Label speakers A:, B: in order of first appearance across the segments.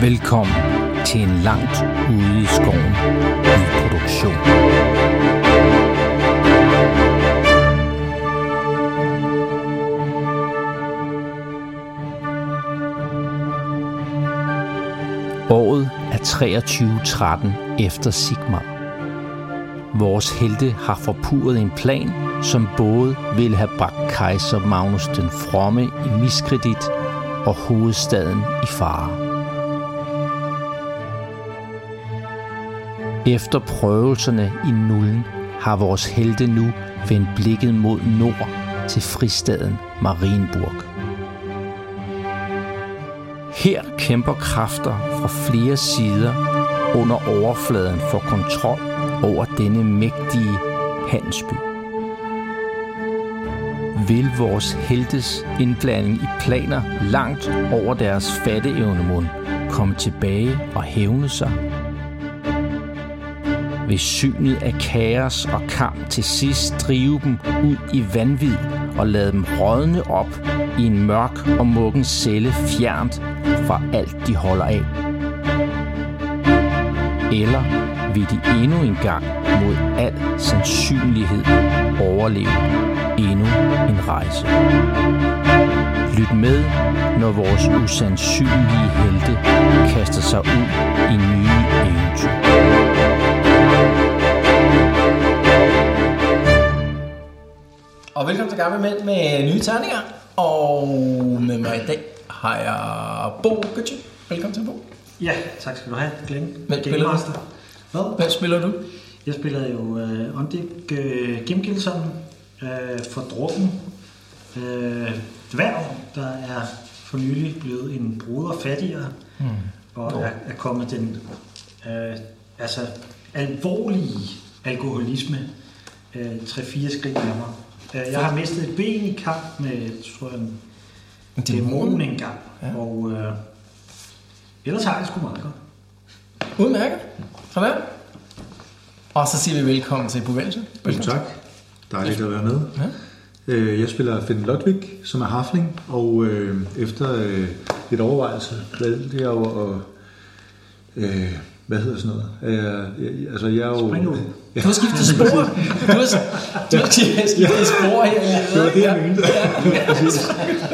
A: Velkommen til en langt ude i skoven ny produktion. Året er 2313 efter Sigmar. Vores helte har forpurret en plan, som både ville have bragt kejser Magnus den Fromme i miskredit og hovedstaden i fare. Efter prøvelserne i nullen har vores helte nu vendt blikket mod nord til fristaden Marienburg. Her kæmper kræfter fra flere sider under overfladen for kontrol over denne mægtige handelsby. Vil vores heltes indblanding i planer langt over deres fatteevne mund komme tilbage og hævne sig? vil synet af kaos og kamp til sidst drive dem ud i vanvid og lade dem rådne op i en mørk og mukken celle fjernt fra alt, de holder af. Eller vil de endnu en gang mod al sandsynlighed overleve endnu en rejse. Lyt med, når vores usandsynlige helte kaster sig ud i nye eventyr.
B: Og velkommen til Gamle Mænd med nye terninger. Og med mig i dag har jeg Bo Gøtje. Velkommen til Bo.
C: Ja, tak skal du have, Glenn.
B: Hvem
C: Game
B: spiller du?
C: Master. Hvad?
B: Hvem spiller du?
C: Jeg spiller jo uh, Ondik uh, Gimgilson uh, for Drukken. Uh, dværg, der er for nylig blevet en bruder fattigere.
B: Hmm.
C: Mm. Og er, er kommet den uh, altså alvorlige alkoholisme uh, 3-4 skridt nærmere. Uh, jeg har mistet et ben i kamp med, tror jeg, en dæmon engang. Ja. Og uh, ellers har jeg det sgu meget godt.
B: Udmærket. Sådan. Og så siger vi velkommen til Bo Vensen.
D: Jo, tak. Dejligt at være med. Ja. Jeg spiller Finn Lodvig, som er hafling, og øh, efter øh, lidt overvejelse valgte jeg jo at... Øh, hvad hedder sådan noget? Øh, jeg, altså, jeg er jo...
C: Spring ud.
D: Ja,
B: Du har skiftet spor. Du har, du har skiftet spor her.
D: det var det, jeg mente. Præcis.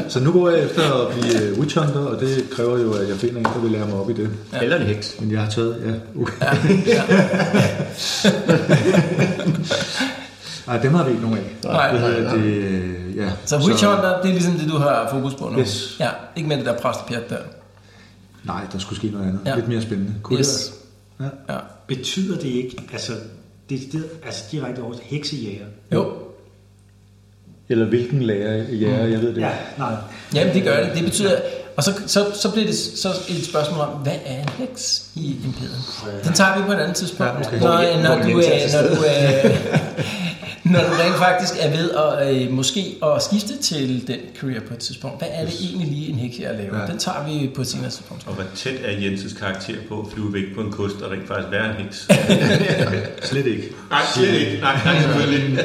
D: Så nu går jeg efter at blive øh, witch hunter, og det kræver jo, at jeg finder en, der vil lære mig op i det.
E: Ja. Eller en heks.
D: Men jeg har taget... Ja, okay. Ej, dem har vi ikke nogen af.
B: Nej,
D: Hvad
B: nej,
D: hedder det? Øh, Ja.
B: Så Witch Hunter, det er ligesom det, du har fokus på nu.
D: Yes.
B: Ja, ikke med det der præstepjat der.
D: Nej, der skulle ske noget andet.
B: Ja.
D: Ja. Lidt mere spændende.
B: Yes.
D: jeg? Ja.
B: Ja.
C: Betyder det ikke, altså, det, det, altså direkte over til heksejæger?
B: Jo,
D: Eller hvilken lærer ja,
B: Mm.
D: jeg ved det.
C: Ja,
D: Ja.
C: nej.
B: jamen det gør det. Det betyder... Og så, så, så bliver det så et spørgsmål om, hvad er en heks i imperiet? Den tager vi på et andet tidspunkt. Ja, okay. når, når,
E: Hvor
B: du,
E: Jens er til
B: er, når, du, er, når du rent faktisk er ved at øh, måske at skifte til den career på et tidspunkt. Hvad er det egentlig lige en heks er at lave? Ja. Den tager vi på et senere tidspunkt.
F: Og hvor tæt er Jenses karakter på at flyve væk på en kost og rent faktisk være en heks?
D: Slet ikke.
F: nej, slet ikke. Nej, nej, selvfølgelig.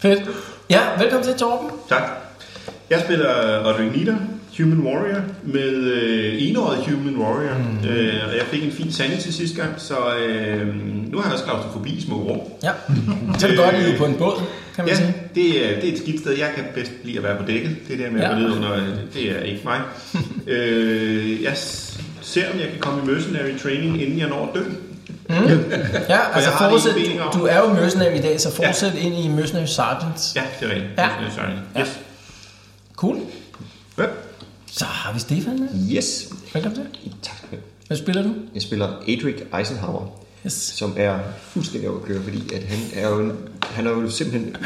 B: Fedt. Ja, velkommen til Torben.
F: tak. Jeg spiller Roderick Nieder, Human Warrior, med øh, enåret Human Warrior. Mm. Øh, og jeg fik en fin sanding til sidste gang, så øh, nu har jeg også klaustrofobi i små rum.
B: Ja, så er det godt at leve på en båd, kan man
F: Ja,
B: sige.
F: det er, det er et skidt sted. Jeg kan bedst lide at være på dækket. Det der med at
B: Ja.
F: gå ned under, øh, det er ikke mig. øh, jeg s- ser, om jeg kan komme i mercenary training, inden jeg når at dø.
B: Ja, altså
F: jeg har det
B: fortsæt,
F: ingen mening om.
B: du er jo mercenary i dag, så fortsæt ind i mercenary sergeant.
F: Ja, det er rigtigt.
B: Ja.
F: Mercenary training.
B: Ja.
F: Yes.
B: Cool.
F: Ja.
B: Så har vi Stefan med.
E: Yes.
B: Velkommen til.
E: Tak skal du have.
B: Hvad spiller du?
E: Jeg spiller Adric Eisenhower,
B: Yes.
E: som er fuldstændig overkørt, fordi at han er jo, en, han er jo simpelthen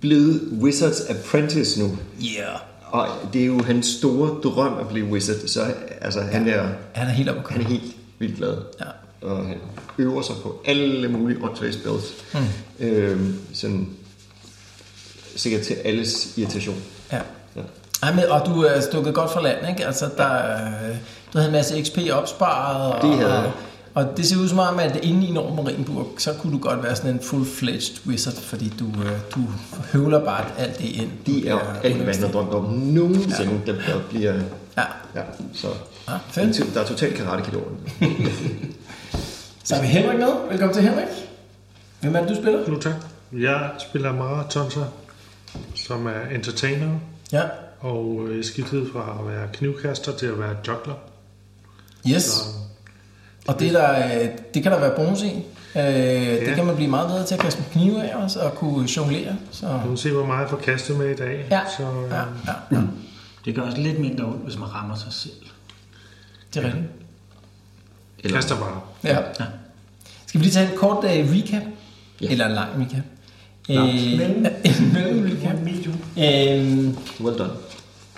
E: blevet Wizards Apprentice nu.
B: Yeah.
E: Og det er jo hans store drøm at blive wizard, så altså, han, er,
B: Han er helt oppe at
E: han
B: køre.
E: er helt vildt glad.
B: Ja.
E: Og han øver sig på alle mulige åndssvage spells.
B: Hmm.
E: Mm. Øhm, sådan, sikkert til alles irritation.
B: Ja.
E: Ja.
B: Ej, men, og du er øh, stukket godt fra land, ikke? Altså, der, øh, du havde en masse XP opsparet. Og,
E: Det havde jeg.
B: Og det ser ud som om, at inde i Norm Marienburg, så kunne du godt være sådan en full-fledged wizard, fordi du, øh, du høvler bare alt det ind.
E: De er
B: Ja,
E: alt, hvad han har drømt om nogensinde, ja. der, der bliver...
B: Ja,
E: Ja, så...
B: ja fedt.
E: Der er totalt karate
B: Så har vi Henrik med. Velkommen til Henrik. Hvem er det, du spiller?
G: Jo, tak. Jeg spiller Mara Tonser, som er entertainer,
B: Ja.
G: og øh, jeg skiftede fra at være knivkaster til at være juggler.
B: Yes.
G: Så
B: Og det, er der, øh, det kan der være bonus i. Øh, Det
G: Ja.
B: kan man blive meget bedre til at kaste med knive af også, og kunne jonglere. Så.
G: nu må vi se, hvor meget jeg får kastet med i dag.
B: Ja,
G: Så, øh,
B: ja, ja, ja.
C: Det gør også lidt mindre ondt, hvis man rammer sig selv.
B: Det er rigtigt.
E: Eller-
G: Kaster bare.
B: Ja. ja. Skal vi lige tage en kort uh, recap?
E: Ja.
B: Eller en lang recap?
E: Langt.
B: Øh, en mellem recap.
C: Medium.
B: Øh,
E: Well done.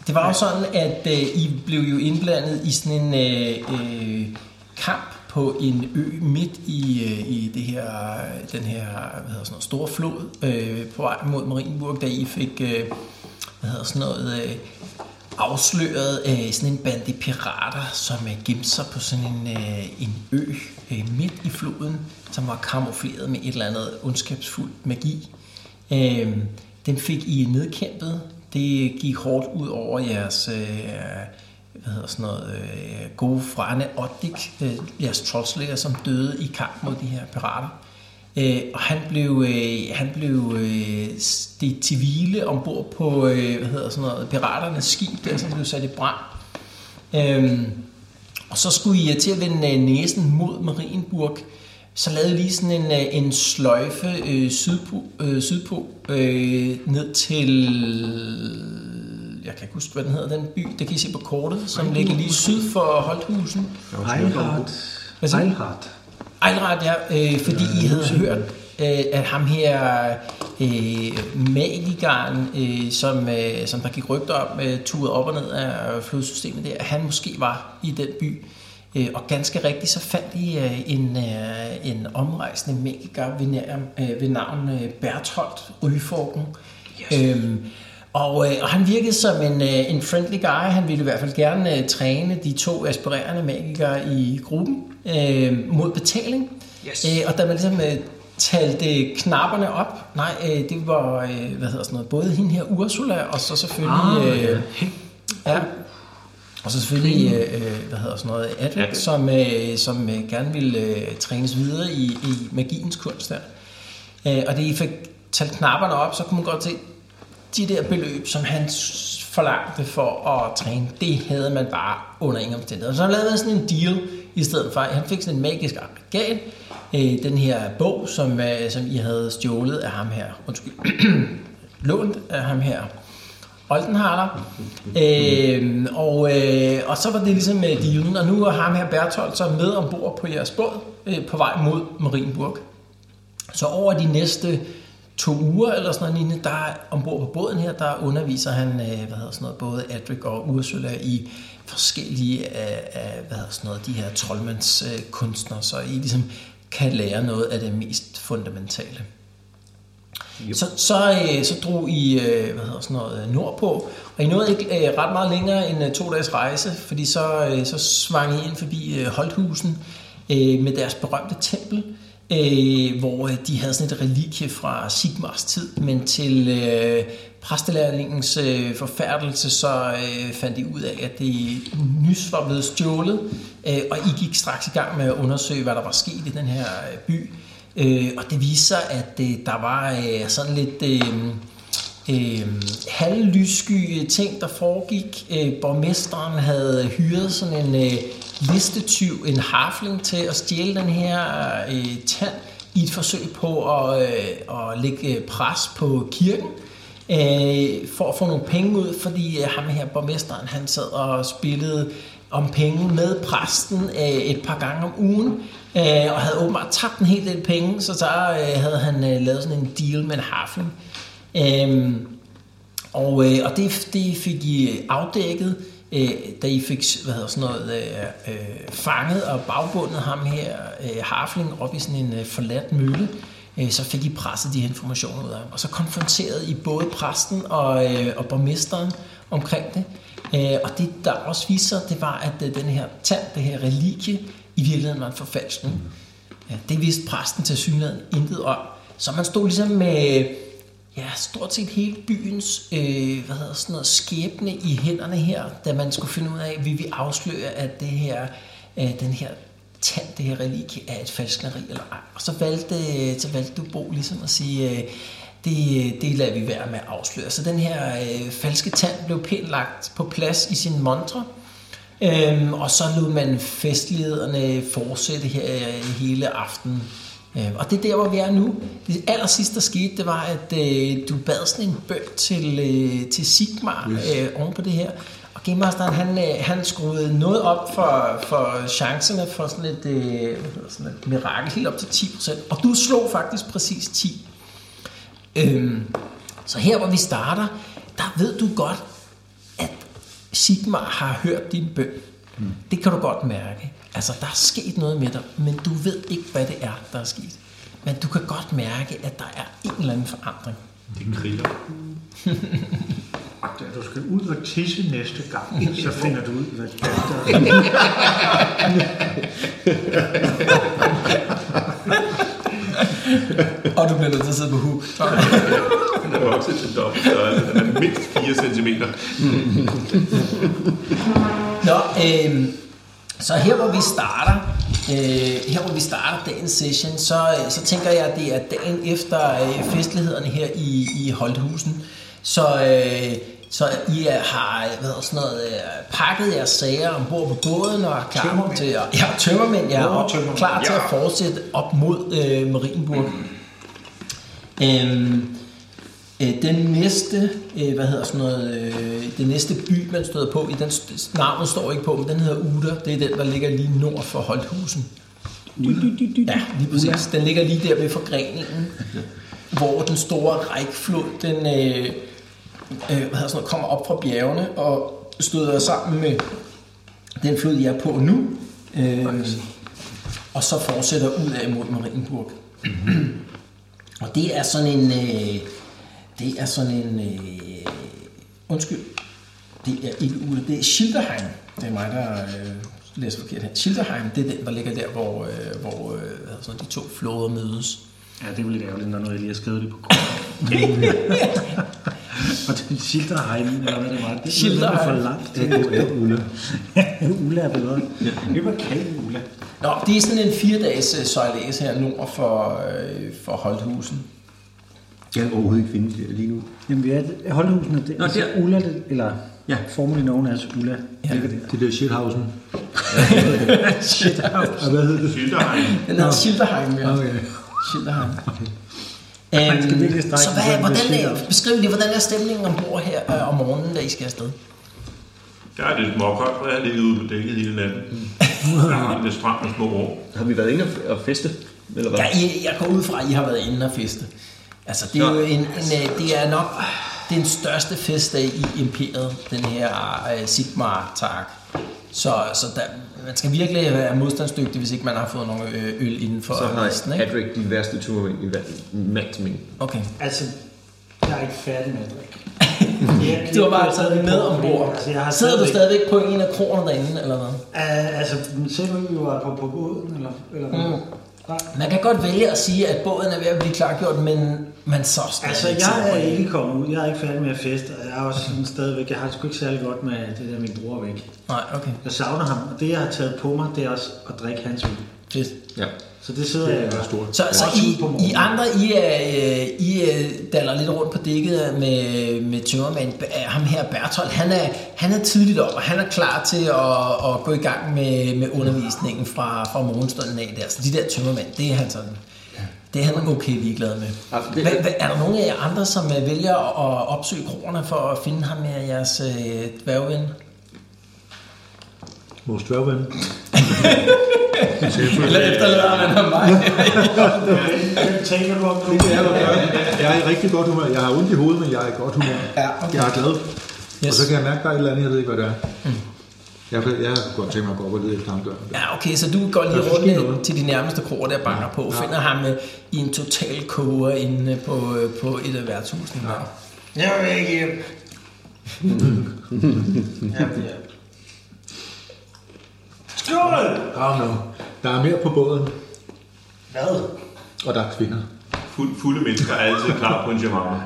B: det var jo sådan, at øh, I blev jo indblandet i sådan en øh, øh, kamp på en ø midt i, øh, i det her, den her hvad hedder sådan noget, store flod øh, på vej mod Marienburg, da I fik øh, hvad hedder sådan noget, øh, afsløret øh, sådan en bande pirater, som øh, gemte sig på sådan en, øh, en ø øh, midt i floden, som var kamufleret med et eller andet ondskabsfuldt magi. Øh, den fik I nedkæmpet. Det gik hårdt ud over jeres øh, hvad hedder sådan noget, øh, gode frænde Oddik, øh, jeres troldslæger, som døde i kamp mod de her pirater. Øh, og han blev, øh, han blev øh, stedt til hvile ombord på øh, hvad hedder sådan noget, piraternes skib, der som blev sat i brand. Øhm, og så skulle I øh, til at vende øh, næsen mod Marienburg. Så lavede I lige sådan en, øh, en sløjfe øh, sydpå, øh, sydpå øh, ned til... Jeg kan ikke huske, hvad den hedder, den by. Det kan I se på kortet, som ligger lige syd for Holthusen.
C: Eilhard.
B: Hvad siger du?
C: Eilhard.
B: Ejlret, ja, øh, fordi I havde hørt, øh, at ham her øh, magikeren, øh, som, øh, som der gik rygter om, øh, turede op og ned af flodsystemet der, han måske var i den by. Øh, og ganske rigtigt, så fandt I øh, en, øh, en omrejsende magiker ved, nær- øh, ved navn øh, Bertholdt Ryforken. Yes. Øhm, og, øh, og han virkede som en, øh, en friendly guy. Han ville i hvert fald gerne øh, træne de to aspirerende magikere i gruppen øh, mod betaling. Yes. Øh, og da man ligesom øh, talte knapperne op, nej, øh, det var øh, hvad hedder sådan noget, både hende her Ursula, og så selvfølgelig... øh,
C: Ah, ja.
B: ja. Og så selvfølgelig, øh, øh, hvad hedder sådan noget, Adric,
F: Adric.
B: som, øh, som øh, gerne ville øh, trænes videre i, i magiens kunst der. Øh, og det I fik talt knapperne op, så kunne man godt se, de der beløb, som han s- forlangte for at træne, det havde man bare under ingen omstændigheder. Så han lavede sådan en deal i stedet for. Han fik sådan en magisk aggregat, øh, den her bog, som, øh, som I havde stjålet af ham her. Undskyld. Lånt af ham her. Oldenhaler. Øh, og, øh, og så var det ligesom med dealen, og nu er ham her Bertolt så med ombord på jeres båd øh, på vej mod Marienburg. Så over de næste to uger eller sådan noget lignende, der er- ombord på båden her, der underviser han, øh, hvad hedder sådan noget, både Adric og Ursula i forskellige af, af hvad hedder sådan noget, de her troldmandskunstnere, så I ligesom kan lære noget af det mest fundamentale. Så, så, øh, så drog I øh, hvad hedder sådan noget, øh, nordpå, og I nåede ikke øh, ret meget længere end øh, to dages rejse, fordi så, øh, så svang I ind forbi øh, Holthusen øh, med deres berømte tempel, øh, hvor øh, de havde sådan et relikie fra Sigmars tid, men til øh, præstelærlingens øh, forfærdelse, så øh, fandt de ud af, at det nys var blevet stjålet, øh, og I gik straks i gang med at undersøge, hvad der var sket i den her øh, by. Øh, og det viste sig, at øh, der var øh, sådan lidt øh, øh, halvlyssky øh, ting, der foregik. Øh, borgmesteren havde hyret sådan en øh, listetyv, en harfling, til at stjæle den her øh, tand i et forsøg på at, øh, at lægge øh, pres på kirken. Øh, for at få nogle penge ud, fordi øh, ham her, borgmesteren, han sad og spillede om penge med præsten øh, et par gange om ugen, øh, og havde åbenbart tabt en hel del penge, så så øh, havde han øh, lavet sådan en deal med en harfling. Øh, og, øh, og det, det fik I afdækket, øh, da I fik hvad hedder sådan noget, øh, øh, fanget og bagbundet ham her, øh, Harfling, op i sådan en øh, forladt mølle. Øh, så fik I presset de her informationer ud af ham. Og så konfronterede I både præsten og, øh, og borgmesteren omkring det. Øh, og det, der også viste sig, det var, at øh, den her tand, det her relikie, i virkeligheden var en forfalskning. Ja, det vidste præsten til synligheden intet om. Så man stod ligesom med ja, stort set hele byens øh, hvad hedder sådan noget, skæbne i hænderne her, da man skulle finde ud af, vil vi afsløre, at det her, øh, den her tand, det her relik er et falskneri eller ej. Og så valgte, så valgte du Bo ligesom at sige, øh, det, det lader vi være med at afsløre. Så den her øh, falske tand blev pænt lagt på plads i sin montre, Øhm, og så lod man festlighederne fortsætte her øh, hele aftenen. Øhm, og det er der, hvor vi er nu. Det aller sidste, der skete, det var, at øh, du bad sådan en bøn til, øh, til Sigmar
D: Yes.
B: øh, oven på det her. Og Game Masteren, han, øh, han skruede noget op for, for chancerne for sådan et, øh, hvad hedder sådan et mirakel, helt op til 10%. Og du slog faktisk præcis 10. Øhm, så her hvor vi starter, der ved du godt, at Sigmar har hørt din bøn. Mm. Det kan du godt mærke. Altså, der er sket noget med dig, men du ved ikke, hvad det er, der er sket. Men du kan godt mærke, at der er en eller anden forandring.
F: Det kriller.
C: Da du skal ud og tisse næste gang, så finder du ud, hvad det er, der
B: Og du bliver nødt til at sidde på hu.
F: Den er vokset til dobbelt størrelse. Den er mindst 4 cm.
B: Nå, øh, så her hvor vi starter, øh, her hvor vi starter dagens session, så, øh, så tænker jeg, at det er dagen efter øh, festlighederne her i, i Holthusen. Så, øh, så I er, har øh, hvad hedder sådan noget, øh, pakket jeres sager ombord på båden og er klar tømmermænd. til at, ja, tømmermænd, ja, og
C: Tømmermænd,
B: klar til at fortsætte op mod øh, Marienburg. Øhm, Øh, den næste, øh, hvad hedder sådan noget, øh, den næste by, man støder på, i den st- navnet står ikke på, men den hedder Uda. Det er den, der ligger lige nord for Holthusen. Ja, lige præcis. Den ligger lige der ved forgreningen, hvor den store rækflod, den øh, øh, hvad hedder sådan noget, kommer op fra bjergene og støder sammen med den flod, jeg er på nu, øh, og så fortsætter ud af mod Marienburg. Mm-hmm. Og det er sådan en... Øh, det er sådan en... Øh, undskyld. Det er ikke Ule. Det er Schilderheim. Det er mig, der øh, læser forkert her. Schilderheim, det er den, der ligger der, hvor, øh, hvor øh, hvad hedder sådan, de to floder mødes.
C: Ja, det er jo lidt ærgerligt, når noget, jeg lige har skrevet det på kort. og det er Schilderheim, eller hvad det var. Det er
B: Schilderheim.
C: for langt. Det
D: Det er Ulla.
C: er Ulla er bedre. Det var kaldt Ulla.
B: Nå, det er sådan en fire-dages øh, sejlads her nord for, øh, for Holthusen.
E: Jeg kan overhovedet ikke finde det lige nu.
C: Jamen, vi er holdhusene. Det, Nå, der. Ulla, det- eller ja.
E: Ja.
C: formelig nogen altså Ulla. Ja. Ligger der.
D: Det der shithausen.
B: Shit,
D: Og hvad hedder det?
F: Sylterhegn.
B: den hedder Schilderheim, ja.
D: Okay.
B: Schilderheim.
C: Man skal virkelig
B: Øhm,
C: strække
B: så
C: sig
B: hvad,
C: selv,
B: hvordan
C: hvis det
B: er,
C: er-
B: beskriv lige, hvordan er stemningen ombord her øh, om morgenen, da I skal afsted?
F: Der er lidt småkoldt, for jeg har ligget ude på dækket hele natten. Der er lidt stramt og små rum.
E: Har vi været inde og feste? Eller hvad?
B: Ja, I, jeg går ud fra, at I har været inde og feste. Altså, det er jo en, en, øh, det er nok den største festdag i imperiet, den her øh, sigmar tak. Så, så der, man skal virkelig være modstandsdygtig, hvis ikke man har fået nogle øh, øl inden for
E: Så
B: festen,
E: har
B: ikke?
E: Patrick de værste turmænd i verden. Max min.
B: Okay.
C: Altså, jeg er ikke færdig med at drikke. Jeg
B: Du har bare
C: klikker
B: taget det med ombord.
C: Altså, jeg har
B: Sidder du stadigvæk på en af kronerne derinde, eller hvad?
C: Uh, altså, ser du ikke, vi var på, på båden, eller, eller hvad?
B: Mm.
C: Nej.
B: Man kan godt vælge at sige, at båden er ved at blive klargjort, men man så stadig
C: Altså,
B: ikke
C: jeg
B: sidder på
C: er
B: en.
C: ikke kommet ud. Jeg er ikke færdig med at feste, og jeg er også sådan stadigvæk... Jeg har det sgu ikke særlig godt med det der, min bror er væk.
B: Nej, okay.
C: Jeg savner ham, og det, jeg har taget på mig, det er også at drikke hans øl.
B: Fedt.
E: Ja.
C: Så det sidder jeg og gør.
B: Så, så
C: Også
B: I,
C: på morgenen.
B: I andre, I, er, øh, I øh, daller lidt rundt på dækket øh, med, med tømmermand. øh, Ham her, Bertolt, han er, han er tidligt op, og han er klar til at, at gå i gang med, med undervisningen fra, fra morgenstunden af der. Så de der tømmermænd, det er han sådan... Det er han okay ligeglad med.
E: Ja, det-
B: Hva, hva, er der nogen af jer andre, som øh, vælger at opsøge kronerne for at finde ham her, jeres øh, dværgven?
D: Vores dværgven.
B: Eller efterlader man ham mig?
C: Hvem tænker du om nu?
D: Jeg er i rigtig godt humør. Jeg har ondt i hovedet, men jeg er i godt humør.
B: Ja, okay.
D: Jeg er glad. Og
B: Yes. Mm.
D: så kan jeg mærke, der er et eller andet, jeg ved ikke, hvad det er. Jeg, kan- jeg kunne godt tænke mig at gå op og lede efter ham der.
B: Ja, okay, så du går lige
D: Der er sket
B: rundt øh,
D: noget.
B: til de nærmeste kroer, der banker på, ja. finder ham øh, i en total koge inde øh, på, øh, på et af værtshusene. Ja.
C: Jeg vil ikke hjem. Ja, ja.
D: Oh no. Der er mere på båden,
C: Hvad?
D: og der er kvinder.
F: Fuld, fulde mennesker er altid klar på en jamama.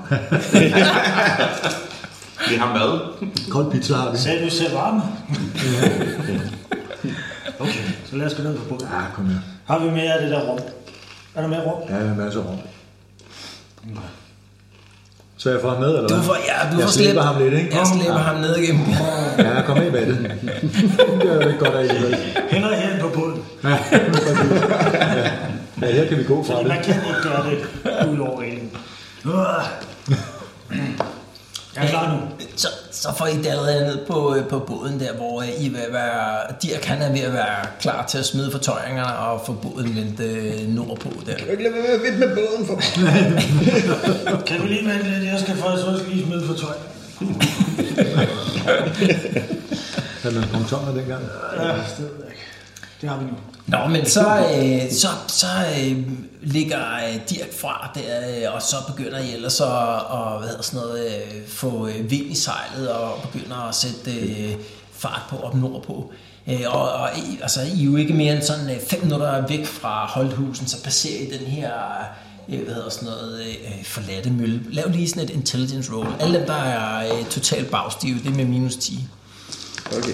F: Vi har mad.
D: Kold pizza har vi.
C: Sagde du selv varme? okay, så lad os gå ned på bordet.
D: Ja, kom her.
C: Har vi mere af det der rum? Er der mere rum?
D: Ja, der er masser af rum. Så jeg får ham med, eller
B: Mm. Du
D: hvad?
B: får, ja, du
D: jeg
B: får
D: slæber
B: slæbt-
D: ham lidt, ikke?
B: Jeg slæber ham ned igennem.
D: Ja, kom af med det. det er jo ikke godt af i vel?
C: Hænder her på båden.
D: Ja, præcis. ja. ja, her kan vi gå fra det.
C: Man kan ikke gøre det ud over en. Jeg er klar nu.
B: Så, så får I det allerede ned på, øh, på båden der, hvor øh, I vil være, Dirk han er ved at være klar til at smide fortøjningerne og få båden vendt øh, nordpå der.
E: ikke lade være med at vippe med båden for
C: Kan vi lige vente lidt? Jeg skal faktisk også lige smide for tøj.
D: Havde man punktonger dengang?
C: Ja, det ved jeg ikke. Det har vi nu.
B: Nå, men så, øh, så, så øh, ligger øh, Dirk fra der, øh, og så begynder I ellers at og, hvad hedder sådan noget, øh, få øh, vind i sejlet og begynder at sætte øh, fart på op nordpå. Øh, og, og I, altså, I er jo ikke mere end sådan øh, fem minutter væk fra Holthusen, så passerer I den her øh, hvad hedder sådan noget, øh, forladte mølle. Lav lige sådan et intelligence roll. Alle dem, der er øh, totalt bagstive, det er med minus 10.
E: Okay.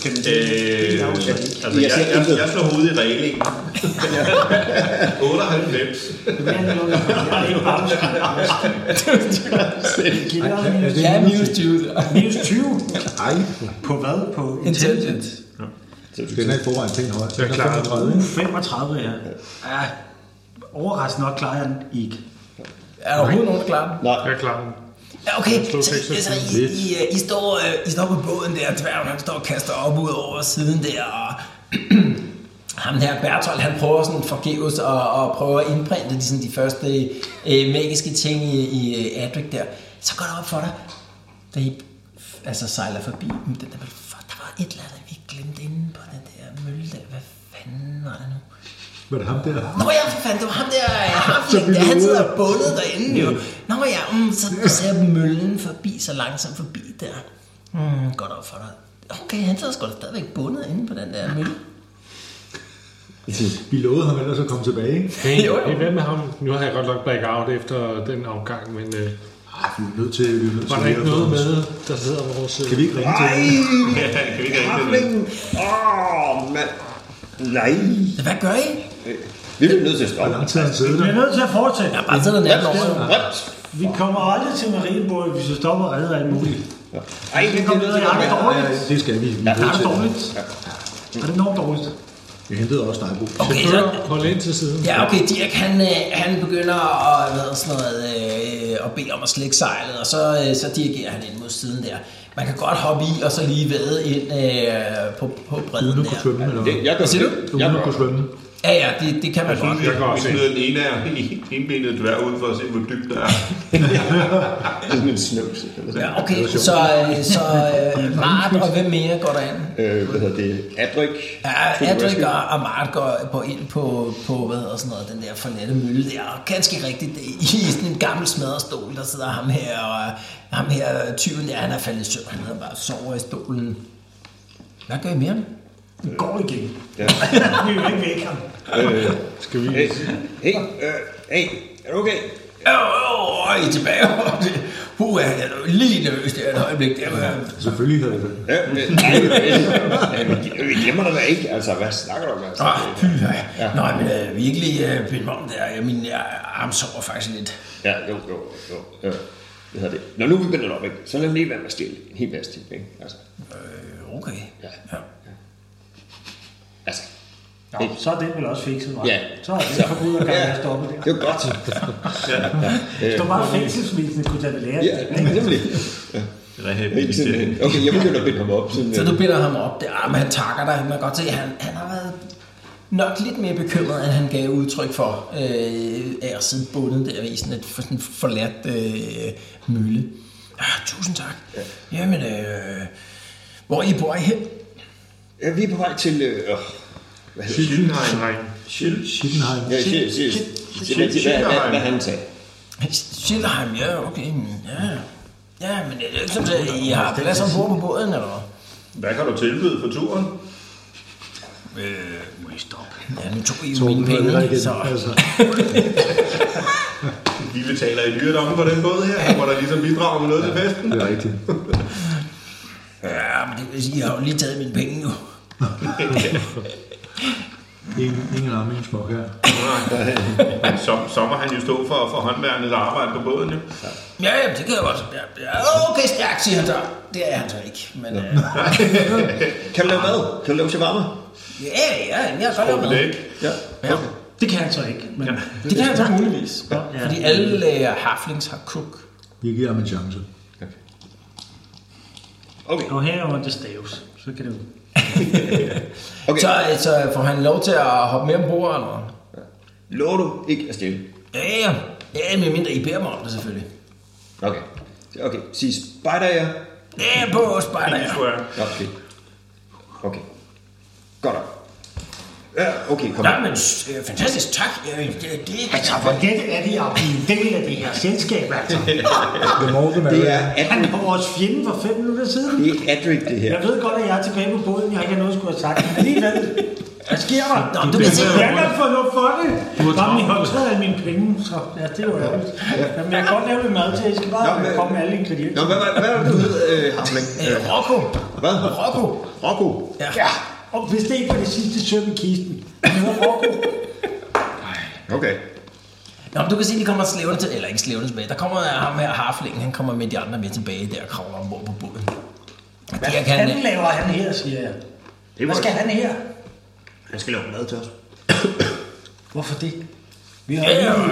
C: Okay, men
F: Øh,
C: det er også
F: altså, jeg, jeg, jeg, jeg slår hovedet i reglingen. 98.
D: Er det
B: Ja,
D: minus
B: minus 20.
C: Minus 20.
D: Ej,
C: På hvad? På
B: Intelligence.
D: den er i forvejen pænt høj. Den er
G: klarer den.
D: 35,
C: uge
D: ikke?
C: 35, ja. ja. Overraskende nok klarer jeg den ikke.
B: Er der overhovedet nogen, der klarer den?
G: Jeg er klar.
B: Ja, okay,
G: slog
B: så,
G: seks
B: så
G: og
B: I,
D: tyve.
B: I, øh, I, står, øh, I står på båden der, dværgen han står og kaster op ud over siden der, og ham der Bertolt, han prøver sådan forgæves og, og prøver at indprinte de, sådan, de første øh, magiske ting i, i øh, Adric der. Så går det op for dig, da I altså, sejler forbi dem, den der, for, der var et eller andet, vi glemte inde på den der mølle der. Hvad fanden var det nu?
D: Var det ham der?
B: Nå ja, for fanden, det var ham der,
D: Så
B: Harfling,
D: vi
B: der, han
D: nåede.
B: sidder bundet derinde jo. Nå ja, mm, så ser møllen forbi, så langsomt forbi der. Mm, godt op for dig. Okay, han sidder sgu da stadigvæk bundet inde på den der mølle.
D: Vi lovede ham ellers at komme tilbage, ikke?
G: Hey,
B: Jo, jo.
G: hey, hvad med ham? Nu har jeg godt nok black out efter den afgang, men øh,
D: Ej, vi er nødt til... Vi er nødt til
G: var der
D: lige
G: ikke
D: at få
G: noget
D: ham.
G: med, der hedder vores... Øh,
D: Kan vi ikke ringe til ham?
F: kan vi ikke ringe til det?
E: Harflingen! Åh, mand! Nej!
B: Så hvad gør I?
E: Vi bliver nødt til at
D: Hvor
E: stoppe.
D: lang tid har han siddet
C: Vi
D: der?
C: er nødt til at fortsætte.
B: Jeg bare sidder natten over. jo.
E: Brems!
C: Vi kommer aldrig til Marienborg, hvis vi stopper og redder alt muligt.
E: Ej, det
C: kommer ned, jeg har det
D: Ja,
C: dårligt.
D: det skal vi. Vi
C: Jeg
D: er
C: har
D: nødt
C: det
D: til
C: dårligt. Og det er enormt dårligt.
D: Vi hentede også Nejbo.
B: Okay, så,
G: Fører, hold ind til siden.
B: ja, okay, Dirk, han, øh, han begynder at, hvad hedder sådan noget, øh, at bede om at slække sejlet, og så, øh, så dirigerer han ind mod siden der. Man kan godt hoppe i, og så lige vade ind øh, på, på bredden
D: Uden at kunne
B: der.
D: svømme, eller
E: Det,
D: hvad?
E: jeg gør
B: Hvad siger du?
E: det. Jeg
D: Uden at
E: gør
D: kunne svømme.
B: Ja, ja, det, det kan man
F: Jeg
B: godt.
F: synes, vi,
G: Jeg går
F: vi
G: også ind.
F: smider den ene af enbenede dværg ud for at se, hvor dybt der er.
E: det. Sådan en snøvs.
B: Ja, okay, så, øh, så øh, Mart og hvem mere går derind?
E: Øh, hvad hedder det? Adryk.
B: Ja, Adric og, og Mart går på ind på, på hvad hedder sådan noget, den der forladte mølle der, og ganske rigtigt det, er i sådan en gammel smadrestol, der sidder ham her, og øh, ham her øh, tyven der, han er faldet i søvn, han hedder bare sover i stolen. Hvad gør I mere?
C: Den går igen.
E: Ja.
C: Vi er jo ikke væk ham.
E: Øh,
G: Skal vi...
E: hey, hey, øh, hey, er du okay?
B: Åh, øh, øh, øh, I er tilbage. Huh, jeg er lige nervøs der et øjeblik. Der.
D: Selvfølgelig havde vi det.
E: Ja, øh, nej, øh, øh, vi glemmer dig da ikke. Altså, hvad snakker du om? Altså?
B: Ah, pyha. Ja. Nej, men øh, virkelig, øh, Pille Mom der, jeg, min øh, arm sover faktisk lidt.
E: Ja, jo, jo, jo. Øh, hvad hedder det? Når nu vi vender op, ikke? så lad mig lige være med at stille en hel masse ting. Ikke? Altså,
B: Øh, okay.
E: Ja.
B: ja.
E: altså,
C: Nå, så er den vel også fikset, var.
E: Ja.
C: Så er det forbudt at gøre,
E: Ja.
C: at jeg stopper der.
E: det er jo godt.
C: Det var bare fængselsvisende, kunne tage det lære.
E: Ja, nemlig.
F: Rehabilitering.
E: Indtil- Okay, jeg begynder at binde ham op. Sådan,
B: Så
E: øh,
B: du binder ham op der, ah, men han takker dig. Man kan godt se, at han, han har været nok lidt mere bekymret, end han gav udtryk for øh, af at sidde bundet der i sådan et for, sådan forladt øh, mølle. Ah, tusind tak. Ja. Jamen, øh, hvor I bor I hen?
E: ja, vi er på vej til... Øh, øh, hvad hedder det?
G: Nej.
D: Schittenheim.
E: Ja, shit, shit. Det er rigtigt, hvad, hvad, hvad han sagde.
B: Silheim, ja, okay. men Ja, øh, ja men det er jo ikke sådan, at I har plads om bord på båden, eller hvad?
F: Hvad kan du tilbyde for turen?
C: Øh, må I stoppe?
B: Ja, nu tog I jo
D: Torben,
B: mine
D: nu er det dig
B: penge,
D: igen.
B: så...
D: Altså,
F: Vi betaler i dyredomme på den måde her. Han må da ligesom bidrage med noget til festen.
D: det er rigtigt.
B: Ja, men det vil sige, jeg har jo lige taget mine penge nu.
D: En, ingen arme, ingen smuk her.
F: Men så, så må han jo stå for, for håndværkernes arbejde på båden. Jo.
B: Ja, jamen, det kan jeg godt. Ja, ja, okay, stærk, siger han så. Det er han så ikke, men... Øh,
E: Kan du lave mad? Kan du lave shawarma?
B: ja, ja, jeg har godt
F: Men det er
B: lavet
F: ikke.
E: Ja.
C: Det kan han så ikke, men ja.
B: Det kan han så muligvis.
C: Ja.
B: Fordi alle øh, harflings har cook.
D: Vi giver ham en chance.
E: Okay.
C: Og her er det staves, så kan det jo...
E: okay.
B: Så, øh, så får han lov til at hoppe med ombord eller noget.
E: Lover du ikke at stjæle?
B: Ja, ja. Ja, medmindre I beder mig om det selvfølgelig.
E: Okay. Okay, sig spider jeg.
B: Ja, på os bare
F: Det tror jeg.
E: Ja, okay. Okay. Godt nok. Ja, okay, kom.
B: Nej, men øh, fantastisk, tak. Øh, det, det,
C: Altså, for dette er vi at blive en del af det her selskab, altså.
D: The Morgan
E: Det er
C: Han
E: Adric.
C: var vores fjende for fem minutter siden.
E: Det er Adric, det her.
C: Jeg ved godt, at jeg er tilbage på båden. Jeg har ikke noget, jeg skulle have sagt. Men alligevel. Hvad sker der?
B: Nå, du kan se,
C: Jeg kan få noget for det. Bare min håndtræd af mine penge. Så ja, det var ærgerligt. Men jeg kan godt lave lidt mad til. Jeg skal bare
E: Nå, men-
C: komme med alle ingredienser.
E: Nå, hvad, hvad, hvad er det, du hed, øh, Hamling?
B: Øh, Rocco.
E: Hvad?
B: Rocco.
E: Rocco.
B: Ja.
C: Ja, og hvis det ikke var det sidste søm i kisten. Det var Rocco.
E: Okay.
B: Nå, men du kan se, de kommer slævende til, eller ikke slævende tilbage. Der kommer ham her, harflingen, han kommer med de andre med tilbage der og kravler ombord på båden.
C: Hvad
B: Det kan øh,
C: fanden laver han her, siger jeg. Hvad skal han her?
E: Han skal lave mad til os.
C: Hvorfor det? Vi var,
B: Ja,
C: lige,
B: øh.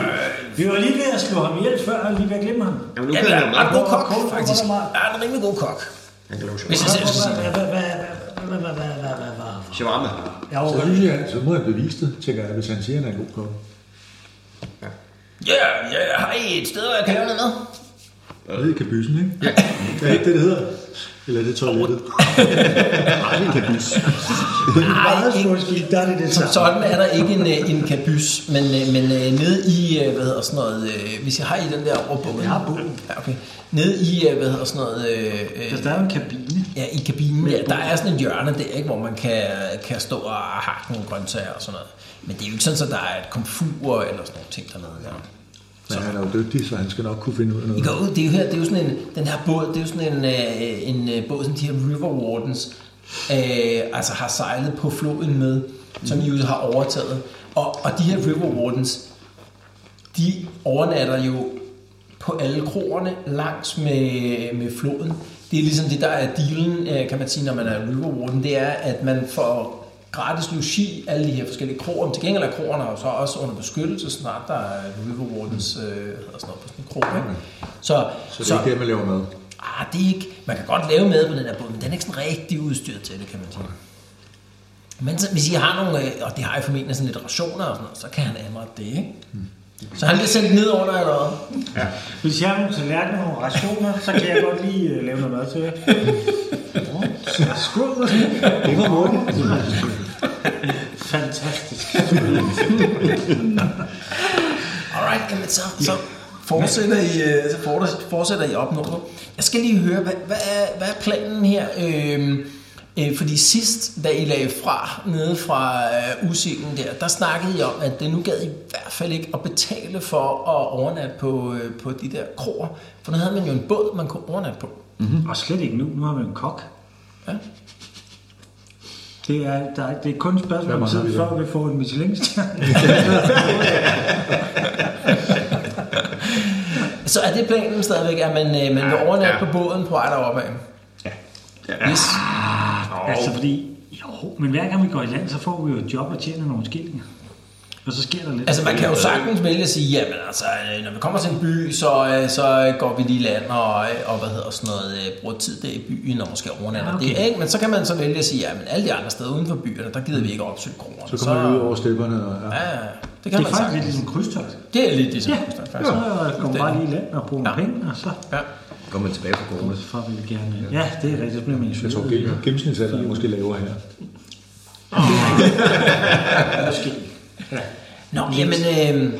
C: vi var lige ved at slå ham ihjel før, og lige ved at glemme ham.
E: Jamen, nu
B: Ja,
E: kan
B: det
E: han
B: er
E: lave
B: en
E: mad.
B: ret god kok,
C: Hvor- hvor-
B: faktisk.
C: hvor- hvor-
B: Ja, han er en rimelig god kok.
E: Han kan lave
B: Hvis
C: Altså,
E: shawarma.
B: jeg selv skal sige det.
C: Hvad- hvad- hvad- hvad- hvad- hvad- hvad- hvad- hvad- hvad-
E: Shawarma.
C: Jeg
D: Så
C: overgår
D: synes jeg, så må han bevise det, tænker jeg, hvis han siger, at han er en god kok.
B: Ja, ja, har I et sted, hvor jeg kan lave noget med?
D: Jeg ved, kabysen, ikke? Ja. Er ikke det, det hedder? Eller er det toilettet?
E: Nej, det kan bys.
C: meget
B: ikke-
C: forskel, der er det det
B: Altså, Som
C: samme.
B: sådan er der ikke en, øh, en kabys, men, øh, men øh, nede i, øh, hvad hedder sådan noget, øh, hvis jeg har i den der overbåden.
C: Jeg har båden.
B: Ja, okay. Nede i, øh, hvad hedder sådan noget, øh, øh,
C: Altså, der er jo en kabine.
B: ja, i kabinen, ja, der er sådan et hjørne der, ikke, hvor man kan, kan stå og hakke nogle grøntsager og sådan noget. Men det er jo ikke sådan, at der er et komfur eller sådan nogle ting dernede. Der.
D: Men han er jo dygtig, så han skal nok kunne finde ud af
B: I
D: noget.
B: går ud, det er jo her, det er jo sådan en, den her båd, det er jo sådan en, øh, en øh, båd, som de her River Wardens øh, altså har sejlet på floden med, som I jo har overtaget. Og, og de her River Wardens, de overnatter jo på alle kroerne langs med, med floden. Det er ligesom det, der er dealen, øh, kan man sige, når man er River Warden, det er, at man får gratis logi i alle de her forskellige kroer. Men til gengæld er kroerne jo så også under beskyttelse, så snart der er River Wardens øh, hedder sådan noget på sådan en krog. Ikke? Så,
D: Så det er ikke det, man laver mad.
B: ah, det er ikke, man kan godt lave mad på den her båd, men den er ikke sådan rigtig udstyret til det, kan man sige. Men så, hvis I har nogle, øh, og det har I formentlig sådan lidt rationer og sådan noget, så kan han anrette det, ikke?
D: Mm.
B: Så han bliver sendt ned under eller hvad?
C: Hvis jeg har nogle tallerkener og nogle rationer, så kan jeg godt lige øh, lave noget mad til jer. Nå, så Skål. Det var Morten. Fantastisk.
B: Alright, jamen så, så fortsætter I, øh, så fortsætter- fortsætter I op nordpå. Jeg skal lige høre, hvad, hvad, er, hvad er planen her? Øhm, øh, fordi sidst, da I lagde fra nede fra øh, usilden der, der snakkede I om, at det nu gad I i hvert fald ikke at betale for at overnatte på, øh, på de der kroer. For nu havde man jo en båd, man kunne overnatte på.
C: Og slet ikke nu. Nu har vi en kok.
B: Ja.
C: Det er, der, er- det er kun et spørgsmål om
D: Hvad mangler
C: tid,
D: vi der?
C: før vi får en Michelin-stjerne.
B: Så er det planen stadigvæk, at man, øh, man vil overnatte
F: ja.
B: på båden på vej deroppe af?
F: Ja.
B: Yes.
C: Altså fordi, jo, men hver gang vi går i land, så får vi jo et job og tjener nogle skillinger. Og så sker der lidt.
B: Altså man kan jo
C: Øh.
B: sagtens vælge at sige, jamen altså, øh, når vi kommer til en by, så, øh, så øh, går vi lige i land og, øh, og hvad hedder sådan noget, øh, bruger tid der i byen og måske overnatter
C: Ja,
B: okay.
C: Ah, okay.
B: det, ikke? Men så kan man så vælge at sige, jamen alle de andre steder uden for byerne, der gider vi ikke opsøge kroner.
D: Så kommer vi ud over stepperne. Og, ja.
B: Ja, ja, det
C: det
B: kan
C: er
B: man
C: faktisk lidt
B: sagtens.
C: ligesom krydstogt.
B: Det er lidt ligesom
C: Ja,
B: Rusland,
C: så
B: faktisk.
C: går man bare lige i land og bruger nogle
B: Ja.
C: penge, og så
B: Ja.
E: Går man tilbage på corona?
C: for vi vil gerne... Ja, det er rigtigt, så bliver man
D: Jeg tror,
C: isoleret.
D: gen- gennemsnitsalderen er måske lavere her.
C: Måske.
B: Nå, jamen, øh,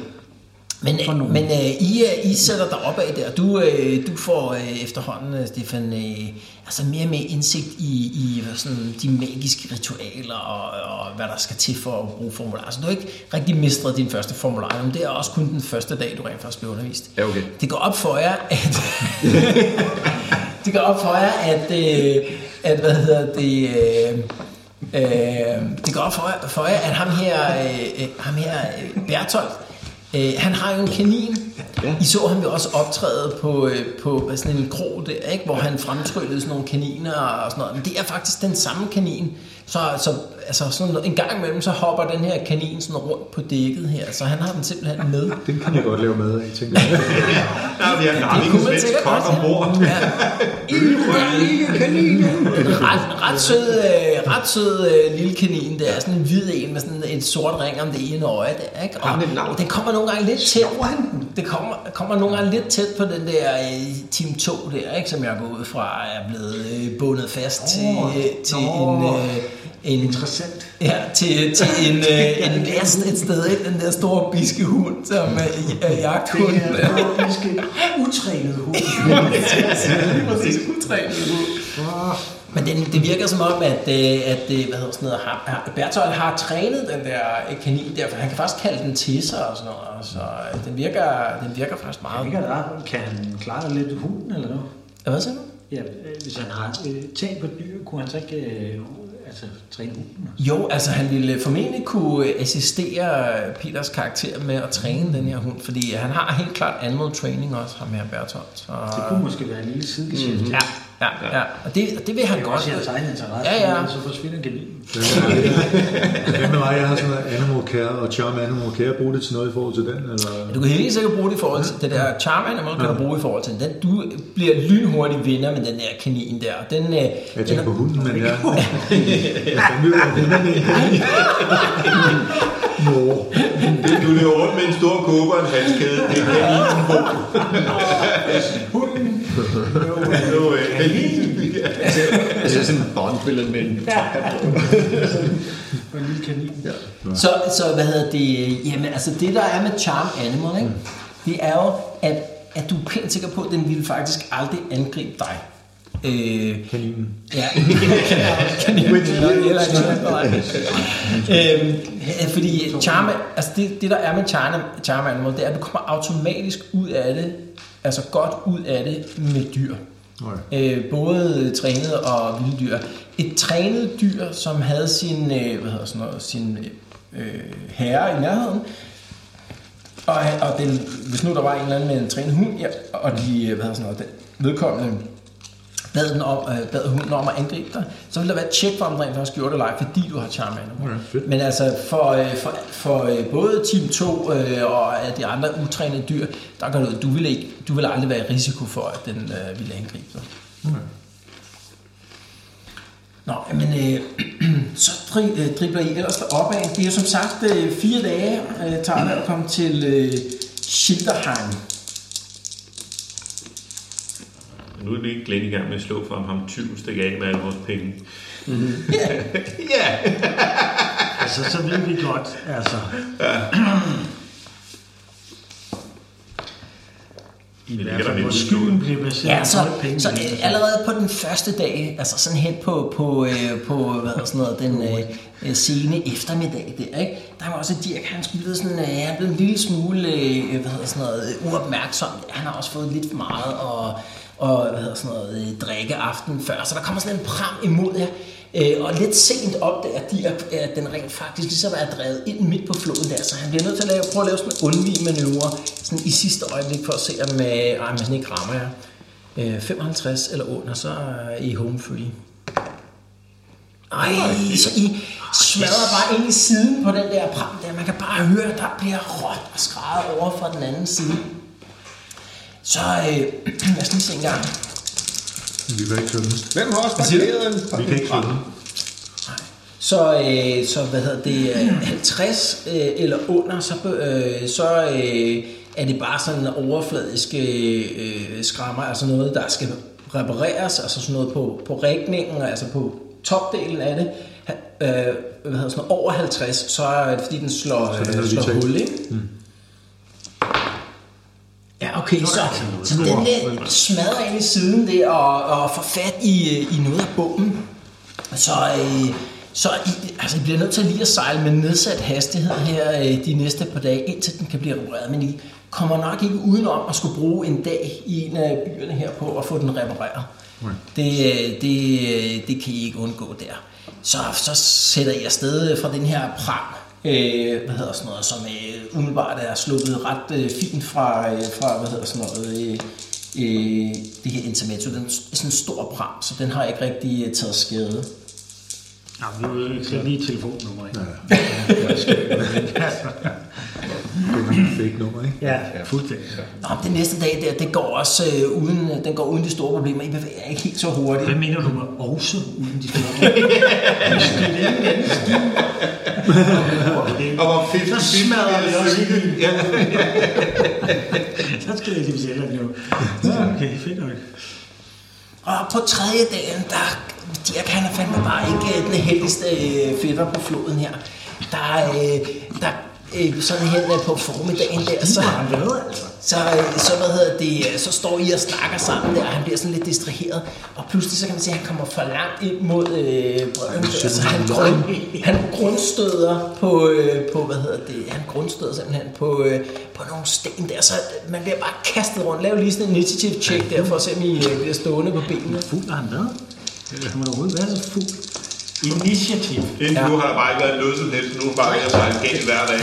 B: Men,
C: for nogen.
B: men øh, I, øh, I sætter dig op af der, du, øh, du får øh, efterhånden, øh, Stefan, øh, altså mere og mere indsigt i, i hvad sådan, de magiske ritualer og, og hvad der skal til for at bruge formularer. Altså, du har ikke rigtig mistet din første formular, men det er også kun den første dag, du rent faktisk blev undervist.
E: Ja, okay.
B: Det går op for jer, at... det går op for jer, at... Øh, at hvad hedder det... Øh, øh, det går op for jer, for jer at ham her, øh, øh, ham her øh, Bertolt, øh, han har jo en kanin. Ja. I så ham jo også optræde på, øh, på hvad, sådan en krog der, ikke? hvor han fremtryllede sådan nogle kaniner og sådan noget. Men det er faktisk den samme kanin. Så, så altså sådan noget, en gang imellem, så hopper den her kanin sådan rundt på dækket her. Så han har den simpelthen med.
D: Den kan jeg godt lave mad af, tænker jeg.
F: Der er vi en gammel svensk kok ombord.
B: ret, ret sød, øh, ret sød øh, lille kanin der. Sådan en hvid en med sådan et sort ring om det ene øje der, ikke? Og
E: Har den et navn?
B: den kommer nogle gange lidt tæt. Det kommer, kommer nogle gange lidt tæt på den der øh, Team 2 der, ikke? Som jeg går ud fra er blevet øh, bundet fast oh, til, øh, til
C: nå.
B: en... Øh, en,
C: Interessant.
B: Ja, til, til en, øh, en last et sted, ikke? Den der store biske hund, som øh, er
C: Det
B: jagthunden.
C: er faktisk et utrænet hoved.
B: Men det, det virker som om, at, øh, at øh, hvad hedder sådan noget, har, har, Bertolt har trænet den der øh, kanin der, for han kan faktisk kalde den til sig og sådan noget. Så øh, den virker, den virker faktisk meget.
C: Ikke der, kan han klare lidt hunden eller noget?
B: Hvad siger du?
C: Ja, øh, hvis han har øh, tag på et dyr, kunne han så ikke øh, altså, træne hunden?
B: Jo, altså han ville formentlig kunne øh, assistere øh, Peters karakter med at træne den her hund, fordi han har helt klart animal training også, ham her Bertolt. Så,
C: Det kunne måske være en lille sidegeschæft. Mm,
B: ja, ja, ja, og det, og det vil han
C: Det er
B: godt.
C: også hans egen interesse,
B: Ja, ja.
C: men så forsvinder kaninen.
D: Hvad med mig? Jeg har sådan noget Animal Care og Charm Animal Care. Brug det til noget i forhold til den? Eller?
B: Du kan helt sikkert bruge det i forhold til det der charm animal, kan du bruge i forhold til den. Du bliver lynhurtig vinder med den der kanin der. Den, øh,
D: Jeg
B: den
D: tænker på hunden, men jeg... Jeg fandme ud af hunderne. Nå.
F: Det- Du løber rundt med en stor kåbe og en halskæde. Det kan jeg ikke få. øh, Hunden.
E: Altså sådan en bondbillede med en
C: Og en lille kanin. Ja.
B: Så, så hvad hedder det? Jamen, altså det der er med Charm Animal, ikke?
D: Mm.
B: det er jo, at, at du er pænt sikker på, at den ville faktisk aldrig angribe dig. Øh,
D: Kaninen.
B: ja. Kaninen. Eller en charm- Øhm, øh, Fordi charme, altså det, det der er med charme, charme animal, det er, at du kommer automatisk ud af det, altså godt ud af det med dyr.
D: Okay.
B: Øh, både trænet og vilde dyr. Et trænet dyr, som havde sin, øh, hvad hedder sådan noget, sin øh, herre i nærheden, og, og den, hvis nu der var en eller anden med en trænet hund, ja, og de, øh, hvad hedder sådan noget, den vedkommende bad, den om, øh, bad hunden om at angribe dig, så ville der være et tjek for, om den rent faktisk gjorde det eller ej, fordi du har charm animal.
D: Okay, fedt.
B: Men altså, for, øh, for, for øh, både Team 2 øh, og af de andre utrænede dyr, der gør du, du vil, ikke, du vil aldrig være i risiko for, at den øh, ville angribe dig. Nå, men øh, så dri, øh, dribler I ellers opad. Det er jo som sagt øh, fire dage, øh, tager det at komme til øh, Schilderheim.
F: Nu er det ikke Glenn i gang med at slå for ham 20 stik af med alle vores penge. Ja.
C: Altså, så ved vi godt, altså. I hvert fald, hvor skylden blev baseret
B: Ja, så,
C: på penge.
B: så øh, allerede på den første dag, altså sådan hen på, på, øh, på hvad hedder sådan noget, den øh, øh, sene eftermiddag der, ikke? der var også Dirk, han skulle blive sådan, øh, han blev en lille smule øh, hvad hedder sådan noget, øh, uopmærksom. Han har også fået lidt for meget og, og hvad hedder sådan noget, øh, drikke aftenen før, så der kommer sådan en pram imod jer. Øh, og lidt sent opdager Dirk, at den rent faktisk ligesom er drevet ind midt på floden der, så han bliver nødt til at lave, prøve at lave sådan en undvigmanøvre sådan i sidste øjeblik for at se, om, øh, om han ikke rammer jer. Øh, 55 eller under, så er I home free. Ej, så I smadrer bare ind i siden på den der pram der. Man kan bare høre, at der bliver råt og skrejet over fra den anden side. Så øh, lad os lige se en gang.
D: Vi kan ikke tømme.
E: Hvem har også parkeret en
D: Vi kan ikke tømme.
B: Så, øh, så hvad hedder det, øh, 50 øh, eller under, så, be- øh, så øh, er det bare sådan overfladiske øh, skrammer, altså noget, der skal repareres, altså sådan noget på, på rækningen, altså på topdelen af det, Ha- øh, hvad hedder sådan noget, over 50, så er det fordi den slår,
D: det
B: øh,
D: noget, vi
B: slår
D: tager.
B: hul, ikke? Mm. Okay, så, så den der smadrer ind i siden der og, og får fat i, øh, i noget af bomben. Så, øh, så I, altså, I bliver nødt til lige at sejle med nedsat hastighed her øh, de næste par dage, indtil den kan blive repareret. Men I kommer nok ikke udenom at skulle bruge en dag i en af byerne her på at få den repareret. Det, øh, det, øh, det kan I ikke undgå der. Så, så sætter I afsted fra den her pram, øh, hvad hedder sådan noget, som øh, umiddelbart er sluppet ret øh, fint fra, øh, fra hvad hedder sådan noget, øh, øh, det her intermezzo. Den er sådan en stor pram, så den har ikke rigtig øh, taget skade.
C: Nå, nu er det lige telefonnummer, ikke?
D: Det er fake nummer, ikke?
C: Ja, fuldstændig.
B: Nå, men den næste dag der, det går også øh, uden, den går uden de store problemer. I bevæger jer ikke helt så hurtigt.
C: Hvad mener du med også uden de store Det er
F: Og hvor fedt,
C: Så smadrer vi også i ja. Så skal jeg lige sige, at nu. Ja, okay, fedt nok.
B: Og på tredje dagen, der Dirk han er fandme bare ikke øh, den heldigste øh, fætter på floden her. Der, øh, der øh, sådan her øh, på formiddagen der, så, så, øh, så, hvad hedder det, øh, så står I og snakker sammen der, og han bliver sådan lidt distraheret. Og pludselig så kan man se, at han kommer for langt ind mod øh, bredden. Der, så han, grund, han grundstøder på, øh, på, hvad hedder det, han grundstøder simpelthen på, øh, på nogle sten der, så øh, man bliver bare kastet rundt. Lav lige sådan en initiative check der, for at se, om I øh, bliver stående på benene.
C: Fuld har han været. Kan man overhovedet være så fuld? Initiativ.
F: Indtil nu har der bare ikke været en løsning til, nu er bare ved at sejle galt hver dag.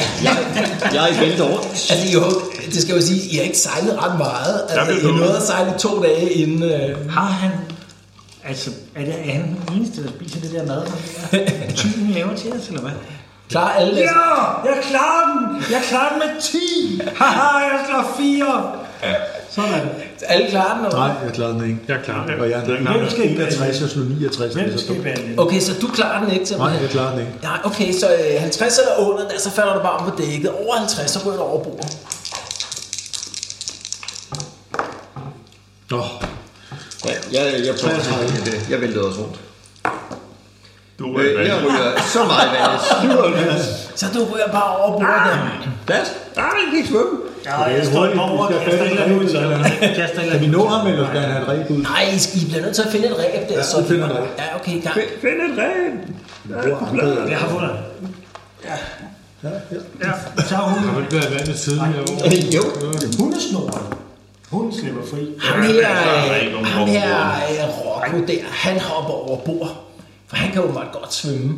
E: Jeg er i vælter over.
B: Altså, jo, det skal jo sige, I har ikke sejlet ret meget. Altså,
F: Jamen, det
B: I
F: er
B: nåede
F: noget.
B: at sejle to dage inden... Øh,
C: Har han... Altså, er, det, er han den eneste, der spiser det der mad? som det er? Tyven laver til os, eller hvad?
B: klar alle deres...
C: Ja, jeg klarer den! Jeg klarer den med 10! Haha, jeg slår 4! Sådan.
B: Alle klarer den,
D: Nej,
B: eller
D: jeg klarede den ikke.
G: Jeg er klar.
D: Og jeg er
C: Hvem skal i
D: 61, jeg slog 69.
C: Hvem
D: så
C: skal i valg?
B: Okay, så du klarer den ikke til
D: Nej, jeg klarer den ikke.
B: Nej, okay, så øh, 50 eller under, der, så falder du bare om på dækket. Over 50, så ryger du over bordet.
D: Nå,
E: Ja, jeg, jeg prøver at Jeg væltede også rundt.
F: Du er
E: Øh, jeg ryger så meget vand. 97.
B: Så du ryger bare over bordet der.
E: Hvad? Nej, jeg kan ikke svømme.
C: Ja, jeg står i morgen og
D: Vi skal
C: kaster et eller andet ud. eller hvad? Kaster et eller
D: kan vi
C: andet
D: nå
C: ud.
D: ham, eller skal han have et rigtig ud?
B: Nej, I, skal- I bliver nødt til at finde et ræb der.
D: Ja,
B: så
D: vi finder et ræb.
B: Ja, okay, i gang.
E: Find et ræb.
D: Hvor er andet?
C: Jeg har fundet.
D: Ja, ja.
C: Ja, så har hun
G: Har du ikke været i vandet siden i år?
E: Jo.
C: hundesnoren. Hun slipper fri.
B: Ham her,
F: der er ikke
B: øh,
F: nogen
B: ham
F: over
B: her øh, Rocco der, han hopper over bord, for han kan jo meget godt svømme.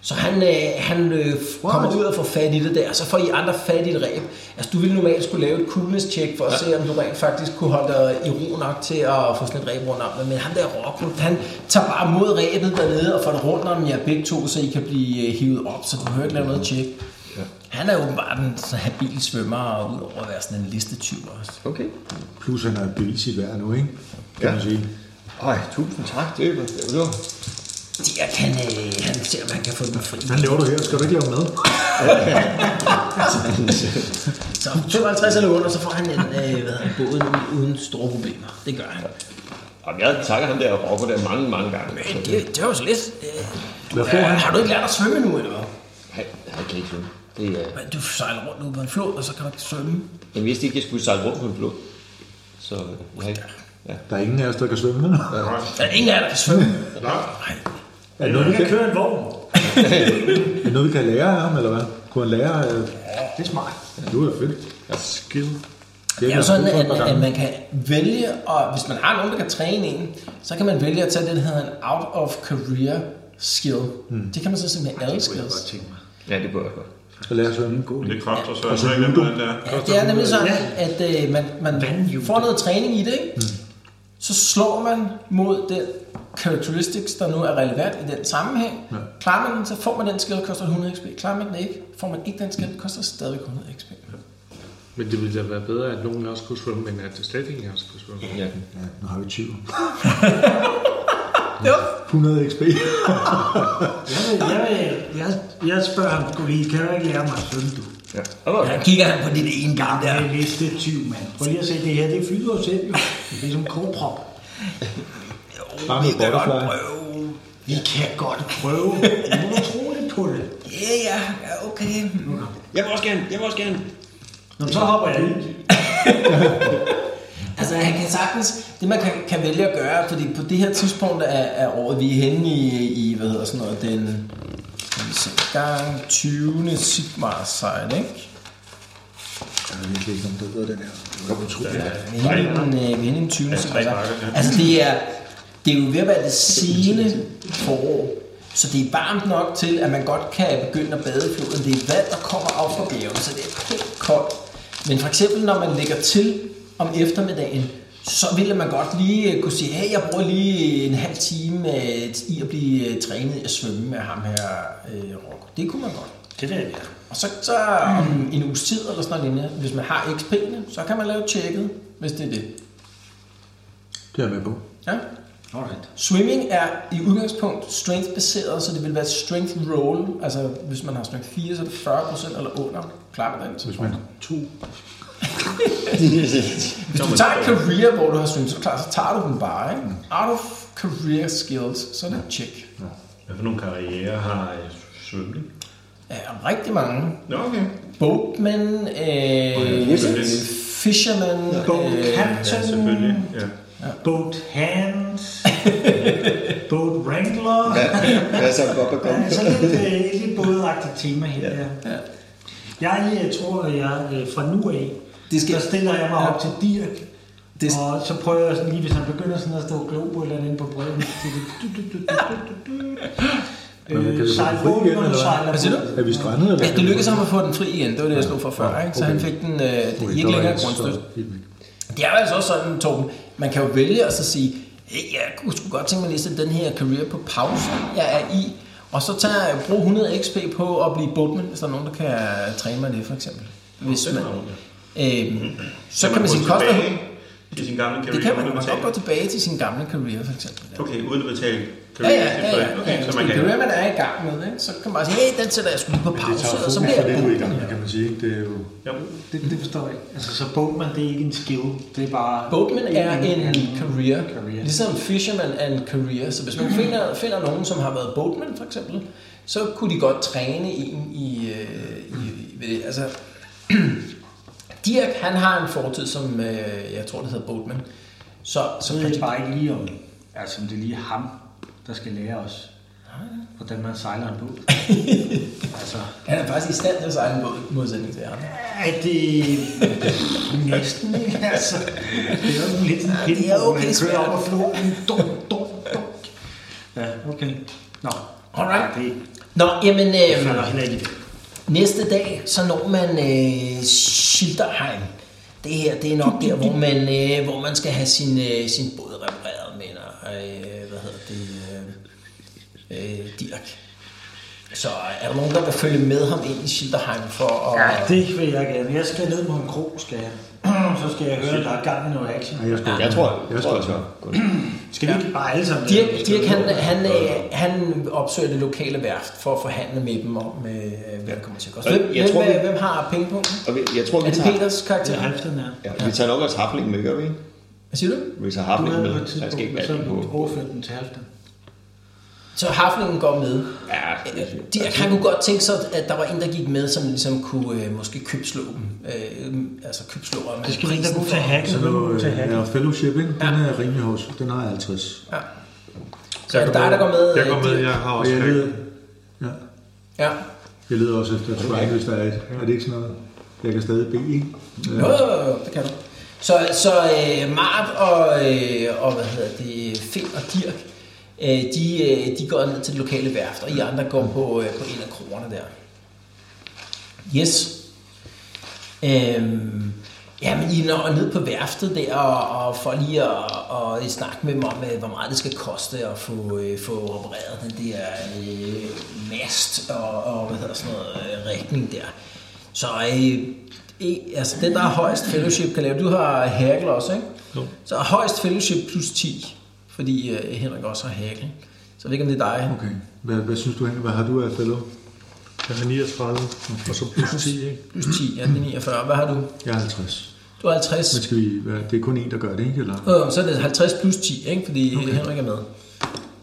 B: Så han, øh, han øh, kommer ud og får fat i det der, så får I andre fat i et ræb. Altså, du ville normalt skulle lave et coolness check for at se, om du rent faktisk kunne holde dig i ro nok til at få sådan et ræb rundt om dig. Men ham der Rocco, han tager bare mod ræbet dernede og får det rundt om jer begge to, så I kan blive øh, hivet op, så du behøver ikke lave noget check. Han er åbenbart en så habil svømmer, og udover at være sådan en listetyv også.
E: Okay.
D: Plus han har bevis i vejr nu, ikke? Kan
E: Ja.
D: man sige.
E: Ej, tusind tak. Det var det. Var.
B: Jeg kan, øh, han ser, om han kan få den fri.
D: Hvad laver du her? Skal du ikke lave mad?
B: Så 52 eller under, så får han en øh, hvad hedder, båd uden store problemer. Det gør han.
E: Jamen, jeg takker ham der og rocker der mange, mange gange. Så
B: Men
E: det-
B: det, det var så lidt. Øh,
D: Hvad får
B: øh,
D: han?
B: har du ikke lært at svømme nu, eller hvad?
E: Han, han kan ikke svømme. Det, øh,
B: Men du sejler rundt ude på en flod, og så kan du ikke svømme.
E: jeg vidste ikke, jeg skulle sejle rundt på en flod. Så øh, nej. Ja.
D: Der er ingen af os, der kan svømme. eller?
B: Der er ingen af jer, der kan svømme.
D: Er det noget, vi
C: Jeg
D: kan,
C: kan køre en vogn.
D: er det noget, vi kan lære af ham, eller hvad? Kunne han lære? Øh...
C: Det er smart.
D: Det var da fedt.
G: Skill.
B: Det er jo
D: jeg
B: sådan,
D: brug for et par
B: at, at
D: gange.
B: man kan vælge, og hvis man har nogen, der kan træne en, så kan man vælge at tage det, der hedder en out of career skill.
D: Hmm.
B: Det kan man så
D: Ah,
B: simpelthen alle skills.
E: ja, det burde jeg godt.
D: Så lære at svømme.
F: Det koster så altså, ikke, hvordan det er.
B: Ja, det er nemlig sådan, at øh, man, man
C: Vandhjul.
B: får noget træning i det, ikke? så slår man mod den characteristics, der nu er relevant i den sammenhæng. Ja. Klarer man den, så får man den skill, koster 100 XP. Klarer man den ikke, får man ikke den skill, koster stadig 100 XP.
G: Men det ville da være bedre, at nogen af os kunne svømme, end at det slet ingen af os kunne svømme.
E: Ja.
D: Ja, nu har vi 20.
B: Jo.
D: 100 XP.
C: Jeg, vil, jeg, vil, jeg, jeg spørger ham, skulle lige, kan du ikke lære mig at svømme, du?
E: ja. Og hvor-
B: Han kigger han på dit ene gang
C: Ja.
B: der.
C: Det er lidt lidt tyv, mand. Prøv lige at se det her, det flyder jo selv, jo. Det er som en koprop.
D: Bare med butterfly.
C: Vi kan godt prøve. Nu må du tro det på det.
B: Ja, ja, ja, okay.
E: Jeg vil også gerne, jeg vil også gerne.
C: Nå, men så hopper jeg i.
B: Altså han kan sagtens, det man kan, kan vælge at gøre, fordi på det her tidspunkt af, af året, vi er henne i, i hvad hedder sådan noget, den skal vi se, gang 20. Sigmar side, ikke?
D: Jeg ved virkelig ikke, om det hedder den her. Det var utroligt.
B: Vi er henne i den, øh, vi er henne i den 20. Sigmar side. Altså det er, det er jo ved at være det sene forår, så det er varmt nok til, at man godt kan begynde at bade i floden. Det er vand, der kommer op fra bjergen, så det er helt koldt. Men for eksempel, når man lægger til om eftermiddagen, så ville man godt lige øh, kunne sige, hey, jeg bruger lige en halv time øh, i at blive øh, trænet i at svømme med ham her, øh, Rocco. Det kunne man godt.
C: Det vil jeg være.
B: Og så, så om en uges tid eller sådan noget lignende, hvis man har XP'ene, så kan man lave tjekket, hvis det er det.
D: Det er jeg med på.
B: Ja?
C: Alright.
B: Swimming er i udgangspunkt strength-baseret, så det vil være strength roll. Altså, hvis man har strength 4, så er det 40% eller under. Klarer man den?
D: Hvis man to...
B: Hvis du tager en career, hvor du har streamet, så er det klart, så tager du den bare, ikke? Out of career skills, så er det et check.
F: Hvad for nogle karriere har øh, svømning?
B: Ja, rigtig mange.
F: Nå, okay.
B: Boatmen, øh,
F: selvfølgelig.
B: fishermen,
C: Boat
B: øh,
F: Ja,
C: captain,
F: selvfølgelig. Ja.
C: boat hand, boat wrangler.
E: Ja, hvad så Bob og
C: Der er
E: Gump?
C: sådan lidt, øh, et lidt bådagtigt tema her. Ja. ja. Jeg øh, tror, at jeg øh, fra nu af,
B: Det
C: det
B: skal-
C: skal... der stiller jeg mig
B: Ja.
C: op til Dirk,
B: Det-
C: det... og så prøver jeg sådan lige, hvis han begynder sådan at stå globo eller andet på bredden, så siger det... Du, du, du, du, du, du,
D: Men kan
C: du.
D: vi
C: Øh,
D: få
C: sejl
D: den fri
C: båden,
D: igen,
C: når du
D: eller hvad?
C: sejler
B: Hvad siger
C: båden.
D: Er vi strandet? Eller?
B: ja, det lykkedes ham at få den fri igen. Det var det, jeg slog for før, ikke? Så han fik den øh,
D: Okay,
B: ikke
D: der var
B: længere
D: så-
B: grundstødt.
D: helt væk.
B: Det er jo altså også sådan, Torben, man kan jo vælge at så sige, hey, jeg kunne sgu godt tænke mig lige at sætte den her career på pause, jeg er i, og så tager jeg brug 100 XP på at blive boatman, hvis der er nogen, der kan øh, træne mig det, for eksempel. Hvis man, øhm, så kan man sige,
F: gå
B: koster
F: tilbage til sin gamle karriere.
B: det kan man, man kan godt gå tilbage til sin gamle career, for eksempel. Ja.
F: Okay, uden at betale
B: Ja,
F: karriere.
B: ja, ja, ja.
F: Okay, så man
B: Det er
F: kan...
B: det, man er i gang med, ikke? Så kan man bare sige, hey, den sætter jeg sgu lige på
D: Men det
B: pause,
D: tager
B: og så
D: fokus
B: bliver
D: fra det,
B: jeg
D: du er i
B: boatman.
D: gang med, kan man sige. Ikke? Det er jo...
F: Ja,
C: Det, det forstår jeg ikke. Altså, så boatman, det er ikke en skill. Det er bare...
B: Boatman er en
C: anden
B: career,
C: career.
B: ligesom fisherman er en career. Så hvis man finder, finder nogen, som har været boatman for eksempel, så kunne de godt træne en i, øh, i, i ved det. Altså, Dirk, han har en fortid som, øh, jeg tror det hedder boatman. Så, så
C: Så ved jeg bare ikke lige om, altså om det er lige ham, der skal lære os,
B: Ah,
C: hvordan man sejler en båd. altså,
B: han er faktisk i stand til at sejle en båd, i modsætning til ham.
C: er det næsten ikke, altså. Det er jo lidt en pinde,
B: det er okay
C: man kører
B: svært.
C: op og floden. Dunk, dunk, dunk. Ja, okay. Nå,
B: Alright.
C: Ja, det
B: Nå, jamen,
C: det
B: øh,
C: falder heller ikke i det.
B: næste dag, så når man øh, Schilderheim. Det her, det er nok der, hvor man, øh, hvor man skal have sin, øh, sin båd repareret, mener, øh, hvad hedder det, øh, øh, Dirk. Så er der nogen, der vil følge med ham ind i Schilderheim for at...
C: Ja, det vil jeg gerne. Jeg skal ned på en krog, skal jeg. Så skal jeg høre, at der er gang i noget action.
D: Nej, jeg, skal...
E: Jeg tror, jeg
D: jeg
E: tror,
D: skal...
E: jeg tror.
C: Skal vi ikke bare alle sammen?
B: Dirk, Dirk han, han, øh, han opsøger det lokale værft for at forhandle med dem om, øh, hvad der kommer til at koste.
E: Jeg
B: Hvem, hvem,
E: tror, vi-
B: øh, hvem har pengepunkten?
E: Og vi, jeg tror,
B: Er
E: vi
B: det
E: tager...
B: Peters karakter?
C: Ja, halvdelen er.
E: Ja, vi tager nok også hafling med, gør vi ikke?
B: Hvad siger du?
E: Vi tager
C: Du
E: hafling
C: havde
E: med.
C: på et
E: Jeg skal
C: tidspunkt,
E: ikke være
C: så
E: den på.
C: overført den til halvdelen.
B: Så haflingen går med.
E: Ja, det er
B: De, han kunne godt tænke sig, at der var en, der gik med, som ligesom kunne øh, måske købslå dem. Øh, altså købslå dem.
C: Det skal vi ikke
B: Prisen
C: lade til
B: for-
C: hacken.
D: Så
C: Så nu til
D: øh,
C: hacken.
D: er fellowship, ikke? Den er rimelig hård. Den har jeg 50.
B: Ja. Så er det dig, der går med?
G: Jeg
B: øh,
G: går med,
B: Dirk?
G: jeg har
D: Og
G: også
D: jeg leder... Ja.
B: Ja.
D: Jeg leder også efter strike, hvis der er et. Er det ikke sådan noget? Jeg kan stadig bede, Øh, ikke?
B: Jo, jo, jo, det kan du. Så, så øh, Mart og, øh, og hvad hedder det, Finn og Dirk, øh, de, øh, de går ned til det lokale værft, og I andre går på, øh, på en af krogerne der. Yes. Øhm, jamen, I når ned på værftet der, og, og for lige at og snakke med dem om, øh, hvor meget det skal koste at få, øh, få opereret den der øh, mast og, og hvad hedder sådan noget, øh, rækning der. Så øh, øh, altså, den, der er højst fellowship kan lave, du har hækkel også, ikke? Jo. Så højst fellowship plus 10, fordi øh, Henrik også har hækkel. Så jeg ved ikke, om det er dig.
D: Okay. Hvad, hvad synes du, Henrik? Hvad har du af fellow?
G: Jeg har 39, og så plus 10, ikke?
B: Plus 10, ja, det er 49. Hvad har du?
D: Jeg er 50.
B: Du er 50.
D: Men skal vi... være- Det er kun en, der gør det, ikke? Eller?
B: Øh, så er det 50 plus 10, ikke? fordi okay. Henrik er med.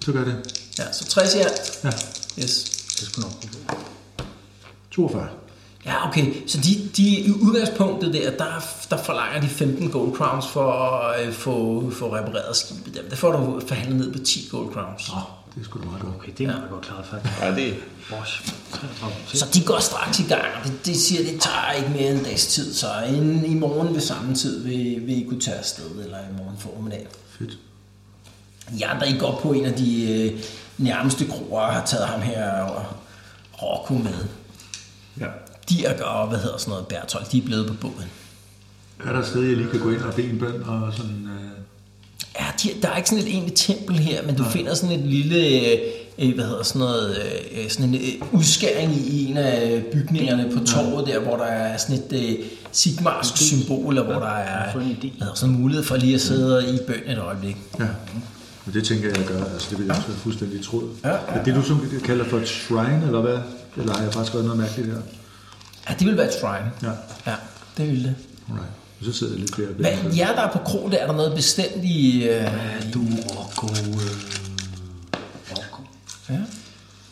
D: Så gør det.
B: Ja, så 60 i alt.
D: Ja.
B: Yes.
D: Det 42.
B: Ja, okay. Så de, de, i udgangspunktet der, der, der forlanger de 15 gold crowns for at øh, få, få repareret skibet. Jamen, det får du forhandlet ned på 10 gold crowns.
D: Nå, det er sgu da meget godt.
C: Okay, det er meget godt klaret, faktisk.
E: Ja, det,
C: Bosh, 33
B: Så de går straks i gang, og det, det siger, det tager ikke mere end en dags tid, så inden i morgen ved samme tid vil, vil I kunne tage afsted, eller i morgen formiddag.
D: Fedt.
B: I andre, I går på en af de øh, nærmeste kroer, og har taget ham her og Rocco med.
F: Ja.
B: Dirk og, hvad hedder sådan noget, Bertolt, de er blevet på båden.
D: Er der et sted, jeg lige kan gå ind og bede en bøn og sådan... Øh,
B: Ja, de, der er ikke sådan et egentligt tempel her, men du Nej. finder sådan et lille, øh, øh, hvad hedder sådan noget, øh, øh, sådan en øh, udskæring i en af øh, bygningerne på torvet der, hvor der er sådan et øh, sigmarsk symbol, og hvor der er
C: får en idé.
B: hvad hedder, sådan en mulighed for lige at sidde i bøn et øjeblik.
D: ja. Men det tænker jeg at gøre. Altså, det vil jeg også være fuldstændig i tråd.
B: Ja, ja,
D: Er det, du som kalder for et shrine, eller hvad? Eller har jeg faktisk skrevet noget mærkeligt her?
B: Ja, det ville være et shrine.
D: Ja.
B: Ja, det ville det.
D: Alright. Så sidder jeg lidt der og beder en
B: Hvad,
D: bøn.
B: jer der er på kro, der er der noget bestemt i... Øh,
C: Du, Rocco. Øh, Rocco.
B: ja.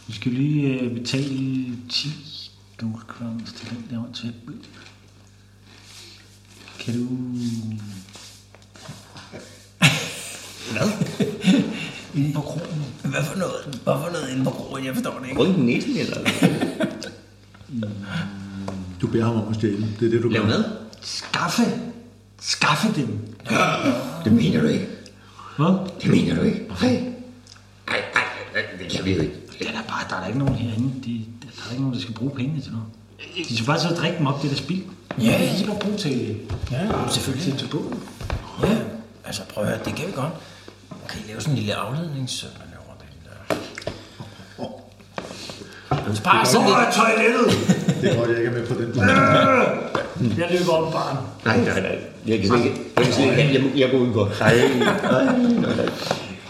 C: Vi skal lige øh, betale 10 gold crowns til den der tæppe. Kan du... Hvad? Inden på krogen.
B: Hvad for noget? Hvad for noget inde på kroen? Jeg forstår det ikke.
E: rundt den næsen, eller
D: Du beder ham om at stjæle. Det er det, du
E: lav
D: gør.
E: mad.
C: Skaffe! Skaffe dem!
H: Det mener du ikke.
C: Hvad?
H: Det mener du ikke. Nej. Nej, nej, nej, det kan vi jo ikke.
C: Der er, da bare, der er da ikke nogen herinde. De, der er da ikke nogen, der skal bruge pengene til noget. De skal bare så drikke dem op, det der spil.
B: Ja,
C: de skal bare bruge til... Ja, selvfølgelig. Til båden.
B: Ja, altså prøv at høre, det kan vi godt. Kan I lave sådan en lille afledning, så man laver den der... Bare sådan lidt.
C: toilettet!
D: Det er godt, jeg ikke er med på den.
C: Jeg løber op barn.
E: Nej, nej, nej. Jeg kan slet ikke, jeg kan slet ikke, jeg, jeg, jeg går udenfor. Nej,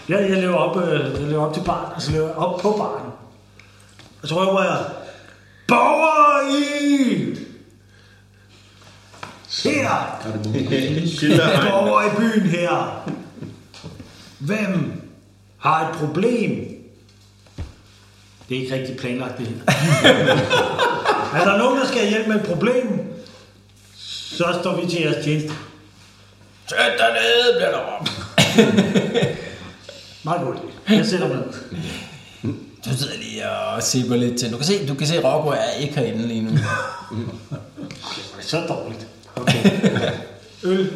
C: Jeg, jeg løber op, øh, jeg løber op til barn, og så løber jeg op på barn. Og så råber jeg, Borger i! Her!
F: Schilderhegn.
C: Borger i byen her! Hvem har et problem? Det er ikke rigtig planlagt, det her. er der nogen, der skal hjælpe med et problem? Så står vi til jeres tjeneste.
B: Sæt dig ned, bliver der råbt.
C: Meget godt. Jeg sætter mig ned.
B: Du sidder lige og sipper lidt til. Du kan se, du kan se Rocco er ikke herinde lige nu.
C: Det er så dårligt. Okay. øl.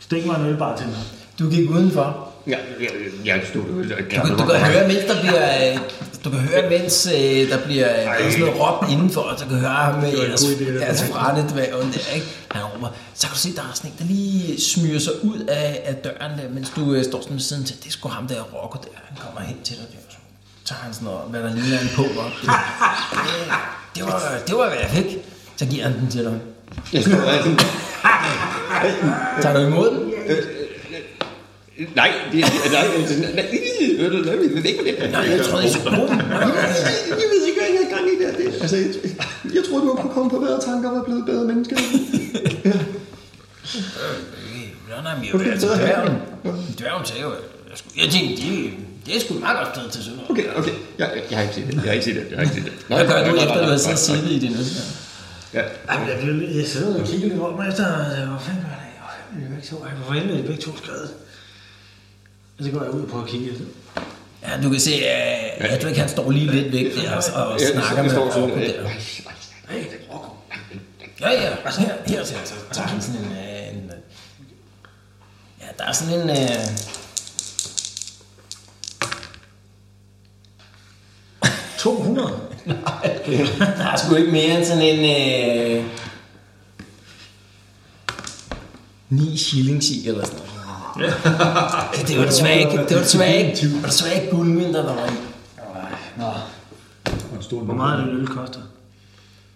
C: Stik mig en øl bare til mig.
B: Du gik udenfor.
E: jeg, jeg, jeg stod ude. Jeg
B: Du, du kan høre, mens der bliver... øh, Du kan høre, mens øh, der bliver øh, sådan noget råbt indenfor, og du kan høre ham øh, med jeres, jeres frændedvæven der, ikke? Han råber, så kan du se, der er sådan en, der lige øh, smyger sig ud af, af døren der, mens du øh, står sådan ved siden til, det er sgu ham der, Rocco der, han kommer hen til dig der, så tager han sådan noget, hvad der ligner en på, og det var, det var, hvad jeg fik. Så giver han den til dig.
E: Jeg stod der sådan,
B: Tager du imod den?
E: nej, det er, nej, det er sådan, nej, ved du, nej, jeg ved ikke, hvad det er.
B: Nej, jeg troede, I skulle bruge den.
E: Jeg ved ikke, hvad jeg havde gang i der. Det, altså, jeg, jeg troede, du kunne komme på bedre tanker og var blevet bedre menneske.
B: Nej, nej, men jeg vil altså dværgen. Dværgen sagde jo, jeg, skulle, jeg tænkte, det, det er sgu et meget godt sted til Sønder.
E: Okay, okay. Jeg, jeg, jeg har ikke set det. Jeg har ikke set det. Jeg har ikke set det.
B: Hvad gør du
E: nej,
B: efter,
E: nej,
B: du har
E: nej,
B: siddet
E: nej,
B: siddet i det næste?
E: Ja.
C: Jamen, jeg, blev, lidt- jeg sidder og kigger lidt rundt mig efter, øh, hvor fanden var det? Hvor fanden er de begge to? Ej, Hvor fanden er de begge to skrevet? Og så går jeg ud og prøver at kigge.
B: Ja, du kan se, øh, at du ikke han står lige lidt væk der og, og
E: Jeg
B: snakker med
E: står
B: Rocco
E: sådan, øh,
B: der.
C: Hey, det er Rocco.
B: Ja, ja, altså her, her så, så tager han sådan en, øh, en øh, ja, der er sådan en, øh, der er sgu ikke mere end sådan en, øh, 9 shillings i eller sådan noget. Ja, det var desværre ikke, det var desværre ikke, det var desværre ikke guldmønter, der var i.
D: Og en stor
C: Hvor meget er det, en øl koster?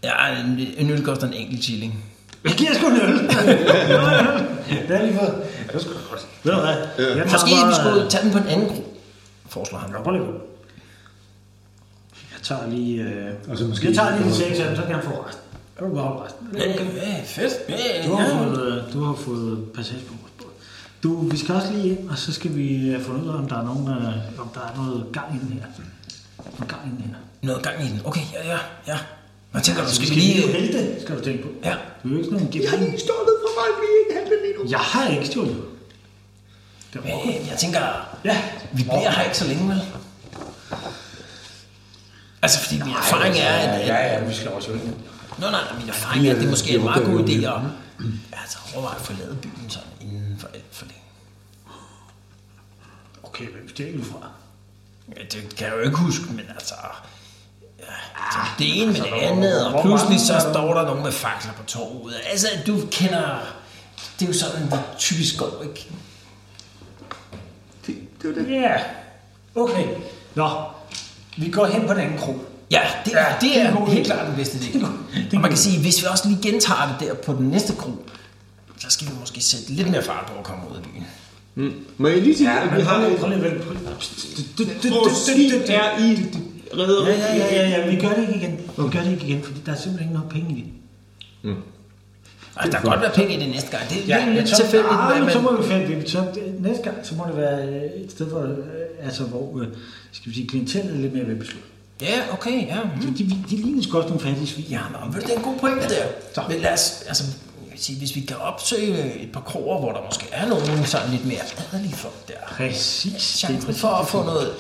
B: Ja, en, en øl koster en enkelt shilling.
C: Jeg giver sgu en øl. det er lige for. Det er sgu godt. Ved du hvad? Jeg tager
B: Måske vi skulle
C: øh,
B: tage den på en anden krog, foreslår han.
C: Jeg prøver lige. Jeg tager lige... Øh,
D: Altså, måske-
C: jeg tager lige de seks af dem, så kan han få resten. Jeg vil bare holde resten.
B: Ja, fedt. Ja, ja,
C: Du har,
B: ja.
C: fået, øh, du har fået passage på vores båd. Du, vi skal også lige ind, og så skal vi øh, finde ud af, om der er, nogen, øh, om der er noget gang inden her. Noget gang inden her.
B: Noget gang i den. Okay, ja, ja, ja. Nå, tænker du,
C: Så
B: skal
C: vi
B: vi
C: skal lige
B: lige...
C: hælde det, skal du tænke på.
B: Ja.
C: Du er jo ikke sådan en
E: Jeg har
C: gemen.
E: lige stjålet fra mig, vi er ikke handlet lige nu.
C: Jeg har ikke stjålet. Det er rocker.
B: Men jeg tænker,
C: Ja.
B: vi bliver her ikke så længe, vel? Altså, fordi min erfaring er, at... at
I: Ja, ja, vi skal også ud.
B: Nå, nej, nej, min erfaring er, at det måske er en meget god idé at altså, overveje at forlade byen sådan inden for alt for længe.
C: Okay, hvem stjal du fra?
B: Ja, det kan jeg jo ikke huske, men altså... Ja,
C: Ah,
B: så det ene med
C: altså,
B: det andet, og pludselig så står der nogen med fakler på torvet. Altså, du kender... Det er jo sådan, det typisk går, ikke?
E: Det, det var det.
C: Ja. Yeah. Okay. Nå. Vi går hen på den anden krog.
B: Ja, det, ja, det
C: det er en
B: er
C: god
B: helt
C: idé.
B: klart den bedste idé.
C: en god- det er en
B: Og
C: god
B: man kan sige, hvis vi også lige gentager det der på den næste krog, så skal vi måske sætte lidt mere fart på at komme ud af byen. Altså,
E: Må jeg lige sige, ja, at vi
C: Men
E: har...
C: prøv lige,
E: et-
C: prøv lige, vel. prøv lige. Psst, det- det- det- det- det-
E: Måske
C: det-
E: er i redder.
C: Ja, ja, ja, ja, ja, vi gør det ikke igen. Vi gør det ikke igen, fordi der er simpelthen ikke nok penge i det.
B: Altså, der kan godt være penge i det næste gang. Det, ja,
C: Ja,
B: det er
C: men
B: lidt
C: så,
B: tilfældigt,
C: ah,
B: hvad
C: men så
B: man...
C: må vi finde det. Så det- næste gang, så må det være øh, et sted, hvor, øh, altså, hvor øh, skal vi sige, klientellet er lidt mere velbesluttet.
B: Ja, okay, ja. Mm.
C: De, de ligner sgu også nogle fattige svin.
B: Ja, nå, men det er en god pointe der. Men lad os, altså, jeg vil sige, hvis vi kan opsøge et par kroger, hvor der måske er nogen sådan lidt mere adelige folk der.
C: Præcis.
B: Chancen for at få noget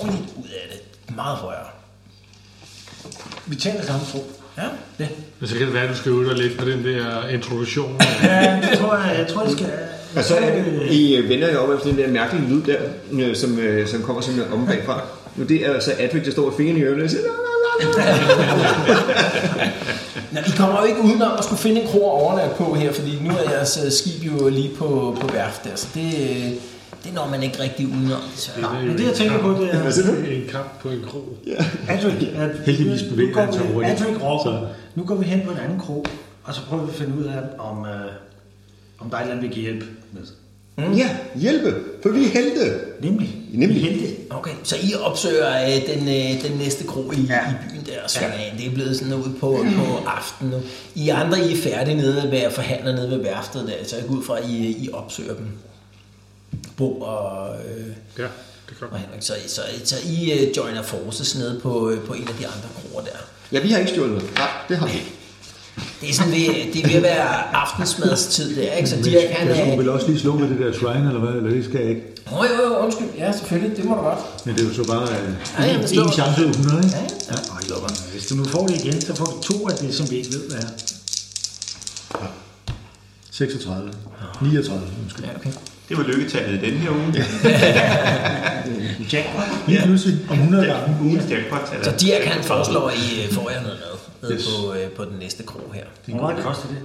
B: ordentligt ud af det. Meget højere.
C: Vi taler samme sprog.
B: Ja,
C: Ja.
G: Men så kan det være, at du skal ud og lidt på den der introduktion.
C: ja, det tror jeg, jeg tror, jeg skal...
E: Og så er det, I øh, vender jer om efter den der mærkelige lyd der, øh, som, øh, som kommer sådan om bagfra. Nu det er så Adric, der står med fingrene i ørerne og siger, "La, la, la, la."
B: Nå, I kommer jo ikke udenom at skulle finde en krog at overnatte på her, fordi nu er jeres øh, skib jo lige på, på værft der, så det, øh, det når man ikke rigtig udenom. Så.
C: Men det, jeg tænker på, det er...
G: en kamp på en krog.
C: Adric, at,
D: Heldigvis
C: nu-
D: bevæger
C: nu går
D: han sig
C: vi-
D: hurtigt.
C: Adric råber, nu går vi hen på en anden krog, og så prøver vi at finde ud af, om, øh, om der er et eller andet, vi kan hjælpe med.
E: Ja, hjælpe, for vi er helte.
C: Nemlig.
E: Nemlig.
C: Hente.
B: Okay, så I opsøger øh, den, øh, den næste krog i, ja. i byen der, så ja. det er blevet sådan ude på, på aftenen nu. I andre, I er færdige nede ved at forhandle nede ved værftet der, så jeg går ud fra, at I, I opsøger dem. Bo og, øh,
G: Ja, det kan
B: og Henrik, så, så, så I øh, joiner forces nede på, øh, på en af de andre kroer der.
E: Ja, vi har ikke stjålet noget. Nej, det har vi ikke.
B: Det er sådan ved, det er ved at være aftensmadstid, det er, ikke? Så Dirk, han
D: Jeg skulle
B: er...
D: vel også lige slå med det der shrine, eller hvad? Eller det skal jeg ikke.
B: Nå, jo, jo, undskyld. Ja, selvfølgelig, det må du godt.
D: Men det er jo så bare øh,
B: ja,
D: en,
B: det står-
D: en chance ud af 100, ikke?
B: Ja,
D: ja. Ej, lukker.
C: Hvis du nu får det igen, så får du to af det, som vi ikke ved, hvad er.
D: 36. 39, undskyld.
B: Ja, okay.
F: Det var lykketallet i denne her uge. Ja.
D: Lige pludselig om 100 gange.
F: Ugens jackpot-tal.
B: Så Dirk, han foreslår, at I øh, får jer noget mad nede på, øh, på den næste krog her.
C: Hvor meget koster det?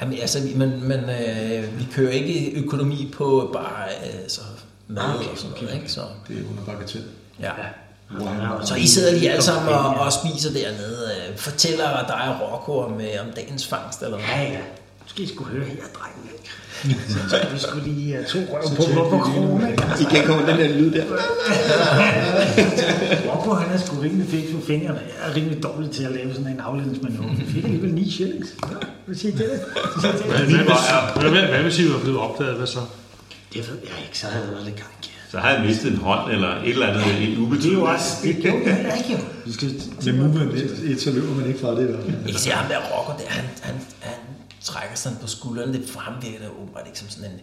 B: Jamen, altså, vi- men, men øh, vi kører ikke økonomi på bare øh, så mad okay, og sådan noget, ikke? Så,
D: Det er under bagatell.
B: ja.
D: Hvor han har-
B: Så I sidder lige
C: altså.
B: alle sammen og, og spiser dernede. Øh, fortæller dig og Rocco om, øh, om dagens fangst, eller hvad?
C: Ja, ja. Nu skal I sgu høre her, drenge. Så tager vi sgu lige uh, to røv på, på, på krogen, ikke? Altså,
E: Igen kommer den der lyd der.
C: Rocco, han er sgu rimelig fik på fingrene. Jeg er rimelig dårlig til at lave sådan en afledningsmanøvre. Vi fik alligevel ni shillings. Ja, Hvad siger I til det? Hvad siger I til
G: Hvad,
C: det?
G: hvad, hvad, hvad, hvad hvis I var blevet opdaget? Hvad så?
C: Det ved jeg ikke, så havde jeg været lidt gang i.
F: Så har jeg mistet en hånd eller et eller andet. En ubetydeligt.
C: Jo, også. Det gjorde jeg ikke, jo. Du skal...
D: Med movement et, et, så løber man ikke fra det i hvert fald.
B: I kan se ham der rocker der, han, han, han trækker sådan på skuldrene. Det fremvirker da åbenbart ikke som sådan en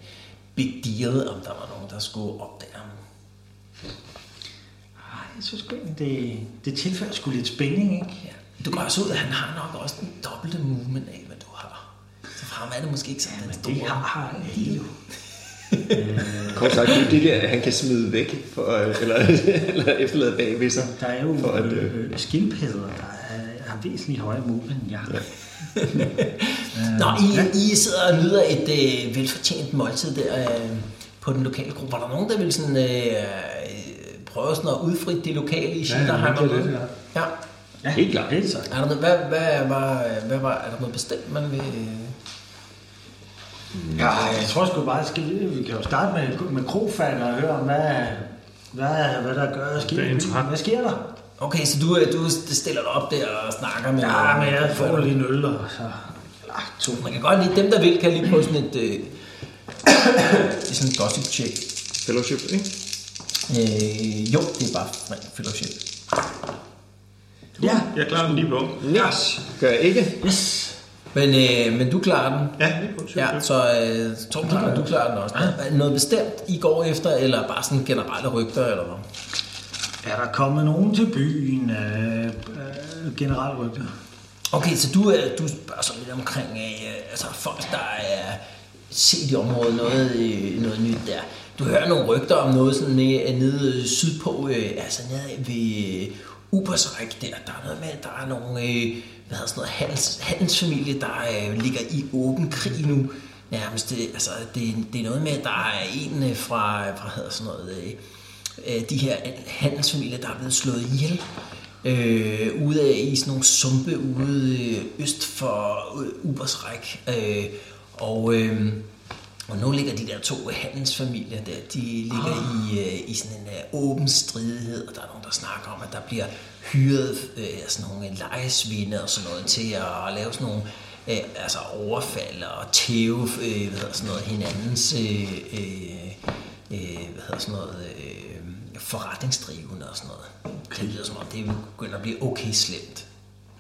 B: big deal, om der var nogen, der skulle opdage ham.
C: Ej, jeg synes sgu egentlig, det, det tilfører sgu lidt spænding, ikke?
B: Ja. Du går også ud, at han har nok også den dobbelte movement af, hvad du har. Så for ham er det måske ikke sådan den store.
C: Det har har alle jo.
E: Kort sagt, det er det der, han kan smide væk, for, øh, eller, eller efterlade bag ved sig.
C: Der er jo
E: For at, øh,
C: øh, skildpadder, der er, har væsentligt højere mål, end jeg har.
B: Nå, I, I sidder og nyder et øh, velfortjent måltid der øh, på den lokale gruppe. Var der nogen, der ville sådan, øh, øh, prøve sådan at udfritte det lokale i ja, der
D: jeg
B: har
D: mangler
B: noget?
D: lidt, ja.
B: ja.
C: Ja, helt klart. Helt sagt.
B: Er der noget, hvad, hvad, var, hvad var, er der noget bestemt, man vil... Øh,
C: Ja, jeg tror sgu bare, skal vi, vi kan jo starte med, med krofatter og høre om, hvad, hvad, hvad der gør. Sker,
G: Det er
C: i byen.
G: interessant.
C: hvad sker der?
B: Okay, så du, øh, du stiller dig op der og snakker med...
C: Ja, men jeg får lige en øl, og så... Ah, to.
B: Man kan godt lide, dem der vil, kan lige prøve sådan et... Øh, det er sådan et gossip check.
E: fellowship, ikke?
B: Øh, jo, det er bare rent fellowship.
F: Ja. Jeg klarer den lige på.
E: Yes. Gør jeg ikke.
B: Yes. Men, øh, men du klarer den.
F: Ja, det er på. Syv,
B: Ja,
F: syv.
B: så øh, Torben, klarer, du klarer den også. Er der Noget bestemt I går efter, eller bare sådan generelle rygter, eller hvad?
C: Er der kommet nogen til byen? Øh, øh, generelt rygte.
B: Okay, så du, øh, du spørger så lidt omkring øh, altså folk, der er set i området noget, øh, noget nyt der. Du hører nogle rygter om noget sådan nede, nede sydpå, øh, altså nede ved øh, Ubersræk der. Der er noget med, at der er nogle øh, hvad hedder sådan noget, handels, handelsfamilie, der øh, ligger i åben krig nu. Nærmest, øh, altså det, det er noget med, at der er en øh, fra, fra hedder sådan noget, øh, øh, de her handelsfamilier, der er blevet slået ihjel øh, ude af, i sådan nogle sumpe ude øh, øst for øh, Ubersræk. Øh, og, øh, og nu ligger de der to handelsfamilier der, de ligger ah. i, øh, i sådan en øh, åben stridighed, og der er nogen, der snakker om, at der bliver hyret øh, sådan nogle lejesvinde og sådan noget til at lave sådan nogle øh, altså overfald og tæve øh, hvad hedder sådan noget, hinandens øh, øh, øh, hvad hedder sådan noget, øh, forretningsdrivende og sådan noget. Okay. Det lyder som om, det begynder at blive okay slemt.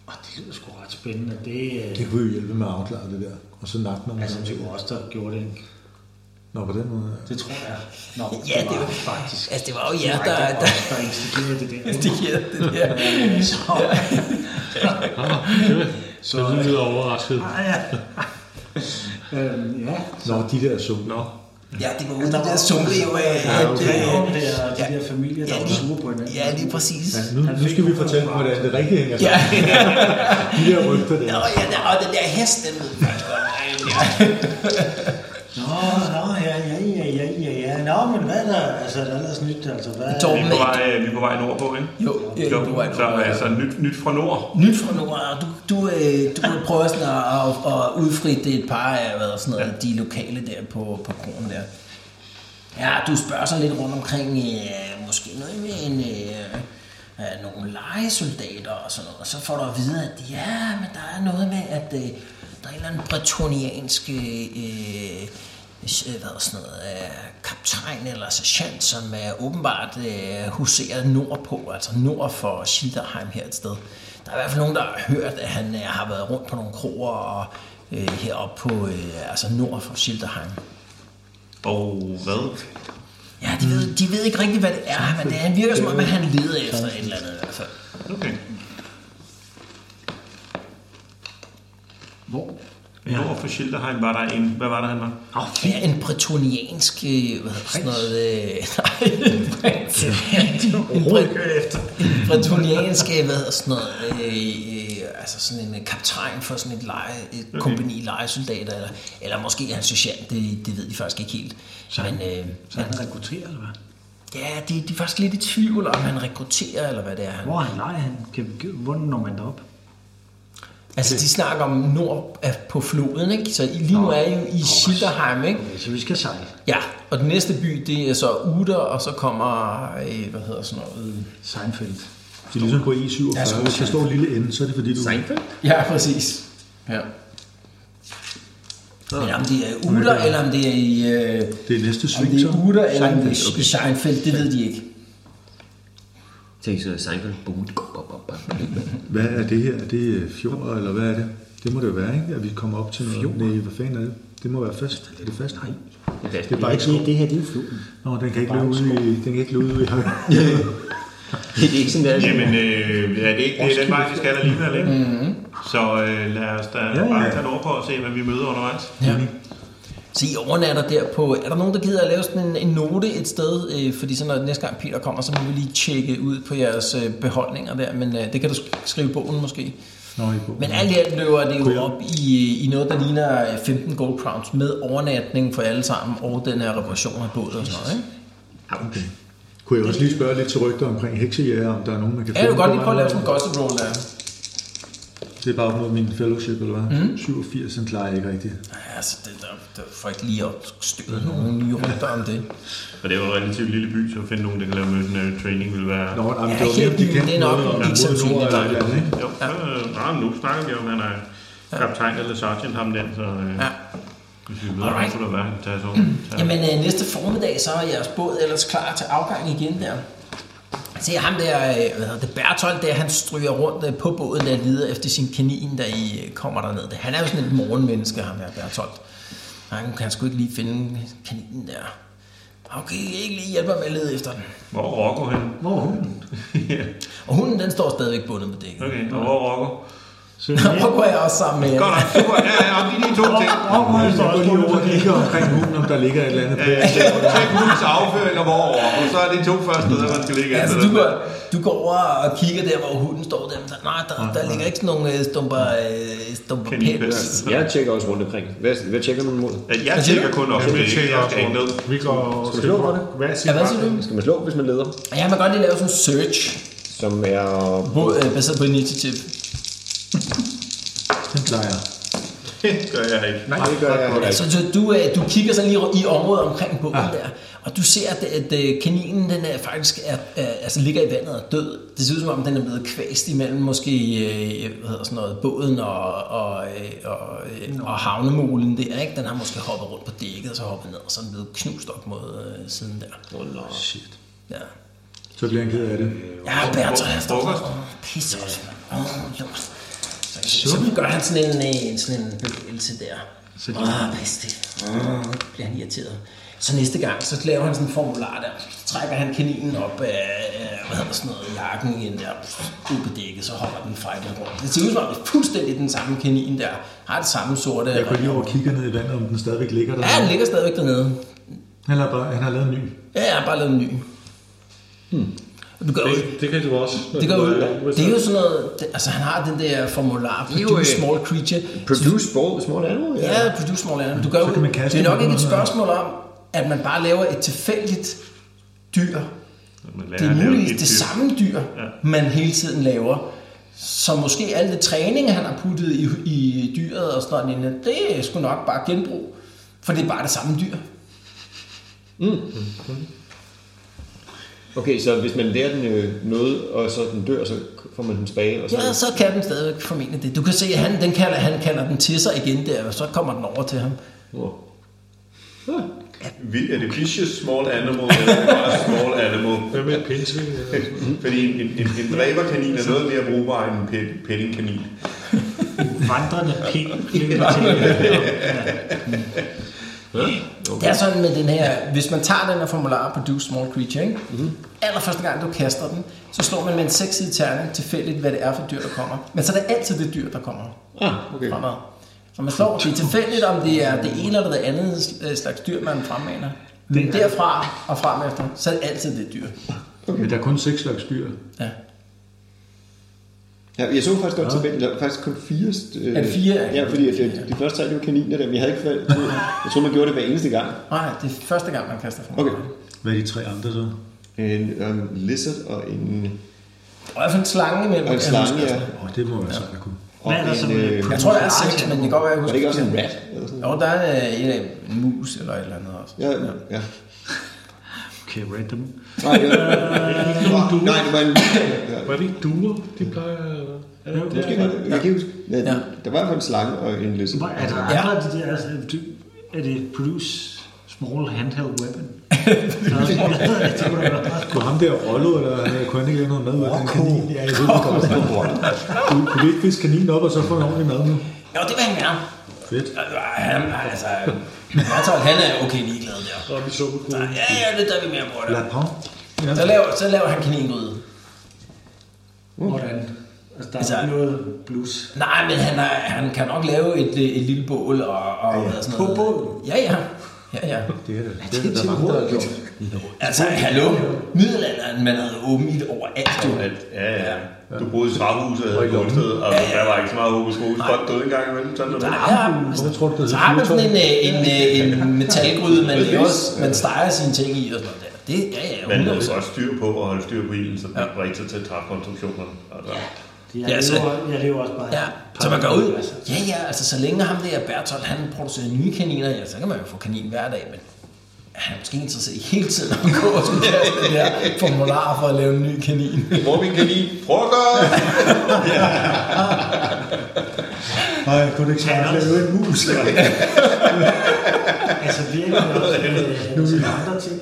C: Og det lyder sgu ret spændende. Det, øh,
D: Det kunne jo hjælpe med at afklare det der. Og så nakke nogle
C: altså,
D: gange.
C: det var os, der gjorde det. ikke?
D: Nå, på den måde.
C: Det tror jeg. Nå,
B: Ja, det
C: var
B: var-
C: faktisk.
B: Altså, det var jo jer,
C: Nej,
B: der...
C: det var
B: der
C: os, der instigerede det der.
B: det her, det der.
C: Så,
G: Så det lyder overrasket.
C: ah, ja. øhm, ja,
D: Nå, de der sumpe.
G: Nå,
B: Ja, det var ude i den der sumpe jo af... Ja,
C: det er om det er de der familier, der
B: ja,
C: var sure på
B: lige,
C: hinanden.
B: ja, lige præcis.
D: Ja, nu, nu skal vi fortælle, hvordan det rigtig hænger
B: Ja,
D: sammen. De der rygter der.
B: ja, ja, der- og den der hest, den ved jeg faktisk godt.
C: Nå, nå, ja, ja, ja, ja, ja, ja. Nå, men hvad er der? Altså, der er ellers nyt, altså, hvad?
F: Vi
B: Torben,
F: er på vej, øh, vi er på vej nordpå, ikke?
B: jo, ja, du var
F: Så altså nyt, nyt fra nord.
B: Nyt fra Norden, og du, du, øh, du prøver sådan at, at, at udfri det et par af hvad, sådan noget, de lokale der på, på kronen der. Ja, du spørger sådan lidt rundt omkring, øh, måske noget med en, øh, øh, nogle legesoldater og sådan noget, og så får du at vide, at ja, men der er noget med, at øh, der er en eller anden bretoniansk øh, hvis, øh, hvad er sådan noget, øh, kaptajn eller sergeant, som øh, åbenbart øh, huserer nordpå, altså nord for Schilderheim her et sted. Der er i hvert fald nogen, der har hørt, at han øh, har været rundt på nogle kroer og øh, heroppe på, øh, altså nord for Schilderheim.
F: Og hvad?
B: Ja, de ved, de ved ikke rigtig, hvad det er, men det han virker som om, at han leder efter et eller andet i hvert fald.
F: Okay.
C: Hvor?
F: Nord for Schilderheim var der en... Hvad var der, han var?
B: Ja, en bretoniansk, øh, hvad hedder sådan noget, øh, nej, en prins. en, bre-
C: efter.
B: en bretoniansk, øh, hvad hedder sådan noget, øh, øh, altså sådan en øh, kaptajn for sådan et, leje, et kompani lejesoldater, eller, eller måske er han sergeant, det, det ved de faktisk ikke helt. Men, øh,
C: Så han rekrutterer, eller hvad?
B: ja, de, de er faktisk lidt i tvivl, om han rekrutterer, eller hvad det er. Han
C: Hvor er han leger han? Kan, hvordan når man derop?
B: Altså, de snakker om nord af- på floden, ikke? Så I- lige nu er I jo i Schilderheim, ikke?
C: Okay, så vi skal sejle.
B: Ja, og den næste by, det er så Uder, og så kommer, øh, hvad hedder sådan noget?
C: Seinfeld.
D: Det er ligesom på E47. Hvis der står en lille ende, så er det fordi, du...
B: Ja, præcis. Ja. Men om det er Uder, eller om det er i... Øh,
D: Det er næste
B: om
D: sving,
B: det
D: så.
B: er Uder, eller om det
D: Seinfeld,
B: er i Seinfeld, det ved de ikke.
H: Tænk så Seinfeld. Bum, bum, bum, bum, bum.
D: Hvad er det her? Er det øh, fjord, eller hvad er det? Det må det jo være, ikke? At vi kommer op til noget. Fjord? Nej, hvad fanden er det? Det må være fast. Er det fast? Nej. Det er bare ikke skov.
C: Det her, det er jo floden.
D: Nå, den kan ikke løbe ude i... Den kan ikke løbe ude i havet.
H: Det er ikke sådan, det er.
F: Jamen, øh, er det ikke det er den vej, vi skal alligevel, ikke? Mm-hmm. Så øh, lad os da
D: ja.
F: bare tage nordpå og se, hvad vi møder undervejs.
B: Ja. Så I overnatter der på... Er der nogen, der gider at lave sådan en, en note et sted? Øh, fordi så når næste gang Peter kommer, så må vi lige tjekke ud på jeres øh, beholdninger der. Men øh, det kan du sk- skrive i bogen måske.
D: Nå, i bogen.
B: Men alt i alt løber det jo op i, i noget, der ligner 15 gold crowns med overnatning for alle sammen og den her reparation af båd og sådan noget. Ikke?
D: Okay. Kunne jeg også lige spørge lidt til rygter omkring heksejæger, om der er nogen, man kan
B: Ja, du kan godt lige
D: på
B: prøve at lave
D: vejen?
B: sådan en gossip roll der.
D: Det er bare op mod min fellowship, eller hvad? Mm. 87, den klarer jeg ikke rigtigt.
B: Ja, altså, det, der, der får ikke lige opstøvet nogle nye rygter om det.
F: Og det er jo en relativt lille by, så at finde nogen, der kan lave møden training, vil være...
D: Nå, nej, men
B: Ja,
D: det var mere,
B: helt
D: om de
B: vildt.
D: kendte
B: Det er nok
D: noget, om
B: ikke
D: der er mod nord
B: sandsynligt,
D: eller et
B: nej.
D: eller andet, ikke?
F: Jo, så, øh, nej, men nu snakker vi om, at han er kaptajn eller sergeant, ham den, så øh,
B: Ja.
F: hvis vi møder ham,
B: Alright.
F: så kunne der være, han tager sig over. Tager-
B: Jamen øh, næste formiddag, så er jeres båd ellers klar til afgang igen der. Se ham der, øh, hvad hedder det, Bertolt der, han stryger rundt øh, på båden der lider efter sin kanin, der I øh, kommer derned. Han er jo sådan et morgenmenneske, ham der Bertolt. Han kan sgu ikke lige finde kaninen der. Okay, jeg kan ikke lige hjælpe ham med at lede efter den.
F: Hvor er Rocco henne?
C: Hvor er hunden?
F: ja.
B: Og hunden, den står stadigvæk bundet på dækket.
F: Okay, og hvor er Rocco?
C: Så
B: Hvor går jeg også sammen med
F: Godt
B: jer?
F: nok, super. Ja, ja, op i de to ting.
D: Jeg går lige over og kigger omkring hunden, om der ligger et eller andet på.
F: Øh, Tjek tjek hundens afføring og hvor er Rocco. Så er det to første steder, man skal ligge
B: Altså,
F: efter
B: du,
F: den.
B: går, du går over og kigger der, hvor hunden står der. Men der nej, der, der ligger ikke sådan nogle øh, stumper, øh, stumper pels.
H: Jeg tjekker også rundt omkring. Hvad, hvad tjekker man mod?
F: Ja, Jeg tjekker kun op,
G: Ja, vi
F: jeg
G: tjekker
F: jeg
G: også
F: skal ikke ned.
G: rundt. Vi går
H: Skal vi slå for det?
G: Hvad siger
B: Ja, hvad siger du?
H: Skal man slå, hvis man leder?
B: Og Ja, man kan godt lige lave sådan en search,
H: Som er...
B: hvor, øh, baseret på initiativ.
D: Den plejer.
F: Det gør jeg ikke.
H: Nej, det gør jeg heller ikke.
B: Så du, du, øh, du kigger sådan lige i området omkring båden ja. der, og du ser, at, at øh, kaninen den er faktisk er, er, altså ligger i vandet og er død. Det ser ud som om, den er blevet kvæst imellem måske øh, hvad hedder sådan noget, båden og, og, øh, og, øh, og havnemolen der. Ikke? Den har måske hoppet rundt på dækket og så hoppet ned, og så er den blevet knust op mod øh, siden der.
H: Åh, nå.
B: Ja.
D: Så bliver han ked af det.
B: Ja, Bertolt, han står
F: Frokost.
B: og pisser også. Åh, lort. Så, så gør han sådan en, øh, en, sådan en bevægelse der. Så Åh, pis det. Åh, bliver han irriteret. Så næste gang, så laver han sådan en formular der. Så trækker han kaninen op af, af, hvad hedder sådan noget, jakken ind der, pff, ud på dækket, så hopper den fejlen rundt. Det ser ud som om, det er fuldstændig den samme kanin der. Har det samme sorte.
D: Jeg går lige over og kigger ned i vandet, om den stadigvæk ligger der.
B: Ja, den ligger stadigvæk dernede.
D: Han har, bare, han har lavet en ny.
B: Ja, jeg har bare lavet en ny. Hmm. Du gør jo
G: Det, det kan du også. når
B: Det, gør,
G: du
B: jo-
G: er- hvis
B: det er
G: du-
B: jo sådan noget, det, altså han har den der formular,
H: er jo,
B: produce
H: øh,
B: small creature.
H: Produce small, small animal?
B: Ja, produce small animal. Du gør,
D: Så kan man
B: jo-
D: kaste
B: det er nok
D: den
B: ikke et
D: under.
B: spørgsmål om, at man bare laver et tilfældigt dyr.
F: Man lærer
B: Det er
F: at lave
B: muligvis
F: et
B: det
F: dyr.
B: samme dyr, man hele tiden laver. Så måske al det træning, han har puttet i, i dyret og sådan noget, det er sgu nok bare genbrug. For det er bare det samme dyr.
H: Okay, så hvis man lærer den øh, noget, og så den dør, så får man den tilbage, og så...
B: Ja, altså- så kan den stadigvæk formentlig det. Du kan se, at han, den kalder, han kalder den til sig igen der, og så kommer den over til ham.
H: Nå.
F: Vild- Er det vicious small animal, eller er det bare small animal?
G: Hvad med et pindsvin? eller-
F: Fordi en, en, en, en dræberkanin er noget mere brugbar end en pe- pellingkanin.
C: vandrende pind.
B: Det er sådan med den her, hvis man tager den her formular på Do Small Creature, ikke?
H: Mhm.
B: Mm. allerførste gang du kaster den, så slår man med en sekssidig terning tilfældigt, hvad det er for dyr, der kommer. Men så er det altid det dyr, der kommer
H: Ah, okay.
B: fremad. Så man slår, det er tilfældigt, om det er det ene eller det andet øh, slags dyr, man fremmaner. Men derfra og frem efter, så er det altid det dyr.
D: Okay. Men der er kun seks slags dyr.
B: Ja.
H: Ja, jeg så faktisk godt tilbage, der var faktisk kun fire... st- Øh,
B: Er det fire?
H: Ja, fordi at det, de første tre, det var kaniner der, men jeg havde ikke valgt... Jeg tror, man gjorde det hver eneste gang.
B: Nej, det er første gang, man kaster formular.
H: Okay.
D: Hvad er de tre andre så?
H: En, og en lizard og en...
B: Og i hvert fald en slange imellem.
H: Og en slange, ja.
D: Åh, oh, det må være sejt at kunne.
H: Og
C: Hvad er der så
H: en,
C: med-
H: øh,
B: Jeg tror, der er seks, men det kan godt være, jeg
H: var
B: husker.
H: det ikke også en
B: forkert.
H: rat? Eller sådan?
B: Jo, der er øh, en, af- en mus eller et eller andet også.
H: Ja, ja.
C: Okay, random.
H: Nej, det var, nej, det var en... Ja,
G: Var det ikke duer, de plejer? Eller?
H: måske var det, jeg kan ikke huske. Ja, der var i hvert fald en slange og en
C: Hvor
H: lizard.
C: er der andre af de der, altså, er det- er det produce small handheld weapon? Det kunne da være-
D: Kunne ham der Rollo, eller han kunne han ikke lave noget mad ud af den kanin? Ja, jeg ved det godt. Du kunne vi ikke fiske kaninen op, og så få en ordentlig mad nu?
B: Jo, det vil han gerne.
D: Fedt.
B: Han, altså, Bertolt, han er okay ligeglad der.
G: Og vi så på
B: Ja, ja, det der vi mere på
D: La
B: det.
D: Pau. Ja.
B: Så laver, så laver han kaningryde.
C: Mm. Hvordan? Altså, der
B: Altså-
C: er ikke noget blues.
B: Nej, men han, er, han kan nok lave et, øh, et lille bål og, og ja, ja. sådan noget. På bål? Ja, ja. Ja, ja.
D: Det er det. Det er det, der er mange, der har gjort.
B: Altså, hallo. Middelalderen, man havde åben ild overalt. Jo.
F: Alt. Ja, ja. Du boede i Svarhuset og
D: Og i
F: havde
D: lommen.
F: guldsted, og der var ikke så meget hokus pokus. Folk døde engang imellem. Sådan noget.
B: Der er,
D: Hvorfor tror du, det er
B: så har man sådan en,
D: fyrtårn?
B: øh, en, øh, en metalgryde, man, laver, man steger sine ting i og sådan noget der. Det, ja, ja,
F: Man
B: 100%.
F: havde godt styr på at holde styr på ilden, så det ikke var ikke så tæt trækonstruktionerne. Altså,
B: Ja,
C: Jeg
B: altså-
C: lever, jeg lever også bare...
B: Ja, så man går ud. Ja, ja, altså så længe ham der Bertolt, han producerer nye kaniner, ja, så kan man jo få kanin hver dag, men han er måske ikke interesseret i hele tiden at gå og skulle kaste den der formular for at lave en ny kanin.
F: Hvor vi kan lide frokost!
D: Nej, kunne du ikke snart lave en mus?
C: Altså virkelig også øh, altså, andre ting.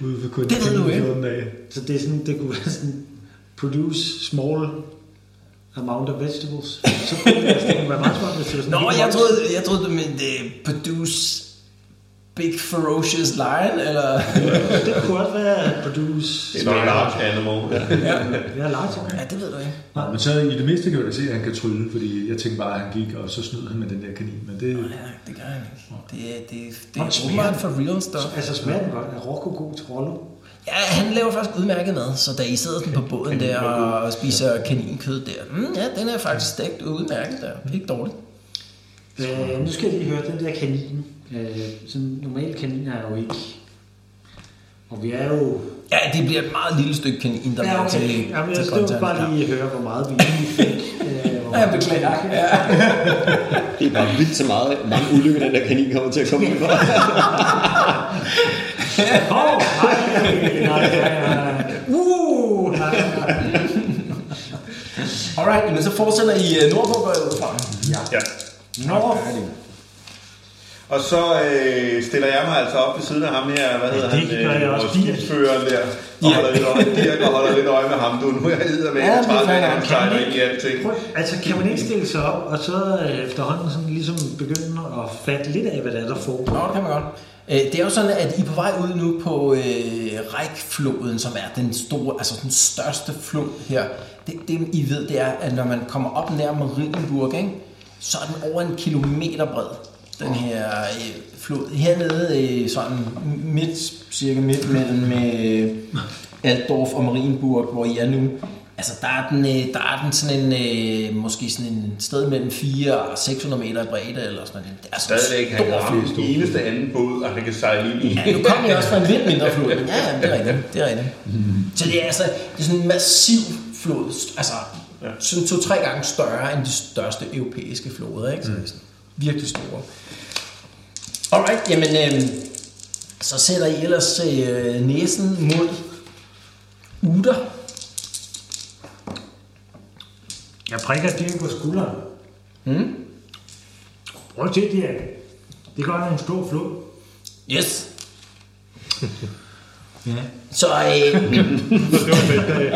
D: ude for kun
B: Det ved du ikke.
D: 14 dage.
C: Så det, er sådan, det kunne være sådan, produce small amount of vegetables. Så kunne det, altså, det kunne være meget smart, hvis det var sådan
B: Nå,
C: helt
B: jeg
C: højt.
B: troede, jeg troede du mente øh, produce big ferocious lion, eller...
C: Det kunne også være produce...
F: En large animal. Ja.
C: Ja, large.
B: Ja, det ved du ikke.
D: Nej, men så i det mindste kan jeg da se, at han kan trylle, fordi jeg tænkte bare, at han gik, og så snød han med den der kanin. Men det,
B: Nej, det gør han ikke. Det, er- det, er- det
C: Nå,
B: er
C: smager
B: åbenbart
C: den.
B: for real stuff.
C: Altså smager den godt af Rocco god til Rollo?
B: Ja, han laver faktisk udmærket mad, så da I sidder sådan på båden der og spiser kaninkød der, mm, ja, den er faktisk stegt udmærket der. Ikke dårligt.
C: Øh, nu skal jeg lige høre den der kanin. Øh, sådan normal kanin er jeg jo ikke. Og vi er jo...
B: Ja, det bliver et meget lille stykke kanin, der ja, okay. til,
C: Jamen, jeg
B: til
C: skal jo
B: kontant.
C: bare lige høre, hvor meget vi egentlig fik. Øh, hvor
B: Ja, jeg
C: meget-
B: beklager. Ja.
H: Det er bare vildt så meget, mange ulykker, den der kanin kommer til at komme ud for.
C: Hov, nej, nej, nej, nej, nej. Uh, nej, nej.
B: Alright, men så fortsætter I øh, nordpå, går jeg ud fra.
F: ja.
C: Nå,
F: Og så øh, stiller jeg mig altså op ved siden af ham her, hvad hedder
C: det
F: han, Øh,
C: gør jeg også.
F: vores skibsfører der, og holder lidt øje, Dirk, og holder lidt øje med ham. Du, nu er jeg edder med,
B: Ja,
F: jeg
B: det er
F: træt af,
B: fair
F: at han
B: nok.
F: sejler ind i alting.
C: Prøv, altså kan man ikke stille sig op, og så øh, efterhånden sådan ligesom begynde at fatte lidt af, hvad der er, der foregår?
B: Nå, det kan man godt. Øh, Det er jo sådan, at I er på vej ud nu på øh, Rækfloden, som er den store, altså den største flod her. Det, det I ved, det er, at når man kommer op nær Marienburg, ikke, så er den over en kilometer bred, den her øh, flod. Hernede øh, sådan midt, cirka midt mellem øh, Altdorf og Marienburg, hvor I er nu, altså der er den, øh, der er den sådan en, øh, måske sådan en sted mellem 400 og 600 meter i bredde, eller sådan noget. Det er sådan en
F: Stadigvæk, han
B: stor
F: er
B: flod.
F: den eneste anden båd, og han kan sejle ind i.
B: Ja, nu kommer jeg også fra en lidt mindre flod. Ja, ja, det er rigtigt. Det er rigtigt. Så det er altså det er sådan en massiv flod, altså sådan to-tre gange større end de største europæiske floder, ikke? Så det er sådan virkelig store. Alright, jamen, øh, så sætter I ellers øh, næsen mod Uter.
C: Jeg prikker Dirk på skulderen.
B: Mm.
C: Hmm? Prøv at se, Dirk. Det gør en stor flod.
B: Yes. Så øh,
G: Det var fedt.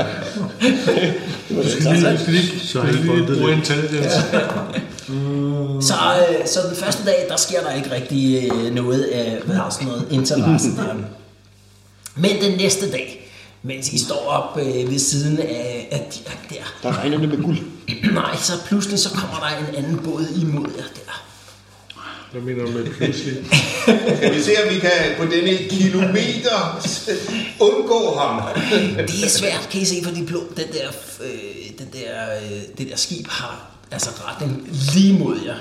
G: øh,
D: Du skal lige, du skal lige, så har jeg
G: Lige
D: fundet
G: bruge
D: det.
G: intelligence.
B: Så, øh, så den første dag, der sker der ikke rigtig øh, noget af hvad er sådan noget interesse der. Men den næste dag, mens I står op øh, ved siden af, af de der, der
H: Der regner det med guld.
B: nej, så pludselig så kommer der en anden båd imod jer der.
G: Jeg mener med pludselig.
F: Kan vi se, om vi kan på denne kilometer undgå ham?
B: Det er svært, kan I se, fordi blå, den der, øh, den der, øh, det der skib har altså retning lige mod jer.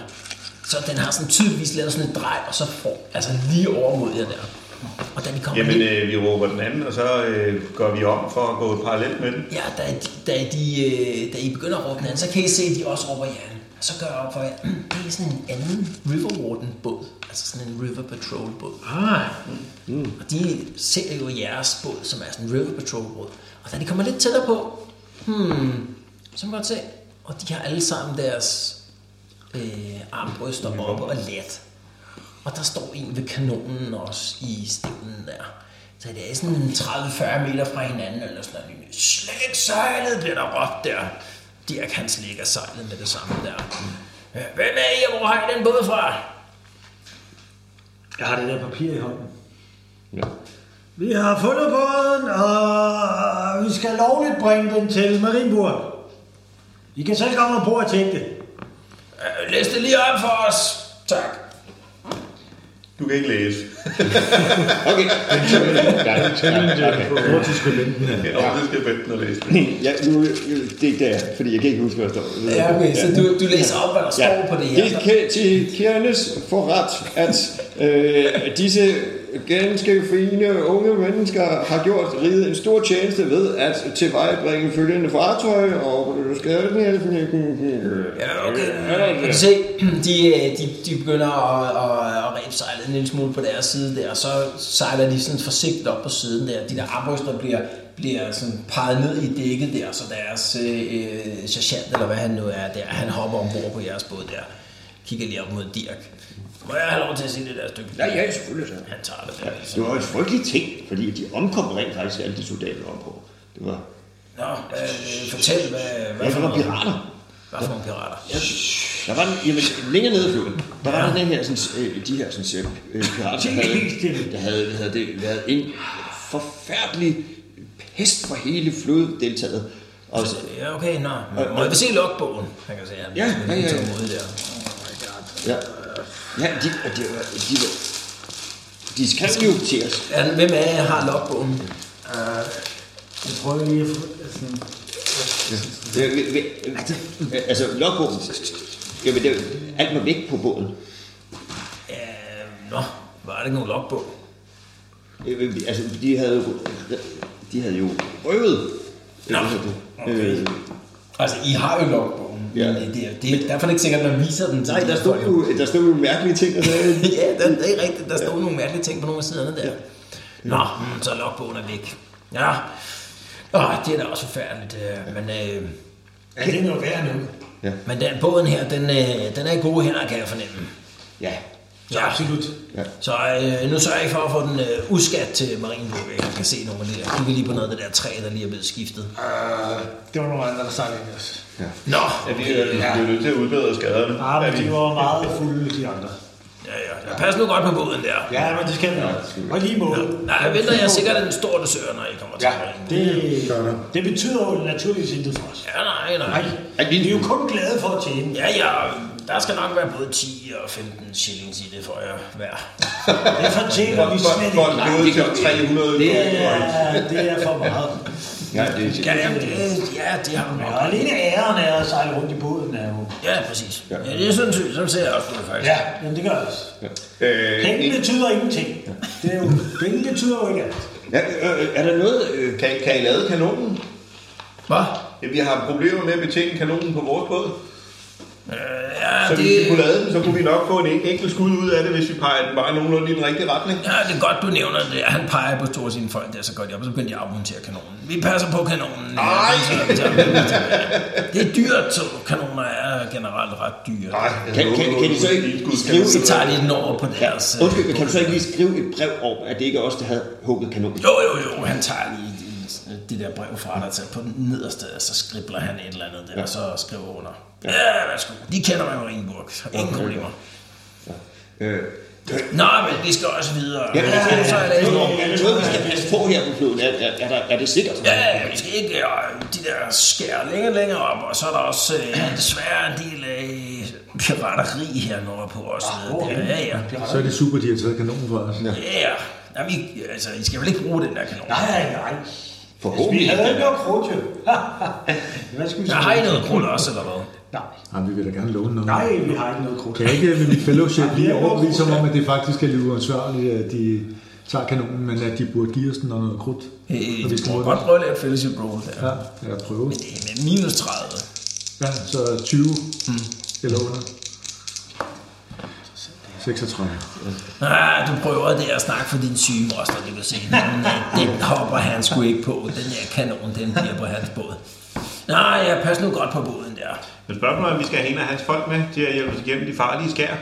B: Så den har sådan tydeligvis lavet sådan et drej, og så får, altså lige over mod jer der. Og da de kommer
F: Jamen,
B: lidt-
F: øh, vi råber den anden, og så øh, går vi om for at gå parallelt med den.
B: Ja, da, de- da, de, øh, da I begynder at råbe den anden, så kan I se, at de også råber jer. Og så gør jeg op for jer, "Mm, det er sådan en anden River Warden båd. Altså sådan en River Patrol båd. Mm.
C: Ah,
B: Og de ser jo jeres båd, som er sådan en River Patrol båd. Og da de kommer lidt tættere på, hmm, så kan man godt se. Og de har alle sammen deres øh, armbryster oppe og let. Og der står en ved kanonen også i stenen der. Så det er sådan 30-40 meter fra hinanden, eller sådan noget. Slik sejlet, bliver der råbt der. Dirk han slikker sejlet med det samme der. Øh, Hvem er I, og hvor har I den båd fra?
C: jeg har det der papir i hånden.
H: Ja.
C: Vi har fundet båden, og vi skal lovligt bringe den til Marienburg. I kan selv komme ombord og tjekke det.
B: "Øh, Læs det lige op for os. Tak.
F: Du kan ikke læse.
H: Okay. Ja, ja, okay.
D: Hvor du skal vente den her.
F: Ja. Og det skal vente og læse det.
H: Ja, nu, det er ikke der, fordi jeg kan ikke huske, hvad der står.
B: Ja, okay, så du, du læser op, hvad der står på det her.
H: Det kan til Kjernes forret, at øh, disse ganske fine unge mennesker har gjort riget en stor tjeneste ved at tilvejebringe følgende fartøj og skadesnælsen.
B: Ja, okay. Du kan se, de, øh, de, de begynder at, at, at ræbe sejlet en lille smule på deres side der, og så sejler de sådan forsigtigt op på siden der. De der armbryster bliver, bliver sådan peget ned i dækket der, så deres øh, øh, sergeant, eller hvad han nu er der, han hopper ombord på jeres båd der. kigger lige op mod Dirk. Må jeg have lov til at se det der stykke?
E: Ja, ja, selvfølgelig så.
B: Han tager det der. altså.
E: Det var en frygtelig ting, fordi de omkom rent faktisk alle de soldater, der var på. Det var,
B: Nå, øh, fortæl, hvad,
E: ja,
B: hvad, for
E: det var
B: noget,
E: pirater.
B: hvad for nogle pirater?
E: Der var, en- jamen, længere nede i floden, der var der den her, sådan, øh, de her sådan, øh, pirater, der havde, der havde, der havde det, været en forfærdelig pest for hele floddeltaget. Og så,
B: Ja, okay, nå. Må jeg se logbogen? Han kan se, at han
E: Ja, ja, ja, ja.
B: tager mod der.
E: ja, ja de, og de, var- de, var- de skrev jo til os.
B: Ja, hvem af jer har logbogen?
C: Jeg prøver lige at få... Altså,
E: Øh, øh, øh, øh, Altså, logbogen. Jamen, det, alt var væk på båden.
B: Ja, nå, var det ikke nogen logbog?
E: Øh, øh, Altså, de havde jo, de havde jo røvet.
B: Nå,
E: Øh,
B: Altså, I har jo logbogen.
E: Ja.
B: Ja. Det, det, det, derfor er det ikke sikkert, at man viser den. til
E: nej,
B: de
E: der
B: her
E: stod
B: folk.
E: jo, der stod jo mærkelige ting. Og sådan.
B: ja, det, det er rigtigt. Der stod nogle mærkelige ting på nogle af siderne der. Nå, mm, så er logbogen er væk. Ja, Åh, det er da også forfærdeligt. øh, Men, øh,
C: er det noget værd nu?
B: men den båden her, den, øh, den er i gode hænder, kan jeg fornemme.
E: Ja,
B: Ja, absolut.
E: Ja.
B: Så øh, nu sørger jeg for at få den øh, uskat til Marienborg. Jeg kan se nogle af de der. Kigger lige på noget af det der træ, der lige er blevet skiftet.
C: Øh, Det var nogle andre, der sang ind os.
B: Nå,
F: Ja, vi er, vi er jo nødt til at udbedre skaderne.
C: Ah,
F: Er
C: men
F: vi-
C: de var meget fulde, de andre.
B: ja, ja. ja. Pas nu godt på båden der.
C: Ja, men det skal vi. Og lige måde.
B: Nej, jeg venter jeg er sikkert en stor dessert, når I kommer til Marienborg.
C: Det, det betyder jo naturligvis intet for os.
B: Ja, nej, nej.
C: Nej, vi er jo kun glade for at tjene.
B: Ja, ja, der skal nok være både 10 og 15 shillings i det for jer hver.
C: Det fortjener vi
F: For,
C: slet
F: for
C: ikke.
F: en bøde til 300
E: Det er-
F: kroner.
C: Ja, det er for meget.
E: ja, det,
B: Ja, jamen, det, ja, det har du
C: Ja,
B: nok.
C: og alene æren af at sejle rundt i båden er jo...
B: Ja, præcis. Ja, det er sådan, sådan ser jeg også på det, faktisk.
C: Ja, men det gør det også.
F: Øh,
C: Penge betyder ingenting. Det er jo, penge betyder jo ikke alt.
E: ja, øh, øh, er der noget... Øh,
F: kan, kan I lade kanonen?
B: Hvad?
F: Ja, vi har problemer med at betjene kanonen på vores båd.
B: Øh, ja,
F: Så hvis vi
B: det,
F: kunne lade den, så kunne vi nok få en en- enkelt skud ud af det, hvis vi peger den bare nogenlunde i den rigtige retning.
B: ja, det er godt, du nævner det. Han peger på to af sine folk der, så godt jeg op, så begyndte jeg at afmontere kanonen. Vi passer på kanonen. Nej! Det er dyrt, så kanoner er generelt ret dyre.
F: Nej, jeg
E: kan,
F: håber,
E: kan, kan
F: du
E: de så
F: give et
E: ikke
F: skud
E: skrive
B: Så
E: et
B: tager de den over på deres... øh,
E: Undskyld, men kan du så ikke lige skrive et brev om, at det ikke er os, der havde hugget kanonen?
B: Jo, jo, jo, han tager lige det, det der brev fra dig til på den nederste, og så skribler han et eller andet der, ja. og så skriver under. Ja, værsgo. De kender mig Marienburg. Ingen problemer.
E: Øh,
B: Nå, men vi skal også videre.
E: Ja, ja,
B: Så er det ikke-
E: er der noget, vi skal passe på her på floden? Er, er, er, der, er det sikkert?
B: Ja, vi skal ikke øh, de der skær længere længere op, og så er der også øh, desværre en del øh, pirateri her nordpå også. Ah, ja, ja.
D: Så er det super, de har taget kanonen fra os. Ja.
B: Ja, ja. Jamen, I, altså, I skal vel ikke bruge den der kanon?
C: Nej, nej. Altså, Vi
E: Forhåbentlig.
C: havde ikke noget krudt, jo. Hvad skulle vi
B: Der
C: sige?
B: har I noget grund også, eller hvad?
C: Nej.
D: Jamen, vi vil da gerne låne noget.
C: Nej, vi har ikke noget krudt.
D: Kan jeg ikke med mit fellowship
C: Ja,
D: lige
C: det er
D: overbevise
C: godt.
D: om, at det faktisk er lidt uansvarligt, at de tager kanonen, men at de burde give os den og noget krudt?
B: Øh,
D: når vi
B: vi kan
D: bruger
B: godt
D: den?
B: prøve at lave et fellowship roll der.
D: Ja, eller prøve.
B: Det er med minus 30.
D: Ja, så 20
B: Mm.
D: eller under. 36.
B: Ah, du prøver det at snakke for din syge moster, du kan se. Den, øh, den hopper han sgu ikke på. Den der kanon, den bliver på hans båd. Nej, ja, pas nu godt på båden der.
F: Men spørgsmålet er, om vi skal have en af hans folk med til at hjælpe os igennem de farlige skær.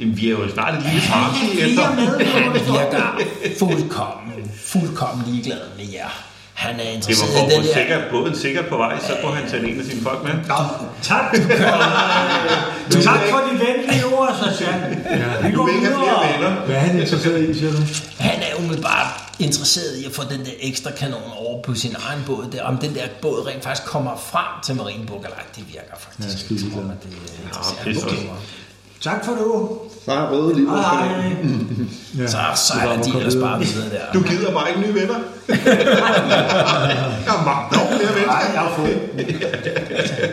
F: Jamen, vi er jo snart et lille farlige efter.
B: Han virker fuldkommen, fuldkommen ligeglad med jer. Han er
F: Det
B: interesseret i
F: var for at
B: den
F: få
B: der...
F: sikkert, båden sikkert på vej, så kunne han tage en af sine folk med.
C: Nå, tak. tak for de venlige ord, Sasjan. Vi
F: Du
C: går
F: vil ikke have flere
C: videre.
F: venner.
D: Hvad er han interesseret i, siger du?
B: Han er umiddelbart interesseret i at få den der ekstra kanon over på sin egen båd der. Om den der båd rent faktisk kommer frem til Marienburg eller ej, det virker
D: Ja,
B: faktisk
D: skide
B: ikke som om,
D: ligeglad.
B: at det er
F: pis
B: interessant.
F: også.
C: Tak for nu.
E: Far røde lige ud.
C: Hej.
D: Ja.
B: Så
D: Det
B: sejler
D: var,
B: de
D: hvor
B: ellers
D: kom
B: bare
D: det
B: videre der.
F: Du gider bare ikke nye venner. Jeg er mange år flere venner.
C: Nej, jeg har fået.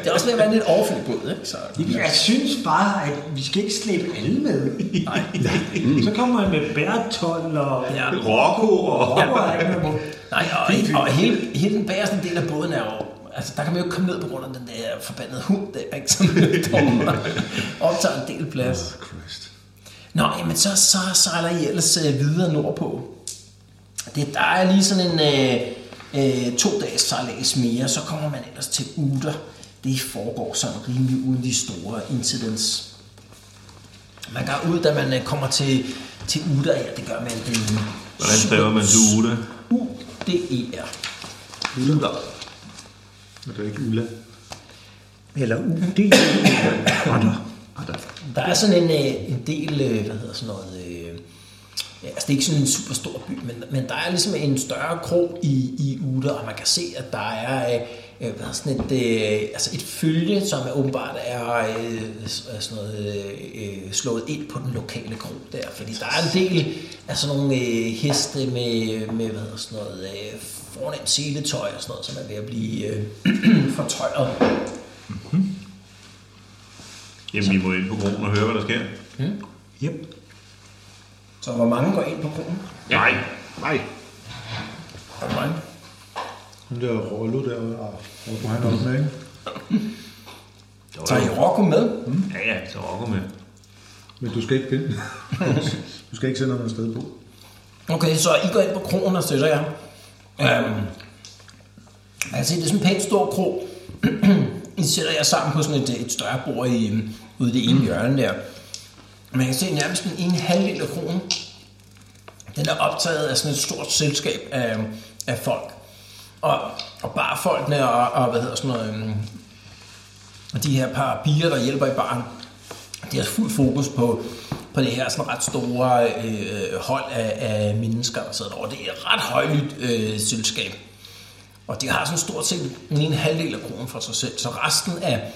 B: Det er også ved at være en lidt overfyldt båd, ikke? Så,
C: Jeg synes bare, at vi skal ikke slæbe alle med. Nej. Så kommer han med bærtol og...
B: ja.
F: Rocco og...
C: Hvorfor er ikke med
B: Nej, og, og hele, hele den bagerste del af båden er jo... Altså, der kan man jo ikke komme ned på grund af den der forbandede hund der, ikke? Som dog optager en del plads.
D: Christ.
B: Nå, jamen så, så sejler I ellers øh, videre nordpå. Det, der er lige sådan en øh, øh, to-dages sejlads mere, så kommer man ellers til Uter. det foregår sådan rimelig uden de store incidents. Man går ud, da man øh, kommer til, til Uda, ja, det gør man den
F: Hvordan staver man til Uda?
B: U-D-E-R.
F: Uda.
D: Er det ikke Ulla?
C: Eller UD. Retter.
B: Der er sådan en, øh, en del, øh, hvad hedder sådan noget, øh, ja, altså det er ikke sådan en super stor by, men, men der er ligesom en større krog i, i Uda, og man kan se, at der er øh, øh, hvad hedder sådan et, øh, altså et følge, som er åbenbart er øh, s- er sådan noget, øh, øh, slået ind på den lokale krog der, fordi der er en del af sådan nogle øh, heste med, med hvad hedder sådan noget, øh, fornemt seletøj og sådan noget, som er ved at blive øh, fortøjet.
F: Jamen, vi må ind på broen og høre, hvad der sker.
C: Yep.
B: Så hvor mange går ind på krogen?
F: Nej.
E: Nej.
B: Hvor mange?
D: Hun der Rollo derude, og Rollo han er også med, ikke?
B: Tager I Rocco med?
F: Ja, ja, så rocker med.
D: Men du skal ikke pille den. du skal ikke sende ham afsted på.
B: Okay, så I går ind på krogen og støtter jer. Øhm, altså, det er sådan en pænt stor krog. I sætter jer sammen på sådan et, et større bord i, øhm, ude i det ene hjørne der. Man kan se nærmest den ene halvdel af krogen. Den er optaget af sådan et stort selskab af, af folk. Og, og barfolkene og, og hvad hedder sådan noget, øhm, og de her par piger, der hjælper i baren, de har fuld fokus på, på det her sådan ret store øh, hold af, af mennesker, der sidder derovre. Det er et ret højlydt øh, selskab. Og de har sådan stort set den ene halvdel af kronen for sig selv. Så resten af,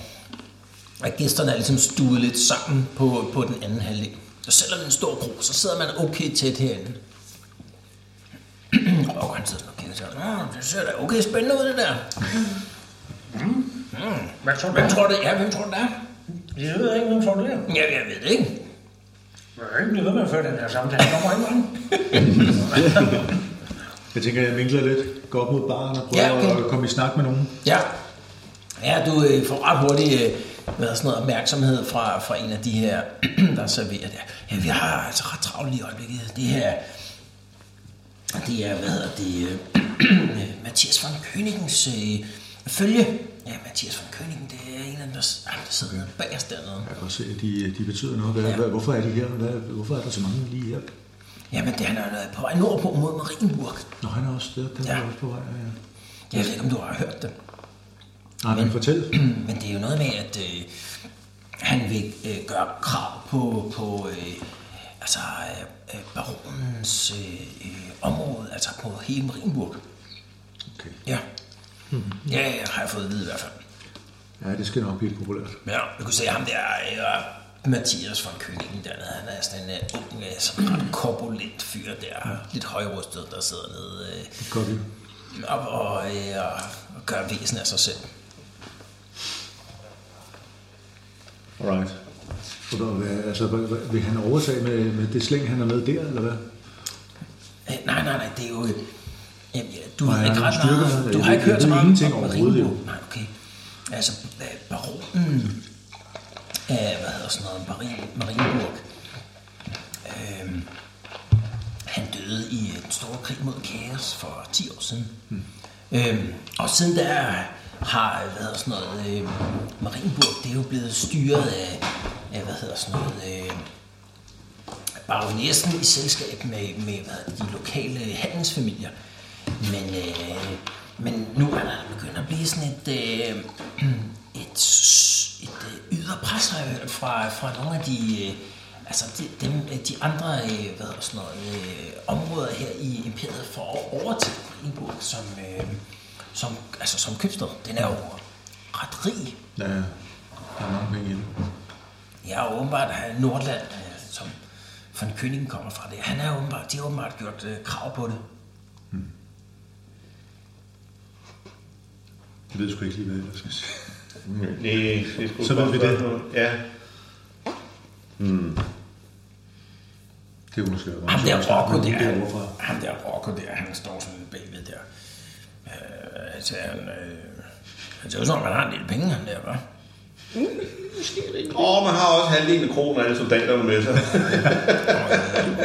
B: af gæsterne er ligesom stuet lidt sammen på, på den anden halvdel. Så selvom det er en stor kro, så sidder man okay tæt herinde. og han sidder og kigger til, "Nå, det ser da okay spændende ud, det der.
G: Hvad tror du?
B: Hvem tror det, ja, hvem tror du, det er?
C: Jeg ved ikke, hvem tror det er.
B: Ja, jeg ved det ikke.
C: Jeg kan ikke blive ved med at føre den her samtale. Der kommer ikke mange.
D: Jeg tænker, jeg vinkler lidt. Går op mod baren og prøver
B: Ja,
D: ja,
B: okay.
D: okay. at komme i snak med nogen.
B: Ja. Ja, du øh, får ret hurtigt øh, hvad er sådan noget opmærksomhed fra, fra en af de her, der serverer det. Ja, vi har altså ret travlt lige i øjeblikket. Altså, Det her, det er, hvad hedder det, øh, Mathias von Königens øh, følge. Ja, Mathias von Königen, det er en af dem, der, s- ham, der sidder bagerst dernede.
D: Jeg kan også se, at de, de betyder noget. Hvad,
B: Ja.
D: ja. hvad, hvorfor er de her? Hvad, hvorfor er der så mange lige her?
B: Jamen, det han er noget på vej nordpå mod Marienburg.
D: Nå, han er også der. Den ja.
B: Ja.
D: er også på vej. Ja.
B: Jeg ved ikke, om du har hørt det.
D: Nej, men fortæl.
B: Men det er jo noget med, at øh, han vil øh, gøre krav på, på øh, altså, øh, øh, baronens øh, øh, område, altså på hele Marienburg.
D: Okay.
B: Ja. Ja, ja, har jeg fået at vide i hvert fald.
D: Ja, det skal nok blive populært.
B: Ja, jeg kunne se ham der, øh, Mathias von Königen dernede, han er sådan en øh, ung, øh, sådan ret korpulent fyr der, lidt højrustet, der sidder nede øh,
D: Godt. liv.
B: op og, øh, og, og gør væsen af sig selv.
D: Alright. Og der, hvad, altså, hvad, hvad, vil han overtage med, med det slæng, han er med der, eller hvad?
B: Øh, Nej, nej, nej, det er jo... øh, Jamen, ja, du
D: Nej,
B: har ikke
D: han
B: ret
D: styrker sig.
B: meget, du
D: Jeg
B: har
D: ved-
B: ikke hørt
D: jeg
B: så
D: ved
B: meget
D: ingenting
B: om
D: overhovedet,
B: Marienburg.
D: jo. Mm.
B: Nej, okay. Altså, øh, baronen... Øh, hvad hedder sådan noget? Marie, Marienburg. Øh, han døde i øh, den store krig mod kaos for 10 år siden. Mm. Øhm, og siden da har øh, hvad hedder sådan noget, øh, Marienburg, det er jo blevet styret af, af hvad hedder sådan noget, øh, baronessen i selskab med, med hvad, hedder det, de lokale handelsfamilier. Men, øh, men nu er der begyndt at blive sådan et, øh, et, s- et øh, yderpres, har jeg hørt fra, fra nogle af de, øh, altså de, dem, øh, de andre øh, hvad hedder sådan noget, øh, områder her i imperiet for at overtage Marienburg som, øh, som, altså som købstad. Den er jo ret rig.
D: Ja, der er mange penge i det.
B: Ja, og åbenbart er Nordland, øh, som von Königen kommer fra det. Han er åbenbart, de har åbenbart gjort øh, krav på det.
D: Jeg ved sgu ikke lige, hvad jeg skal sige.
F: Nej, det skulle
D: Så ved vi det.
F: Ja.
D: Det er måske også.
B: Ham der Rocco der, han,
D: derovre fra.
B: ham der Rocco der, han står sådan lidt bagved der. Øh, altså, han, øh, han ser ud som om, han har en del penge, han der, hva'?
F: Og man har også halvdelen af kronen af alle soldaterne med sig.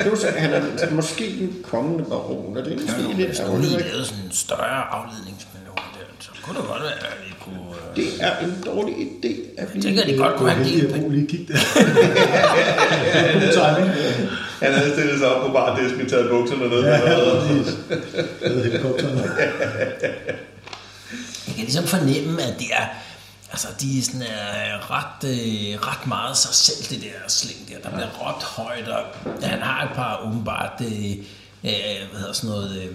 H: Plus, at han er måske en kommende baron, og det er måske lidt
B: Han har lige
H: ærgerligt.
B: lavet sådan en større afledningsmanøvre der, så kunne da godt være, at vi kunne... Øh...
H: Det er en dårlig idé. At
B: Jeg tænker, at de godt kunne have en del penge.
D: lige kigge der. God timing.
F: Han havde stillet sig op på bardisken, taget bukserne ned.
D: Ja,
F: og-
D: præcis. Jeg havde helikopteren.
B: Jeg kan ligesom fornemme, at det er... Altså, de er sådan, er ret, øh, ret meget sig selv, det der sling der. Der bliver råbt højt, og han har et par åbenbart... Øh, øh, hvad hedder sådan noget... Øh,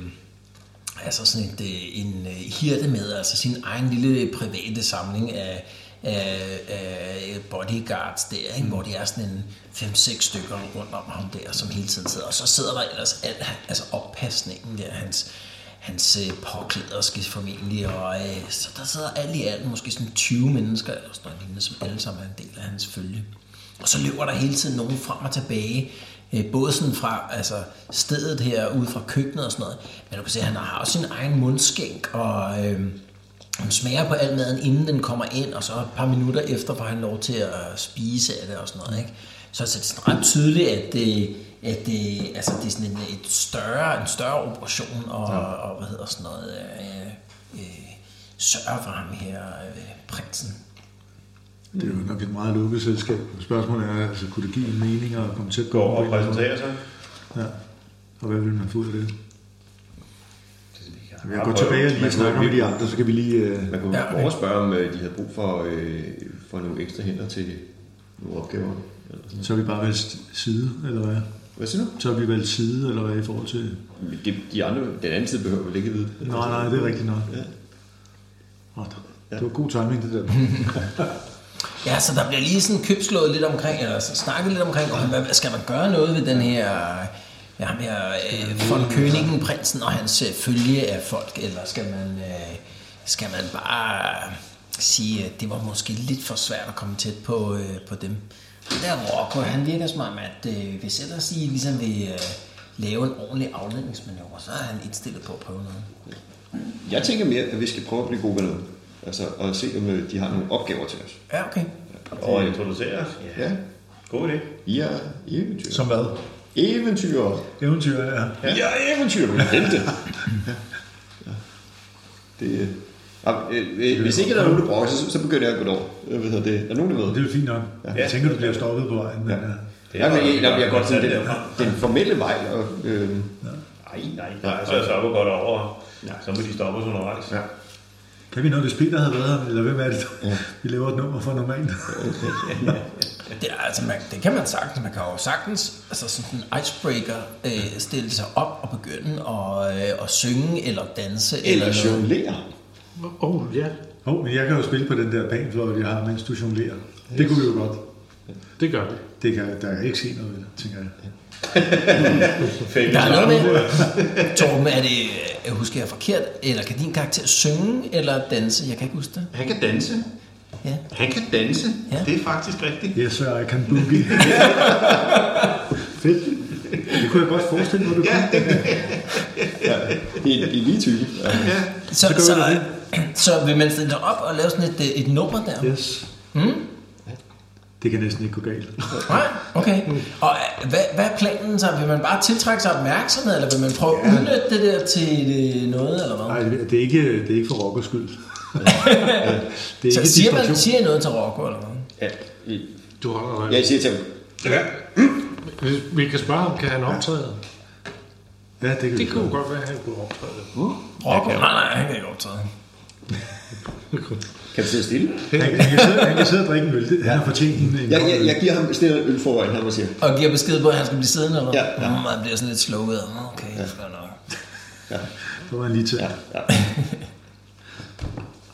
B: altså sådan et, øh, en øh, hirte med, altså sin egen lille private samling af, af, af bodyguards der, ikke? hvor de er sådan en 5-6 stykker rundt om ham der, som hele tiden sidder. Og så sidder der ellers al, altså oppasningen der, hans, hans øh, påklæder skal formentlig, og øh, så der sidder alt i alt måske sådan 20 mennesker eller sådan noget lignende, som alle sammen er en del af hans følge. Og så løber der hele tiden nogen frem og tilbage, øh, både sådan fra altså, stedet her, ude fra køkkenet og sådan noget, men du kan se, at han har også sin egen mundskænk, og øh, han smager på al maden, inden den kommer ind, og så et par minutter efter får han lov til at spise af det og sådan noget, ikke? Så, så det er sådan ret tydeligt, at det, at det, altså, det er sådan en, et større, en større operation, og, ja. og, hvad hedder sådan noget, øh, øh, sørger for ham her, øh, prinsen.
D: Det er jo nok et meget lukket selskab. Spørgsmålet er, altså, kunne det give en mening at komme til at gå
F: Går
D: over
F: og præsenterer sig.
D: Ja. Og hvad vil man få ud af det? Jamen, jeg går
F: prøve.
D: tilbage og lige
F: Man
D: snakker
F: kunne-
D: med de andre, så kan vi lige... Øh,
E: Man kunne
B: Ja,
E: ja, også spørge, om øh, de havde brug for, øh, for nogle ekstra hænder til nogle opgaver. Eller sådan. noget.
D: så er vi bare valgt side, eller hvad?
E: Hvad siger du?
D: Så er vi valgt side, eller hvad i forhold til...
E: Men De, de andre, den anden side behøver vel ikke at vide. det.
D: Nej, nej, det er rigtigt nok.
E: Ja.
D: Åh, det var god timing, det der.
B: Ja, så der bliver lige sådan købslået lidt omkring, eller så snakket lidt omkring, om, hvad, skal man gøre noget ved den her, ja, ham her øh, von Königen, prinsen og hans øh, følge af folk, eller skal man, øh, skal man bare sige, at det var måske lidt for svært at komme tæt på, øh, på dem. Den der Rocco, han virker som om, at øh, hvis ellers I ligesom vil øh, lave en ordentlig afledningsmanøvre, så er han indstillet på at prøve noget.
E: Jeg tænker mere, at vi skal prøve at blive gode venner. Altså, og se, om øh, de har nogle opgaver til os.
B: Ja, okay.
F: Og introducerer os.
E: Ja,
F: God idé.
E: I er eventyr.
D: Som hvad?
E: Eventyr.
D: Eventyr, ja.
E: Ja, ja eventyr, min helte. ja. Ja. Det, øh, ja, øh, øh, hvis ikke der er nogen, der brokker, så, så begynder jeg at gå over. Jeg ved det. Er der nogen, der ved?
D: Det er jo fint nok. Jeg tænker, du bliver stoppet på vejen. Men, ja.
E: Ja, men jeg, jeg, jeg godt sådan den,
F: det er-
E: den formelle vej. Og, øh,
F: Nej, nej, nej. Så stopper godt over.
E: Ja.
F: Så må de stoppe os undervejs.
E: ja.
D: Kan vi nå, hvis Peter havde været her, eller hvem er det, ja. vi laver et nummer for normalt?
B: Det, er, altså, man, det kan man sagtens. Man kan jo sagtens altså sådan en icebreaker øh, stille sig op og begynde at, øh, at synge eller danse.
E: Eller
B: noget.
E: jonglere.
G: Åh, oh, ja.
D: Åh, oh, men jeg kan jo spille på den der panfløjte, jeg har, mens du jonglerer. Det kunne vi jo godt.
G: Det gør vi.
D: Det kan, der kan ikke se noget ved det, tænker jeg.
F: Fælles
B: Der er noget
F: armbøj.
B: med, Torben, er det, øh, husker jeg forkert, eller kan din karakter synge eller danse? Jeg kan ikke huske det.
F: Han kan danse.
B: Ja.
F: Han kan danse.
B: Ja.
F: Det er faktisk rigtigt.
D: Yes, sir, I can boogie. Fedt. Det kunne jeg godt forestille mig, du
F: Ja,
D: kunne.
F: det
E: Det er, det er lige type. Ja.
B: Så,
D: Så gør vi
B: så,
D: det.
B: øh, så vil man stille sig op og lave sådan et, øh, et nummer der?
D: Yes. Hmm? Det kan næsten ikke gå galt.
B: Nej, okay. Og øh, hvad, hvad er planen så? Vil man bare tiltrække sig opmærksomhed, eller vil man prøve at udnytte det der til øh, noget, eller hvad?
D: Nej, det er ikke, det er ikke for rockers skyld. det er
B: Så
D: ikke
B: siger man
D: distraktion.
B: siger I noget til Rocco, eller hvad?
E: Ja. I-
G: Du holder dig.
E: Jeg siger til ham,
G: Ja. Hvis vi kan spørge ham, kan han optræde?
D: Ja, det kan
G: Det
D: vi
G: kunne
D: godt.
G: godt være, at han kunne optræde.
B: Rocco? Nej, nej, han kan ikke optræde.
E: kan du sidde stille?
D: Han, han, kan sidde, han kan sidde og drikke en øl. Det- Han har fortjent en, en
E: Jeg, jeg, jeg giver ham stille øl foran ham og siger,
B: Og giver besked på, at han skal blive siddende, eller hvad?
E: Ja, ja.
B: Mm, han bliver sådan lidt slukket. Nå, Okay, ja. fair nok.
D: Så var han lige til.
E: ja, ja,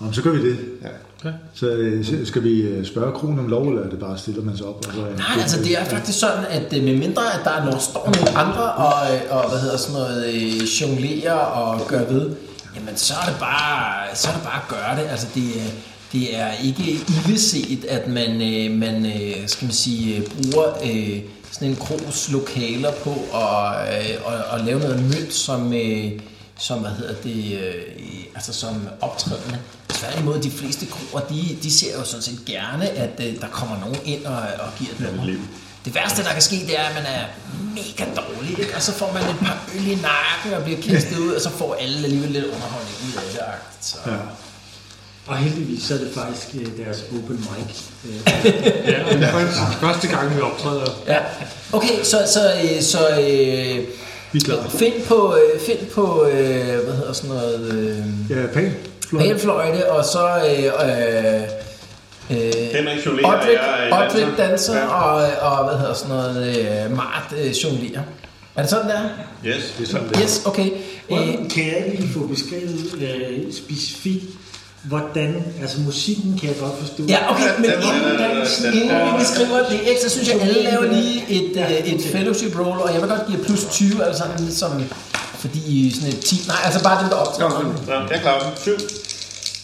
D: Jamen, så gør vi det.
E: ja.
D: Så øh, skal vi øh, spørge kronen om lov, eller er det bare stiller man sig op? Og så,
B: Nej, altså det er faktisk sådan, at øh, med mindre at der er nogle, står nogle andre og, øh, og hvad hedder sådan noget, øh, jonglerer og gør ved, jamen så er det bare, så er det bare at gøre det. Altså det, øh, det er ikke illeset, at man, øh, man øh, skal man sige, øh, bruger øh, sådan en krogs lokaler på at, øh, og, og lave noget mønt, som, øh, som hvad hedder det, øh, altså som optrædende. Tværtimod, de fleste kroer, de, de ser jo sådan set gerne, at øh, der kommer nogen ind og, og giver et nummer. Det værste, der kan ske, det er, at man er mega dårlig, ikke? og så får man et par øl i nakken og bliver kastet ud, og så får alle alligevel lidt underholdning ud af det. agtigt. Så.
D: Ja.
C: Og heldigvis så er det faktisk øh, deres open mic. Øh,
G: Ja, det er faktisk første gang, vi optræder.
B: Ja. Okay, så, så, øh, så øh,
D: Vi er glade.
B: find på, øh, find på øh, hvad hedder sådan noget, øh,
D: Ja, pæn. Flot.
B: palfløjte, og så øh, øh, øh,
F: Henrik Jolerer er... øh,
B: Otrik
F: danser.
B: danser,
F: Ja.
B: og, øh, og hvad hedder sådan noget, øh, Mart øh, jonglerer. Er det sådan, der?
F: Yes.
D: Det er sådan, det er.
B: Yes, okay. Øh,
C: Hvordan kan jeg lige få beskrevet øh, specifikt, hvordan, altså musikken kan jeg godt forstå.
B: Ja, okay, men
F: Den- den-
B: inden,
F: den- den-
B: inden vi beskriver det ikke, så synes jeg, at alle
C: Ja,
B: laver
C: okay.
B: lige et, øh, et fellowship roll, og jeg vil godt give jer plus 20, altså sådan, som, fordi I er sådan et 10, nej, altså bare den, der optager.
F: Nå, jeg klarer den. Syv.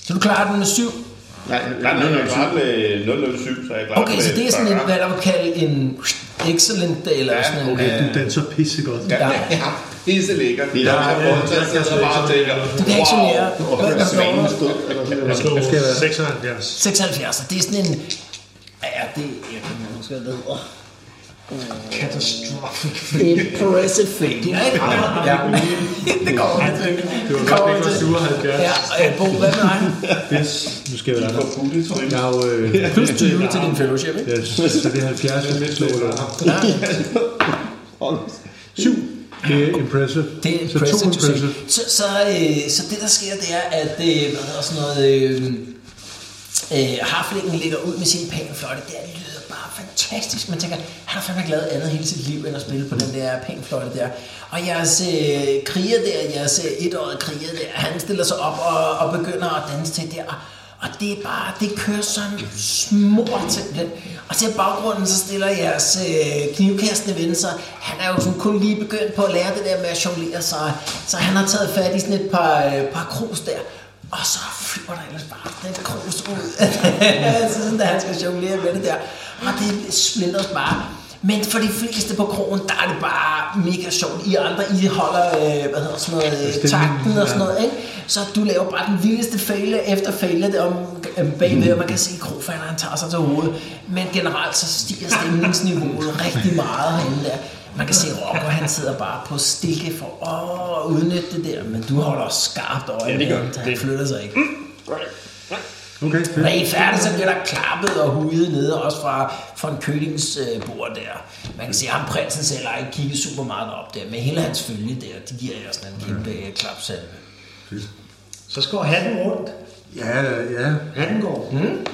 B: Så du klarer den med 7.
H: Nej,
F: Nej, nej, jeg klarer med 007, så jeg klarer
B: Okay, så det er sådan en, hvad der vil kalde en excellent, eller
F: Ja,
B: sådan en...
D: Okay, du danser pissegodt.
F: Ja,
B: Ja.
F: ja. Pisse lækker. Det
D: Ja, ja, ja.
B: Du kan ikke jonglere. Hvad er der for noget?
G: Jeg slog
D: skal være-
G: 76.
B: 76, og det er sådan en... Ja, det jeg kan ikke huske, hvad det hedder.
C: Catastrophic.
B: Impressive failure, ikke? Ja, det går vi til.
D: Det var
B: Det
D: godt,
B: går
D: det
B: vi
D: ikke var
B: til.
D: 77.
B: Ja, øh, Bo, hvad med dig?
D: Yes, nu skal jeg være der. Jeg har jo... Øh,
B: Plus 20 til din fellowship, ikke?
D: yes, så det er 70, jeg lidt slår under. Syv. Det er impressive.
B: Det er
D: så to
B: impressive, du siger.
D: impressive.
B: Så, så, øh, så det, der sker, det er, at øh, hvad hedder sådan noget, øh, øh, harflingen ligger ud med sin panfløjte. Det her lyder bare fantastisk. Man tænker, han har fandme ikke lavet andet hele sit liv, end at spille på den der panfløjte der. Og jeres øh, kriger der, jeres øh, etårige kriger der, han stiller sig op og, og begynder at danse til der. Og det er bare, det kører sådan smurt simpelthen. Og til baggrunden, så stiller jeres øh, knivkastende ven sig. Han er jo sådan kun lige begyndt på at lære det der med at jonglere sig. Så han har taget fat i sådan et par, øh, par krus der. Og så flyver der ellers bare den krus ud. så sådan, da han skal jonglere med det der. Og det splinters bare. Men for de fleste på krogen, der er det bare mega sjovt. I andre, I holder, øh, hvad hedder sådan noget, øh, takten og sådan noget, ikke? Så du laver bare den vildeste fejle efter fejle der om øh, bagved, og man kan se, at krofanderen han tager sig til hovedet. Men generelt så stiger stemningsniveauet rigtig meget herinde der. Man kan se, at Rocco han sidder bare på stikke for åh, at udnytte det der, men du holder skarpt øje ja, det gør, med ham, så han flytter sig ikke.
D: Okay,
B: Når
D: fedt.
B: I er færdige, så bliver der klappet og hudet nede, også fra, fra en kødings øh, bord der. Man kan se, at ham prinsen selv har ikke kigget super meget op der, men hele hans følge der, de giver jer sådan en kæmpe øh, klapsalve.
C: Så skal hatten rundt.
D: Ja, ja.
C: Hatten går rundt. Mm.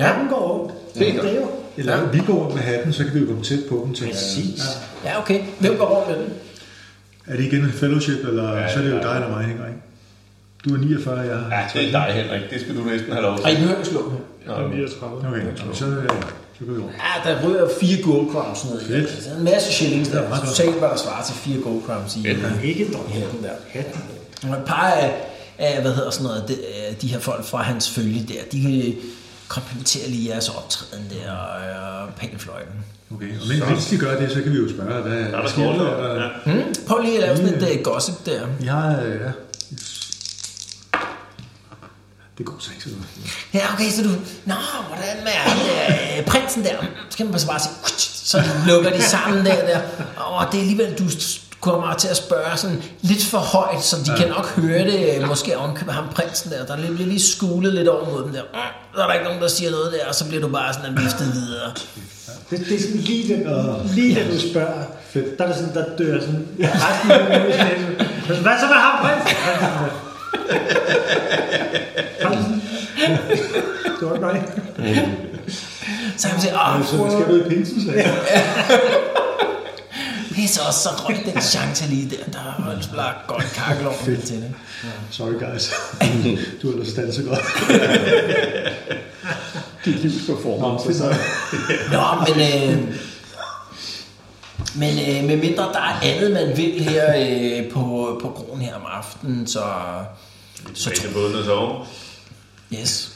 C: Hatten går rundt. Det, det er jo.
D: Eller vi går rundt med hatten, så kan vi jo komme tæt på dem. Til.
C: Præcis. Ja.
B: Ja, okay. Hvem går rundt med den?
D: Er det igen en fellowship, eller ja, så er det jo dig eller mig, Henrik? Du er 49, jeg er...
F: Ja, det er dig, Henrik. Det skal du næsten have lov
B: Og I
F: til.
B: behøver ikke slå dem.
G: Jeg er 39.
D: Okay, så, øh, så går vi rundt.
B: Ja, der ryger fire gold crowns ned i.
D: Fedt.
B: Altså, en masse shillings der. Så totalt var der svarer til fire gold crowns i.
C: Men ikke dog.
B: i hatten der. Og et par af, af hvad hedder sådan noget, de, af de her folk fra hans følge der, de øh, komplimenterer lige jeres optræden der og, og panfløjten.
D: Okay, og men, mens de gør det, så kan vi jo spørge, hvad
F: Der er
D: hvad
F: der
D: sker
F: skål.
D: der? Og-
F: Ja.
B: Mm, prøv lige at lave sådan et uh, gossip der.
D: Vi har... Øh, ja. Det går så ikke så godt.
B: Ja, okay, så du... Nå, hvordan med øh, prinsen der? Så kan man bare sige... "Utsch", Så lukker de sammen der, der. Og det er alligevel, du kommer til at spørge sådan lidt for højt, så de ja. kan nok høre det, øh, måske ovenkøbe ham prinsen der. Der bliver lige skulet lidt over mod dem der. "Mm", Så er der ikke nogen, der siger noget der, og så bliver du bare sådan viftet videre.
C: Det, det er sådan lige det, lige det du spørger. Der er det sådan, der dør sådan resten af min næse. Hvad så med ham, prins? Godt nok.
B: Så han siger, åh,
D: Så skal vi i pinsen, så
B: pisse også, så røg den chance lige der. Der er altså bare godt kakkel over til det.
D: Sorry guys. Du har ellers danset godt.
H: Dit livs performance. Så.
B: Nå, men... Øh, men øh, med mindre der er andet, man vil her øh, på, på kronen her om aftenen, så... Så,
F: Mængde
B: tro-
F: bundet så over.
B: yes.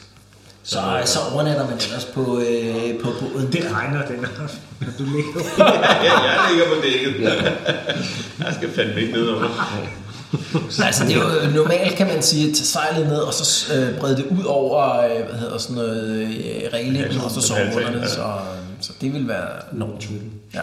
B: Så, så overnatter man ellers på, øh, på båden.
C: Det regner den aften, når du ligger.
F: Ja, jeg ligger på dækket. Jeg skal fandme ikke ned over.
B: Altså, det er jo normalt, kan man sige, at tage sejlet ned, og så øh, brede det ud over, øh, hvad hedder sådan noget, øh, reglingen,
F: Ja,
B: og så
F: sådan
B: sove
F: en
B: under
F: altan,
B: det.
F: ja.
B: Så, så det vil være... Norge. Ja.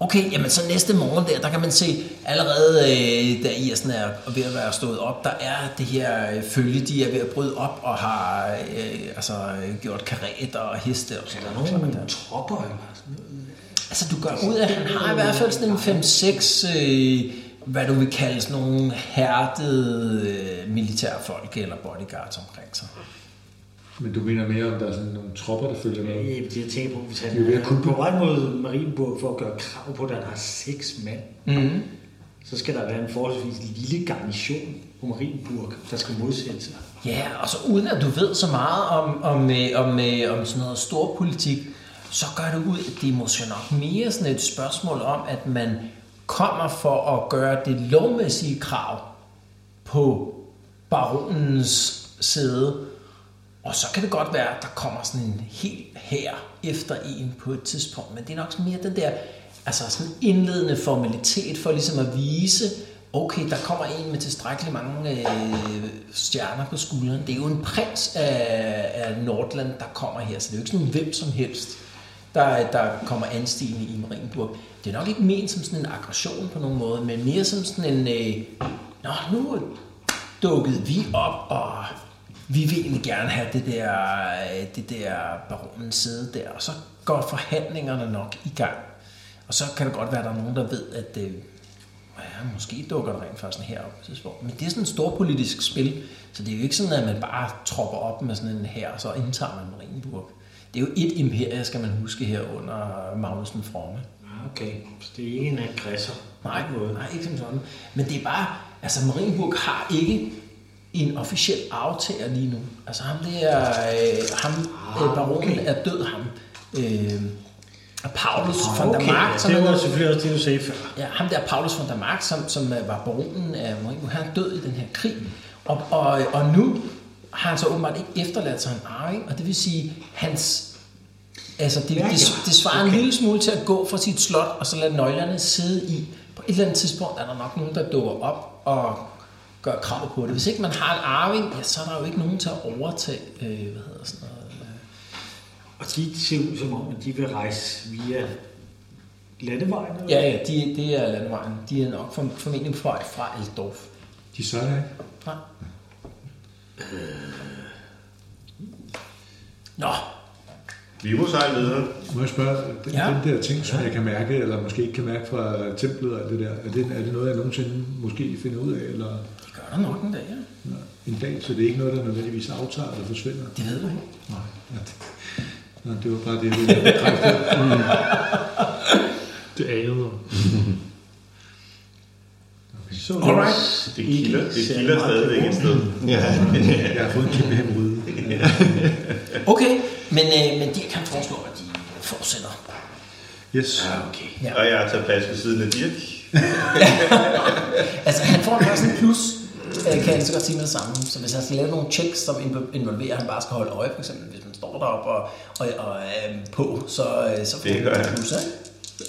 B: Okay, jamen så næste morgen der, der kan man se allerede, øh, da Irsen er ved at være stået op, der er det her øh, følge, de er ved at bryde op og har øh, altså, øh, gjort kareter og heste og sådan noget.
C: Nogle tropper eller sådan noget.
B: Altså, du gør ud af, at han har i hvert fald sådan en 5-6, øh, hvad du vil kalde sådan nogle hærdede øh, militærfolk eller bodyguards omkring sig.
D: Men du mener mere, om der er sådan nogle tropper, der følger med?
C: Øh, Det jeg tænker på, hvis
D: Det er
C: han
D: ved
C: er
D: at kunne
C: på vej mod Marienburg for at gøre krav på, at han har seks mand,
B: Mm-hmm.
C: så skal der være en forholdsvis lille garnison på Marienburg, der skal modsætte sig.
B: Ja, og så uden at du ved så meget om, om, øh, om, øh, om sådan noget storpolitik, så gør det ud, at det er måske nok mere sådan et spørgsmål om, at man kommer for at gøre det lovmæssige krav på baronens sæde. Og så kan det godt være, at der kommer sådan en helt her efter en på et tidspunkt, men det er nok sådan mere den der altså sådan indledende formalitet for ligesom at vise, okay, der kommer en med tilstrækkeligt mange øh, stjerner på skulderen. Det er jo en prins af, af Nordland, der kommer her, så det er jo ikke sådan hvem som helst, der, der kommer anstigende i Marienburg. Det er nok ikke ment som sådan en aggression på nogen måde, men mere som sådan en, øh, nå, nu dukkede vi op, og vi vil egentlig gerne have det der, øh, det der baronens sæde der, og så går forhandlingerne nok i gang. Og så kan det godt være, at der er nogen, der ved, at øh, ja, måske dukker der rent faktisk her op på et tidspunkt. Men det er sådan et stort politisk spil, så det er jo ikke sådan, at man bare tropper op med sådan en her, og så indtager man Marienburg. Det er jo et imperie, skal man huske her under Magnus den Fromme.
C: Okay, så det er ikke en aggressor.
B: Nej, nej, ikke som sådan. Men det er bare, altså Marienburg har ikke en officiel aftager lige nu. Altså ham det er, øh, ham, øh, baronen
C: Ah, okay.
B: er død ham. Øh, og Paulus
C: Ah,
B: von der
C: okay,
B: Mark, som
C: det var
B: er,
C: selvfølgelig også det, du sagde før.
B: ja, ham der Paulus von der Mark, som, som øh, var baronen af Marienburg, han er død i den her krig. Og, og, og nu har han så åbenbart ikke efterladt sig en arving, og det vil sige, hans Altså, det,
C: Ja,
B: det,
C: ja.
B: det svarer okay. en lille smule til at gå fra sit slot, og så lade nøglerne sidde i. På et eller andet tidspunkt er der nok nogen, der dukker op og gør krav på det. Hvis ikke man har en arving, ja, så er der jo ikke nogen til at overtage, øh, hvad hedder sådan noget. øh,
C: Og de ser ud som om, at de vil rejse via landevejen. eller
B: Ja, ja, de, det er landevejen. De er nok form- formentlig på vej fra Eldorf.
D: De sejler ikke.
B: Nej. Øh. Nå,
F: Vi må sejle videre.
D: Må jeg spørge, den,
B: Ja.
D: ja. den der ting, som jeg kan mærke, eller måske ikke kan mærke fra templet og alt det der, er det, er det noget, jeg nogensinde måske finder ud af, eller
B: det gør der nok en dag, ja.
D: en dag, så det er ikke noget, der nødvendigvis aftager eller forsvinder?
B: Det ved du ikke.
D: Nej, ja, det, nej, det var bare det, jeg ville bekræfte. Mm.
G: Det anede jeg.
C: Så
F: Alright. Det kilder, det
C: Ikke særlig
F: kilder
C: meget
F: stadigvæk et sted.
E: Ja.
D: Jeg har fået en kæmpe hemorrhide. Ja.
B: Okay, men, øh, men de kan foreslå, at de fortsætter.
D: Yes.
C: Okay.
F: Og jeg har taget plads ved siden af Dirk.
B: Altså, han får faktisk en plus, øh, kan jeg lige så godt sige med det samme. Så hvis han skal lave nogle checks, som invo- involverer, at han bare skal holde øje, for eksempel, hvis man står deroppe og, og, og er øh, på, så, øh, så får
F: Det gør
B: han en
F: han.
B: plus, ikke?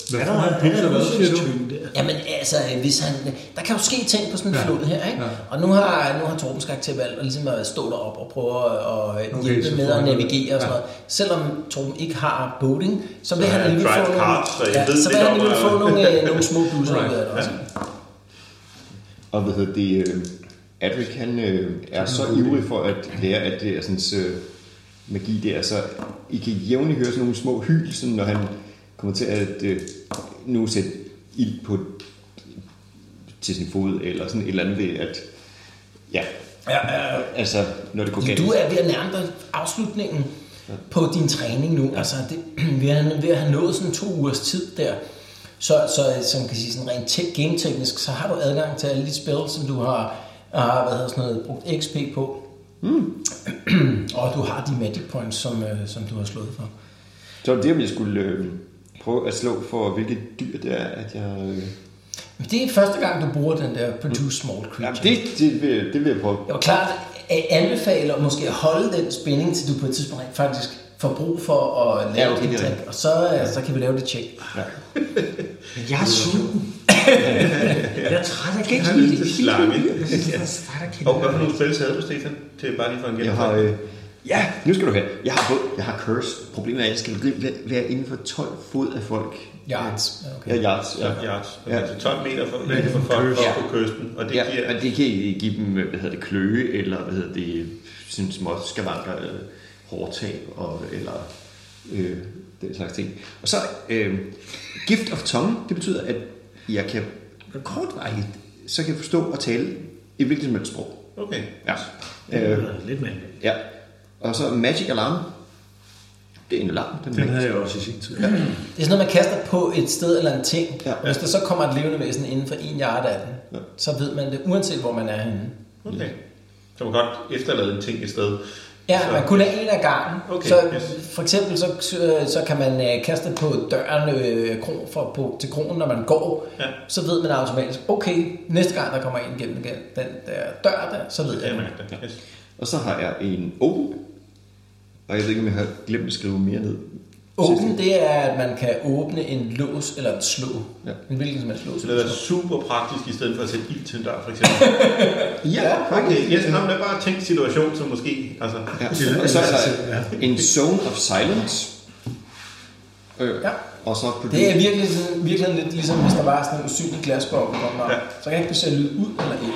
D: Hvad
C: Er
D: får
C: der
D: han plus og hvad, siger du?
B: Jamen altså, hvis han, der kan jo ske ting på sådan en ja. flod her, ikke? Ja. Og nu har, nu har Torbens karakter valgt at, ligesom at stå derop og prøve at, at
D: Okay,
B: hjælpe
D: så
B: med
D: får
B: at
D: han noget.
B: navigere og sådan
D: Ja.
B: noget. Selvom Torben ikke har boating, så vil
F: Så
B: han
F: han
B: alligevel
F: drive
B: få nogle,
F: cart, så I
B: ja,
F: ved
B: så vil han
F: lidt om,
B: alligevel få
F: øh,
B: nogle, øh, nogle små plusser ud af det også.
E: Og hvad hedder det, øh, Adric han øh, er så ivrig for at lære, at det er sådan øh, magi der, så I kan jævnligt høre sådan nogle små hyl, sådan, når han kommer til at øh, nu sætte ild på til sin fod, eller sådan et eller andet ved, at ja,
B: Ja, ja, ja.
E: altså når det går galt.
B: Du er ved at nærme dig afslutningen på din træning nu. Altså, det, vi er ved at have nået sådan to ugers tid der. Så, så som kan sige, sådan rent te- gameteknisk, så har du adgang til alle de spil, som du har, har hvad hedder sådan noget, brugt XP på. Mm. og du har de magic points, som, øh, som du har slået for.
E: Så var det, om jeg skulle øh, prøve at slå for, hvilket dyr det er, at jeg... Øh,
B: Men det er første gang, du bruger den der produce small creature.
E: jamen, det, det, vil, det vil jeg prøve.
B: Jeg var klart at anbefale at måske at holde den spænding, til du på et tidspunkt rent faktisk får brug for at lave
E: Ja, okay,
B: et
E: det er
B: trick, og så, øh, så kan vi lave det tjek.
C: Men jeg er sulten. jeg er træt, jeg kan
F: Jeg
C: ikke
F: har
C: lide
F: lyst til slange.
C: Jeg synes, det er træt, jeg kan
F: Og
C: ikke
F: hvad for
C: lide
F: nogle fælles havde du, Stefan? Til bare lige for en
E: Jeg har
F: gennemgang.
E: øh, Ja, nu skal du have. Jeg har, både, jeg har curse. Problemet er, at jeg skal være- være inden for 12 fod af folk.
B: Yards.
E: Ja, yards. Ja.
F: yards.
E: Ja.
F: Altså 12 meter fra, væk fra folk
E: Ja.
F: op på kysten. Og det
E: Ja,
F: giver...
E: og det kan I give dem, hvad hedder det, kløe, eller hvad hedder det, sådan små skavanker, øh, hårdtab, og, eller øh, den slags ting. Og så øh, gift of tongue, det betyder, at jeg kan kortvarigt, så kan jeg forstå og tale i hvilket som helst sprog.
F: Okay.
E: Ja.
C: Det
E: Øh,
C: lyder lidt mere.
E: ja. Og så magic alarm. Det er en alarm. Den,
D: Den havde jeg også i sin tid.
B: Det er sådan noget, man kaster på et sted eller en ting.
E: Ja.
B: Ja. Hvis der så kommer et levende væsen inden for en yard af den, ja. så ved man det, uanset hvor man er henne.
F: Okay. Så man godt efterlade en ting et sted.
B: Ja,
F: Så-
B: så. man kun er en af gangen.
F: Okay,
B: så
F: yes.
B: For eksempel så, så kan man øh, kaste på døren øh, kron, fra, på, til kronen, når man går.
F: Ja.
B: Så ved man automatisk, okay, næste gang der kommer en gennem den den der dør der, så ved
F: Ja,
B: jeg
F: jeg
B: det.
F: mærker det. Yes.
E: Og så har jeg en open. Og jeg ved ikke, om jeg har glemt at skrive mere ned.
B: Åben, det er, at man kan åbne en lås eller en slå.
E: Ja.
B: Ja. En hvilken som helst lås.
F: Så
B: eller
F: det
B: en
F: er
B: slå.
F: super praktisk, i stedet for at sætte ild til en dør, for eksempel.
E: Ja,
F: Okay, yes, nå, men det er bare en tænkt situation, som måske... Altså,
E: Ja.
D: Eller-
E: Og så er
D: eller-
E: der en zone of silence. Øh,
B: Ja.
E: Og så produce.
B: Det er virkelig, sådan- virkelig lidt ligesom, hvis der var sådan en usynlig glasbogle, der kommer
F: Ja.
B: ja. så kan jeg ikke blive lyd ud eller ind.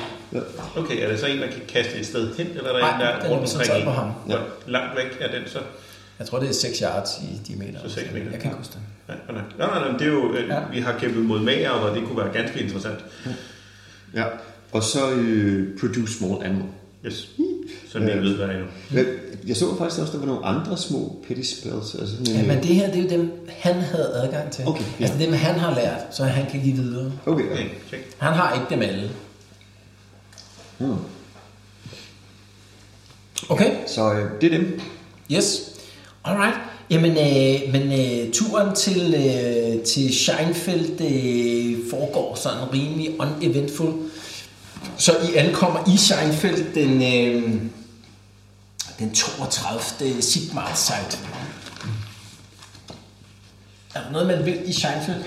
F: okay, er det så en, man kan kaste et sted hen, eller er der
B: Nej,
F: en, der er
B: den er
F: rundt
B: sådan
F: omkring
B: taget
F: en?
B: på ham.
F: Hvor Langt væk er den så?
B: Jeg tror, det er 6 yards i de meter.
F: Så seks meter.
B: Jeg kan ikke huske det.
F: Nej, nej, nej, nej, nej, men det er jo, øh,
B: Ja.
F: vi har kæmpet mod mager, og det kunne være ganske interessant.
E: Ja. Og så øh, produce small animal.
B: Mm.
F: Yes. Så vi
E: Ja.
F: ved, hvad det er nu.
E: Men jeg så faktisk også, der var nogle andre små petty spells. Altså sådan en,
B: Ja, men det her, det er jo dem, han havde adgang til.
E: Okay, ja.
B: Altså dem, han har lært, så han kan give videre.
E: Okay,
F: Okay,
E: okay.
F: check.
B: Han har ikke dem alle.
E: Hmm.
B: Okay,
E: Så øh, det er dem.
B: yes. Alright. Jamen, øh, men øh, turen til, øh, til Scheinfeld øh, foregår sådan rimelig uneventful. Så I ankommer i Scheinfeld den, øh, den 32. Sigmar site. Er der noget, man vil i Scheinfeld?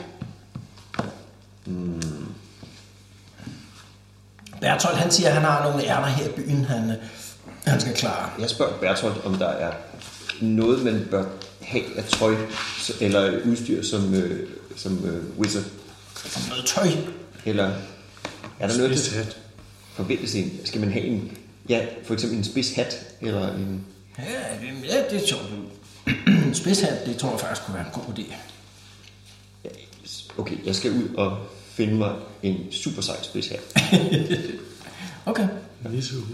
B: Bertolt, han siger, at han har nogle ærner her i byen, han, øh, han skal klare.
E: Jeg spørger Bertolt, om der er noget, man bør have af tøj s- eller udstyr som, øh, som øh, wizard.
B: Noget tøj.
E: Eller er der noget,
G: Spids
E: der
G: hat.
E: forbindes en? Skal man have en, ja, for eksempel en spids hat? Eller en,
B: Ja, det, ja, det er sjovt. En Spidshat, det tror jeg faktisk kunne være en god idé.
E: ja, okay, jeg skal ud og finde mig en super sej spids hat.
B: Okay.
G: Nissehue.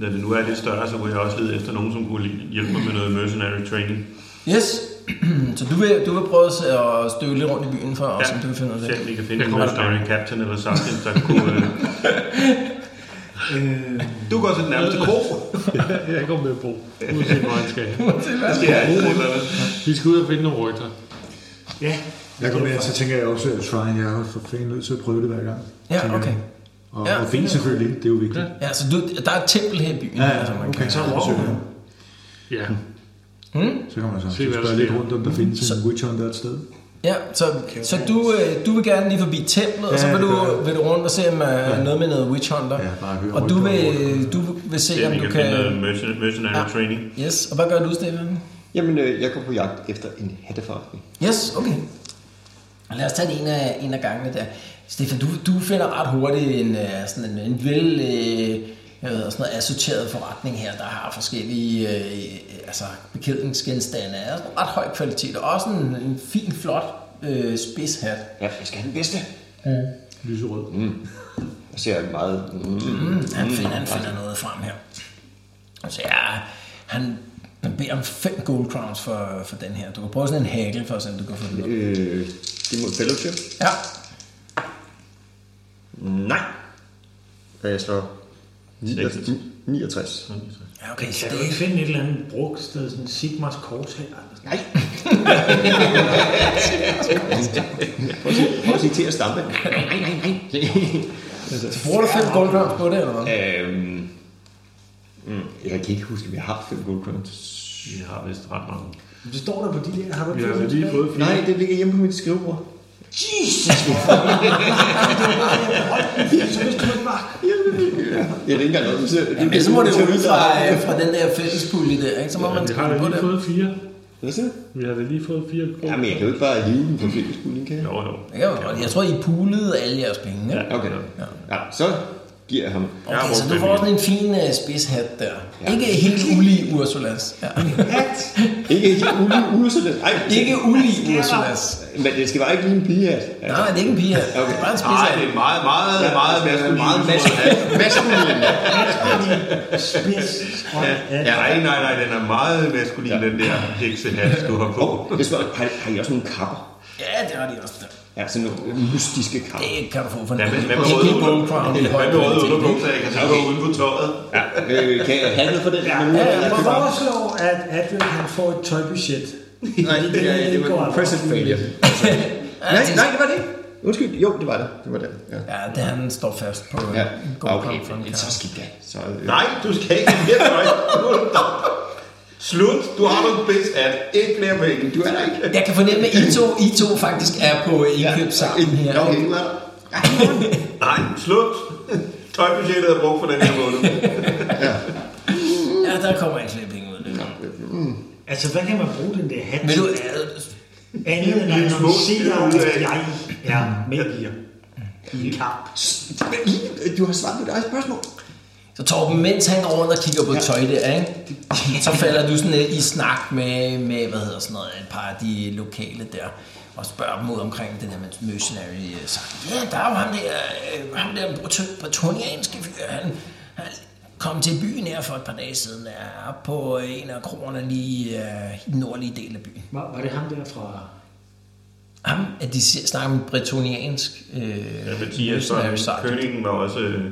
F: Da det nu er lidt større, så kunne jeg også lede efter nogen, som kunne hjælpe mig med noget mercenary training.
B: Yes. så du vil, du vil prøve at se- at støve lidt rundt i byen for, og
F: Ja,
B: så du finder ud af
F: se om
B: det.
F: vi kan finde
G: Jeg
F: en
G: kommer
F: mercenary captain eller sergeant, der kunne... Øh... du går til den nærmeste kro.
G: Jeg går med på. Uanset hvor han skal. hen.
F: Skal jeg altid eller hvad?
G: Vi skal ud og finde nogle rygter.
C: Ja,
D: Jeg kom med, så tænker jeg også, at try and error for fanden nødt til at prøve det hver gang.
B: Ja,
D: tænker
B: okay.
D: jeg. Og,
B: Ja,
D: ja, og
B: fint.
D: fint selvfølgelig, det er jo vigtigt.
B: Ja, så du, der er et tempel her i byen.
D: Ja,
B: altså,
D: ja, okay.
B: kan-
D: Så,
C: rocker
D: søger jeg.
G: Ja.
D: så kan man så
G: Se, hvad der
D: spørge lidt
G: sker.
D: rundt, om der findes en witch hunter et sted.
B: ja så, så du, øh, du vil gerne lige forbi templet, og så
D: Ja,
B: vil
D: det
B: du,
D: gør jeg.
B: vil du rundt og se, om ja. noget med noget witch hunter.
D: Ja, bare høre
B: og du vil,
D: rygter om
B: du vil se,
F: Se om
B: om
F: vi
B: du
F: kan finde
D: øh,
F: noget
B: kan...
F: mercen- mercenary
B: Ja.
F: training.
B: Yes, og hvad gør du, Stefan?
E: Jamen, øh, jeg går på jagt efter en hatteforretning.
B: Yes, okay. Og Lad os tage det en af, en af gangene der. Stefan, du, du finder ret hurtigt en, øh, sådan en, en vel øh, jeg ved, sådan noget assorteret forretning her, der har forskellige øh, altså beklædningsgenstande af sådan ret høj kvalitet, og også en, en fin, flot øh, spidshat.
E: Ja, jeg skal have den bedste. Mm.
D: Lyserød.
E: Jeg ser meget... Mm,
B: Mm, han, finder, han finder noget frem her. Så ja, han, han beder om fem gold crowns for, for den her. Du kan prøve sådan en hækkel for at se, om du kan få den. op.
E: øh, det må fellowship.
B: Ja,
E: Nej. Og jeg slår 69. 69.
B: ja okay. Så
C: kan
B: det er
C: du ikke finde et eller andet brugt sted, sådan Sigmars kors her? eller sådan?
E: Nej. Prøv at sige- prøv at sige til at stampe. Nej, nej, nej, nej.
B: Bruger du fem gold crowns på det, eller hvad?
E: Øhm, mm, jeg kan ikke huske, om jeg har haft fem gold crowns.
F: Vi har vist ret mange.
C: Det står der på de der, har du
G: Vi
C: ikke
G: har
C: fået
G: altså lige
C: det?
G: fået fire.
E: Nej, det ligger hjemme på mit skrivebord.
B: Jesus, hvorfor? Så vidste du ikke bare.
E: Jeg er ikke engang noget, du ser.
B: Jamen, så må det jo ud fra, øh, fra den der fællespulje der, ikke? Så må man
G: Vi har
B: skrive
G: da
B: på
G: lige
B: det.
G: fået fire.
E: Hvad siger du?
G: Vi har da lige fået fire kroner.
E: Jamen, jeg kan jo ikke bare hive den på fællesbullen, kan jeg?
F: Jo, jo.
B: Det kan jo godt. Jeg tror, I poolede alle jeres penge, ikke?
E: Okay. Ja, så giver jeg ham.
F: Jeg har
B: Okay, så
F: brugt
B: du
F: dem
B: får
F: hele.
B: sådan en fin uh, spidshat der. Ikke helt ulig Ursulas. Ja.
E: Ikke helt ulig udsættet. Nej,
B: ikke ulig Ursulas.
E: men det skal bare ikke lige en pigehat. Ja.
B: Nej, det er ikke en pigehat. Det er bare en
F: Nej,
B: spidshat.
F: det er meget, meget, meget maskulin.
E: Meget maskulin. maskulin.
C: Spids. Ja.
F: Ja, nej, nej, nej, den er meget maskulin, ja. den der heksehat, du har på.
E: Det spørger, har, har I også nogle kapper?
B: Ja, det har de også der.
E: Ja, sådan nogle mystiske kapper.
B: Det kan du få for en
F: Ja, men hvad med
B: Det er
F: røde
B: ikke Gold Crown i
F: underbukser? Hvad
B: høj
F: med røde
B: kvalitet.
F: underbukser? Jeg kan tage uden på tøjet.
E: Ja, øh, kan jeg have noget for den? Ja,
C: Ja, jeg foreslår, at Adrian han får et tøjbudget.
E: Nej, det, er, det var en present failure. nej, nej, det var det. ikke. Undskyld, jo, det var det. Det var det, ja.
B: Ja, det han står fast på
E: Ja, Ah,
B: en Gold
E: okay,
B: Crown for en
E: men så
B: kaffe.
E: skidt da. Så, øh,
F: Nej, du skal ikke have mere tøj. Nu er du dog. Slut. Du har noget bedst at ikke flere penge.
E: du er der ikke.
B: Jeg kan fornemme, at I to, I to faktisk er på indkøb sammen her.
E: Ja, okay, du er der.
F: Nej, slut. Tøjbudgettet er brugt for den her måned.
B: Ja, der kommer ikke flere penge ud. af det.
C: Altså, hvad kan man bruge den der hat
B: Vil du, øh,
C: til? Andet end at
F: Lidt små
C: annoncere,
F: ud af-
C: at jeg er med i jer. I en kamp.
E: Men I- Du har svaret på dit eget spørgsmål.
B: så Torben, mens han går rundt og kigger på tøj der, ikke? så falder du sådan lidt i snak med, med hvad hedder sådan noget, et par af de lokale der, og spørger dem ud omkring den her med mercenary øh, sang. Ja, der er jo ham der, øh, ham der brut- bretonianske fyr, han, han kom til byen her for et par dage siden, er oppe på øh, en af kroerne lige øh, i den nordlige del af byen.
C: Var, var det ham der fra...
B: Ham, at de siger- snakker om bretoniansk øh,
F: Ja, Mathias
B: mercenary
F: og
B: sergeant.
F: Køningen var også øh,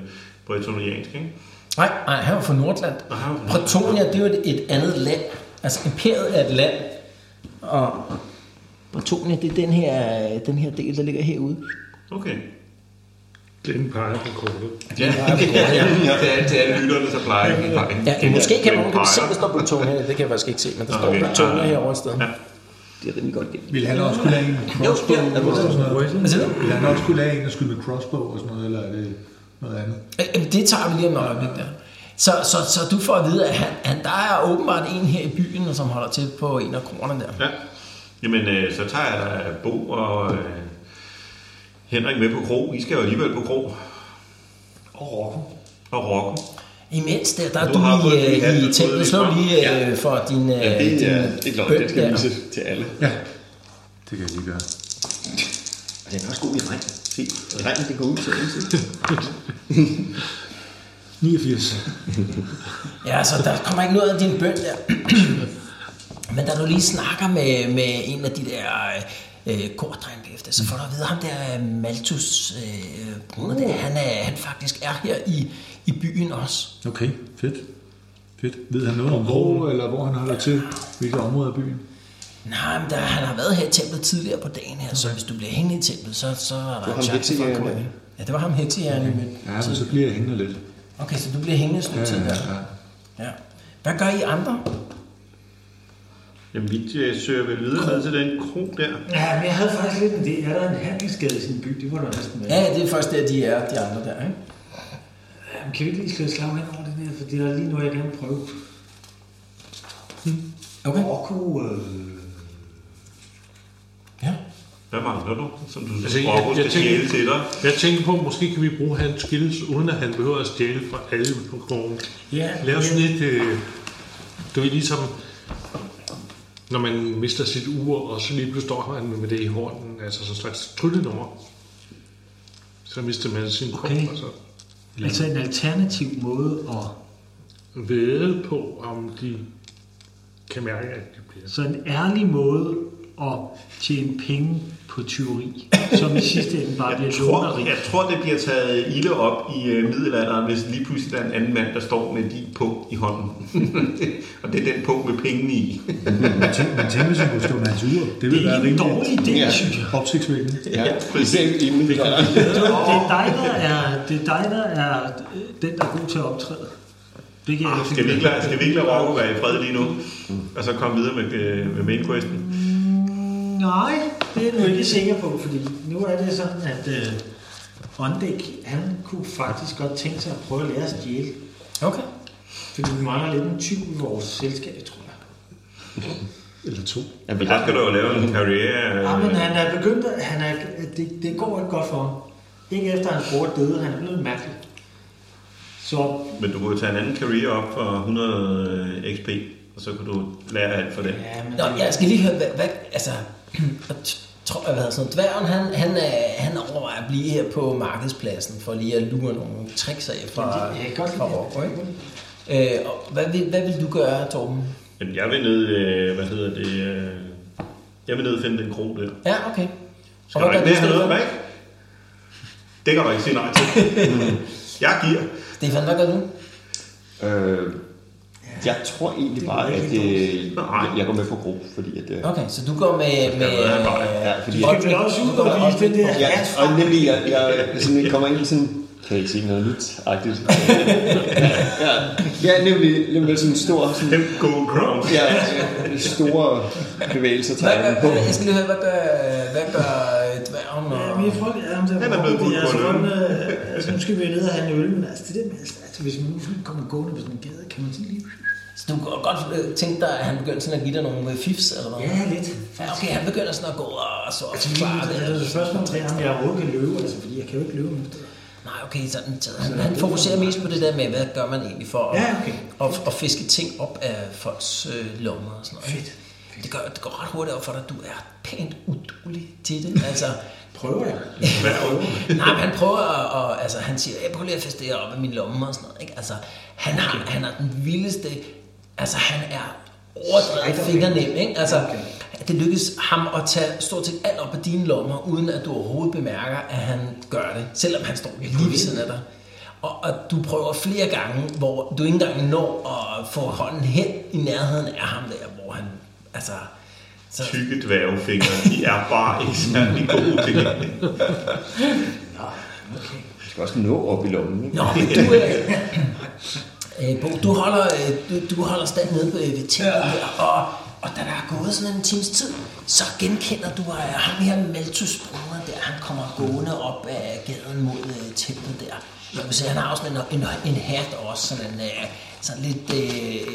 F: bretoniansk, ikke?
B: Nej, nej, han var fra Nordland.
F: han var fra
B: Bretonia, det er jo et, et andet land. Altså, imperiet er et land. Og Bretonia, det er den her, den her del, der ligger herude.
F: Okay.
G: Glenn peger på kortet.
F: Ja, det er til Altså, alle lytterne, så plejer jeg.
B: Ja, måske kan man
F: Den
B: kan se,
F: peger.
B: der står Bretonia. Det kan jeg faktisk ikke se, men der står
F: Okay.
B: Bretonia herovre et sted.
F: Ja.
E: Det er rimelig godt gennem.
D: Vil han også kunne lade en med crossbow?
B: ja, er
D: og
B: det-
D: sådan noget?
B: Hvad siger du?
D: Vil han også kunne lade en at skyde med crossbow og sådan noget, eller er det noget andet?
B: Øh, Jamen, det tager vi lige om et øjeblik der. Så, så, så du får at vide, at han, han, der er åbenbart en her i byen, som holder til på en af kronerne der.
F: Ja. Jamen, øh, så tager jeg da Bo og øh, Henrik med på kro. I skal jo alligevel på kro.
C: Og Rocco.
F: Og Rocco.
B: Imens der, der er
F: Du
B: du,
F: har
B: du
F: fået en
B: i,
F: ny hat,
B: øh,
F: du
B: i
F: har
B: templet.
F: fået
B: Slå
F: lidt
B: lige øh, for din, øh,
E: Ja, det
B: din
E: er,
B: øh,
E: det er klart,
B: bøn
E: det skal
B: der.
E: vises til alle.
D: Ja. Det kan jeg lige gøre.
E: Og den er også god i regn. Se, regnen det går ud til alle sider.
D: 89.
B: Ja, så der kommer ikke noget af din bøn der. Men da du lige snakker med, med en af de der øh, kordrenge efter, så får du at vide, ham der øh, Malthus, øh, bruder der, han, er, han faktisk er her i, i byen også.
D: Okay, fedt. Fedt. Ved han noget om hvor, eller hvor han holder til? Hvilke områder af byen?
B: Nej, men der, han har været her i templet tidligere på dagen her, okay. så hvis du bliver hængende i templet, så, så er der
E: ham
B: en chance for at komme
E: heksejægeren,
B: ind. Ja, det var ham heksejæren, okay.
D: Ja, men så bliver jeg hængende lidt.
B: okay, så du bliver hængende et stykke
D: Ja,
B: tid
D: ja,
B: der.
D: ja.
B: Ja. Hvad gør I andre?
F: Jamen, vi øh, søger vel videre ned til den kro der.
C: Ja, men jeg havde faktisk lidt en idé. Er der en handelsgade i sin by? Det var der næsten med.
B: Ja, det er først der, de er, de andre der, ikke?
C: Jamen, kan vi ikke lige slå et slag hen over det der? For det er lige noget, jeg gerne vil prøve.
B: Okay,
C: Rocco... Øh...
B: ja.
F: Hvad mangler du, som du altså,
G: Altså, jeg-
F: Rocco skal
G: jeg
F: stjæle
G: tænker-
F: til dig?
G: Jeg tænker på, måske kan vi bruge hans skills, uden at han behøver at stjæle fra alle på krogen.
C: Ja,
G: Lav sådan
C: ja.
G: et... Øh, du ved ligesom, når man mister sit ur, og så lige pludselig står han med det i hånden, altså sådan en slags tryllenummer. Så mister man sin krog,
C: Okay.
G: og så
C: Altså en alternativ måde at...
G: væde på, om de kan mærke, at de bliver...
C: Så en ærlig måde at tjene penge på tyveri, som i sidste ende bare
F: Jeg
C: bliver
F: tror,
C: låneri.
F: jeg tror, det bliver taget ilde op i øh, middelalderen, hvis lige pludselig der er en anden mand, der står med de på i hånden. og det er den på med pengene i.
D: Man tænker, man tænker, hvis han kunne stå med hans ur. Det
C: Det
D: ville
C: er
D: være
C: ikke en
D: rimelig
C: dårlig idé,
E: Ja.
C: synes jeg.
D: opsigtsvækkende.
E: Ja, især i middelalderen.
C: Det er dig, der er, det er, dig, der er øh, den, der er god til at optræde. Det kan jeg ikke
F: Ah, Skal vi ikke
C: finde.
F: lade, skal vi ikke lade Rocco være i fred lige nu? Og så komme videre med, øh, med main questen?
C: Nej, det er jeg nu ikke sikker på, fordi nu er det sådan, at øh, Ondæk, han kunne faktisk godt tænke sig at prøve at lære at stjæle.
B: Okay.
C: Fordi vi mangler lidt en tyv i vores selskab, tror jeg.
D: Eller to.
H: Ja,
F: Men der skal du jo lave en øh, karriere.
C: Ja, Ah, men han er begyndt at, han er, det, det går ikke godt for ham. Ikke efter hans bror døde, han er blevet mærkelig. Så
F: Men du kunne jo tage en anden karriere op for 100 XP, og så kunne du lære alt for det.
C: ja, men
B: Nå, jeg skal lige høre, hvad, hvad altså, og t- tror jeg, hvad sådan noget. dværgen, han, han, er, han overvejer at blive her på markedspladsen, for lige at lure nogle tricks af fra,
C: jeg kan godt
B: fra
C: lide det.
B: Rocco, ikke? Øh, og hvad, vil, hvad vil du gøre, Torben?
F: Jamen, jeg vil ned, øh, hvad hedder det, øh, jeg vil ned og finde den kro der.
B: Ja, okay.
F: Skal du
B: hvad gør
F: ikke ned og have
B: Stefan?
F: noget bag? Det kan du ikke sige nej til. jeg giver.
B: Stefan, hvad gør du?
H: Øh, jeg tror egentlig bare, at øh, jeg- jeg går med på gruppe, fordi at... Øh,
B: Okay, så du går med... med øh,
F: jeg er bare-
H: ja, fordi,
C: skal vel også ud og vise det der.
H: ja, og nemlig, jeg, jeg, sådan, jeg kommer ind i sådan, kan I se noget nyt? Agtigt. ja, ja, nemlig, nemlig sådan en stor, sådan,
F: Dem gold crowns.
H: ja, øh, store bevægelser
B: Hvad
H: tager jeg
B: gør,
H: på.
B: jeg skal lige høre, hvad gør, hvad gør øh, dværgen?
C: Ja,
B: Og...
C: men jeg tror, at han
F: Han er blevet budt på en øl.
C: Altså, nu skal vi ned og have en øl, men altså, det der med, altså, hvis man nu sådan kommer gående på sådan en gade, kan man sådan lige...
B: Så du kunne godt øh, tænke dig, at han begyndte sådan at give dig nogle øh, fifs, eller hvad?
C: Ja, lidt.
B: Ja, okay, han begynder sådan at gå og så og
C: Altså, lige,
B: forklare
C: altså, det er
B: det.
C: et spørgsmål til, om jeg overhovedet kan løbe, altså, fordi jeg kan jo ikke løbe nu.
B: Nej, okay, sådan, så han, han fokuserer mest på det der med, hvad gør man egentlig for at,
C: Altså, Ja, okay.
B: at, at fiske ting op af folks øh, lommer og sådan noget.
C: Fedt.
B: Det, gør, det går ret hurtigt op for dig, du er pænt udulig til det. Altså,
C: Prøver jeg?
B: nej, men han prøver at, og, altså, han siger, jeg prøver lige at feste det her op af min lomme og sådan noget. Ikke? Altså, han har, han har den vildeste, altså han er overdrevet
C: Spider-Man.
B: fingernem, ikke? Altså, det lykkes ham at tage stort set alt op af dine lommer, uden at du overhovedet bemærker, at han gør det, selvom han står lige ved siden af dig. Og, og du prøver flere gange, hvor du ikke engang når at få hånden hen i nærheden af ham der, hvor han, altså... Så,
F: Tykke dværgefingre, de er bare ikke særlig gode til det.
H: Jeg skal også nå op i lommen, ikke?
B: Nå, men du, øh, øh, Bo, du holder, øh, du, du holder stand nede øh, ved, ved tingene der, og, og da der er gået sådan en times tid, så genkender du øh, ham her Malthus bror der, han kommer gående op af gaden mod øh, templet der. Du kan se, han har også sådan en, en, en hat også, sådan en øh, sådan lidt øh,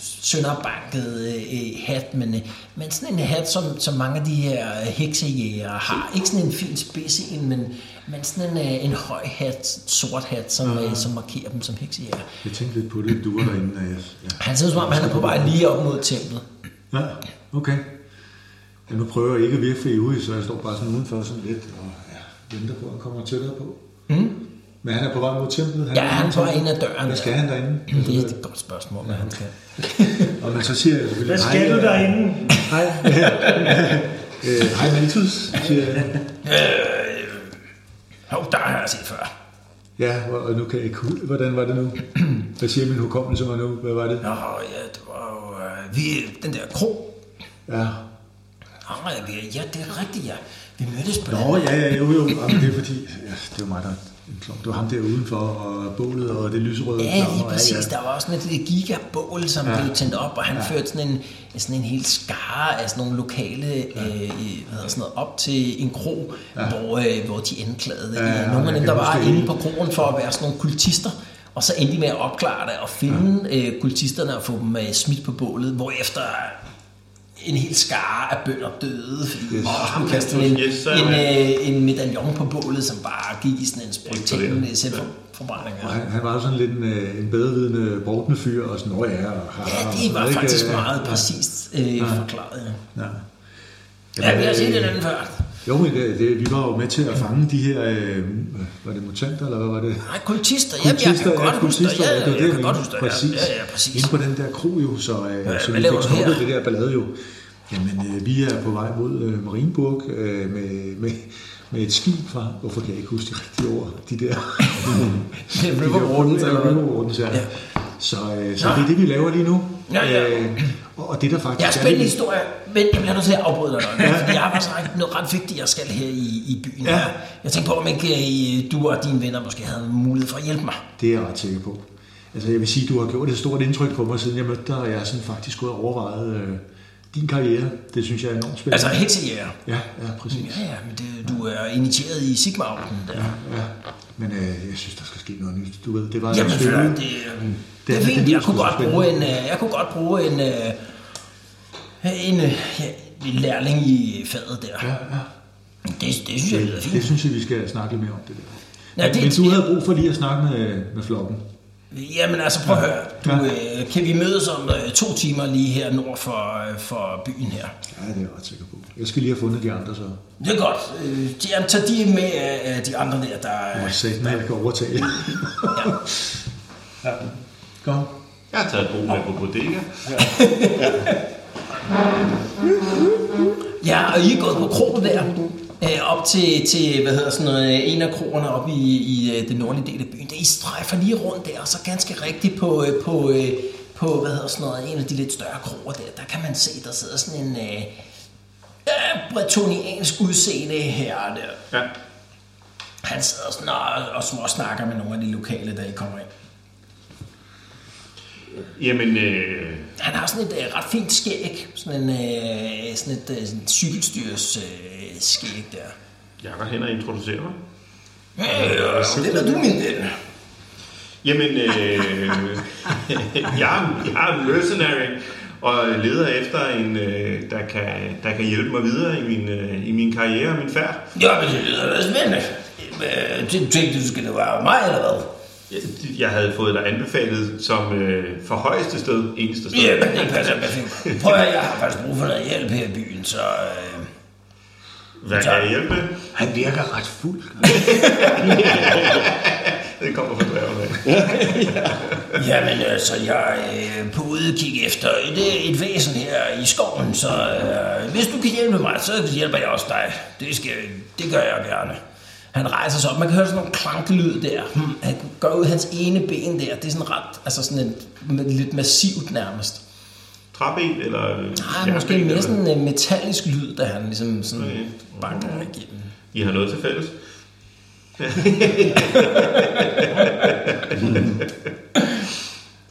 B: sønderbanket øh, hat, men, øh, men sådan en hat, som, som mange af de her heksejæger har. Ikke sådan en fin spids en, men, men sådan en, øh, en høj hat, sort hat, som, øh, som markerer dem som heksejæger.
D: Jeg tænkte lidt på det, du var derinde. og jeg- Ja.
B: Han ser ud som om, han er på vej lige op mod templet.
D: Ja, okay. Ja, nu prøver jeg ikke at virke for ivrig, så jeg står bare sådan udenfor sådan lidt og ja, venter på, at han kommer tættere på. Mm. Men han er på vej mod templet. Han
B: Ja, han er på vej ind ad døren.
D: Hvad skal han derinde?
B: Det er et godt spørgsmål, hvad han skal.
D: Og men så siger jeg selvfølgelig,
C: Hvad skal
D: hej,
C: du
D: øh,
C: derinde? Hej.
D: Øh, hej Malthus, siger jeg.
B: Hov, der har jeg set før.
D: Ja, og og nu kan jeg ikke huske, hvordan var det nu? Hvad siger min hukommelse mig nu? Hvad var det?
B: Nå, ja, det var jo... Øh, vi, den der kro,
D: Ja.
B: Nå, ja, vi- ja, det er rigtigt, ja. Vi mødtes på
D: Nå,
B: den.
D: ja, ja, jo, jo. Jamen, det er fordi, ja, det var mig, der det var ham der udenfor, og bålet, og det lyserøde.
B: Ja, lige præcis. Der var også sådan et lille gigabål, som ja. blev tændt op, og han ja. førte sådan en, sådan en hel skare af sådan nogle lokale ja. øh, i- hvad hedder sådan noget, op til en kro, ja. hvor, øh, hvor de anklagede ja,
D: ja,
B: ja, nogle af
D: jeg
B: dem,
D: kan
B: der var
D: huske det
B: inde
D: hele.
B: på kroen for at være sådan nogle kultister. Og så endte de med at opklare det og finde ja. øh, kultisterne og få dem øh, smidt på bålet, hvorefter en hel skare af bønder døde, fordi yes.
D: Yes.
B: ham kastede en,
F: Yes, så er
B: en,
F: man-
B: øh, en medaljon på bålet, som bare gik i sådan en øh, sprøjtændende selvforbrænding.
D: Og han, han var jo sådan lidt en, øh, en bedrevidende, brugtende fyr, og sådan, åh ja, og har,
B: Ja, det var faktisk
D: øh,
B: meget præcist øh, forklaret. ja.
D: Ja.
B: Ja,
D: øh,
B: vi har set det den før.
D: Jo, men det, det, vi var jo med til at fange de her, øh, var det mutanter, eller hvad var det?
B: Nej, kultister. Ja, jeg kan godt huske det. Ja,
D: ja, det var
B: jeg
D: det, jeg
B: kan godt
D: mente.
B: huske det.
D: præcis.
B: Ja, ja, præcis.
D: Inde på den der kro jo, så, øh,
B: Ja,
D: så
B: hvad
D: vi
B: laver
D: fik
B: du
D: stoppet
B: her?
D: det der ballade jo. Jamen, øh, vi er på vej mod øh, Marienburg øh, med, med, med et skib fra, hvorfor kan jeg ikke huske de rigtige ord, de der...
B: Det er Riverwaters, eller hvad?
D: Riverwardens, ja.
B: Ja.
D: ja. Så, øh, så
B: Nå.
D: det er det, vi laver lige nu.
B: Ja, ja.
D: Øh, og, og det der faktisk
B: Jeg har spændende
D: lidt-
B: historie, men jeg bliver nødt til at afbryde dig nok, fordi jeg har faktisk ret- noget ret vigtigt, jeg skal her i, i byen.
D: Ja.
B: Jeg tænker på, om ikke øh, du og dine venner måske havde mulighed for at hjælpe mig.
D: Det er jeg ret sikker på. Altså jeg vil sige, du har gjort et stort indtryk på mig, siden jeg mødte dig, og jeg har sådan faktisk gået og overvejet, øh, din karriere, det synes jeg er enormt spændende.
B: Altså heksejæger.
D: Ja, ja, præcis.
B: Ja, ja, men det, du er initieret i sigma der. Ja,
D: Ja. Men øh, jeg synes, der skal ske noget nyt. Du ved, det var
B: Jamen,
D: en
B: det,
D: sølle-
B: det, det er
D: det
B: fint.
D: lyder
B: Jeg kunne
D: sgu
B: godt
D: spændende.
B: bruge en, øh, jeg kunne godt bruge en, øh, en, øh, ja, en lærling i faget der.
D: Ja, ja.
B: Det, det synes jeg lyder
D: Det, det
B: fint.
D: synes jeg, vi skal snakke lidt mere om det der.
B: Ja, det-
D: Men du havde brug for lige at snakke med, med flokken.
B: Jamen altså, prøv at høre. Du, øh, kan vi mødes om øh, to timer lige her nord for, øh, for byen her?
D: Ja, det er jeg ret sikker på. Jeg skal lige have fundet de andre, så jeg
B: Det er godt. Øh, de- jamen, tag de med øh, de andre der, der...
D: må sætte jeg kan overtale.
B: Ja.
D: Kom.
F: Jeg har taget et brug med på bodega.
B: Ja, og I er gået på kroen der, øh, op til, til hvad hedder sådan noget, øh, en af kroerne op i, i øh, den nordlige del af byen. Der I strejfer lige rundt der, og så ganske rigtigt på, øh, på, øh, på hvad hedder sådan noget, en af de lidt større kroer der, der kan man se, der sidder sådan en øh, øh, bretoniansk udseende herre der.
F: Ja.
B: Han sidder sådan og, og småsnakker med nogle af de lokale, der I kommer ind.
F: Jamen, øh,
B: Han har sådan et øh, ret fint skæg, sådan, en, øh, sådan et øh, sådan et cykelstyrs øh, skæg der.
F: jeg går hen og introducerer mig.
B: Øh, det er du, min ven.
F: Jamen, øh, jeg, er- jeg er mercenary og leder efter en, øh, der, kan, der kan hjælpe mig videre i min, øh, i min karriere og min færd.
B: Ja, men det lyder da spændende. Øh, det- Tænkte du, skulle det være mig, eller hvad?
F: Jeg- Jeg havde fået dig anbefalet som øh, for højeste sted, eneste sted.
B: Ja, men det passer perfekt. Prøv at høre, jeg har faktisk brug for noget hjælp her i byen, så... Øh,
F: Hvad kan jeg hjælpe med?
D: Han virker ret fuld.
F: Det kommer fra dværgen af.
B: jamen, øh, så jeg er øh, på udkig efter et, et væsen her i skoven, så øh, hvis du kan hjælpe mig, så hjælper jeg også dig. Det, skal, det gør jeg gerne. Han rejser sig op. Man kan høre sådan nogle klankelyd der. Hmm, Han går ud hans ene ben der. Det er sådan ret, altså sådan en, lidt massivt nærmest.
F: Træben eller... øh,
B: Nej,
F: jernben,
B: måske mere
F: eller-
B: sådan en metallisk lyd, da han ligesom sådan
F: Okay.
B: banker igennem.
F: I har noget til fælles?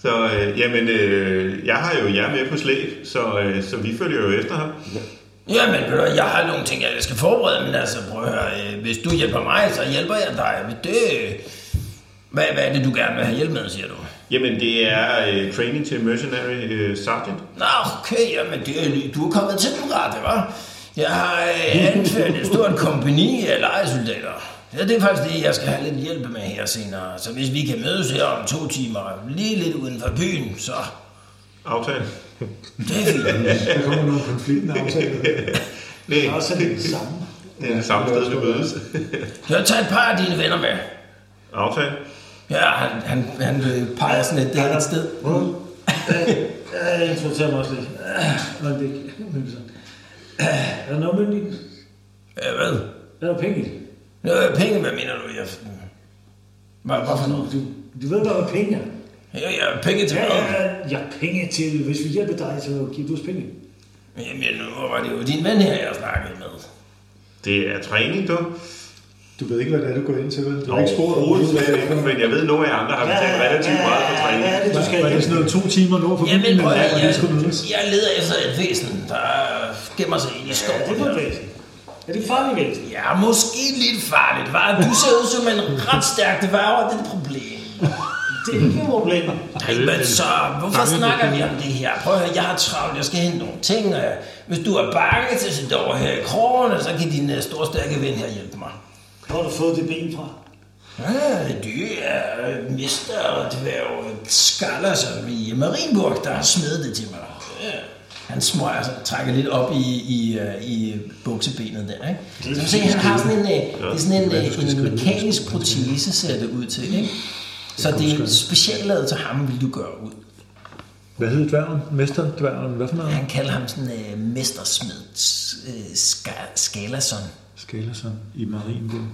F: så øh, jamen, øh, jeg har jo jer med på slæb, så, øh, så vi følger jo efter ham.
B: Jamen, ved du, hvad, jeg har nogle ting, jeg skal forberede, men altså, prøv at høre, øh, hvis du hjælper mig, så hjælper jeg dig. Det, hvad, hvad er det, du gerne vil have hjælp med, siger du?
F: Jamen, det er øh, training til mercenary øh, sergeant.
B: Nå, okay, jamen, det, er- du er kommet til den rette, hva'? Jeg har øh, anført et stort kompani af lejesoldater. Ja, det er faktisk det, jeg skal have lidt hjælp med her senere. Så hvis vi kan mødes her om to timer, lige lidt uden for byen, så
F: Aftale.
B: det er fint.
D: Der kommer nogle konfliktende aftaler.
F: Nej,
C: Og så er det det samme.
F: det er det samme sted, vi mødes.
B: Så tag et par af dine venner med.
F: Aftale.
B: Ja, han, han, han øh, peger sådan et, et sted.
C: Jeg introducerer mig også lidt. Øh, Og det Øh, Er der noget med din?
B: Ja, Øh, hvad?
C: Er der penge i det?
B: Nå, øh, penge, hvad mener du? Jeg... Hvad, hvad for noget?
C: Du, du ved, der er penge. er.
B: Ja, ja, penge til
C: Ja,
B: hvad?
C: ja, ja, ja, penge til, hvis vi hjælper dig, så giver du os penge.
B: Jamen, nu var det jo din ven her, jeg snakkede med.
F: Det er træning, du.
D: Du ved ikke, hvad det er, du går ind til, vel? Du har ikke spurgt
F: Overhovedet slet ikke, men jeg ved, at nogle af jer andre har betalt relativt meget for
C: Hvad
F: træning.
C: er det, du skal
D: Var det sådan noget to timer nord for
B: Jamen, prøv at
D: eller
B: høre,
D: hvor
B: jeg,
D: det skulle mødes?
B: jeg leder efter et væsen, der gemmer sig ind i
C: Ja, det er
B: skoven.
C: for et væsen. Er det farligt væsen?
B: Ja, måske lidt farligt, var. Du ser ud som en ret stærk dværg, og det er et problem.
C: Det er ikke et problem.
B: Nej, men så, hvorfor snakker vi om det her? Prøv at høre, jeg har travlt, jeg skal hente nogle ting. og Hvis du er bange til at sidde over her i krogene, så kan din øh, storstærke ven her hjælpe mig.
C: Hvor har du fået det ben fra?
B: Ah, du er øh, mester dværg øh, Skaller, som i Marienburg, der har smedet det til mig. Ja. Han smøger sig, trækker lidt op i, i, øh, i buksebenet der, ikke? Så du kan se, han har sådan en, øh, det er sådan en, øh, en mekanisk protese, ser det ud til, ikke? Så det er specielt lavet til ham, vil du gøre ud.
D: Hvad hed dværgen? Mester dværgen? Hvad for noget?
B: Han kalder ham sådan øh, mestersmed øh, Ska- Skalason.
D: Skalerson i Marienborg.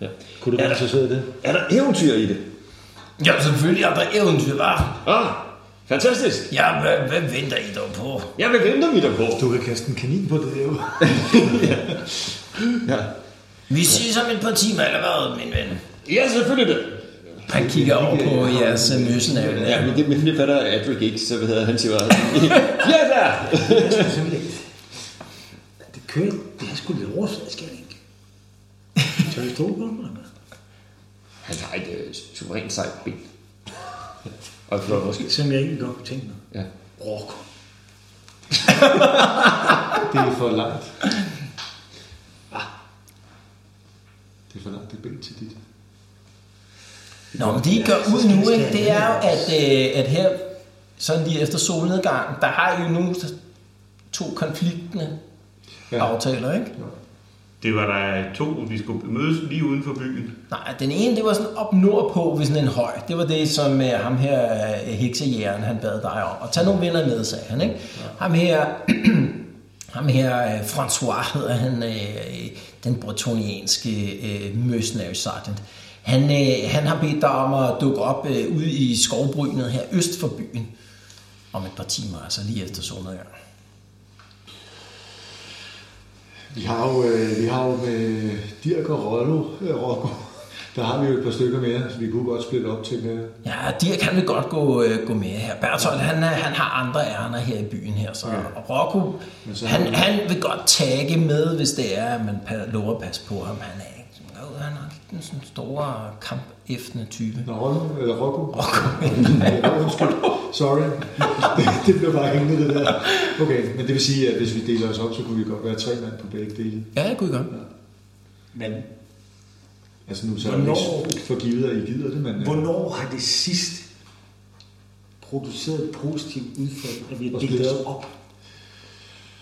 D: Ja. Kunne du være interesseret i det?
H: Er der eventyr i det?
B: Ja, selvfølgelig er der eventyr, var.
H: Ah, fantastisk.
B: Ja, hvad, hvad venter I dog på?
H: Ja, hvad venter vi der på?
D: Du kan kaste en kanin på det, jo.
H: Ja.
B: Vi ses om et par timer, eller hvad, min ven?
H: ja, selvfølgelig det.
B: Han kigger over på jeres øh, møssenavle.
E: Ja, men det, men det fatter Adric ikke, så hvad hedder han siger bare, ja der!
C: Det er simpelthen ikke. Det kører, det er sgu lidt overfladisk, er det ikke? Tør vi stå på den, eller?
E: Han har et øh, suverænt sejt ben. Og et flot måske.
C: Som jeg ikke godt kunne tænke mig.
E: Ja.
C: Brok.
D: Det er for langt. Det er for langt, det ben til dit.
B: Nå, men det I gør ud nu, ikke, det er jo, at, øh, at her, sådan lige efter solnedgangen, der har I jo nu to konfliktende ja. aftaler, ikke?
F: Det var der to, vi skulle mødes lige uden for byen.
B: Nej, den ene, det var sådan op nordpå ved sådan en høj. Det var det, som øh, ham her øh, heksejægeren, han bad dig om. Og tag nogle venner med, sagde han, ikke? Ham her, ham her øh, François hedder han, øh, den bretonianske øh, mercenary sergeant. Han, øh, han har bedt dig om at dukke op øh, ude i skovbrynet her øst for byen. Om et par timer, altså lige efter solnedgang.
D: Vi har jo, øh, vi har jo med Dirk og Rollo, øh, Rocco, der har vi jo et par stykker mere, så vi kunne godt splitte op til her.
B: Ja, Dirk han vil godt gå, øh, gå med her. Bertolt han, er- han har andre ærner her i byen her. Så. Og Rocco,
D: så har
B: han,
D: vi-
B: han vil godt tagge med, hvis det er, at man pa- lover at passe på ham. Han er ikke sådan, "Åh, han er ikke den sådan store kampæftende type.
D: Nå, Rollo, eller Rocco. Rocco. Undskyld. Sorry. Det, det blev bare hængende, det der. Okay, men det vil sige, at hvis vi deler os op, så kunne vi godt være tre mand på begge dele.
B: Ja, det kunne I godt.
C: Men
D: Altså nu så er det
C: Hvornår-
D: ikke for givet, at I gider det, men... øh,
C: hvornår har det sidst produceret et positivt udfald, at vi har
D: Og
C: delt
D: splittet.
C: os op?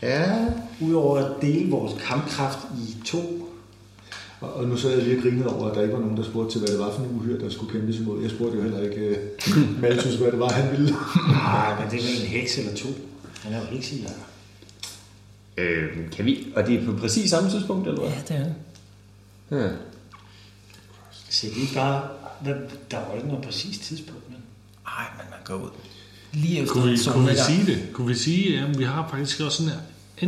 D: Ja,
C: Udover at dele vores kampkraft i to,
D: Og, og nu sad jeg lige og grinede over, at der ikke var nogen, der spurgte til, hvad det var for en uhyr, der skulle kæmpes imod. Jeg spurgte jo heller ikke uh, Malthus, hvad det var, han ville.
C: nej, men det er vel en heks eller to. Han er jo heksejæger.
E: Øh, kan vi? Og det er på præcis samme tidspunkt, eller hvad?
B: Ja, det er det.
E: Ja.
C: Så vi ikke bare, hvad, der var ikke noget præcist tidspunkt, men
B: Ej, men man går ud. Lige efter
G: Kunne vi, kunne vi
B: solnedgang.
G: sige det? Kunne vi sige, at vi har faktisk også sådan her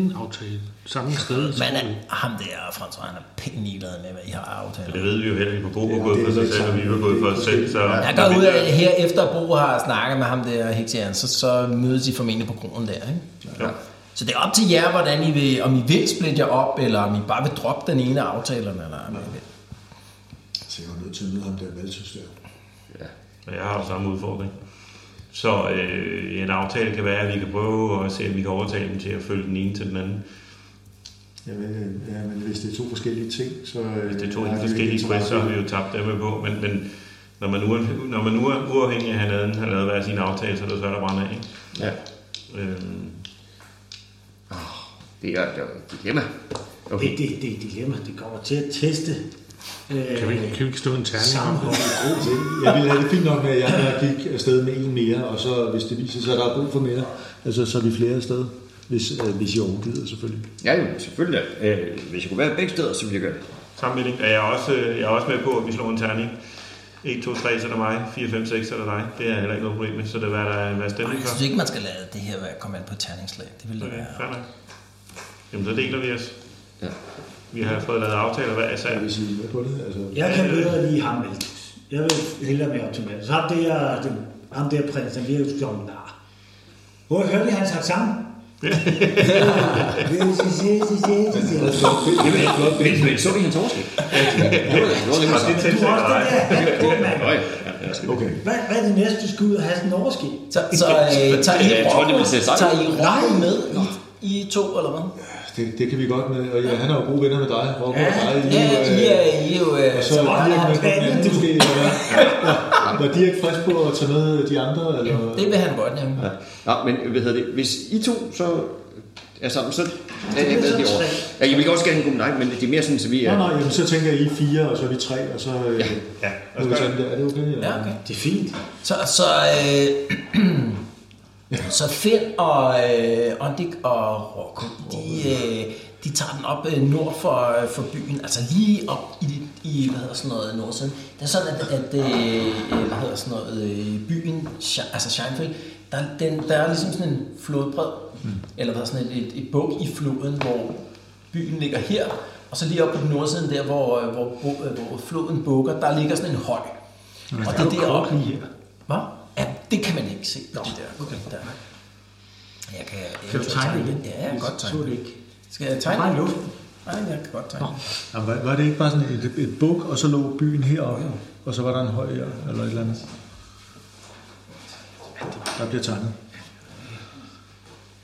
G: en aftale samme sted? tror
B: Men
G: vi.
B: er, ham der, Frans, han er pænt ligeglad med, hvad I har aftaler.
F: Det ved vi jo heller ikke, på Bo har
D: det
F: gået
D: er
F: for sig
D: lidt
F: selv, og vi
D: samme.
F: har gået for os selv. Så
B: Jeg går ud af her efter Bo har snakket med ham der heksjæren, så, så mødes I formentlig på kronen der, ikke?
F: Ja.
B: Så det er op til jer, hvordan I vil, om I vil splitte jer op, eller om I bare vil droppe den ene af aftalerne. Eller, ja.
D: Så jeg var nødt til at møde ham der Malthus der.
F: Og jeg har jo samme udfordring. Så øh, en aftale kan være, at vi kan prøve at se, om vi kan overtale dem til at følge den ene til den anden.
D: Jamen, øh, ja, men hvis det er to forskellige ting, så... øh,
F: Hvis det er to
D: har
F: helt
D: vi jo
F: forskellige
D: ikke
F: quest, så har
D: interesse.
F: vi jo tabt dem på. Men, men når man, uaf- når man uaf- uafhængig af hinanden har lavet hver sin aftale, så er det svært at brænde af. Ikke?
E: ja.
F: Øhm,
E: Det er det er et dilemma.
C: det,
E: Okay.
C: det, det er et dilemma. Det kommer til at teste øh,
G: Kan vi, ikke- kan vi ikke stå en terning om det?
C: sammenhold.
D: Jeg ville have det fint nok med, at jeg der gik afsted med en mere, og så hvis det viser sig, at der er brug for mere, altså så er vi flere afsted, hvis, øh, hvis I overgiver selvfølgelig.
E: Ja, jo, selvfølgelig. Øh, hvis jeg kunne være begge steder, så ville jeg gøre det.
F: sammenligning. Og jeg er, også, øh, jeg er også med på, at vi slår en terning. 1, 2, 3, så er det mig. 4, 5, 6, så er det dig. Det er jeg heller ikke noget problem med. Så det er, hvad der er hvad stemning
B: Jeg
F: for.
B: synes ikke, man skal lade det her være komme an på et terningslag. Det ville det
F: Okay,
B: være.
F: fair nok. Jamen, så deler vi os.
E: Ja.
F: Vi har fået lavet aftaler hver især.
D: Ja, hvis I er med på det, altså...
C: Jeg kan bedre lide ham, Malthus. Jeg vil hellere være optimal. Så ham der, den, ham der prins, han virker jo som en nar. Hvor hørte I, han sagt sammen?
D: Det er et flot billede, det er et flot billede.
E: Men, men så vi hans overskrift. Ja, det var det. var
F: Og
E: længe
F: det
E: siden.
C: Du er
F: tiltaler
C: også den
F: dig.
C: der. Gå, mand.
E: Nå, ja. Ja, ja.
D: Okay.
C: Hvad, hvad er det næste, du skal ud og have sådan en overskæg?
B: Så, så øh, tager I
E: Jeg tror, det ville se sejt ud.
B: tager I Rocco med? I, I to, eller hvad?
D: Det, det kan vi godt med, og ja, han er jo gode venner med dig, Rocco, og dig. I er jo,
B: Ja,
D: øh,
B: I er, I er jo... Øh,
D: Og så
B: så,
D: var Dirk med på den
C: Hvad er det,
D: anden
C: du-
D: måske, eller hvad? Ja. Var Dirk frisk på at tage med de andre, eller?
B: det vil han godt nævne.
E: Ja. Nå, men hvad hedder det? Hvis I to så er sammen, så er
C: bliver
E: jeg med
C: sådan
E: det over.
C: tre.
E: Ja, jeg vil også gerne have en god night, men det er mere sådan, så vi
D: Nå,
E: er...
D: nej, jamen, så tænker jeg, I er fire, og så er vi tre, og så... Øh, ja,
F: Ja,
D: er, vi sådan, der. er det okay? Eller?
B: Ja, okay.
C: Det er fint.
B: Så, så, øh, så Finn og øh, Ondik og Rocco, de, øh, de tager den op øh, nord for, øh, for byen, altså lige op i, i hvad hedder sådan noget, nordsiden. Det er sådan, at, at øh, øh, hvad hedder sådan noget, øh, byen, Sche- altså Scheinfeld, der, er den, der er ligesom sådan en flodbred, mm. eller hvad sådan et, et, et bog i floden, hvor byen ligger her, og så lige op på den nordsiden der, hvor, øh, hvor, bo- øh, hvor floden bukker, der ligger sådan en høj. Og det er deroppe. Hvad? Ja, det kan man ikke se på det der. Okay. der. Jeg kan,
C: Kan du
B: eventuelt
C: tegne det?
B: Ja, jeg kan godt
C: Så
B: tegne
C: det
B: det.
C: ikke.
B: Skal jeg
C: Bare
B: tegne
C: i
B: det?
C: luften.
B: Nej, jeg kan godt tegne det.
D: Jamen, var, var det ikke bare sådan et, et buk, og så lå byen heroppe, og så var der en høj her, eller et eller andet? Der bliver tegnet.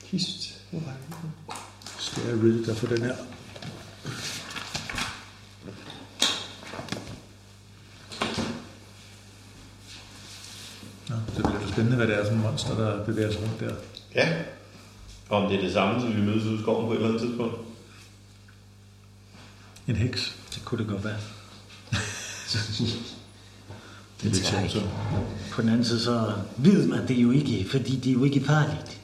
H: Hist.
D: Skal jeg rydde dig for den her? Nå, det bliver da spændende, hvad det er for en monster, der bevæger sig rundt der.
F: Ja. Og om det er det samme, som vi mødes ude i skoven på et eller andet tidspunkt.
D: En heks, det kunne det godt være. det er lidt sjovt, så.
C: På den anden side, så ved man det jo ikke, fordi det er jo ikke farligt.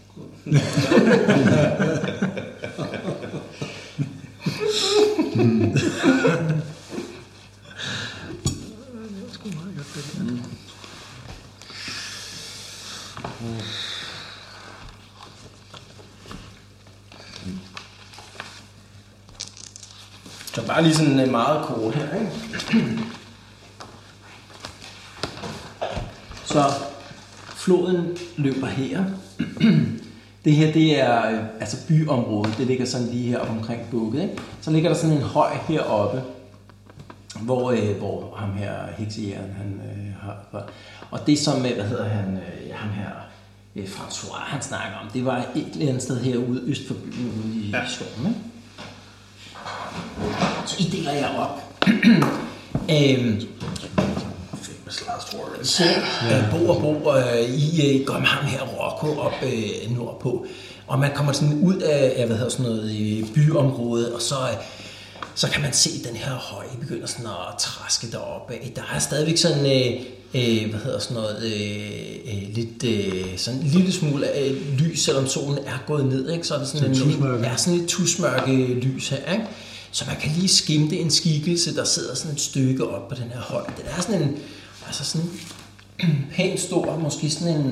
B: Så bare lige sådan øh, meget kort her, ikke? Så floden løber her. Det her, det er øh, altså byområdet. Det ligger sådan lige her omkring bukket, ikke? Så ligger der sådan en høj heroppe, hvor, øh, hvor ham her heksejæren, han øh, har... var- Og det som, øh, hvad hedder han, øh, ham her, øh, François, han snakker om, det var et eller andet sted herude øst for byen, ude i ja. skoven, ikke? Så I deler jer op. øhm, så øh, bo og bo, øh, I øh, går med ham her Rocco op øh, nordpå. Og man kommer sådan ud af af, hvad hedder sådan noget, øh, byområdet, og så, øh, så kan man se den her høj begynder sådan at traske deroppe. Der er stadigvæk sådan, øh, øh, hvad hedder sådan noget, øh, øh, lidt, øh, sådan en lille smule øh, lys, selvom solen er gået ned. Ikke? Så er der sådan,
D: Sådan
B: en, en,
D: tusmørke.
B: er sådan et tusmørke lys her, ikke? Så man kan lige skimte en skikkelse, der sidder sådan et stykke op på den her høj. Den er sådan en, altså sådan en pænt stor, måske sådan en,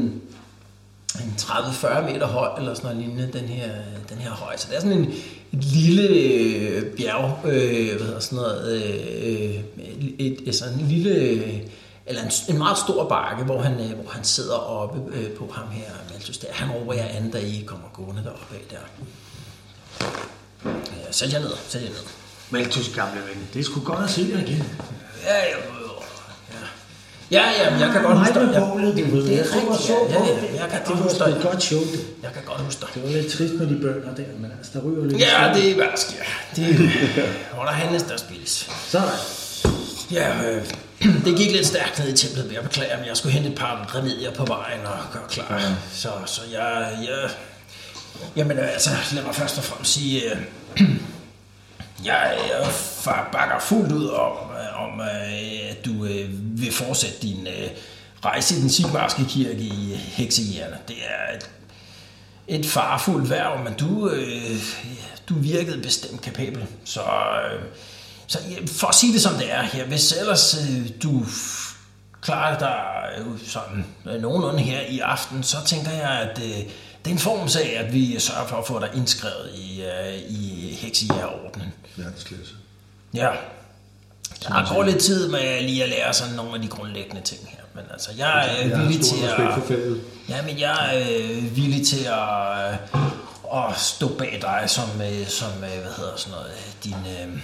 B: en 30-40 meter høj, eller sådan noget lignende, den her, den her høj. Så det er sådan en et lille øh, bjerg, øh, hvad hedder sådan noget, øh, øh, et, et, sådan en lille, øh, eller en, en meget stor bakke, hvor han, øh, hvor han sidder oppe øh, på ham her, Malthus, der. Han råber jer andet, da I kommer gående deroppe af der. Ja, sæt jer ned, sæt jer ned.
C: Malthus gamle ven, det er sgu godt at se dig igen.
B: Ja, ja, ja. Ja, ja, men jeg kan godt huske dig.
C: Nej, hvor
B: Jeg,
C: blev det ved.
B: det er
C: Jeg tror,
B: rigtigt,
C: jeg
B: ja,
C: så
B: ja,
C: på det.
B: ja, jeg kan
C: Det
B: godt
C: var
B: huske
C: sgu
B: dig.
C: et godt show, det.
B: Jeg kan godt huske dig.
C: Det var lidt trist med de bønder der, men altså, der ryger lidt.
B: Ja, det er hvad der sker. Det er, hvor der handles, der spilles.
C: Sådan.
B: Ja, øh, det gik lidt stærkt ned i templet, men jeg beklager, men jeg skulle hente et par remedier på vejen og gøre klar. Så, så jeg, jeg... Jamen øh, altså, lad mig først og fremmest sige, øh, jeg, jeg fa- bakker fuldt ud om, øh, om øh, at du øh, vil fortsætte din øh, rejse i den sigmarske kirke i heksejerne. Det er et et farfuldt værv, men du, øh, du virkede bestemt kapabel. Så, øh, så ja, for at sige det som det er her, hvis ellers øh, du f- klarer dig øh, sådan øh, nogenlunde her i aften, så tænker jeg, at øh, det er en form sag, at vi sørger for at få dig indskrevet i, øh, i heksejærordenen.
D: Verdensklasse.
B: Ja. Der går lidt tid med lige at lære sådan nogle af de grundlæggende ting her, men altså, jeg er
D: Jeg
B: øh,
D: har
B: villig til
D: stor respekt
B: at...
D: for faget.
B: Ja, men jeg er øh, villig til at, øh, at stå bag dig som, øh, som øh, hvad hedder sådan noget, øh, din, øh,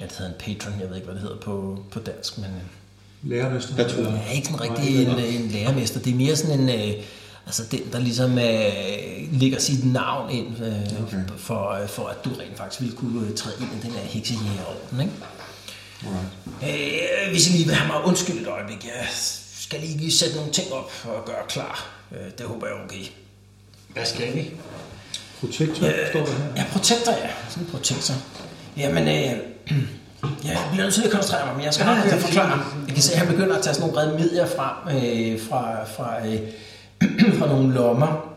B: ja, det hedder en patron, jeg ved ikke, hvad det hedder på, på dansk, men øh,
D: Lærermester.
B: jeg er ikke sådan rigtig en, øh, en lærermester. Det er mere sådan en, øh, altså den, der ligesom øh, lægger sit navn ind, øh, okay. for, øh, for at du rent faktisk ville kunne øh, træde ind i den her heksejægerorden, ikke? Øh, hvis I lige vil have mig undskyld et øjeblik, jeg skal lige sætte nogle ting op og gøre klar. Øh, det håber jeg er okay.
C: Hvad skal vi?
D: Protektor, står der her.
B: Ja, protektor, ja. Sådan en protektor. Jamen, øh, ja, jeg bliver nødt til at koncentrere mig, men jeg skal nok ja, forklare ham. Jeg kan se, at han begynder at tage sådan nogle remedier frem øh, fra, fra, øh, fra nogle lommer.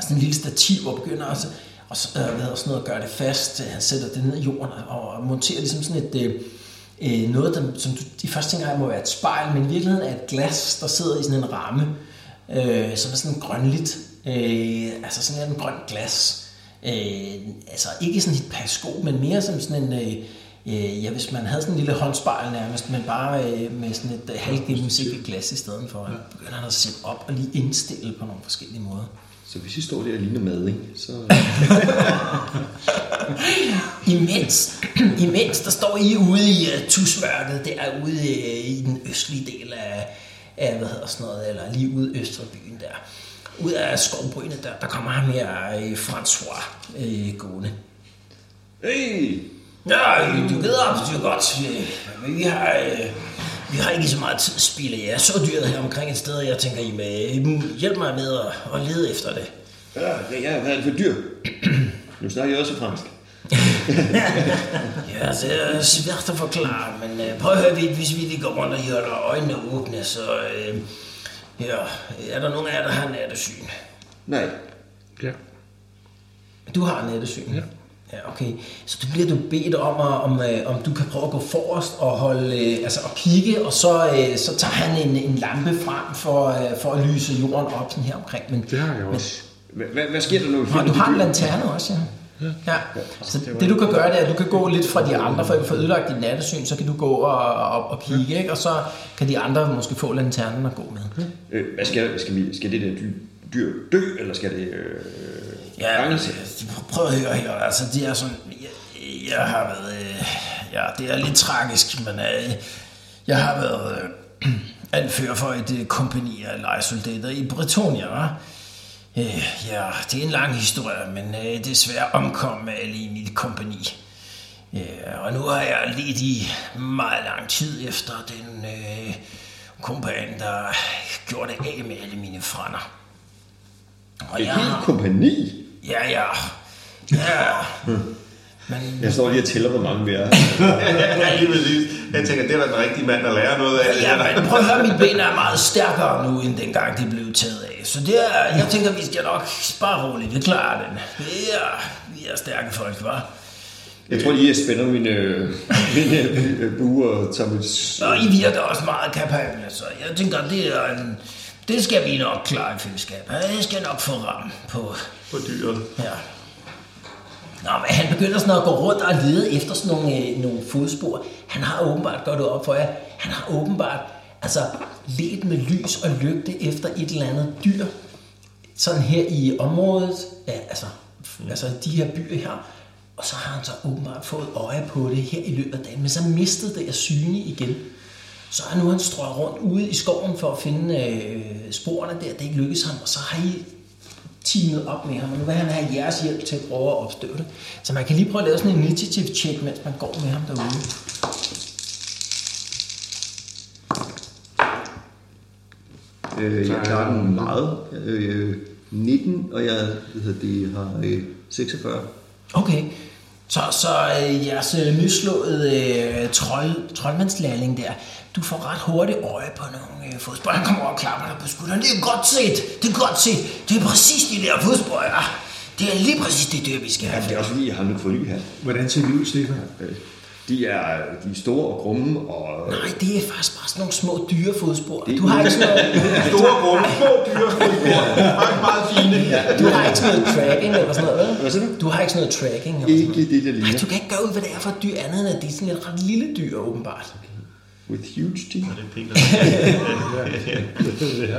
B: Sådan en lille stativ og begynder også og så, øh, hvad hedder sådan noget, at gøre det fast. øh, Han sætter det ned i jorden og monterer ligesom sådan et... Øh, øh, noget, der, som du i første tænker jeg må være et spejl, men i virkeligheden er et glas, der sidder i sådan en ramme, øh, som er sådan grønligt. Øh, altså sådan en grøn glas. Øh, altså ikke sådan et periskop, men mere som sådan en, øh, Øh, ja, hvis man havde sådan en lille håndspejl nærmest, men bare øh, med sådan et øh, halvgennemsigtigt glas i stedet for, ja. begynder han at sætte op og lige indstille på nogle forskellige måder.
E: Så hvis I står der og ligner mad, ikke? Så,
B: Imens, imens der står I ude i uh, tusmørket, der ude uh, i den østlige del af, af, hvad hedder sådan noget, eller lige ude øst for byen der. Ud af skovbrynet der, der kommer ham her, uh, François, uh, gående.
E: hey!
B: Ja, øh, du ved absolut godt. øh, men Vi har, øh, vi har ikke så meget tid at spille. Jeg så dyret her omkring et sted, og jeg tænker, I med, hjælp mig med at, at lede efter det.
E: Ja, ja, hvad er det for dyr? nu snakker jeg også fransk.
B: Ja, det er svært at forklare, men øh, prøv at høre, vi- hvis vi lige går rundt og I holder øjnene åbne, så øh, ja, er der nogen af jer, der har nattesyn?
E: Nej,
G: Ja.
B: Du har nattesyn? Ja. Ja, okay. Så du bliver du bedt om, at, om, øh, om du kan prøve at gå forrest og holde, øh, altså at kigge, og så, øh, så tager han en, en lampe frem for, øh, for at lyse jorden op sådan her omkring. Men,
G: Det har jeg også.
E: Hva- hva- hvad sker der, når vi
B: Nå,
E: finder
B: du
E: de
B: har en
E: dyr?
B: lanterne også, ja. Ja, så det du kan gøre, det er, at du kan gå lidt fra de andre, for at få ødelagt dit nattesyn, så kan du gå og, og, og kigge, ikke? og så kan de andre måske få lanternen at gå med.
E: Øh, hvad skal, skal, vi, skal det der dyr, dyr dø, eller skal det... Øh,
B: Ja,
E: fanges?
B: altså, prøv at høre her, altså det er sådan, jeg, jeg har været, øh, ja, det er lidt tragisk, men øh, jeg har været øh, anfører for et øh, kompani af lejesoldater i Bretonia, hva'? Øh, ja, det er en lang historie, men øh, desværre omkom alle i mit kompani. Ja, og nu har jeg lidt i meget lang tid efter den øh, kompan, der gjorde det af med alle mine frænder. Og
E: Et
B: jeg
E: helt
B: har-
E: kompani?
B: Ja, ja. Ja. Men
E: Jeg står lige og tæller, hvor mange vi er.
F: ja, lige præcis. Jeg tænker, det er da den rigtige mand at lære noget af. det
B: ja,
F: der.
B: men prøv at høre, mit ben er meget stærkere nu, end dengang det blev taget af. Så det er, jeg tænker, vi skal nok spare roligt. Vi klarer den. Ja, vi er stærke folk, hva'?
E: Jeg tror lige, jeg spænder mine, øh, mine øh, buer og tager mit... s-
B: Og I virker også meget kapable, så jeg tænker, det er en... Det skal vi nok klare i fællesskab. Jeg skal nok få ram på
F: På dyret.
B: Ja. Nå, men han begynder sådan at gå rundt og lede efter sådan nogle, øh, nogle fodspor. Han har åbenbart, går det op for jer, han har åbenbart altså let med lys og lygte efter et eller andet dyr. Sådan her i området, ja, altså, altså de her byer her. Og så har han så åbenbart fået øje på det her i løbet af dagen, men så mistede det af syne igen. Så er nu han strøger rundt ude i skoven for at finde øh, sporene der, det ikke lykkedes ham. Og så har I teamet op med ham, og nu vil han have jeres hjælp til at prøve at opstøve det. Så man kan lige prøve at lave sådan en initiative check, mens man går med ham derude.
E: Øh, jeg klarer den meget. Øh, 19, og jeg hvad hedder det, har øh, 46.
B: Okay, så, så øh, jeres øh, nyslåede øh, trold, troldmandslærling der, du får ret hurtigt øje på nogle øh, fodspor. Han kommer over og klapper dig på skulderen. Det er godt set, det er godt set. Det er præcis de der fodspor, ja. Det er lige præcis det dyr, vi skal have.
E: Jamen, det er også fordi, jeg har nu fået ny hat.
D: Hvordan ser vi ud, Stefan?
E: Øh, De er, de er store og grumme, og
B: Nej, det er faktisk bare sådan nogle små dyrefodspor. Du har ikke sådan noget...
F: Store rumme, små dyr, små dyr. Meget, meget fine.
B: Du har ikke sådan noget tracking eller sådan noget, vel?
E: Hvad siger du?
B: Du har ikke sådan noget tracking eller sådan
E: ikke
B: noget.
E: det, der
B: Nej, du
E: ligner.
B: kan ikke gøre ud, hvad det er for et dyr andet, end at det er sådan et ret lille dyr, åbenbart.
E: With huge teeth.
F: Det er Peter. Det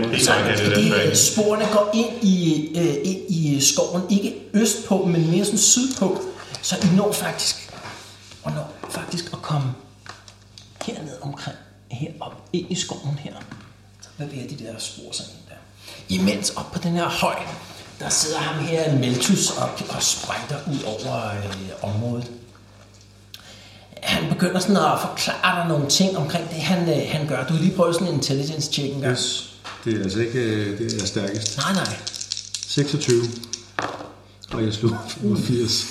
F: er
B: Så
F: Peter, der kan det der.
B: det,
F: Frank.
B: øh, sporene går ind i, øh, ind i skoven, ikke østpå, men mere sådan sydpå. Så I når faktisk, og når faktisk at komme herned omkring, herop, ind i skoven her. Så bevæger de der spor sig ind der. Imens op på den her høj, der sidder ham her Meltus op og sprængter ud over øh, området han begynder sådan at forklare dig nogle ting omkring det, han, øh, han gør. Du kan lige prøve sådan en intelligence check engang. Yes.
D: Det er altså ikke øh, det, jeg er stærkest.
B: Nej, nej.
D: 26. Og jeg slog 85.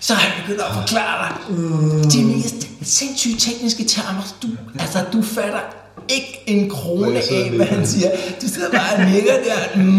B: Så han begynder at forklare dig de mest sindssyge tekniske termer. Du, altså, du fatter ikke en
D: Og
B: krone
D: jeg sidder
B: af,
D: og
B: hvad han
D: nikker.
B: siger. Du sidder bare og nikker der. Mm,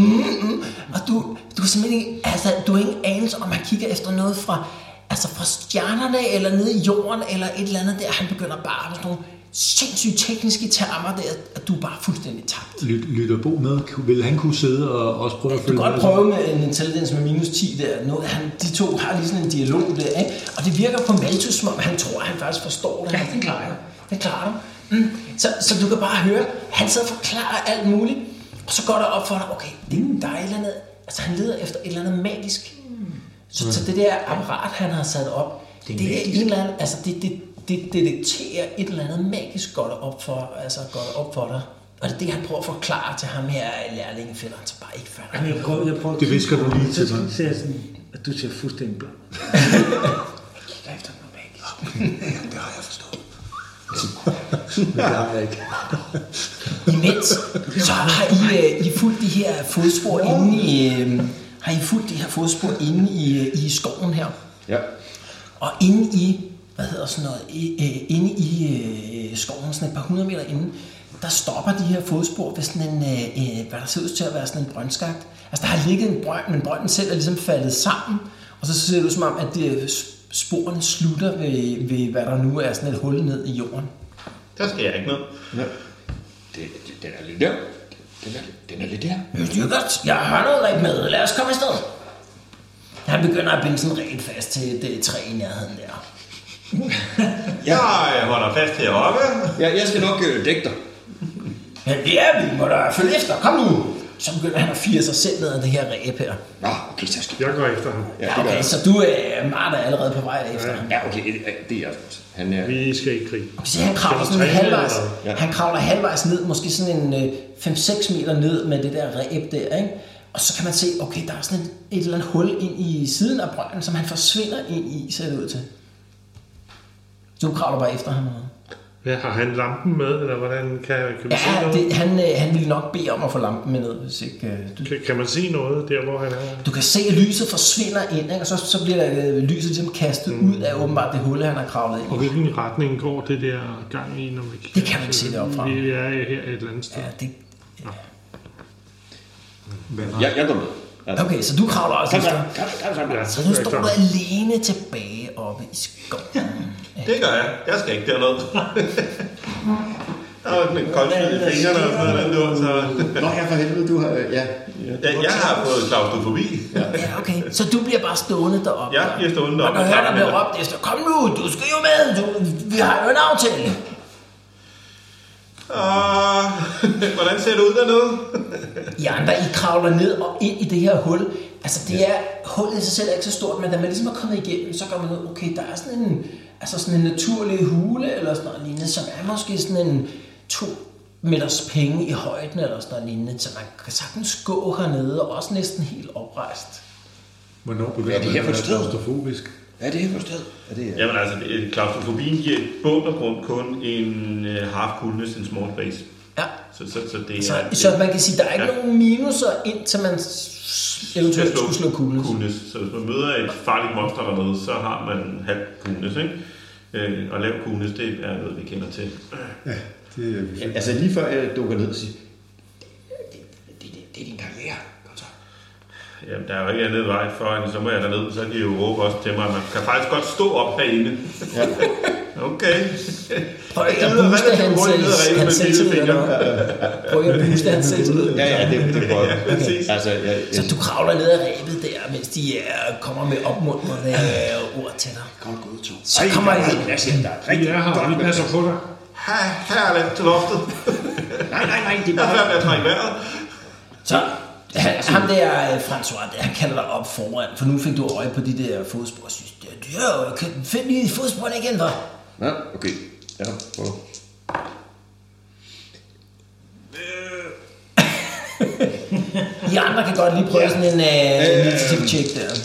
B: mm, og du, du er simpelthen ikke, altså, du har ingen anelse om, han kigger efter noget fra, altså fra stjernerne, eller nede i jorden, eller et eller andet der. Han begynder bare med sådan nogle sindssygt tekniske termer der, at du er bare fuldstændig tabt.
D: Lyt, lytter Bo med? Vil han kunne sidde og også prøve at
B: Du
D: følge
B: kan
D: med?
B: godt prøve med en intelligens med minus 10 der. Nu, han, de to har lige sådan en dialog der, ikke? Og det virker på Malthus, som om han tror, at han faktisk forstår det. Ja, den klarer jeg. Den klarer du. Mm. Så, så du kan bare høre, han sidder og forklarer alt muligt. Og så går der op for dig, okay, det, der er et eller andet... Altså, han leder efter et eller andet magisk. Så, så det der apparat, han har sat op, Mm. det er, det er en eller anden, altså det, det, det detekterer et eller andet magisk godt op for, altså godt op for dig. Og det er det, han prøver at forklare til ham her, lærlingen finder han så bare ikke fatter.
C: Jamen, jeg prøver, jeg prøver
D: Det visker du lige til mig.
C: mig. Så ser jeg sådan, at du ser fuldstændig blank.
B: Kigger efter noget magisk.
D: Det har jeg forstået. Men det har jeg ikke.
B: Imens, så har I, øh, I fulgt de her fodspor inde i, øh, har I fulgt de her fodspor inde i, øh, i skoven her.
E: Ja.
B: Og inde i, hvad hedder sådan noget, i, øh, inde i øh, skoven, sådan et par hundrede meter inde, der stopper de her fodspor ved sådan en, øh, øh, hvad der ser ud til at være sådan en brøndskagt. Altså der har ligget en brønd, men brønden selv er ligesom faldet sammen, og så ser det ud som om, at de, sporene slutter ved, ved, hvad der nu er sådan et hul ned i jorden.
F: Der skal jeg ikke med.
E: Det, det, den er lidt der. Den er, lidt- den er lidt der.
B: Det er godt. Jeg har noget rent med. Lad os komme afsted. Han begynder at binde sådan rent fast til det træ i nærheden der.
F: Jeg holder fast heroppe.
E: Ja, jeg skal nok øh, dække dig.
B: Men det er vi. Må da følge efter. Kom nu. Så begynder han at fire sig selv ned af det her ræb her.
E: Nå, okay, så skal
G: Jeg går efter ham.
E: Ja,
B: Ja,
E: det gør
B: okay,
E: jeg.
B: så du er Marta er allerede på vej efter ham.
E: Ja, okay, det er- det er også. Han er...
G: Vi skal i krig.
B: Så han kravler sådan
G: Skal vi træne,
B: halvvejs,
G: eller?
E: Ja.
B: han kravler halvvejs ned, måske sådan en øh, 5-6 meter ned med det der ræb der, ikke? Og så kan man se, okay, der er sådan et, et eller andet hul ind i siden af brønden, som han forsvinder ind i, ser det ud til. Du kravler bare efter ham. Eller?
G: Ja, har han lampen med, eller hvordan kan, kan vi se
B: Ja,
G: noget?
B: det, han, øh, han ville nok bede om at få lampen med ned, hvis ikke øh, du...
G: Kan, kan man se noget der, hvor han er?
B: Du kan se, at lyset forsvinder ind, ikke? og så, så bliver øh, lyset ligesom kastet
F: Mm.
B: ud af åbenbart det hul, han har kravlet ind
G: Og
B: i.
G: hvilken retning går det der gang i, når vi kigger?
B: Det kan man ikke se deroppefra.
G: Vi er her et eller andet sted.
B: Ja, det,
E: Jeg, jeg går med. Altså,
B: okay, så du kravler også efter.
G: Ja, så
B: Så
G: går
B: nu
G: jeg
B: står
G: efter
B: du
G: ham.
B: alene tilbage oppe i skoven.
F: Det gør jeg. Jeg skal ikke derned. Der var sådan en koldsved i fingrene og sådan noget, der, så...
E: Nå, ja, for helvede, du har... øh, Ja.
F: Ja, jeg har fået klaustrofobi.
B: Ja, okay. Så du bliver bare stående deroppe.
F: Jeg bliver stående
B: deroppe.
F: deroppe
B: Man kan
F: og
B: høre, der
F: snakke med
B: bliver råbt efter. Kom
F: dig.
B: nu, du skal jo med. Du, vi har jo en aftale.
F: Ah, hvordan ser det ud dernede?
B: I andre, I kravler ned og ind i det her hul. Altså, det er, hullet i sig selv er ikke så stort, men da man ligesom er kommet igennem, så går man ud, okay, der er sådan en, altså sådan en naturlig hule, eller sådan noget lignende, som er måske sådan en to meters penge i højden, eller sådan noget lignende, så man kan sagtens gå hernede, og også næsten helt oprejst.
D: Hvornår begynder
E: Hvad er det her
D: man at
E: for et
D: være
E: sted?
D: klaustrofobisk?
E: Hvad er det her for et sted? Er det...
F: Jamen altså, øh, klaustrofobien giver i bund og grund kun en øh, half coolness in small space.
B: Ja.
F: Så, så, så det er...
B: Så, så man kan sige, der er ikke
F: Ja.
B: nogen minuser, indtil man s- eventuelt skulle slå kuglen.
F: coolness. Så hvis man møder et farligt monster dernede, så har man halv coolness, ikke? Øh, og lav coolness, det er noget, vi kender til.
D: Det er
E: Ja, altså lige før jeg dukker ned og siger, det, det, det, det er din karriere. Kom så.
F: Jamen, der er jo ikke andet vej for, end så må jeg derned, så kan I jo råbe også til mig. Man kan faktisk godt stå op herinde.
E: Ja.
F: Okay.
B: Prøv ikke at
F: Det lyder
B: booste
F: relativt
B: hans,
F: hurtigt ned ad
B: øh,
F: ræven med
B: hans selvtillid.
F: lillefinger.
B: eller hvad? Prøv ikke at booste hans selvtillid.
E: Ja, ja, det, det er godt.
F: præcis.
E: Altså, jeg,
B: Så
E: jeg,
B: du kravler ned ad ræbet der, mens de øh, kommer med opmuntrende øh, ord til dig.
E: godt gået, to.
B: Så kommer I
E: Lad os se, der er
G: Vi
E: rigtig
G: er her, og vi
E: godt med
G: passer på dig.
F: Ha, her er lidt til loftet.
E: Nej, nej, nej,
F: Jeg
E: det er
F: er
E: bare...
F: svært ved at trække vejret.
B: Så han, ham der, øh, François, der, han kalder dig op foran, for nu fik du øje på de der fodspor. Og synes, ja, det er jo, kan- find lige fodsporene igen, hva'?
E: Nå, okay. Ja, prøv.
B: I andre kan godt lige prøve sådan en øh, initiative check der.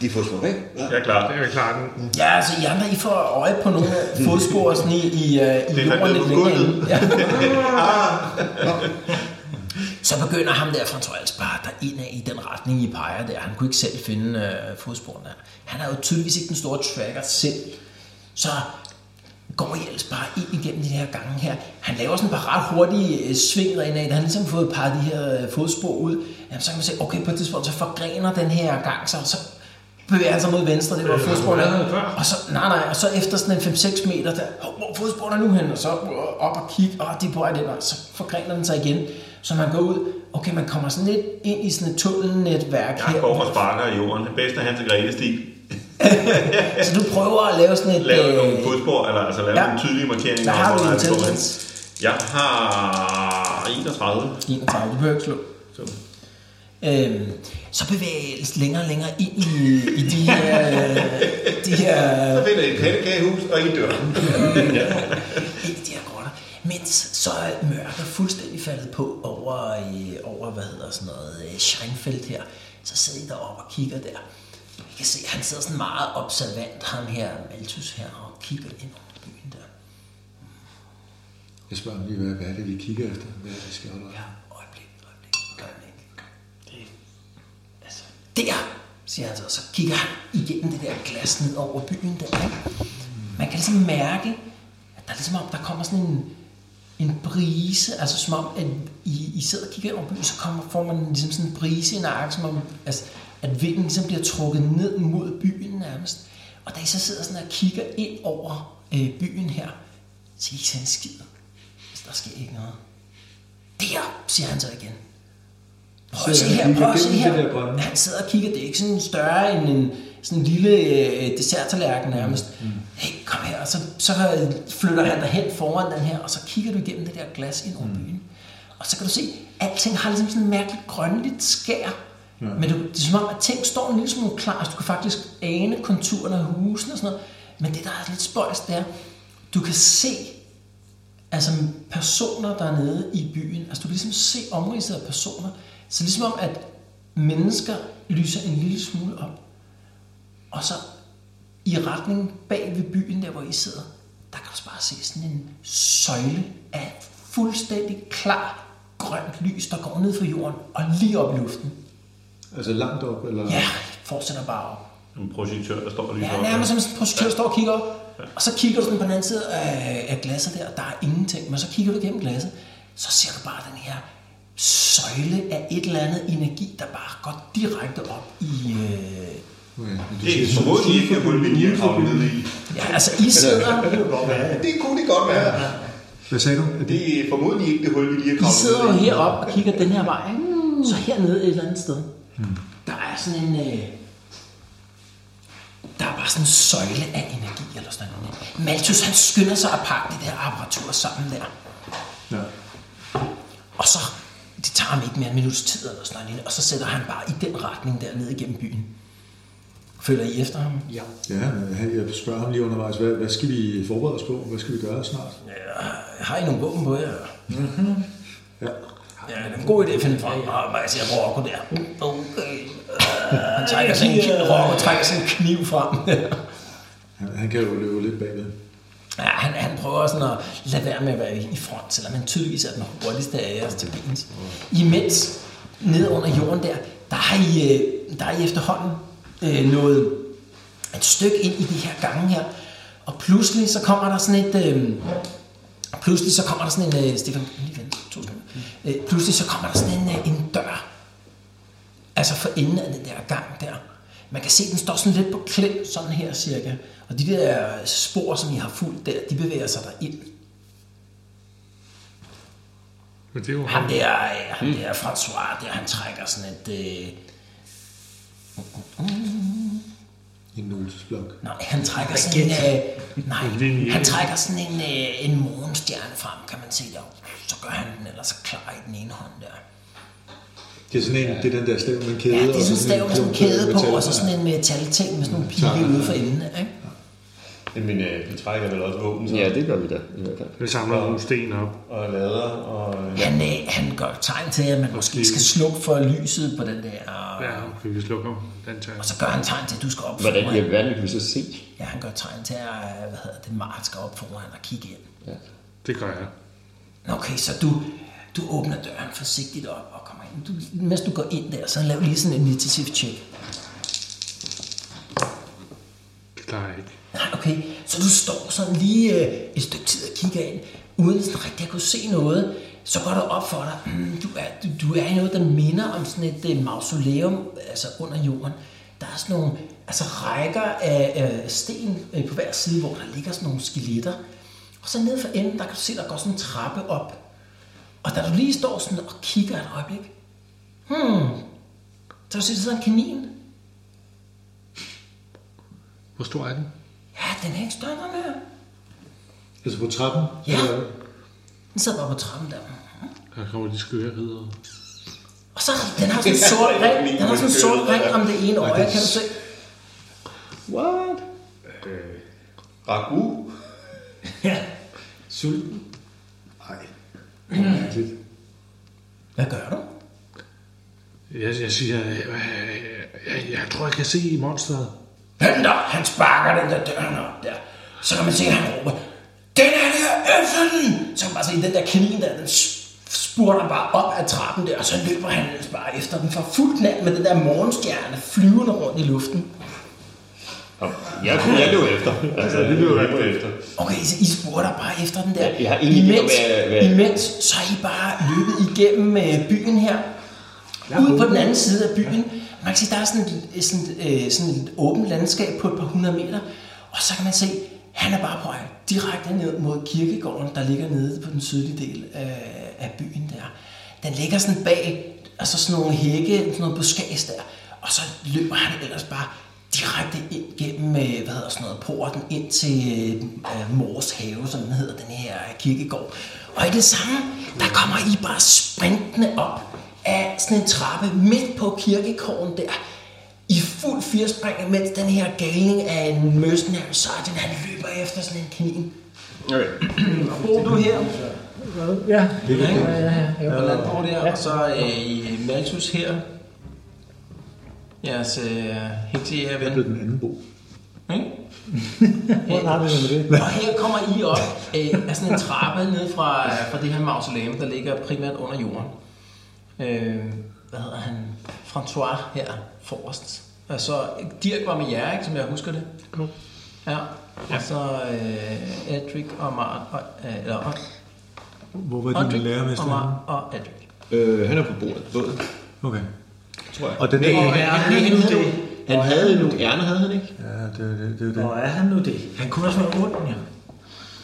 E: De får små væk.
F: Jeg er klar.
G: Jeg klarer den.
B: Ja, altså I andre, I får øje på nogle af fodspor sådan i, i, øh, i
F: er
B: jorden
F: faktisk
B: lidt
F: på
B: længere
F: gulvet. Ah.
B: inde. Ja. Så begynder ham der, François Alspar, der ind af i den retning, I peger der. Han kunne ikke selv finde øh, fodsporene. Han er jo tydeligvis ikke den store tracker selv. Så går I ellers bare ind igennem de her gange her. Han laver sådan bare ret hurtige øh, sving derinde af. Da Han har ligesom fået par af de her øh, fodspor ud. Jamen, så kan man se, okay, på et tidspunkt, så forgrener den her gang sig, og så bevæger han sig mod venstre, det var
G: Øh,
B: fodsporene.
G: hvor var han før?
B: Og så, nej, nej, og så efter sådan en 5-6 meter, der, "Hov, hvor er fodsporene nu hen? Og så øh, op og kigge, og det er på vej den vej. Så forgrener den sig igen, så man går ud. Okay, man kommer sådan lidt ind i sådan et tunnelnetværk
F: Jeg
B: her.
F: går og sparker i jorden. Det bedste er Hans og Grete stil.
B: Så du prøver at lave sådan et...
F: Lave nogle
B: øh,
F: fodspor, eller altså lave
B: ja.
F: ja. nogle tydelige markeringer.
B: Hvad har
F: om,
B: du
F: hvor
B: i
F: han står
B: intelligens?
F: hen. Jeg har 31.
B: 31, du behøver ikke slå. Så. Øhm, så bevæges længere og længere ind i, i de her, de her
F: Så finder I et pandekagehus, og I dør.
B: ind i de her grotter. Mens så er mørket fuldstændig faldet på over, øh, over hvad hedder sådan noget, øh, Scheinfeld her. Så sidder I deroppe og kigger der. I kan se, han sidder sådan meget observant, ham her, Malthus her, og kigger ind over byen der.
D: Jeg spørger lige, hvad, hvad er det, vi kigger efter? Hvad er det, vi skal holde
B: Ja, øjeblik, øjeblik, øjeblik. Altså, der, siger han så, og så kigger han igennem det der glas ned over byen der. Man kan ligesom mærke, at der er ligesom om, der kommer sådan en, en brise, altså som om, at I, I sidder og kigger over byen, så kommer, får man ligesom sådan en brise i nakken, som om, altså, at vinden ligesom bliver trukket ned mod byen nærmest. Og da I så sidder sådan og kigger ind over øh, byen her, så I ikke ser en skid. Altså, der sker ikke noget. Der, siger han så igen. Prøv at se
D: Sidder han
B: her, prøv
D: og
B: at se
D: kigger gennem det der
B: her.
D: brænde?
B: Han sidder og kigger, det er ikke sådan større end en sådan en lille øh, desserttallerken nærmest. Hey, kom her, og så, så øh, flytter han dig hen foran den her, og så kigger du igennem det der glas ind over byen. Og så kan du se, at alting har ligesom sådan en mærkeligt grønligt skær. Men du, det er som om, at ting står en lille smule klar, altså du kan faktisk ane konturerne af husene og sådan noget. Men det, der er lidt spøjst, det er, du kan se altså personer dernede i byen, altså du kan ligesom se omridset af personer, så ligesom om, at mennesker lyser en lille smule op, og så i retning bag ved byen, der hvor I sidder, der kan du så bare se sådan en søjle af fuldstændig klar grønt lys, der går ned fra jorden og lige op i luften.
D: Altså langt op, eller?
B: Ja, fortsætter bare op.
F: En projektør, der står lige
B: Ja,
F: heroppe.
B: nærmest som sådan en projektør står og kigger op. Og så kigger du sådan på den anden side af, af glasset der, og der er ingenting. Men så kigger du gennem glasset, så ser du bare den her søjle af et eller andet energi, der bare går direkte op i... Øh...
D: Okay. men du
F: Det er
D: siger sådan-
F: formodentlig ikke et hul, vi lige har kravlet ned i.
B: Ja, altså I sidder,
F: Det kunne det godt være.
D: Hvad sagde du? Er det...
F: Det er formodentlig ikke det hul, vi lige har
B: I
F: kravlet
B: sidder jo
F: ned i.
B: heroppe og kigger den her vej, ikke? så hernede et eller andet sted. Der er sådan en... Øh... Der er bare sådan en søjle af energi eller sådan noget. Malthus han skynder sig at pakke det der apparatur sammen der.
D: Ja.
B: Og så, det tager ham ikke mere en minuts tid eller sådan noget, lignende, og så sætter han bare i den retning der ned igennem byen. Følger I efter ham? Ja.
D: ja, men han- jeg spørger ham lige undervejs, hvad, hvad skal vi forberede os på? Hvad skal vi gøre snart?
B: Har I nogle våben på jer?
D: Ja.
B: Ja, det er en god idé at finde frem. Ja, ja. Jeg ser Rocco der. Okay. Øh, Han trækker sin, Rocco trækker sin kniv frem.
D: Han, han kan jo løbe lidt bagved.
B: Ja, han, han prøver sådan at lade være med at være i front, selvom han tydeligvis er den hurtigste af jeres til bens. Imens, ned under jorden der, der har I, øh, der har I efterhånden øh, nået et stykke ind i de her gange her, og pludselig så kommer der sådan et... Øh, pludselig så kommer der sådan en... Øh, Stefan, lige vent, to sekunder. Øh, pludselig så kommer der sådan en, øh, en dør, Altså for enden af den der gang der. Man kan se, den står sådan lidt på klem, sådan her cirka. Og de der spor, som I har fulgt der, de bevæger sig derind.
G: Men det er jo ham.
B: Han der, øh, han der François, der han trækker sådan et... Øh,
D: En notesblok.
B: nej, han trækker sådan en... Øh, nej,
G: Linje.
B: han trækker sådan en, øh, en morgenstjerne frem, kan man se der. Så gør han den ellers klar i den ene hånd der.
D: Det er sådan en, det er den der stav med en øh, kæde.
B: Ja, det
D: og
B: er sådan en stav med sådan en kæde på,
D: metal.
B: og så sådan en metalting med sådan nogle pile ude for enden af, ikke?
F: Jamen, øh, vi trækker vel også våben, så.
E: Ja, det gør vi da, i hvert fald.
G: Vi samler nogle sten op.
F: Og lader, og... øh,
B: Han, øh, han gør tegn til, at man måske skal slukke for lyset på den der...
G: Ja, okay, vi slukker den tager.
B: Og så gør han tegn til, at du skal op
E: Hvordan i
B: foran.
E: alverden kan vi så se?
B: Ja, han gør tegn til, at øh, hvad hedder det, Mart skal op foran og kigge ind.
G: Det gør jeg.
B: Nå, Okay, så du, du åbner døren forsigtigt op og kommer ind. Du, mens du går ind der, så lav lige sådan en initiativ check.
G: Det klarer jeg ikke.
B: Nej, okay. Så du står sådan lige øh, et stykke tid og kigger ind, uden sådan rigtig at kunne se noget. Så går der op for dig, mm, du, er, du, du er i noget, der minder om sådan et øh, mausoleum, altså under jorden. Der er sådan nogle altså rækker af, af sten øh, på hver side, hvor der ligger sådan nogle skeletter. Og så nede for enden, der kan du se, der går sådan en trappe op. Og da du lige står sådan og kigger et øjeblik, hmm, så kan du se, der sidder en kanin.
G: Hvor stor er den?
B: Ja, den er ikke større end ham her.
D: Altså på trappen?
B: Ja.
D: Eller-
B: Den sidder bare på trappen der.
G: Her kommer de skøre ridder.
B: Og så den har sådan en sort ring, den har sådan en sort ring om det ene øje, kan du se.
E: What?
F: Ragu?
B: Ja. Mm.
D: Sulten?
B: Hvad gør du?
G: Jeg, jeg siger, jeg, jeg, jeg, jeg tror, jeg kan se i monsteret.
B: Hvem der? Han sparker den der døren op der. Så kan man se, at han råber, den er der efter den! Så kan man bare se, den der kanin der, den s- spurter bare op ad trappen der, og så løber han ellers bare efter den for fuld knald med den der morgenstjerne flyvende rundt i luften.
E: Jeg, jeg løb efter. Altså, det løb jeg efter.
B: Okay, så I spurter bare efter den der.
E: Ja, jeg har ingen idé om,
B: imens,
E: hvad- hvad-
B: imens, så er I bare løbet igennem øh, byen her. Ude på den anden side af byen. Man kan se, der er sådan et, sådan, et, øh, sådan et åbent landskab på et par hundrede meter. Og så kan man se, han er bare på vej direkte ned mod kirkegården, der ligger nede på den sydlige del af, af byen der. Den ligger sådan bag, altså sådan nogle hække, sådan noget buskads der. Og så løber han ellers bare direkte ind gennem, øh, hvad hedder sådan noget, porten ind til øh, Mors have, som den hedder, den her kirkegård. Og i det samme, der kommer I bare sprintende op af sådan en trappe midt på kirkegården der, i fuld firespring, mens den her galning af en mercenary sergeant, han løber efter sådan en kanin.
E: Okay.
B: Bor du
I: Ja.
B: her? Ja, ja, ja. Jeg var landbord der, og så øh, Malthus her. Jeres øh, heksejæger
D: Det
B: ven.
D: er den anden bo.
B: Ikke?
I: Hvordan har vi det med det?
B: Og her kommer I op øh, af sådan en trappe ned fra, fra det her mausoleum, der ligger primært under jorden. Øh, hvad hedder han? François her forrest. Og så Dirk var med jer, ikke, som jeg husker det. Ja. Og så øh, Edric og Mar... Og, øh, eller, og,
D: Hvor var din
B: Odrik
D: lærermester?
B: og, Mar og Edric.
E: Øh, han er på bordet. Båden.
D: Okay.
E: Tror jeg.
D: Og den der...
E: Og
D: Ja,
E: han, han, havde, han havde nogle ærner, havde han ikke?
D: det er det, det, er det.
C: Hvor er han nu det? Han kunne også være ond, ja.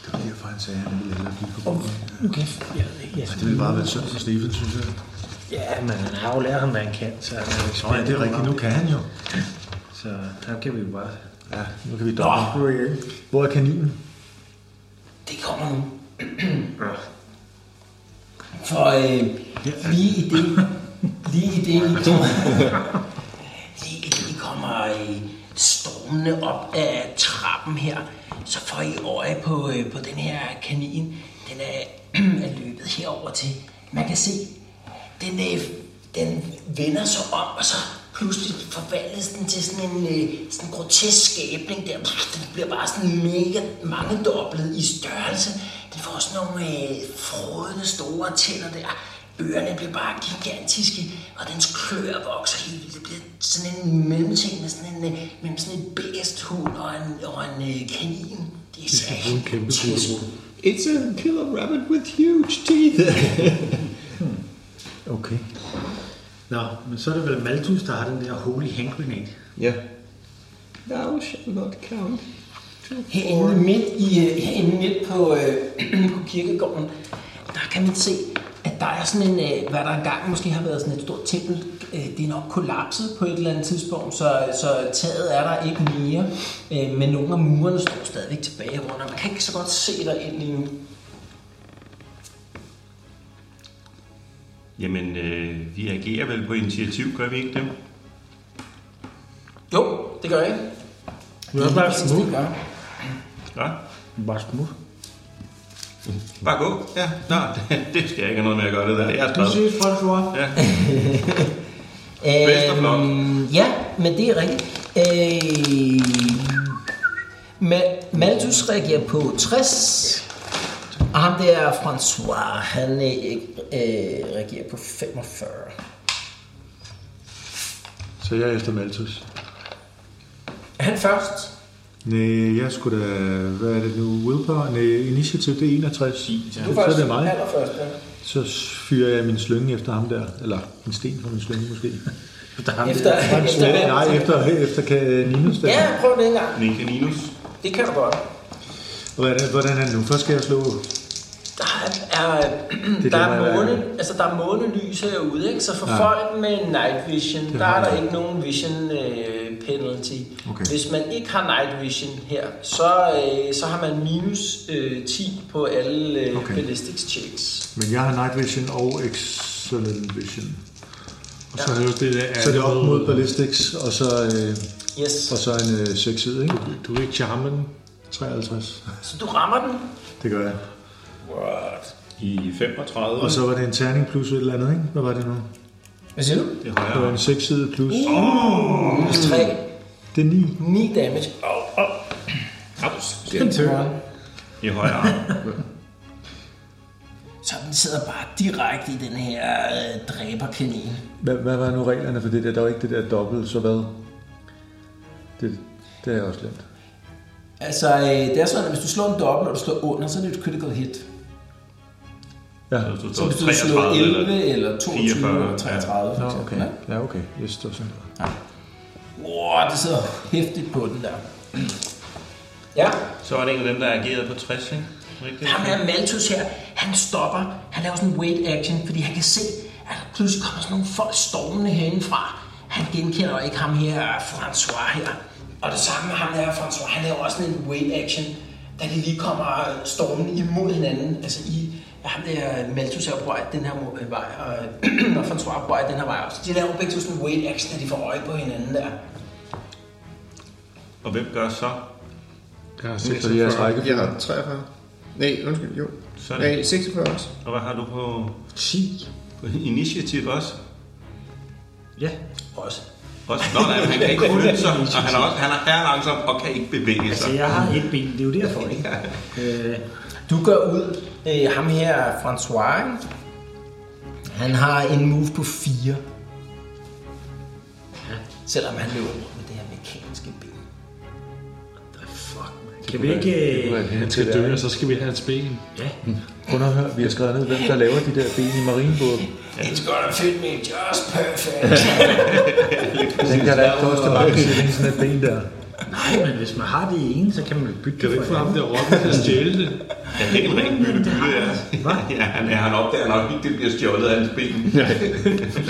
D: Det var derfor, han sagde, at han ville hellere blive på bordet.
I: Okay. Jeg ved ikke, jeg
D: Ja, det ville bare være synd for Stefan, synes jeg.
I: Ja, men han har jo lært ham, hvad han kan, så han er jo
D: Nå, ja, det er rigtigt. Nu kan han jo.
I: Så der kan vi jo bare...
D: Ja, nu kan vi dobbelt. Hvor er kaninen?
B: Det kommer nu. For øh, lige i det, lige i det, I kommer, lige i det, I kommer øh, stormende op af trappen her, så får I øje på, øh, på den her kanin. Den er, er løbet herover til. Man kan se, den, øh, den vender sig om, og så pludselig forvandles den til sådan en øh, sådan en grotesk skabning der. Den bliver bare sådan mega mangedoblet i størrelse. Den får sådan nogle øh, frodende store tænder der. Ørerne bliver bare gigantiske, og dens klør vokser helt vildt. Det bliver sådan en mellemting med sådan en, øh, mellem sådan en bæsthund og en, og en øh, kanin. Det er
G: skal bruge en kæmpe
B: grotesk ud.
E: It's a killer rabbit with huge teeth.
D: Okay.
C: Nå, men så er det vel Malthus, der har den der holy hand grenade.
E: ja. Thou shall not count.
B: Herinde midt, i, øh, herinde midt på, øh, på kirkegården, der kan man se, at der er sådan en, øh, hvad der engang måske har været sådan et stort tempel. Øh, det er nok kollapset på et eller andet tidspunkt, så, så taget er der ikke mere. Øh, men nogle af murene står stadigvæk tilbage rundt, og man kan ikke så godt se der ind lige nu.
F: Jamen, øh, vi agerer vel på initiativ, gør vi ikke det?
B: Jo, det gør jeg ikke. Det er bare smut.
F: Ja.
I: Bare smut.
F: Bare gå. Ja. Nå, det, det skal jeg ikke have noget med at gøre det der. Jeg er
C: Du
F: skrevet.
C: ses, François.
F: Ja. Vesterblok.
B: Øhm, ja, men det er rigtigt. Øh, Ma- Malthus reagerer på 60. Og ham der, François, han øh, øh, reagerer på 45.
D: Så jeg er efter Malthus.
B: Han først.
D: Nej, jeg skulle da... Hvad er det nu? Willpower? Nej, initiativ, det er 61. Ja. Så er det mig.
B: Allerførst, ja.
D: Så fyrer jeg min slynge efter ham der. Eller en sten fra min slynge måske.
I: Efter ham.
B: Efter, efter
D: Ja,
B: hvad?
D: nej, efter, efter kan Ninus der.
B: Ja, prøv det en gang.
F: Ninja Ninus.
B: Det kan du godt.
D: Hvordan, hvordan er det nu? Først skal jeg slå...
B: Der er,
D: Det er
B: er, der
D: det, man
B: er,
D: er-
B: måne, altså der er månelys herude, ikke? så for
D: Ja.
B: ja. folk med night vision, der
D: har
B: er der
D: jeg.
B: ikke nogen vision øh, penalty.
D: Okay.
B: Hvis man ikke har night vision her, så, øh, så har man minus øh, 10 på alle øh,
D: Okay.
B: okay. ballistics checks.
D: Men jeg har night vision og excellent vision.
G: Og så er det jo det der...
D: Så det er op mod ballistics, og så, øh,
B: Yes.
D: og så en øh, 6 side, ikke?
G: Du er ikke charmen.
D: 53.
B: Så du rammer den.
D: Det gør jeg.
F: What? I 35.
D: Og så var det en terning plus et eller andet, ikke? Hvad var det nu?
B: Hvad siger du? Uh.
F: det er
D: Det var
F: højere.
D: en 6 side plus...
B: Minus 3.
D: Det er 9.
B: 9 damage.
F: Havs. Det er I højere. arm.
B: Så den sidder bare direkte i den her øh, dræberkanin.
D: Hvad, hvad var nu reglerne for det der? Der var ikke det der dobbelt, så hvad? Det, det er jeg også glemt.
B: Altså, øh, det er sådan, at hvis du slår en dobbelt, og du slår under, så er det et critical hit.
D: Ja.
F: Så du
B: Så
F: står
B: hvis du slår
F: 33
B: 11
F: eller...
B: eller, eller 22
F: 44,
B: eller 33 for
D: Nå,
B: eksempel.
D: okay.
B: Okay.
D: Ja, okay. Yes, det var sådan.
B: Wow, det sidder hæftigt på den der. Ja,
F: Så var det en af dem, der agerede på 60, ikke? Rigtigt?
B: ham her Malthus her, han stopper, han laver sådan en wait action, fordi han kan se, at der pludselig kommer sådan nogle folk stormende herindefra. Han genkender ikke ham her, François her. Og det samme med ham der, François, han laver også sådan en wait action, da de lige kommer øh, stormende imod hinanden. Altså i, at ham der Malthus er på vej den her mo- øh, vej, og, og François er på vej den her vej også. De laver begge to sådan en wait action, da de får øje på hinanden der.
F: Og hvem gør så?
G: Jeg har
D: Så det er jeres
G: 46.
D: række.
E: Jeg har 43. Nej, undskyld, jo.
F: Så er det-
E: Nej, 46 også.
F: Og hvad har du på... 10. På initiativ også?
B: Også.
F: Også? Nå, nej, men han kan ikke flytte sig, og han er, også, han er, er langsom og kan ikke bevæge
C: Altså,
F: sig.
C: jeg har et ben, det er jo derfor, ikke? Øh,
B: Du går ud. Øh, ham her, François, ikke? han har en move på 4. Ja. Selvom han løber rundt med det her mekaniske ben.
C: kan vi ikke... Øh,
G: Han skal dø, og så skal vi have hans ben.
D: Prøv nu at høre, vi har skrevet ned, hvem der laver de der ben i marinebåden.
B: It's gonna fit me just perfect.
D: Den kan da ikke koste mange shilling, sådan et ben der.
C: nej, men hvis man har det ene, så kan man jo bytte
G: Kan
C: det
G: du ikke få
C: for
G: ham
C: ham.
G: der rocken til at stjæle det?
F: Ja, det er en rigtig bytte bytte, ja. Ja, han, ja, han opdager nok ikke, det bliver stjålet af hans ben. Ja.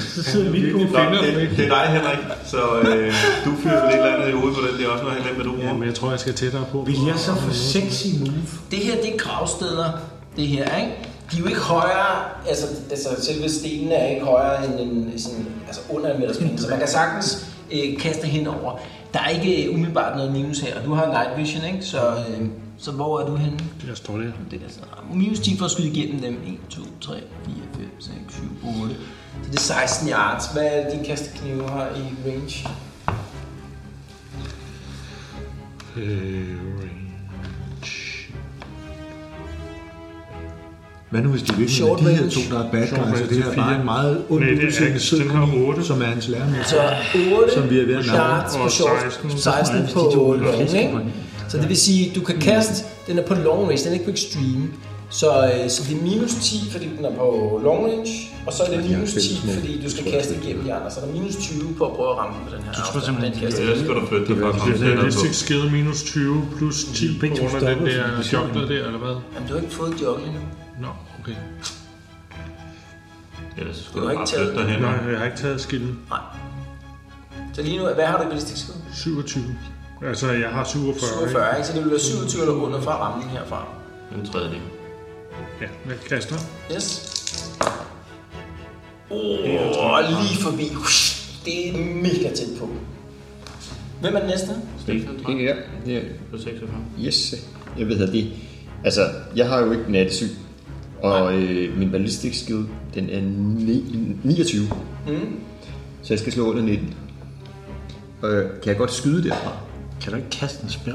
C: Så sidder vi på.
F: Nå, det, det, er dig, Henrik. Så øh, du fyrer vel et eller andet i hovedet på den der også, når han glemmer, hvad du bruger.
G: Ja, men jeg tror, jeg skal tættere på.
C: Vil jeg så få sexy move?
B: det her, det er gravsteder, det her, ikke? De er jo ikke højere, altså, altså selve stenene er ikke højere end en, sådan, altså under en meters penge, så man kan sagtens øh, kaste henover. Der er ikke øh, umiddelbart noget minus her, og du har night vision, ikke? Så, øh, så hvor er du henne?
G: Jeg står der.
B: Det der sådan, ah, minus 10 for at skyde igennem dem. 1, 2, 3, 4, 5, 6, 7, 8. Så det er 16 yards. Hvad er din kasteknive her i range?
G: Øh, range.
D: Hvad nu hvis de virkelig
B: Short
D: er de her
B: range.
D: to, der er bad
G: Short
D: guys,
G: range
D: og det her er
G: til
D: bare
G: fire.
D: en meget ond
G: Nej, det er
D: udseende
G: ikke.
D: sød
G: Den har
D: kanin,
G: otte.
D: som er hans lærer.
B: Så 8
D: Som vi er ved at navne.
B: yards på
G: Og
B: short.
G: 16.
B: 16 på long range. Så det vil sige, du kan kaste, den er på long range, den er ikke på extreme. Så, øh, så det er minus 10, fordi den er på long range, og så er det minus 10, fordi du skal kaste igennem de andre. Så er der minus 20 på at prøve at ramme den på den her. Du tror simpelthen, den kaster.
F: Ellers skal du flytte dig fra
G: Det er
F: kommet
G: realistisk skede minus 20 plus 10 på grund af den der jokler der, eller hvad?
B: Jamen, du har ikke fået joggen endnu.
G: Nå, okay.
F: Ellers
B: Du
F: skal du
B: har
F: bare
B: ikke taget-
F: flytte dig hen.
G: Nej, jeg har ikke taget skilden.
B: Nej. Så lige nu, hvad har du i ballistik skud?
G: 27. Altså, jeg har 47. 47.
B: 47, ikke? så det vil være 27 eller under fra rammen herfra.
F: Den tredje.
G: Ja, jeg kaster.
B: Yes. Åh, oh, lige forbi. Det er mega tæt på. Hvem er den næste?
E: Ja, ja.
F: På 46.
E: Yes. Jeg ved, at det... Altså, jeg har jo ikke nattesyn. Og øh, min ballistic skill, den er ni- 29. Mm. Så jeg skal slå under 19. Øh, kan jeg godt skyde derfra?
C: Kan du ikke kaste en spil?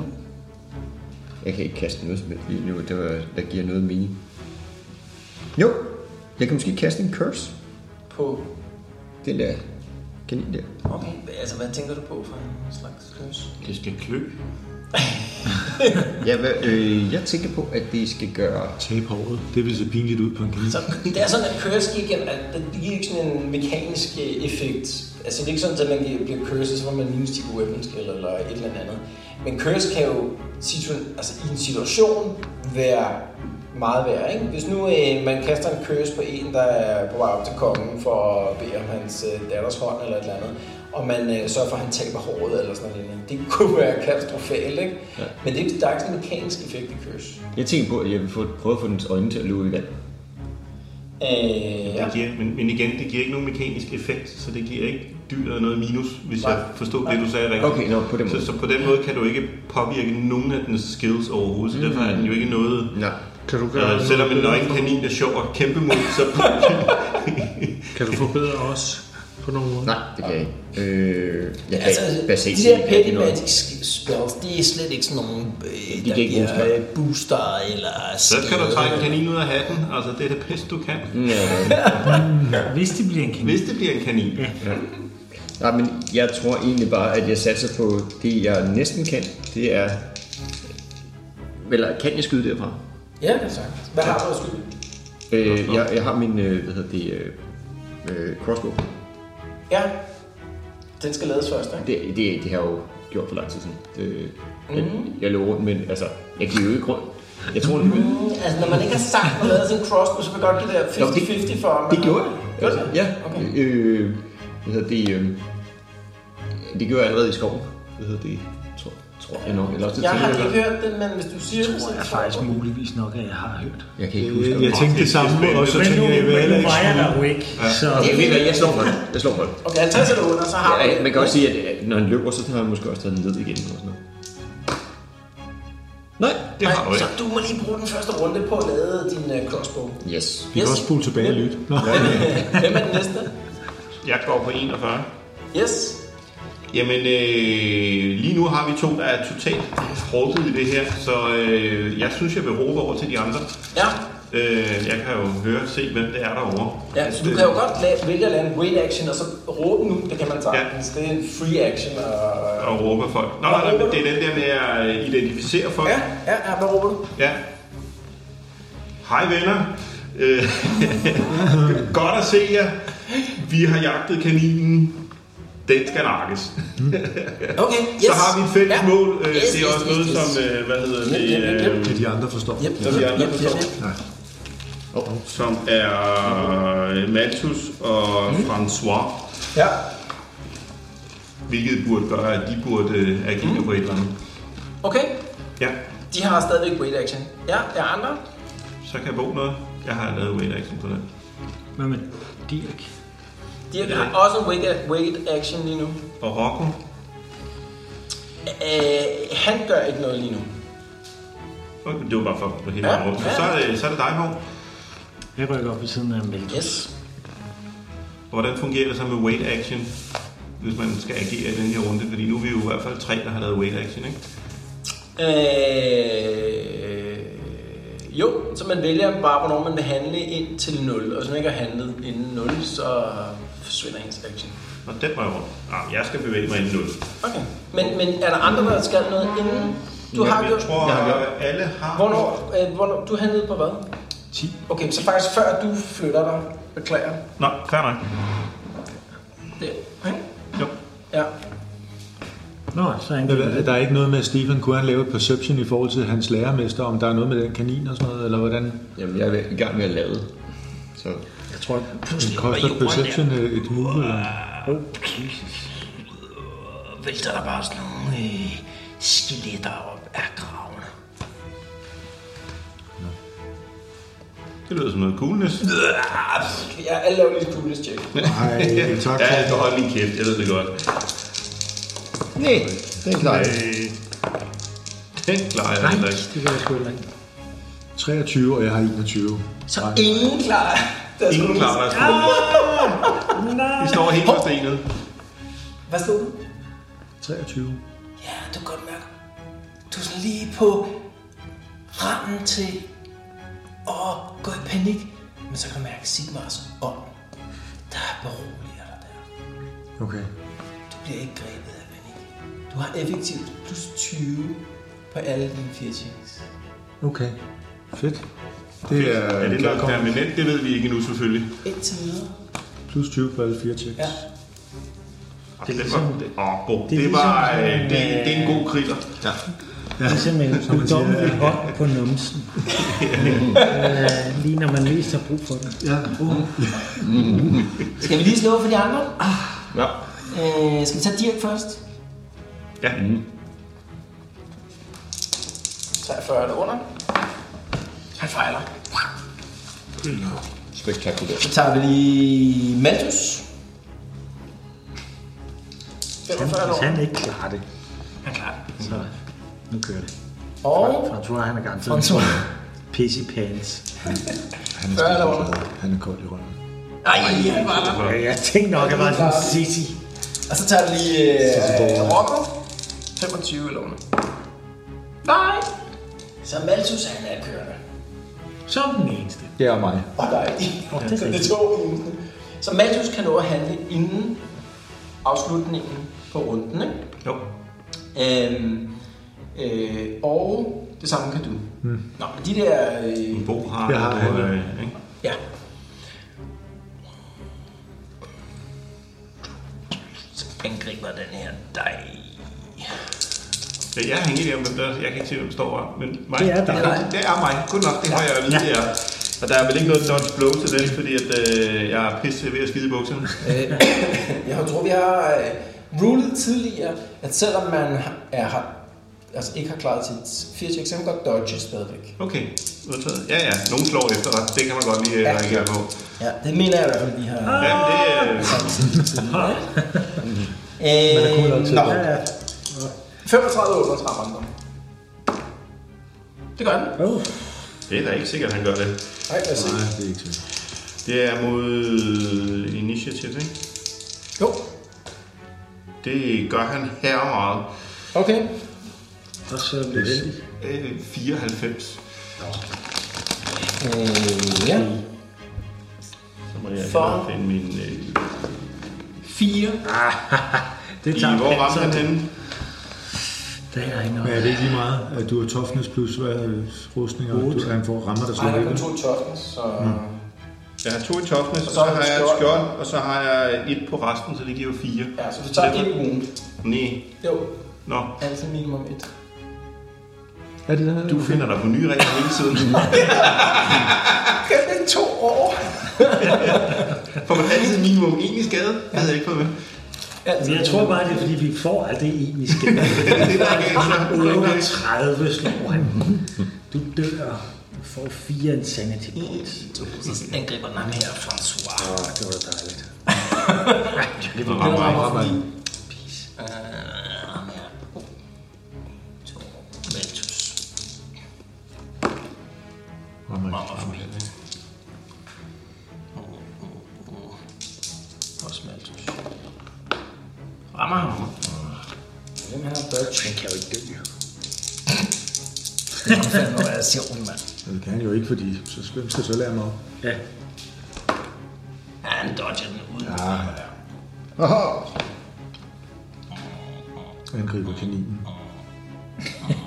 E: Jeg kan ikke kaste noget som helst lige nu, det var, der giver noget mening. Jo, jeg kan måske kaste en curse.
B: På
E: Den der Kanin der.
B: Okay, altså hvad tænker du på for en slags løs?
F: Det skal klø.
E: Ja, hvad, øh, jeg tænker på, at det skal gøre...
D: Tape håret. Det vil se pinligt ud på en kanin.
B: Så det er sådan, at køreski igen, at det giver ikke sådan en mekanisk øh, effekt. Altså det er ikke sådan, at man giver- bliver køres, og så får man minus 10 på weapon skill eller et eller andet. Men køres kan jo situ- altså, i en situation være meget værd, ikke? Hvis nu øh, man kaster en køres på en, der er på vej op til kongen for at bede om hans øh, datters hånd eller et eller andet, og man øh, sørger for, at han taber håret eller sådan noget. lignende. Det kunne være katastrofalt, ikke? Ja. Men det er, ikke- der er ikke sådan en mekanisk effekt i køres.
E: Jeg tænker på, at jeg vil få, prøve at få dens øjne til at løbe i vand.
B: Øh, ja.
F: Det giver, men, men igen, det giver ikke nogen mekanisk effekt, så det giver ikke dyret noget minus, hvis Nej. jeg forstod det, du sagde rigtigt.
E: Okay, nå, på den måde.
F: Så, så på den måde kan du ikke påvirke nogen af dens skills overhovedet, så derfor er den jo ikke noget...
E: Nej.
J: Kan du gøre
F: Øh, selvom en nøgen kanin er sjov og kæmpe mod, så...
J: Kan du forbedre os på nogen måde?
E: Nej, det kan jeg ikke. Øh, jeg kan
B: Altså,
E: ikke basalt
B: de
E: set
B: der
E: ikke rigtig
B: petty
E: noget.
B: magic spells, det er slet ikke sådan nogen, øh,
E: giver
B: der
E: ikke
B: giver
E: booster.
B: øh, booster eller
F: Så
B: skade.
F: skal du trække en kanin ud af hatten. Altså, det er det bedste, du kan.
E: Mm, Ja,
C: Hvis det bliver en kanin.
F: Hvis det bliver en kanin.
E: nej, men jeg tror egentlig bare, at jeg satser på det, jeg næsten kan. Det er... Eller kan jeg skyde derfra?
B: Ja, det er sagt. Hvad har du at skyde?
E: Øh, jeg, jeg har min, øh, hvad hedder det, øh, øh, crossbow.
B: Ja, den skal lades først, ikke?
E: Det, det, det har jeg jo gjort for lang tid siden. Det, jeg,
B: Mhm.
E: jeg løber rundt, men altså, jeg giver jo ikke rundt. Jeg tror, det,
B: Mm, altså, når man ikke har sagt, man lavet sådan en crossbow, så vil godt det der 50-50 for mig.
E: det gjorde jeg.
B: Gjorde
E: Altså,
B: det?
E: ja.
B: Okay.
E: Øh, hvad hedder det, øh, det gjorde jeg allerede i skoven. Hvad hedder det, tror, tror jeg nok. Eller også det
B: Jeg har
E: tænker
B: ikke hørt den, men hvis du siger det, så
C: Det er faktisk muligvis nok, at jeg har hørt.
E: Jeg kan ikke huske.
D: Jeg tænkte det samme, og så
C: Men nu,
D: tænkte jeg, hvad
C: men
D: heller
C: nu
D: ikke
C: var jeg
D: skulle
C: der jo ikke, så...
E: Jeg, ved, jeg slår bolden. Jeg slår bolden.
B: Okay, 50 eller under, så har du
E: Ja,
B: det.
E: man kan også sige, at øh, når han løber, så har han måske også taget den ned igen. Eller sådan noget. Nej.
F: Det har du
B: Nej, så
F: ikke.
B: du må lige bruge den første runde på at lade din øh, crossbow.
E: Yes.
D: Vi kan også spole tilbage og lytte. Nå.
B: Hvem er den næste?
F: Jeg går på 41.
B: Yes.
F: Jamen, øh, lige nu har vi to, der er totalt frugtet i det her, så øh, jeg synes, jeg vil råbe over til de andre.
B: Ja.
F: Øh, jeg kan jo høre og se, hvem det er derovre.
B: Ja, så du kan jo godt la- vælge at lade en wait action, og så råbe nu, det kan man sagtens. Det er en free action, og
F: Og råbe af folk. Nå, nej, nej, men det er den der med at øh, identificere folk.
B: Ja, ja, ja, hvad råber du?
F: Ja. Hej venner. Øh, Godt at se jer. Vi har jagtet kaninen. Den skal nakkes.
B: Okay, yes.
F: Så har vi et fælles mål. Øh,
B: Yes,
F: det er
B: yes,
F: også
B: yes,
F: noget,
B: yes.
F: som... øh, Hvad hedder
B: Yep, yep, yep, yep.
F: det? øh,
D: Det de andre forstår.
B: Yep,
F: Så vi
B: yep,
F: andre
B: yep,
F: forstår.
B: yep, yep.
F: Som er Malthus og
B: Mm.
F: François.
B: Ja,
F: Hvilket burde gøre, at de burde øh,
B: Mm.
F: agere på et eller andet.
B: okay.
F: Ja,
B: De har stadigvæk wait action. Ja, er andre?
F: så kan jeg bruge noget. Jeg har lavet wait action på det.
C: Hvad med Dirk?
B: De har,
F: Ja.
B: har også en wait, wait action lige nu.
F: Og Rocco.
B: Øh, han gør ikke noget lige nu.
F: Okay, det var bare for på hele
B: Ja,
F: vejen rundt.
B: ja.
F: Så, er det- så er det dig, Hov.
C: Jeg rykker op ved siden af Melto.
B: Yes.
F: Hvordan fungerer det så med weight action, hvis man skal agere i den her runde? Fordi nu er vi jo i hvert fald tre, der har lavet weight action, ikke?
B: Øh, jo, så man vælger bare, hvornår man vil handle ind til 0. Og hvis man ikke har handlet inden 0, så forsvinder ens action.
F: Og den var jo rundt. Ah, jeg skal bevæge mig inden 0.
B: Okay. Men, men er der andre, der skal noget inden? Du har
F: jeg
B: gjort...
F: tror,
B: Ja.
F: at alle har...
B: Hvornår, øh, hvornår, du handlede på hvad?
D: 10.
B: Okay, så faktisk før du flytter dig, beklager.
F: Nå, fair nok.
B: Det, ikke?
F: Jo.
B: Ja.
C: Nå, så er han
D: Eller, Der er ikke noget med, at Stefan kunne han lave et perception i forhold til hans lærermester, om der er noget med den kanin og sådan noget, eller hvordan
E: Jamen, jeg er i gang med at lade. Så
C: Jeg tror,
D: Den koster perception øh, et move, eller?
B: Vælter der bare sådan nogle øh, skeletter op af gravene.
F: Det lyder som noget coolness.
B: Jeg alle laver lige et coolness check.
D: Nej, tak.
F: Ja, jeg skal holde min kæft. Jeg ved det godt.
E: Nej, den klarer jeg.
F: Øh, Den klarer jeg heller ikke.
C: det kan jeg sgu heller ikke.
D: 23, og jeg har 21.
B: Så ingen klarer deres
F: Ingen
B: coolness.
F: klarer deres coolness. Vi står helt på stenet.
B: Hvad stod du?
D: 23.
B: Ja, du kan godt mærke. Du er sådan lige på randen til at gå i panik. Men så kan du mærke Sigmars ånd, der beroliger dig der.
D: Okay.
B: Du bliver ikke grebet af panik. Du har effektivt plus 20 på alle dine fire checks.
D: Okay. Fedt. Det er,
F: Er det
D: klar
F: noget
D: kom.
F: permanent? Det ved vi ikke nu selvfølgelig.
B: Indtil videre.
D: Plus 20 på alle fire checks.
B: Ja.
F: Det, det, var, det, åh, bo, det,
C: er
F: det, var,
C: ligesom sådan,
F: øh, det, det er en god kritter. Ja.
C: Ligesom en dobbelt hånd på numsen. Øh, Lige når man mest har brug for det.
D: Ja. Uh.
B: Skal vi lige slå for de andre?
F: ja.
B: Øh, skal vi tage Dirk først?
F: ja.
B: 43 eller under. Han fejler.
E: Spektakulært.
B: Så tager vi lige Malthus. 45 eller
C: Hvis
B: under.
C: han ikke klarer det,
B: Han klarer det.
C: så nu kører det.
B: Og
C: François, han er garanteret
B: François.
C: piss i pants.
D: Han er,
B: Fyrre eller
D: sgu glad. han er kold i røven.
B: Ej, han var der.
C: Ja, jeg tænkte nok, at det var sådan en sissy.
B: Og så tager vi lige øh, Rocco. 25 eller under. Nej! Så Malthus han er kørende.
C: Som den eneste.
D: Det er mig.
B: Og der er en. så det er to eneste. Så Malthus kan nå at handle inden afslutningen på runden, ikke?
F: Jo.
B: Øhm, øh, og det samme kan du. Mm. Nå, men de der... Øh,
F: Bo har,
D: Jeg har
F: og,
D: handlet.
F: øh, ikke?
B: ja. Så angriber den her dig.
F: Ja, jeg hænger lige om, hvem der Jeg kan ikke se, hvem der står op, men mig.
C: Det er dig.
F: Det er mig. Kun nok, det har jeg at vide, det er. Og der er vel ikke noget dodge blow til den, fordi at, øh, jeg er pisse ved at skide i bukserne.
B: Jeg tror, vi har øh, rulet tidligere, at selvom man har- er, har, altså ikke har klaret sit 4 check, så kan man godt dodge stadigvæk.
F: Okay, udtaget. Ja, ja. Nogen slår efter dig. Det kan man godt lige øh,
B: Ja.
F: reagere på.
B: Ja, det mener jeg i hvert fald, vi har.
F: Ja, det, øh,
B: Øh, nå,
C: Ja, ja.
B: 35 og 38 andre. Det gør den.
C: Oh,
F: det er da ikke sikkert, han gør det.
B: Nej, lad os se.
D: Nej, det er ikke så.
F: Det er mod initiativ, ikke?
B: Jo,
F: Det gør han her meget.
B: okay.
C: og så blev det heldigt.
F: Øh, 94.
B: Øh, ja.
F: Så må jeg
B: For-
F: hellere finde min... Øh,
B: 4.
C: Det
F: i,
C: tager
F: hvor ramte han henne?
C: Det er ikke
D: Men
C: noget.
D: er det ikke lige meget, at du har toughness plus hvad er det, rustning, og du, han får rammer, der
B: Nej,
D: slår
B: der er kun
D: ikke?
B: to toughness, så...
F: Jeg har to i toughness,
B: så
F: og så
B: har
F: har
B: du
F: jeg et
B: skjold.
F: skjold, og så har jeg et på resten, så det giver fire.
B: Ja, så du tager ikke ugen.
F: Nej,
B: Jo,
F: nå.
B: altså minimum et.
D: Er det der?
F: Du finder dig på nye regler hele tiden.
B: Kan det to år?
F: Får man altid minimum en i skade? Det havde jeg ikke fået med.
C: Men jeg tror bare, det er, fordi vi får alt det i, vi skal.
F: Det der ikke så.
C: 38 slår han. Du dør. Du får fire insanity points.
B: Så angriber den ham her, François.
C: Åh, det var da dejligt.
F: Rammer, rammer.
B: Øh, ham her. To. Malthus.
D: Rammer ikke.
B: Rammer forbi. Også Malthus. Rammer ham. Hvem han har dodge? Han kan jo ikke dø. Det er fandme, hvor jeg ser ung mand.
D: Ja, Det kan han jo ikke, fordi så hvem skal så lære mig op?
C: Ja,
B: Ja, han dodger den uden.
D: Ja. Han griber kaninen.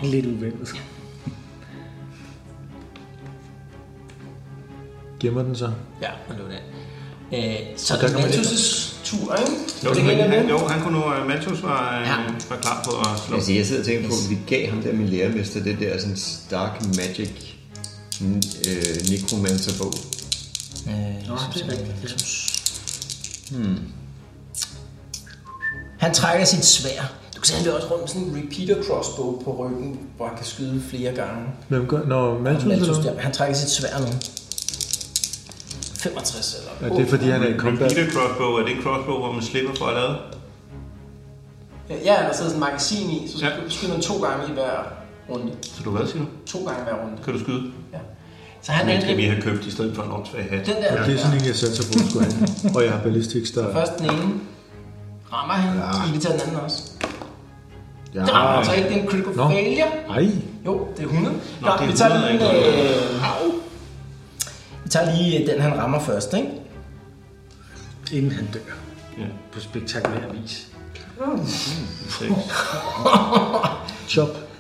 C: lidt uventet.
D: Gemmer den sig?
B: Ja, han lå det. Øh, så er
D: der
B: det
D: kan man ikke-
B: Malthus' tur, ikke?
F: Jo,
B: det
F: men
B: gælder
F: han,
B: nu.
F: jo, han kunne nå, at Malthus var, øh,
B: Ja.
F: var klar på at slå.
E: Altså, jeg sidder og tænker på, at vi gav ham der min lærermester, det der sådan Stark Magic n- øh, Necromancer-bog.
B: Øh,
C: Nå, det er rigtigt. ja.
B: Hmm. Han trækker sit svær. Du kan se, han løber også rundt med sådan en repeater crossbow på ryggen, hvor han kan skyde flere gange.
D: Hvem gør? Når Malthus
B: Malthus,
D: eller
B: der, han trækker sit svær nu. 65 eller...
D: hvad? Er det fordi, han er i combat?
F: Peter crossbow, er det en crossbow, hvor man slipper for at lade?
B: Øh, Ja, der sidder sådan et magasin i, så
F: Ja.
B: skyder man to gange i hver runde.
F: Så du hvad, siger du?
B: To gange i hver runde.
F: Kan du skyde?
B: Ja. Så han
F: Men skal vi
B: angriber
F: have købt i stedet for en åndssvag hat?
B: den der.
D: Og det er sådan en, jeg satser på, at skulle have. Og jeg har ballistics, der...
B: Først den ene. Rammer han. Ja. Skal vi lige tage den anden også?
D: Ja.
B: Det rammer altså ikke. Det er en critical
D: Nå.
B: failure.
D: Ej,
B: Jo, det er 100. Nå,
F: det er
B: vi tager
F: 100,
B: lige...
F: ikke?
B: Øh, au. vi tager lige øh, den, han rammer først, ikke?
C: Inden han dør.
I: på spektakulær vis.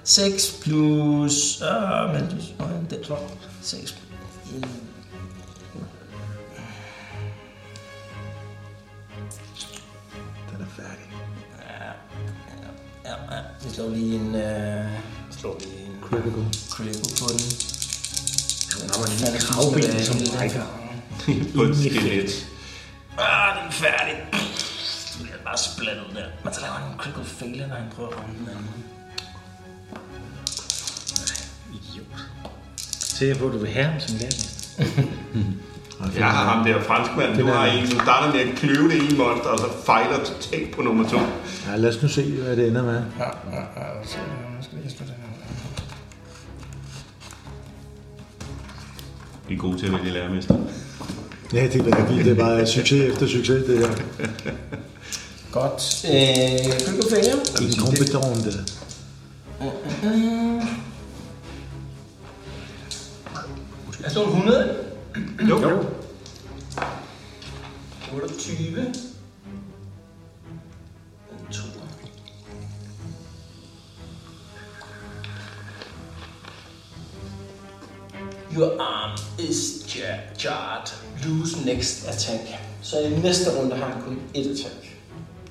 B: 6 plus... Øh, men du så den der. 6
D: Den er færdig.
B: Ja, ja. Vi slår lige en... Øh, slår lige en... Critical. Critical på den. Den rammer lige kravben, som rækker.
F: på et skelet.
B: Ah, den er færdig. Du bliver bare splattet der. Men så laver han en critical failure, når han prøver at ramme den anden.
I: Sikker på, at du vil have ham som lærer.
F: Jeg har ham der franskmand. Du har en, som starter med at kløve det ene monster, og så fejler totalt på nummer to.
D: Ja, lad os nu se, hvad det ender med.
B: Ja, ja, ja. Så øh, nu skal jeg slå den her.
F: Vi er gode til at vælge lærermester.
D: Ja, det er rigtigt. Det er bare succes efter succes, det her.
B: Godt. Øh, critical failure.
D: En kompetent, det der.
B: Jeg slår 100.
F: Jo, jo.
B: 28. En toer. Your arm is ja- jarred. Lose next attack. Så i næste runde har han kun et attack.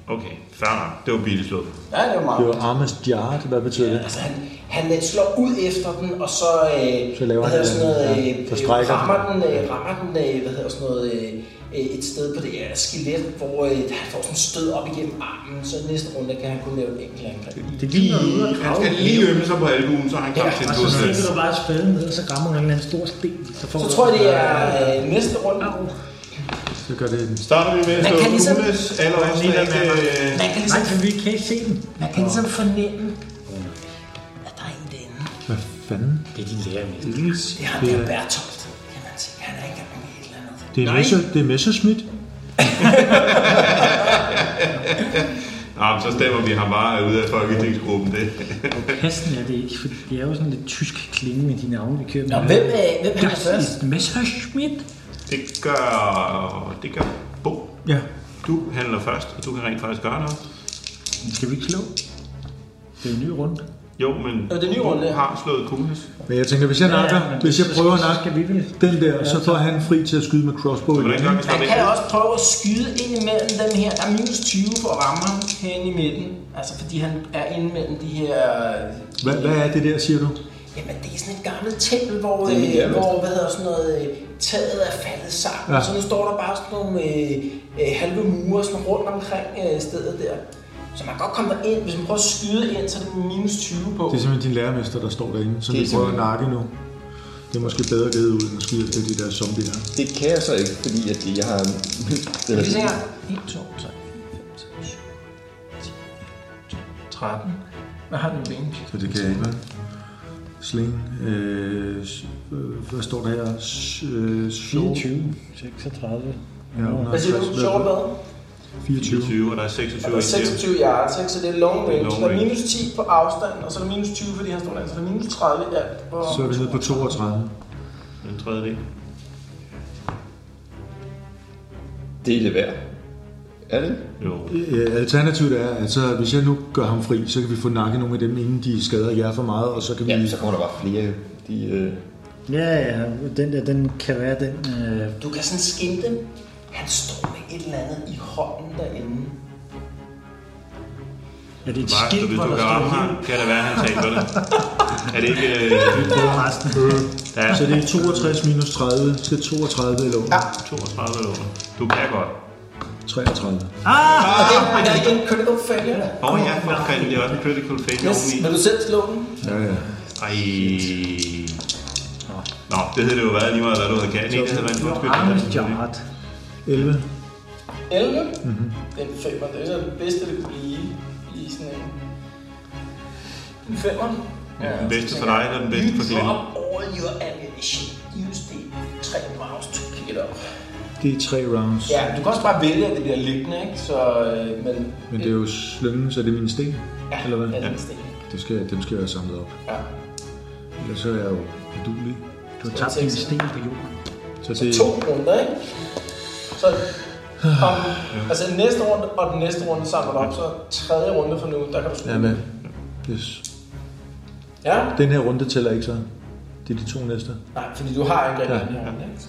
F: Okay, fair nok. Det var billigt slået.
B: Ja, det var
D: Det
B: meget.
D: var Armas Jard, hvad betyder det?
B: Altså, han, han øh, slår ud efter den, og så, øh,
D: Så laver
B: hvad
D: han
B: hedder sådan
D: den,
B: noget,
D: ja.
B: øh,
D: Så strækker den.
B: rammer den, øh, rammer den øh, hvad hedder sådan noget, øh, øh, et sted på det her skelet, hvor øh, han får sådan stød op igennem armen, så i næste runde kan han kun lave et enkelt angreb.
I: Det er lige ude og
F: Han
I: grave.
F: skal lige ømme sig på albuen, så han kan ja, til
I: Og
F: en
I: så
F: dødsdans.
I: stikker du bare spæden ned, og så rammer hun en eller anden stor sten. Så, får
B: Så
I: du-
B: tror jeg, det er øh, næste runde.
D: Så gør det en
F: Starter vi med at
B: Man
F: slå
B: kan ligesom-
F: Unes, eller også
I: Lige
F: ikke...
I: lade
F: øh,
B: Man kan
I: Nej,
B: ligesom,
I: for vi kan ikke se den.
B: man kan ligesom fornemme, at der er en derinde.
D: fanden.
I: Det er din lærer med.
B: Det er ham der Bertolt, kan man se. Han er ikke engang med et eller andet.
D: Det er, Messer, det er Messerschmidt.
F: Ah, men så stemmer vi ham bare ud af Folketingsgruppen. Det.
I: Passende er det ikke, for det er jo sådan lidt tysk klinge med de navne, vi kører med.
B: Nå, hvem, øh, hvem er
I: Das
B: først?
I: ist Messerschmidt.
F: det gør... Det gør Bo.
I: Ja.
F: Du handler først, og du kan rent faktisk gøre noget.
I: Skal vi ikke slå? Det er en ny runde.
F: Jo, men
B: Nå, det er en ny
F: Bo
B: runde.
F: har slået Kunes.
D: Men jeg tænker, hvis jeg nakker,
I: men
D: hvis jeg
I: så
D: prøver at
I: skal- så
D: nakke
I: skal vi vel.
D: den der, så får han fri til at skyde med crossbow igen.
F: Hvordan gør vi så
B: Han
F: det?
B: kan da også prøve at skyde ind imellem dem her. Der er minus 20 for at ramme ham hen i midten. Altså fordi han er inde mellem de her...
D: Hvad, hvad er det der, siger du?
B: Jamen det er sådan et gammelt tempel, hvor,
E: Det er mit
B: øh,
E: hjerte.
B: hvor hvad hedder sådan noget, øh, taget er faldet sammen. Ja.
D: Ja.
B: Så nu står der bare sådan nogle øh, øh, halve mure sådan rundt omkring øh, stedet der. Så man kan godt komme derind. Hvis man prøver at skyde ind, så er det minus 20 på.
D: Det er simpelthen din lærermester, der står derinde, som
E: Det er
D: vi prøver at
E: simpelthen-
D: nakke nu. Det er måske bedre givet ud, end at skyde efter de der zombier.
E: Det kan jeg så ikke, fordi at jeg har... den
B: Vi ser 1, 2,
E: er,
B: 3, 4, 5, 6, 7, 13. Hvad har den range?
D: Så det kan jeg ikke, vel? Sling. Øh, s- øh, hvad står der her? S- øh, short.
I: 24, 36.
D: Ja,
B: Hvad siger du?
D: 150.
B: Short hvad?
D: 24.
F: 20, og der er
B: Og
F: 26
B: der er
F: i
B: 26 yards, ikke? så det er long range.
F: Long
B: der er
F: range.
B: minus 10 på afstand, og så er der minus 20, fordi han står der. Så der er minus 30 i alt. Og...
D: Så er vi nede på 32.
F: den tredje del.
E: det er det værd. Er det?
F: Jo.
D: Øh, Alternativet er, at så, hvis jeg nu gør ham fri, så kan vi få nakket nogle af dem, inden de skader jer for meget, og så kan vi...
E: Ja, så kommer der bare flere. jo. De, øh,
I: Ja, ja, den der, den kan være den... Øh,
B: Du kan sådan skimte, han står med et eller andet i hånden derinde.
I: er det et
F: Mark,
I: skilt,
F: hvis
I: hvor
F: du
I: der
F: kan ramme
I: står
F: ham,
I: helt?
F: kan det være, han taber det. Er det ikke... Øh,
I: Resten.
F: der er
D: Så det er 62 minus 30, skal 32 eller under?
F: 32 eller under. Du kan godt.
D: 33.
B: Og det er- det er igen critical failure.
F: Åh oh, ja, for fanden, det er også en critical failure
B: Yes,
F: oveni.
B: vil du selv slå den?
D: Ja, ja.
F: Ej. Nå, det havde det jo været lige meget, hvad du havde kaldt. Ikke, det havde været en undskyld.
I: Armes Jart.
D: 11.
B: 11.
D: Mhm.
B: Mm-hmm. Den femmer, det er så det bedste, det kunne blive i sådan en... En femmer. Ja,
F: Den bedste for dig, eller den bedste for Glenn?
B: Drop all your ammunition. Use the three rounds to pick it up.
D: Det er tre rounds.
B: Ja, du kan også bare vælge, at det bliver liggende, ikke? Så, øh, men...
D: Men det er jo slyngen, så det er min sten.
B: Ja,
D: eller hvad?
B: Ja, den sten.
D: Det skal, dem skal jeg have samlet op.
B: Ja.
D: Ellers så er jeg jo udulig.
I: Du har tabt din sten på jorden.
D: Så det,
B: To runder, ikke? Så Om, altså næste runde og den næste runde samler du op, så tredje runde for nu, der kan du skyde.
D: Ja, men. Yes.
B: Ja?
D: Den her runde tæller ikke så. Det er de to næste.
B: Nej, fordi du har angrebet.
D: Ja.
B: Ja. Ja. Så.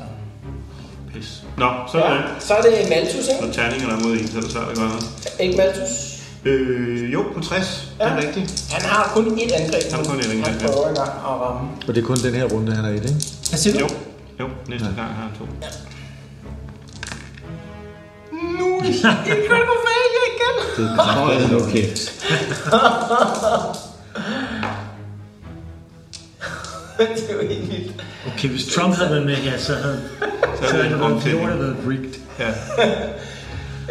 F: Pis. Nå, så er det.
B: Ja. Så er det Malthus, ikke?
F: Når terningerne er mod en, så er det svært at gøre noget.
B: Ikke Malthus?
F: Øh, jo, på 60. Ja. Det er rigtigt.
B: Han har kun ét angreb.
F: Han har kun ét angreb,
B: Han
F: ja.
B: prøver engang at ramme.
D: Og det er kun den her runde, han er i, ikke?
B: Hvad siger du?
F: Jo, jo. Næste ja. gang har han to.
B: Det kan du vælge igen.
D: Det er kraftigt.
E: Okay.
B: det er jo helt vildt.
C: Okay, hvis Trump havde været med her, så havde så
F: Så er
C: havde
F: det
C: det
F: en
C: været, det
F: omtælling.
C: havde været rigged.
F: Ja.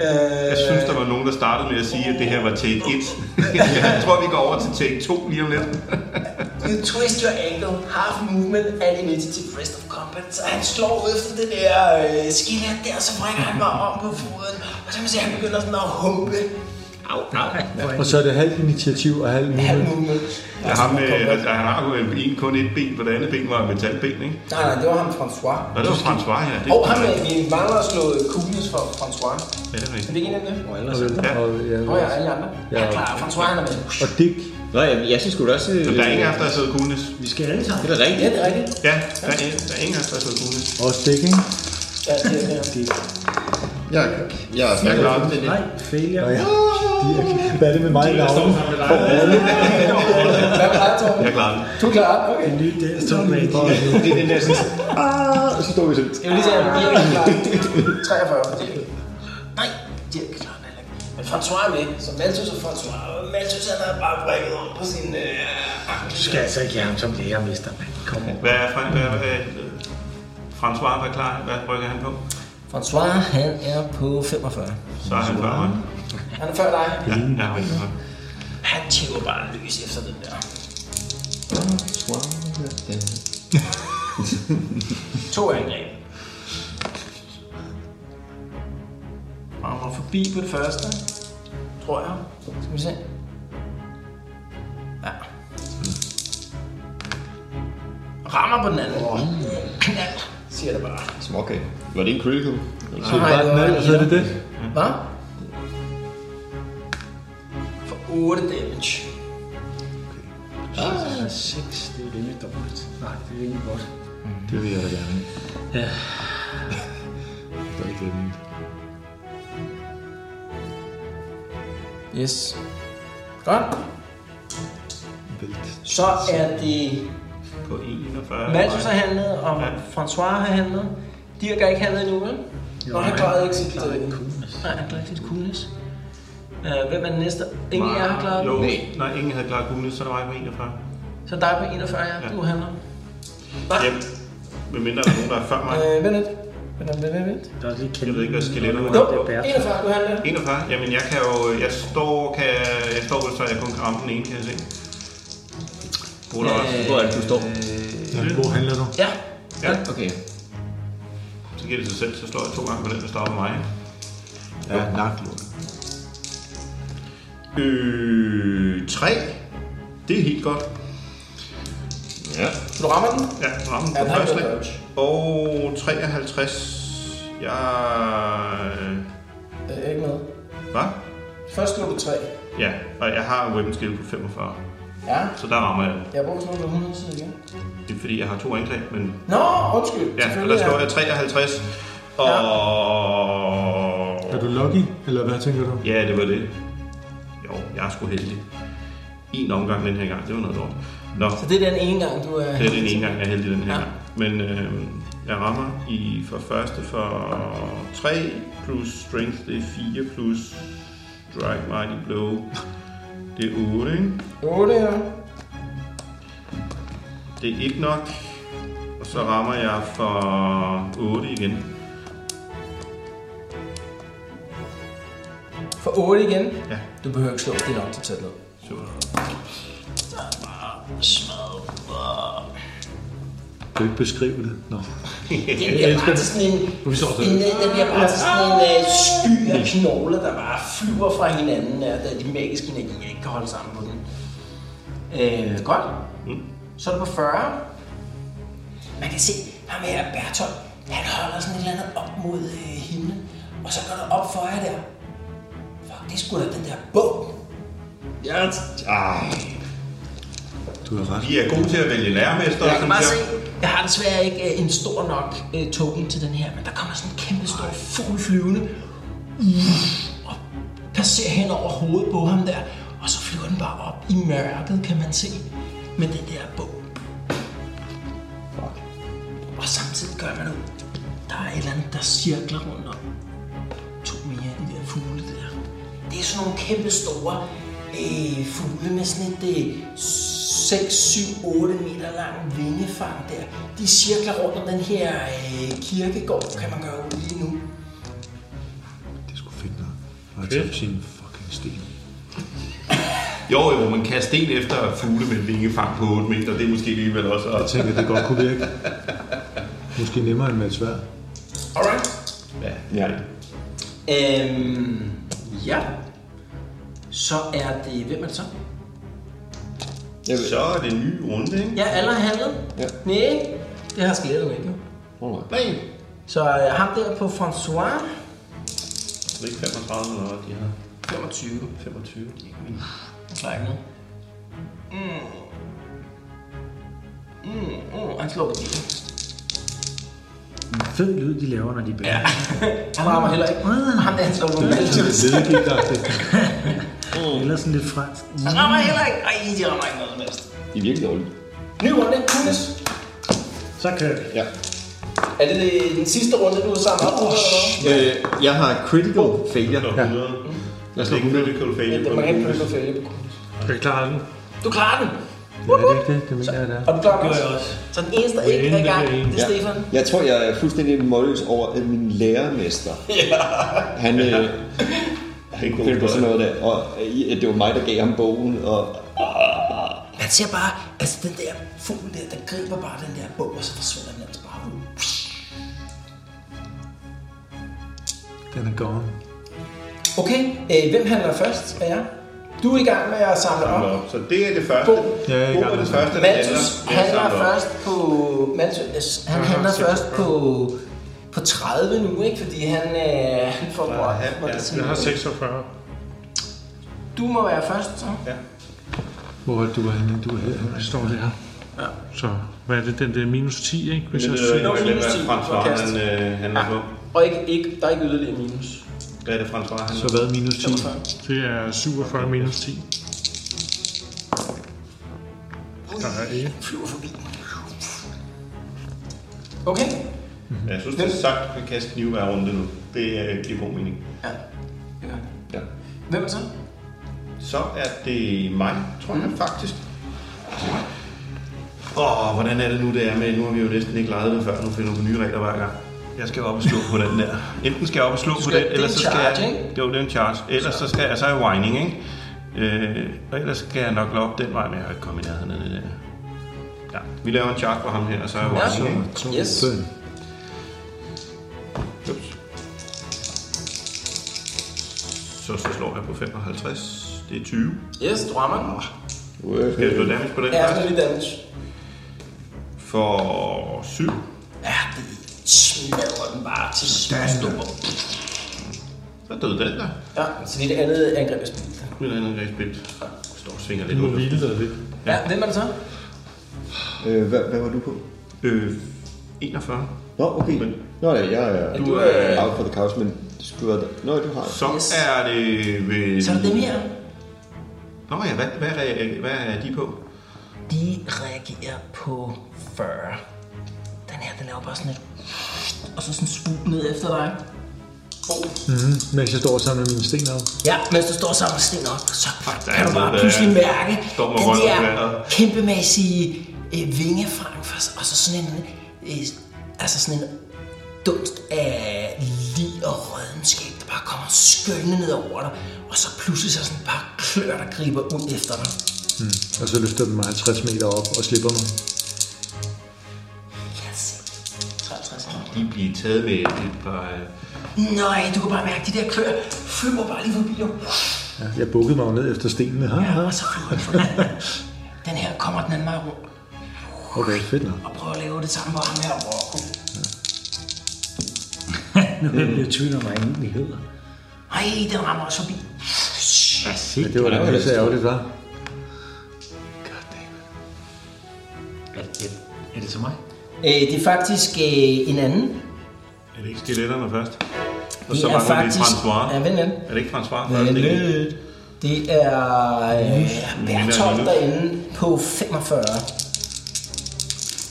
B: Øh,
F: Jeg synes, der var nogen, der startede med at sige, at det her var take 1. jeg tror, vi går over til take 2 lige om lidt.
B: You twist your ankle, half movement and initiative rest of combat. Så han slår ud efter det der øh, skillet der, så brækker han mig om på foden. Og så kan man se, at han begynder sådan at humpe. Au, au.
D: Og så er det halvt initiativ og halvt
B: Halv
D: mulighed.
B: movement.
F: Jeg har, med, altså, han har jo en, kun et ben, for det andet ben var et metalben, ikke?
B: Nej, nej, det var ham François.
F: Nå, det var François, ja. Det
B: Og ham,
F: er
B: øh, vi mangler at slå Kuglis for François.
F: ja, det er
B: Er
F: rigtigt.
B: det ikke en af dem? Nå
F: Ja.
D: Og, ja,
B: ja, alle de andre.
D: Ja.
B: Ja, klar. François, han er med.
D: og Dick,
E: Nå, jeg, jeg synes sgu da også... øh,
F: Så der er ingen af os, der har siddet kugnes.
C: Vi skal alle sammen.
E: Det er
B: Ja,
E: da rigtigt.
B: det er rigtigt.
F: Ja, der er, en- der er ingen af os, der har siddet kugnes.
D: også Dick, ikke?
B: Ja, det er det.
E: Jeg, jeg, jeg,
F: klarer den.
E: jeg,
C: Nej, failure.
D: Ja. Dirk. Hvad er det med mig i navnet? For alle.
B: Hvad med dig, Torben?
F: Jeg klarer den.
B: Du er klar, okay.
C: En ny dansk tomat.
E: det er den der sådan... Ah, og så står vi sådan...
B: Det er jo lige så, at Dirk er klar. 43 for Dirk. Nej, Dirk er klar heller ikke. Men François er med, så Malthus og François. Og Malthus han har bare brækket om på sin øh, ankel.
I: Du skal altså ikke have ham som lærermester, mand. Kom on.
F: Hvad er, Fran, hvad, hvad, hvad, François, hvad, klar, hvad rykker han på?
B: François han er på 45.
F: Så er han før mig.
B: Han er før dig.
F: Ja, ja, han er før.
B: Han tæver bare løs efter den der. To angreb. Rammer forbi på det første, tror jeg. Skal vi se. Ja. Rammer på den anden. Oh. Knald, siger det bare.
E: Småkage. Var det en critical?
D: Så er det bare den anden, og så er det det.
B: Hvad? For 8 damage.
C: Ah, 6, det er rimelig dårligt. Nej, det er rimelig godt.
B: Mm.
D: Det vil jeg da gerne.
C: Ja.
D: Det er ikke det, men-
B: Yes. Godt. Så er det
F: På 41.
B: Malthus har handlet, og François har handlet. Dirk er ikke handlet endnu, vel? Jo, og han klarede ikke sit øh, Nej, han klarede ikke sit coolness. Øh, hvem er den næste? Ingen af jer har klaret
F: Jo,
B: den.
F: nej, ingen havde klaret kugnes, så er det mig på 41.
B: Så dig på 41, ja.
F: Ja.
B: Du handler. Hva?
F: Jamen, medmindre der er nogen, der er før mig.
B: Øh, vent lidt. Vent, vent, vent, vent.
C: Der er lige
F: Jeg ved ikke, hvad skeletter
B: Jo,
F: er.
B: 41, du handler.
F: 41? Jamen, jeg kan jo... Jeg står, kan, jeg står vel, så jeg kun kan ramme den ene, kan jeg se. Bruger der også.
E: Hvor er det, du står?
D: Ja, Hvor handler du?
B: Ja.
F: Ja,
E: Okay.
F: så giver det sig selv, så slår jeg to gange på den, der starter mig. ikke?
D: Ja, naklund.
F: Øh, 3. Det er helt godt.
E: Ja.
B: Så du rammer den?
F: Ja, ramme
B: Ja,
F: på
B: den har
F: første.
B: ikke været dodge.
F: Og 53. Jeg...
B: Øh, ikke noget.
F: Hvad?
B: Først slog du 3.
F: Ja, og jeg har weapon skill på 45.
B: Ja.
F: Så der rammer jeg.
B: Jeg bruger sådan noget 100 side igen.
F: Det er fordi, jeg har to angreb, men
B: Nå, undskyld.
F: Ja, og
B: Selvfølgelig
F: der står
B: er-
F: jeg 53. Og...
D: Er du lucky, eller hvad tænker du?
F: Ja, det var det. Jo, jeg er sgu heldig. En omgang den her gang, det var noget lort. Nå,
B: Så det er den ene gang, du er...
F: det er den ene gang, jeg er heldig den her
B: Ja.
F: ja. gang. Men øh, jeg rammer i for første for 3 plus strength, det er 4 plus strike mighty blow. Det er 8, ikke?
B: 8, ja.
F: Det er ikke nok. Og så rammer jeg for 8 igen.
B: For 8 igen.
F: Ja.
B: Du behøver ikke slå, det er nok til tæt ned.
F: Super.
D: Du kan ikke beskrive det. Nå.
B: Den bliver bare til sådan en, en, øh, den bliver bare til sådan en uh, sky af knogler, der bare flyver fra hinanden, uh, da de magiske energier ikke kan holde sammen på den. Øh, godt.
F: Mm.
B: Så er det på 40. Man kan se, ham her Bertolt, han holder sådan et eller andet op mod øh, himlen. Og så går det op for jer der. Fuck, det er sgu da den der bog.
H: Ja, ej.
D: Du har ret.
F: Vi er gode til at vælge lærermester.
B: Jeg kan bare se, jeg har desværre ikke øh, en stor nok øh, token til den her, men der kommer sådan en kæmpe stor fugl flyvende. Mm, Og passerer hen over hovedet på ham der, og så flyver den bare op i mørket, kan man se, med den der bog. Og samtidig gør man ud. Der er et eller andet, der cirkler rundt om. To mere af de der fugle der. Det er sådan nogle kæmpe store øh, fugle med sådan et øh, 6, 7, 8 meter lang vingefang der. De cirkler rundt om den her øh, kirkegård, kan man gøre ud lige nu.
D: Det skulle fedt nok. Og at tage sin fucking sten.
F: Jo, jo, man kan sten efter fugle med en vingefang på 8 meter. Det er måske alligevel også
D: Jeg
F: at...
D: tænker, det godt kunne virke. Måske nemmere end med et svær.
B: Alright.
E: Ja.
B: Øhm, ja. Så er det... Hvem er det så?
H: Jeg ved,
F: Så er det en ny runde, ikke?
B: Ja, alle har handlet.
H: Ja.
B: Nej, det har skelettet ikke. jo.
F: Nej,
B: Så øh, ham der på François,
F: det er ikke 35 eller hvad de har.
B: 25.
F: 25.
B: Nej, ikke noget. Mm. Mm, mm, han slår på bilen.
I: Fed lyd, de laver, når de bærer. Ja.
B: Han rammer heller ikke. Og Ham der, han slår på bilen.
D: Ledegigtagtigt.
I: Eller sådan lidt fransk.
B: Han rammer heller ikke. Ej, de rammer ikke noget som helst.
H: det er virkelig dårligt.
B: Ny runde, Kunis.
I: Så kører vi.
H: Ja.
B: Er det øh, den sidste runde, du har samlet op? Oh,
E: Øh, jeg har critical failure.
F: Slå 100.
E: Jeg
F: Det
E: slår
F: er ikke
E: 100.
F: critical
B: ja,
F: failure.
B: det
F: på
B: må
F: den.
B: ikke blive fælde på Kunis.
G: Kan jeg klare den?
B: Du klarer den.
D: Ja, det er ikke det. Det mener jeg, det er.
B: Og du klarer den også. Så den eneste, der ikke er i gang, det er
H: Ja.
B: Stefan.
H: Jeg tror, jeg er fuldstændig målløs over at min lærermester. Ja. Han, øh, han
F: god
H: finder på
F: idé.
H: sådan noget der, og øh, det var mig, der gav ham bogen, og
B: Man ser bare, altså den der fugl der, der griber bare den der bog, og så forsvinder den altså bare ud.
D: Den er gone.
B: Okay, øh, hvem handler først af jer? Du er i gang med at samle op.
F: Nå, Så det er det første.
B: Bo.
D: Ja, jeg er i
F: Bo
D: gang
F: er
D: med
F: det første, der
B: Malthus
F: handler. Det er
B: handler
F: samlet op.
B: først på... Malthus, han handler først på, på 30 nu, ikke? Fordi han, øh, han får brød.
F: han-
B: må det
F: ja,
B: sige.
G: Jeg har 46.
B: Du må være først, så.
D: Hvor er du henne? Du er her.
G: Det står der. Ja. Så hvad er det? Den der minus 10, ikke? Hvis
F: Men øh,
G: jeg
F: det er
G: siger,
F: jo ikke,
B: minus
F: hvad
B: 10
F: François
B: forkast.
F: han, øh, handler på.
B: Og ikke, ikke, der er ikke yderligere minus.
F: Hvad er det, François
D: Så
F: handler på?
D: hvad minus 10?
G: det er 47 minus 10. Der er ikke.
B: Flyver forbi. Okay.
F: Ja, Jeg synes, det er sagt, at vi kan knive hver runde nu. Det øh, giver god mening.
B: Ja. ja.
H: Ja.
B: Hvem er så?
F: Så er det mig, tror
B: Mhm.
F: jeg faktisk. Åh, hvordan er det nu, det er med? Nu har vi jo næsten ikke lejet det før. Nu finder vi nye regler hver gang. Jeg skal op og slå på den der. Enten skal jeg op og slå på
B: skal-
F: den,
B: det er
F: eller
B: en
F: så skal
B: charge,
F: jeg...
B: ikke?
F: Jo, det er en charge. Ellers så skal jeg... Så er jeg whining, ikke? Øh, og ellers skal jeg nok op den vej, men jeg har ikke kommet i nærheden af det der. Ja, vi laver en charge på ham her, og så er jeg whining, ikke?
D: To.
B: Yes.
D: Bøn.
F: Så, så slår jeg på 55. Det er 20.
B: Yes, du rammer den.
F: Skal jeg slå damage på den
B: Ja,
F: først?
B: det er lige damage.
F: For 7.
B: Ja, det smadrer den bare til små stumper.
F: Så døde den der.
B: Ja, så det er det andet angreb, jeg spiller.
F: Mit andet græsbilt. Står og svinger lidt
G: Nu
F: ud.
G: hvilede det lidt.
B: Ja, hvem er det så?
H: øh, hvad, hvad var du på?
F: Øh, 41.
H: Nå, okay.
F: Men-
H: Nå ja, jeg er
F: Du
H: øh,
F: er...
H: out for the couch, men det skulle være... Nå, du har...
F: Så
B: Yes.
F: er det ved...
B: Så er det dem her.
F: Nå ja, hvad, hvad, er, hvad er de på?
B: De reagerer på 40. Den her, den laver bare sådan et... Og så sådan spug ned efter dig. Oh.
D: Mhm. Mens jeg står og samler mine sten op.
B: Ja, mens du står sammen med sten op, så
F: der er
B: kan du
F: noget,
B: bare
F: der
B: pludselig
F: er-
B: mærke
F: står med
B: den
F: røven i
B: der
F: vejret.
B: kæmpemæssige øh, vingefrang, for- og så sådan en, øh, altså sådan en dunst af lig og rødenskab, der bare kommer skyllende ned over dig, og så pludselig så sådan et par klør, der griber ud efter dig.
D: Og så løfter den mig 50 meter op og slipper mig.
B: Yes. 53 år.
F: De bliver taget med et par... øh,
B: Nej, du kan bare mærke, at de der klør flyver bare lige forbi dig.
D: Ja, jeg bukkede mig jo ned efter stenene. Ha, ha.
B: Og så flyver de forbi. Den her kommer den anden vej rundt.
D: Okay, fedt nok.
B: og prøve at lave det samme på ham her, Rocco.
C: nu er jeg blevet i tvivl om, hvad jeg egentlig hedder.
B: Ej, den rammer også forbi.
D: Ja, det var da også ærgerligt, var.
C: Er det, er det så mig?
B: Øh, det er faktisk øh, en anden.
F: Er det ikke stiletterne først? Og
B: Det
F: så
B: er
F: mangler vi
B: faktisk...
F: François.
B: Ja, vent den.
F: Er det ikke François?
B: Vent
F: først, ikke?
B: lidt. Det er øh, Bertolt
F: Lille.
B: derinde på 45.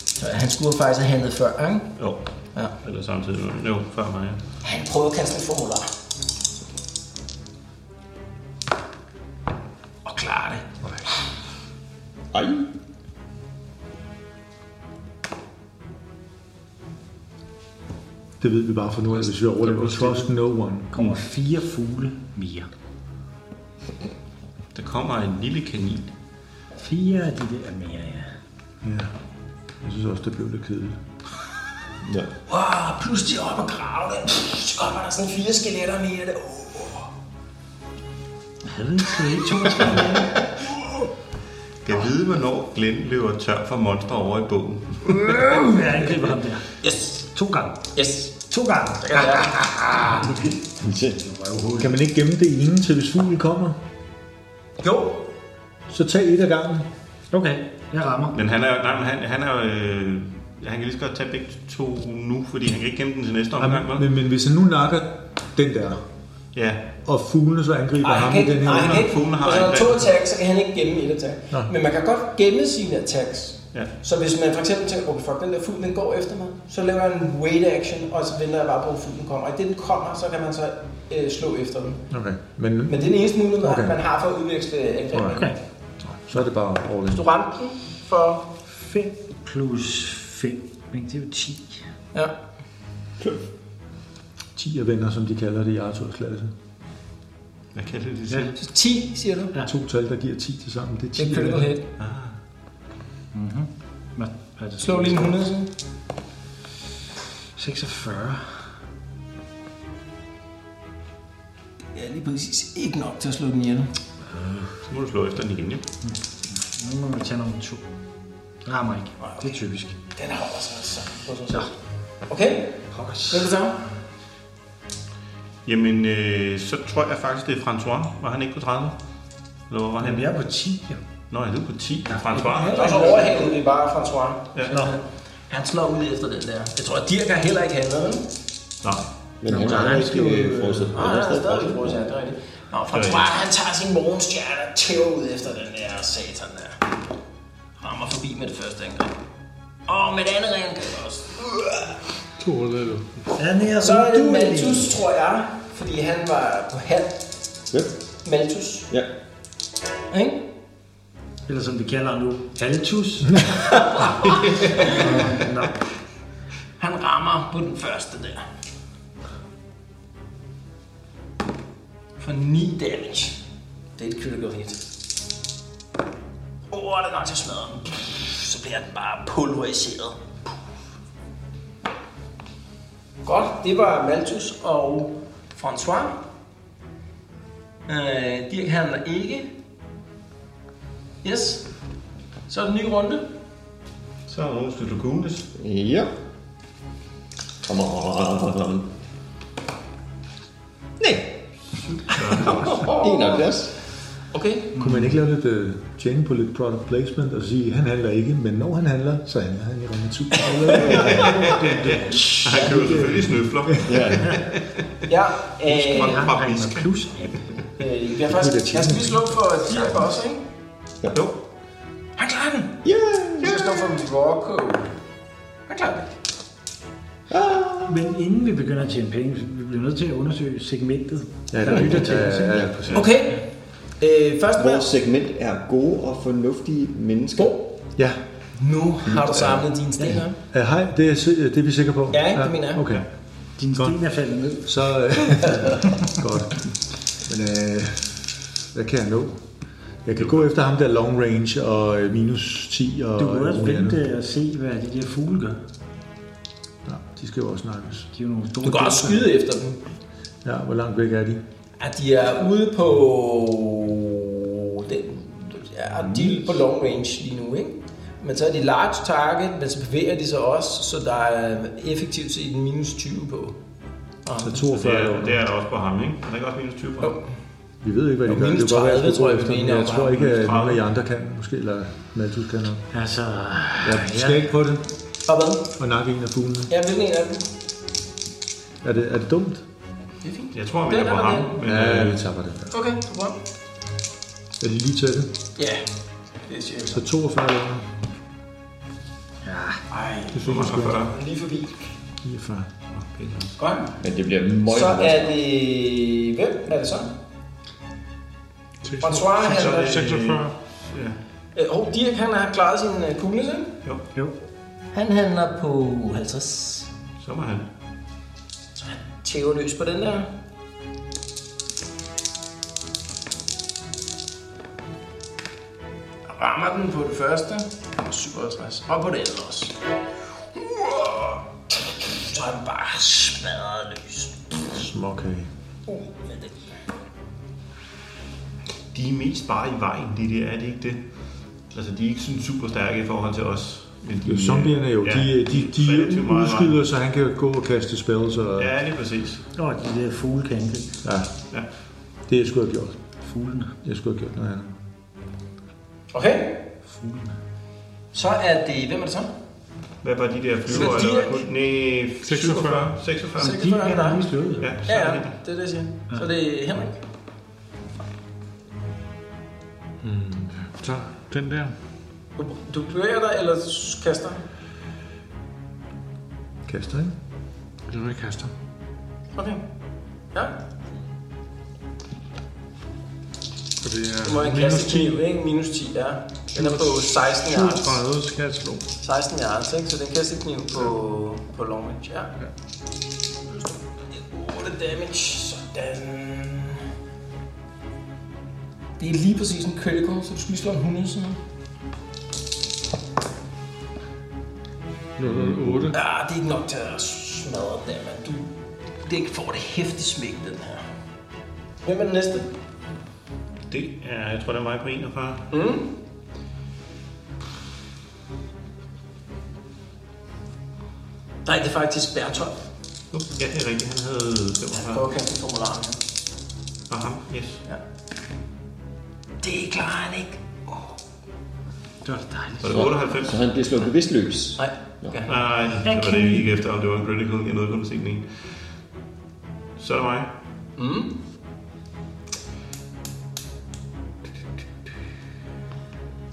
B: Så han skulle faktisk have handlet før, ikke?
F: Jo.
B: Ja.
F: Eller samtidig. med- Jo, før mig. ja.
B: Han prøver at kaste en formular. Og klarer det.
E: Ej.
D: Det ved vi bare for nu, af, hvis vi overlever. Trust no one.
C: Kommer fire fugle mere.
F: Der kommer en lille kanin.
C: Fire af de der mere, ja.
D: Ja. Jeg synes også, det blev lidt kedeligt.
E: Ja.
B: Wow, pludselig op og grave det. Pff, Så kommer der sådan fire skeletter mere. Det. Uh.
C: Havde vi ikke helt to tre mere?
F: Kan jeg vide, hvornår Glenn løber tør for monster over i bogen?
C: Jeg angriber ham der.
B: Yes,
C: To gange.
B: yes.
C: To gange.
D: Kan man ikke gemme det ene, til hvis fuglen kommer?
B: Jo,
D: Så tag et af gangen.
C: Okay, jeg rammer.
F: Men han er jo... Nej, men han, han er jo... Øh, han kan lige så godt tage begge to nu, fordi han kan ikke gemme den til næste omgang, vel?
D: Men, men hvis han nu nakker den der,
F: Ja.
D: og fuglene så angriber
B: nej, han
D: ham
B: kan
D: i den
B: ikke,
D: her
B: nej, han kan ikke. Altså,
F: Fuglen har
B: Hvis han har
F: en
B: to
F: plan.
B: attacks, så kan han ikke gemme et attack.
D: Nå.
B: Men man kan godt gemme sine attacks.
F: Ja.
B: Så hvis man for eksempel tænker, okay, fuck, den der fugl, den går efter mig, så laver jeg en wait action, og så venter jeg bare på, at fuglen kommer. Og i det, den kommer, så kan man så øh, slå efter den.
D: Okay, men
B: Men det er den eneste mulighed, man-
D: Okay.
B: man har for at udveksle øh, angreb.
D: Okay. så er det bare all in.
B: Du ramte den for...
C: 5 plus 5. Men det er jo 10.
B: Ja.
D: 10 venner, som de kalder det i Arthurs klasse.
F: Hvad kalder de det selv? Ja.
B: Så 10, siger du?
D: To tal, der giver 10 til sammen, det er 10
B: Det er critical hit.
C: Hvad hvad er det?
B: Slå lige en 100, sådan.
C: 46.
B: Ja, lige præcis. Ikke nok til at slå den ihjel.
F: Så må du slå efter den igen, ja.
C: Nu må vi tage nummer 2. Det rammer ikke. Det er typisk.
B: Den har også så på sig selv. Okay,
C: Pokkers.
B: hvad er det samme?
F: Jamen, øh, så tror jeg faktisk, det er François. Var han ikke på 30? Eller hvor var han?
C: Jamen, jeg er på 10, jo.
F: Nå, jeg er på 10. François.
B: Han er også overhalet, det er bare François.
F: Ja.
B: Nå. Han slår ud efter den der. Jeg tror, at Dirk har heller ikke handlet, vel?
F: Nej.
E: Men han har ikke øh, frosset.
B: Nej, han er stadigvæk brugt, ja, Ah, det er rigtigt. Nå, François, han tager sin morgenstjerne og tæver ud efter den der satan der. Rammer forbi med det første angreb. Og med det andet angreb også.
G: To eller du.
C: Han er
B: Så er det
C: uduelig.
B: Malthus, tror jeg, fordi han var på halv
E: Hvem?
B: Malthus,
E: Ja.
B: ikke?
C: Eller som vi kalder ham nu, Altus. Nå,
B: Han rammer på den første der. For 9 damage. Det er et critical hit. Åh, oh, det er nok til at smadre den. Pff, Så bliver den bare pulveriseret. Godt, det var Malthus og François. Øh, Dirk handler ikke. Yes. Så er det en ny runde.
F: Så er Rose til Lukunes.
E: Ja. Come on. Nej. 71.
B: Okay.
D: Kunne man ikke lave lidt uh, tjene på lidt product placement og sige, han handler ikke, men når han handler, så handler han i Rema 1000.
F: Han køber selvfølgelig snøfler.
B: Ja, øh,
F: Og paprisk.
C: plus.
B: Øh, jeg, faktisk, jeg skal lige slå for Dirk også, ikke?
E: Ja.
F: Jo.
B: Han klarer den!
E: Yeah.
B: Jeg skal slå for Rocco. Han klarer den.
C: Men inden vi begynder at tjene penge, vi bliver nødt til at undersøge segmentet, ja,
D: det er
C: der lytter
D: rigtigt.
C: til os.
D: Ja,
C: ikke?
D: ja, ja, præcis.
B: Okay. Øh, første
E: Vores
B: mand.
E: segment er gode og fornuftige mennesker.
D: Ja.
B: Nu har du samlet dine stikker.
D: Uh, hej, det er, si- øh, det er vi sikre på?
B: Ja, det mener jeg.
D: Okay,
C: Din sten er faldet ned.
D: så... Uh, godt. Men uh, hvad kan jeg nå? Jeg kan gå efter ham der long range og øh, minus 10 og... øh,
C: Du kunne også
D: alt muligt andet.
C: vente og se, hvad de der fugle gør.
D: Ja, de skal jo også snakkes.
C: De er jo nogle store
B: Du kan også
C: dæmper.
B: skyde efter dem.
D: Ja, hvor langt væk er de?
B: At de er ude på... Den, ja, de er på long range lige nu, ikke? Men så er de large target, men så bevæger de sig også, så der er effektivt set en minus 20 på.
D: Så
F: Det
D: 42
F: er,
D: år.
F: det er der også på ham, ikke? Er der ikke også minus 20 på ham?
B: Jo.
D: Vi ved ikke, hvad de
B: Jo,
D: gør.
B: minus
D: Det er jo bare,
B: 30,
D: hvad
B: tror jeg, vi
D: skal gå efter,
B: mener,
D: men Jeg
B: og
D: tror
B: bare
D: ikke, at
F: minus
D: nogen af jer andre kan, måske, eller Malthus kan noget.
C: Altså,
D: Jeg skal ikke på det,
B: Og hvad?
D: og nakke en af fuglene.
B: Ja, hvilken en af dem?
D: Er det, er det dumt?
F: Jeg tror, vi er på ham. Men,
D: Ja,
F: øh,
D: vi tager det.
B: Okay, wow.
D: Er det lige til det?
B: Ja, det siger jeg.
D: Så 42 år.
B: Ej,
D: Det synes jeg sgu ikke.
F: 45.
B: lige forbi.
D: 49.
B: Godt.
E: Men det bliver meget
B: Så er det... Hvem er det så? François, han
F: Så er
B: er...
F: det-
G: 46.
F: Ja.
B: Øh, oh, Dirk, han har klaret sin øh, kugle, ikke?
F: Jo,
B: Han handler på 50.
F: så må han.
B: Tæve løs på den der. Rammer den på det første. 57. Og på det andet også. Uah! Så er den bare smadret løs.
D: Småkage.
B: Uh, men det-
F: De er mest bare i vejen, det der, er det ikke det? Altså, de er ikke sådan super stærke i forhold til os. Men de,
D: Jo, zombierne jo,
F: ja,
D: de, de, de
F: relativt meget i vejen.
D: udskyder, så han kan gå og kaste spells. Og,
F: Ja, lige præcis.
C: åh, de der fugle kan angribe.
D: ja.
F: Ja.
D: Det jeg skulle have gjort. Fuglene. Jeg skulle have gjort noget andet.
B: Okay. Så er det... Hvem er det så?
F: Hvad var de der flyver?
B: Så de
F: eller
B: er-
F: hvad? Nej,
G: 46.
F: 46.
C: De
B: 46.
C: er der lige slået.
F: Ja, så
B: Ja,
F: er
B: ja,
F: det.
B: det er det, jeg siger. Så er det Henrik.
G: Så den der.
B: Du, du bevæger dig, eller kaster?
D: Kaster, ikke?
G: Det er jo ikke kaster.
B: Okay. Ja,
G: For det er
B: du må en
G: minus
B: kaste
G: 10.
B: 10, ikke? Minus 10, ja. Den er på 16 yards.
G: 37 skal jeg slå.
B: 16 yards, ikke? Så den kaster kniven på, på long range, ja. 8 damage, sådan. Det er lige præcis en critical, så du skal lige slå en 100 sådan noget.
G: 008.
B: Ja, det er ikke nok til at smadre den der, mand. Du det får det hæftige smæk, den her. Hvem er den næste?
F: Det er, jeg tror, det er mig på 41.
B: Mm. Nej, det er faktisk Bertolt.
F: Nu, ja, det er rigtigt. Han havde
B: Han
F: 45.
B: prøver at kaste formularen her.
F: Og ham, yes.
B: Det klarer han ikke.
C: Det var da dejligt.
F: Var det 98?
E: Så han bliver slået bevidst løs.
B: Nej, ja.
F: Nej, det var det vi gik efter, om det var en critical. Jeg nåede kun at se den ene. Så er det mig.
B: Mm.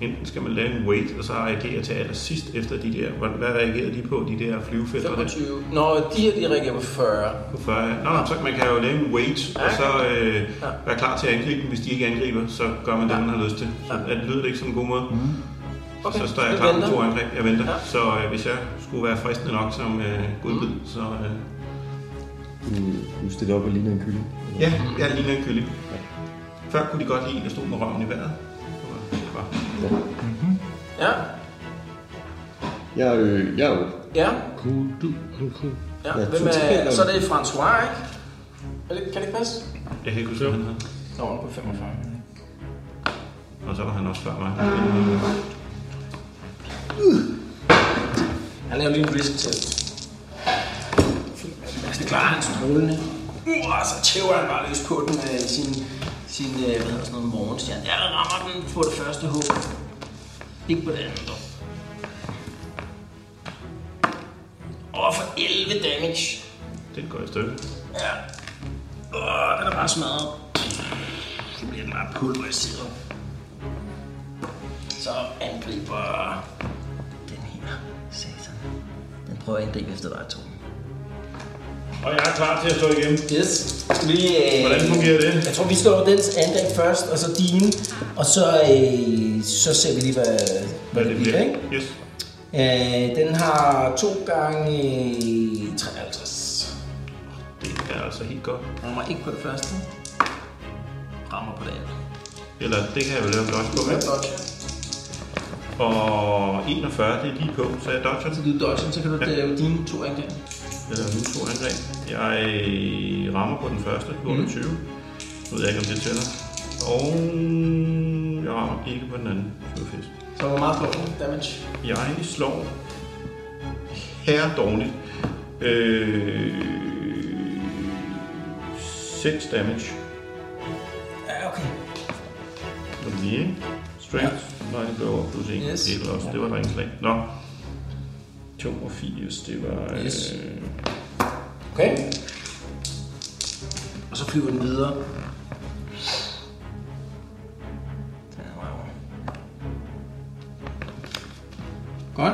F: Enten skal man lave en wait, og så reagere til allersidst efter de der... Hvad, hvad reagerer de på, de der flyvefelter? Der?
B: 25. Nå, de her, de reagerer på 40.
F: På 40. ja. Nå, nå, så man kan jo lave en wait, og så øh,
B: Ja.
F: være klar til at angribe dem. Hvis de ikke angriber, så gør man det, man har lyst til. Så
B: Ja.
F: at, lyder det ikke som en god måde.
B: Mm. Okay,
F: Så står jeg
B: du
F: klar med
B: venter.
F: to angreb. Jeg venter.
B: Ja.
F: Så øh, hvis jeg skulle være fristende nok som øh, godbid, så... Øh,
E: Du, du stiller op og ligner en kylling.
F: Ja, jeg ligner en kylling. Før kunne de godt lide en, der stod med røven i vejret. Det var- det var-
B: Ja,
E: Jeg, øh, jeg er jo...
B: ja,
G: Cool, du, du, cool.
B: ja.
E: Ja,
B: Hvem er,
E: totalt.
B: så er det François, ikke? Er det- Kan det ikke passe?
F: Jeg kan ikke huske, hvad han havde.
B: Nå, han er på 45.
F: Og så var han også før mig.
B: Ah. Han laver lige en risk til. Altså, det klarer han strålende. Uh, og så tæver han bare løs på den med sin, sin øh, hvad hedder sådan noget, morgenstjerne. Ja, han rammer den på det første hug. Ikke på det andet, dog. Og for 11 damage.
F: Den går i stykker.
B: Ja. Åh, den er bare smadret. Så bliver den bare pulveriseret. Så angriber den her. Satan. Den prøver at angribe efter dig, Torben.
F: Og jeg er klar til at slå igen.
B: Yes. Skal vi, øh,
F: Hvordan fungerer det?
B: Jeg tror, vi slår dens angreb først, og så dine. Og så, øh, så ser vi lige, hvad, hvad det bliver. Ikke?
F: Yes.
B: Øh, den har to gange øh, 53.
F: Det er altså helt godt.
B: Rammer ikke på det første. Rammer på det andet.
F: Eller det kan jeg vel lave en dodge på.
B: Du er
F: ikke?
B: dodge.
F: Og 41, det er lige på, så jeg dodger
B: Så
F: den.
B: du dodge, så kan du
F: Ja.
B: lave dine to angreb.
F: Jeg laver Øh, nu to angreb. Jeg øh, rammer på den første, på
B: Mhm.
F: 28. Nu ved jeg ikke, om det tæller. Og jeg rammer ikke på den anden. Det var fedt.
B: Så hvor meget slår du? Damage.
F: Jeg slår her dårligt. Øh, 6 damage.
B: Ja, okay.
F: Var det lige, ikke? Strength, ja. nej, det var plus 1.
B: Yes.
F: Det, var også, det var et rent slag. Nå. 82, det var...
B: Yes.
F: Øh,
B: Okay. Og så flyver den videre. Den rammer. Godt.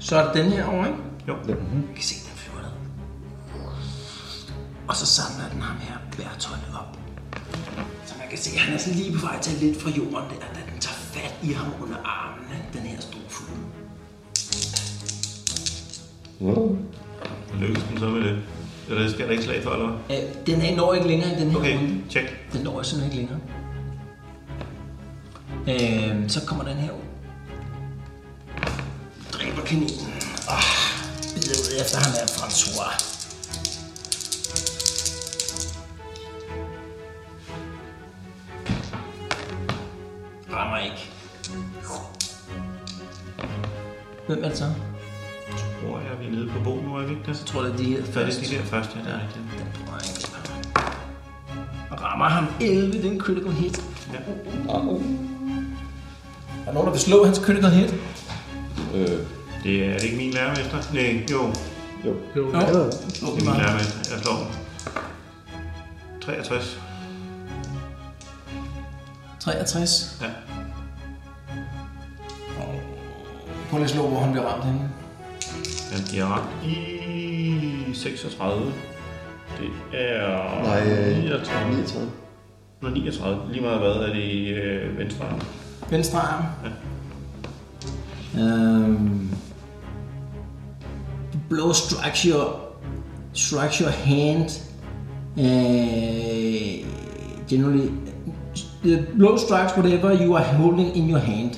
B: Så er det den her over, ikke?
F: jo,
B: Vi kan se, den flyver ned. Og så samler den ham her værtøjet op. Så man kan se, at han er sådan lige på vej til at lidt fra jorden der, da den tager fat i ham under armene, den her store fugl.
F: lykkes den så med det. Eller skal der ikke slag for, eller hvad?
B: Øh, den her når ikke længere i den her
F: Okay,
B: runde.
F: tjek.
B: Den når jeg simpelthen ikke længere. Øh, så kommer den her ud. Dræber kaninen. Ah, bider ud efter ham er François. Rammer ikke. Hvem er det så?
F: Hvor er vi nede på bo nu, er vi ikke det?
B: Jeg tror, det er de her
F: Så er det
B: første.
F: de der første, ja, det er rigtigt.
B: Den tror jeg ikke. Og Rammer ham 11, det er en critical hit.
F: Ja.
B: Er der nogen, der vil slå hans critical hit?
H: Øh,
F: Det er, er det ikke min lærermester? Nej, jo. Det er min lærermester. Jeg slår den. 63.
B: 63.
F: Ja.
B: Prøv lige at slå, hvor han bliver ramt henne.
F: Den bliver ramt i 36. Det er
H: Nej, øh,
F: 39.
H: 39.
F: Nå, 39. Lige meget hvad er det i øh, venstre arm?
B: Venstre arm.
F: Ja.
B: Um, the blow strikes your, strikes your hand. Uh, generally, the blow strikes whatever you are holding in your hand.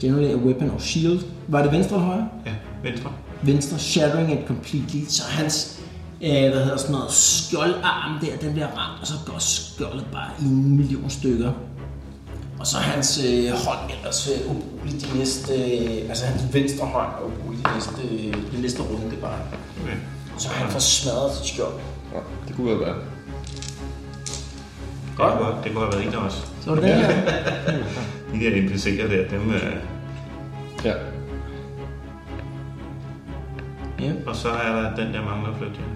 B: Generally a weapon or shield. Var det venstre eller højre?
F: Ja, venstre.
B: venstre shattering it completely, så hans øh, hvad hedder sådan noget, skjoldarm der, den bliver ramt, og så går skjoldet bare i en million stykker. Og så er hans øh, hånd ellers øh, umulig de næste, øh, altså hans venstre hånd er umulig de næste, øh, den næste runde bare.
F: Okay.
B: Så han får smadret sit skjold.
H: Ja, det kunne være.
F: Godt. Det, kunne, det kunne have været en af os.
B: Så var det den her.
F: De der NPC'er der, dem øh,
H: Ja.
F: Og så er der den der mangler at flytte. ja.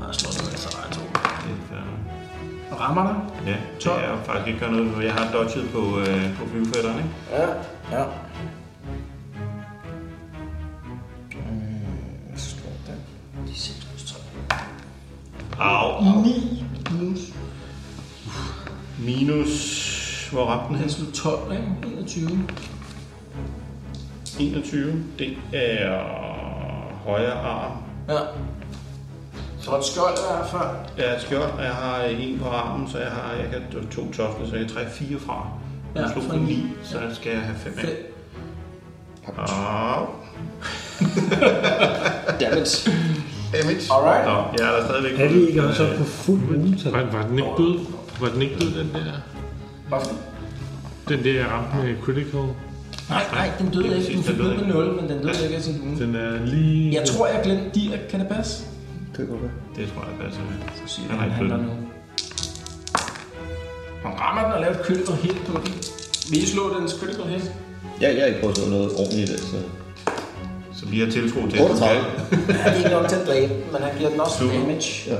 B: Og jeg slår ned, så der er to.
F: Det er fair nok.
B: Og rammer dig.
F: øh, Ja, det er jo faktisk ikke gør noget, for jeg har dodget på, øh, på flyvefætteren, ikke?
B: Ja, ja. De 6 plus 3.
F: Au, au.
B: 9 minus
F: Minus... Hvor ramte den
B: Han
F: hen?
B: slog 12, ikke? 21.
F: 21. Det er højre arm.
B: Ja. Så et skjold i hvert fald.
F: Jeg er et skjold, og jeg har en på armen, så jeg har jeg kan, to tosler, så jeg kan trække fire fra.
B: Ja,
F: Jeg slog
B: fra
F: på
B: ni.
F: 9, så skal jeg have 5 af.
B: Fem.
F: Au.
H: Dammit.
F: Damage.
B: Alright.
F: Nå, jeg er der stadigvæk.
C: Er vi ikke også på fuld ugetal?
G: Var, var den ikke død? Var den ikke død, den der?
B: Hvorfor?
G: Den der jeg ramte med critical?
B: Nej, nej, den døde
F: Det er
B: ikke. Den
F: præcis,
B: fik
F: den døde
B: ned med 0, men den døde ikke af sin uge.
G: Den er lige...
B: Jeg tror, jeg glemte Dirk. Kan det passe?
F: Det tror jeg passer.
B: Så siger
F: Han har ikke
B: handler nu.
F: flyttet.
B: Han rammer den og laver et critical hit på den. Vil I slå dens critical hit?
H: Ja, jeg har ikke prøvet sådan noget ordentligt i dag, så...
F: Så vi har tiltro til, at du kan.
H: 38.
B: Ja, det er ikke nok til at dræbe, den, men han giver den også
F: Super.
B: damage.
H: Ja.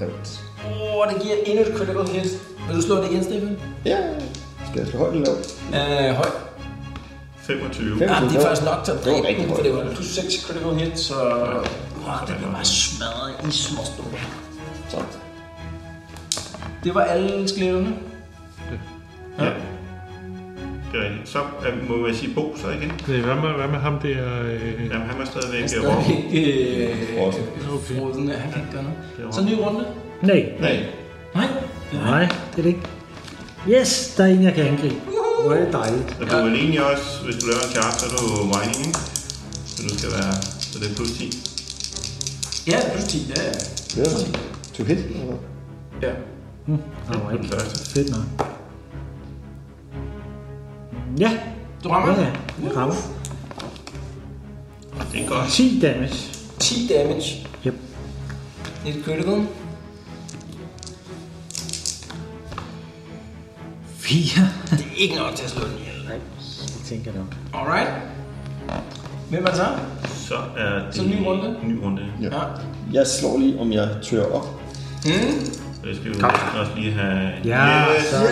H: Dammit.
B: Åh, oh, det giver endnu et critical hit. Vil du slå det igen, Stefan?
H: Ja. Skal jeg slå højt eller lavt?
B: Øh, højt.
F: 25.
B: Ja, det er faktisk nok til at
H: Det var
B: dræbe
H: rigtig
B: den, for
H: højt.
B: det var en plus 6 critical hit, så... Wow, den blev bare smadret i små stumper.
H: Sådan.
B: Det var alle skeletterne.
F: Ja. Det er rigtigt. Så øh, må jeg sige Bo så igen.
G: Nej, hvad med, hvad med ham der? Øh,
F: Jamen, han var stadigvæk
B: Det
F: øh,
B: er
F: Rob.
B: ikke øh,
H: Frossen.
G: Okay.
B: froden, han kan ikke gøre noget.
F: Rob.
B: Så en ny runde.
C: Nej.
F: Nej.
B: Nej.
C: Nej, det er det ikke. Yes, der er en, jeg kan angribe. Hvor er det dejligt.
F: Og du er alene også, hvis du laver en chart, så er du whining, ikke? Så du skal være, så det er plus 10.
B: Ja, plus 10, ja. ja.
H: Ja. To hit, eller hvad?
F: Ja.
C: Der var
F: Den
C: ikke.
F: første.
C: Fedt nok. Ja.
B: Du rammer?
C: Ja, jeg rammer.
F: Det er godt.
C: 10 damage.
B: 10 damage.
C: Yep.
B: Et critical.
I: 4.
B: Det er ikke nok til at slå den ihjel.
I: Nej, det tænker jeg nok.
B: Alright. Hvem er så?
F: Så er det
B: Så ny runde?
F: en ny runde.
B: Ja.
E: Jeg slår lige, om jeg tør op.
B: Mm.
F: Så jeg skal jo også lige have...
I: Ja,
F: så... Tre.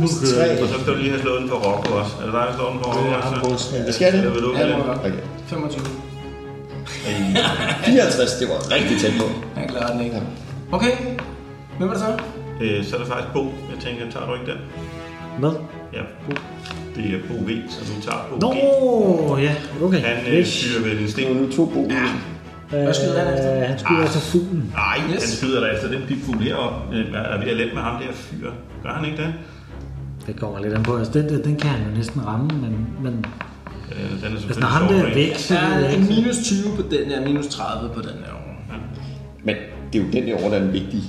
G: Nu kører jeg.
F: Og så skal du lige have slået den for Rocco også. Er det dig, der slår den for Rocco også?
E: Jeg skal det.
F: Hvad vil du
E: Ja,
F: med den?
E: Okay.
B: 25.
E: 54, det var rigtig tæt på.
B: Jeg klarer den ikke. Okay. Hvem er det så?
F: Øh, så er det faktisk Bo. Jeg tænker, tager du ikke den?
I: Hvad?
F: Ja, Bo. Det er Bo V, så du tager Bo
I: Nå,
F: G.
I: ja, okay.
F: Han øh, fyrer vel en
E: Det
F: sten.
E: var nu to gode.
I: Hvad
B: skyder han efter?
I: Han skyder efter fuglen.
F: Nej,
B: Yes.
F: yes. han skyder dig efter den pipfugl heroppe. Øh, er ved at let med ham der fyr. Gør han ikke det?
I: Det kommer lidt an på. Altså, den, der, den kan han jo næsten ramme, men, men
F: Øh, den er
I: altså,
F: selvfølgelig
I: når ham der er
F: sårbar, ikke?
I: væk, så
B: Der
I: ved
B: er
I: jeg
B: en
I: ikke.
B: minus 20 på den her, minus 30 på den her.
E: Men det er jo den der over, der er den vigtige.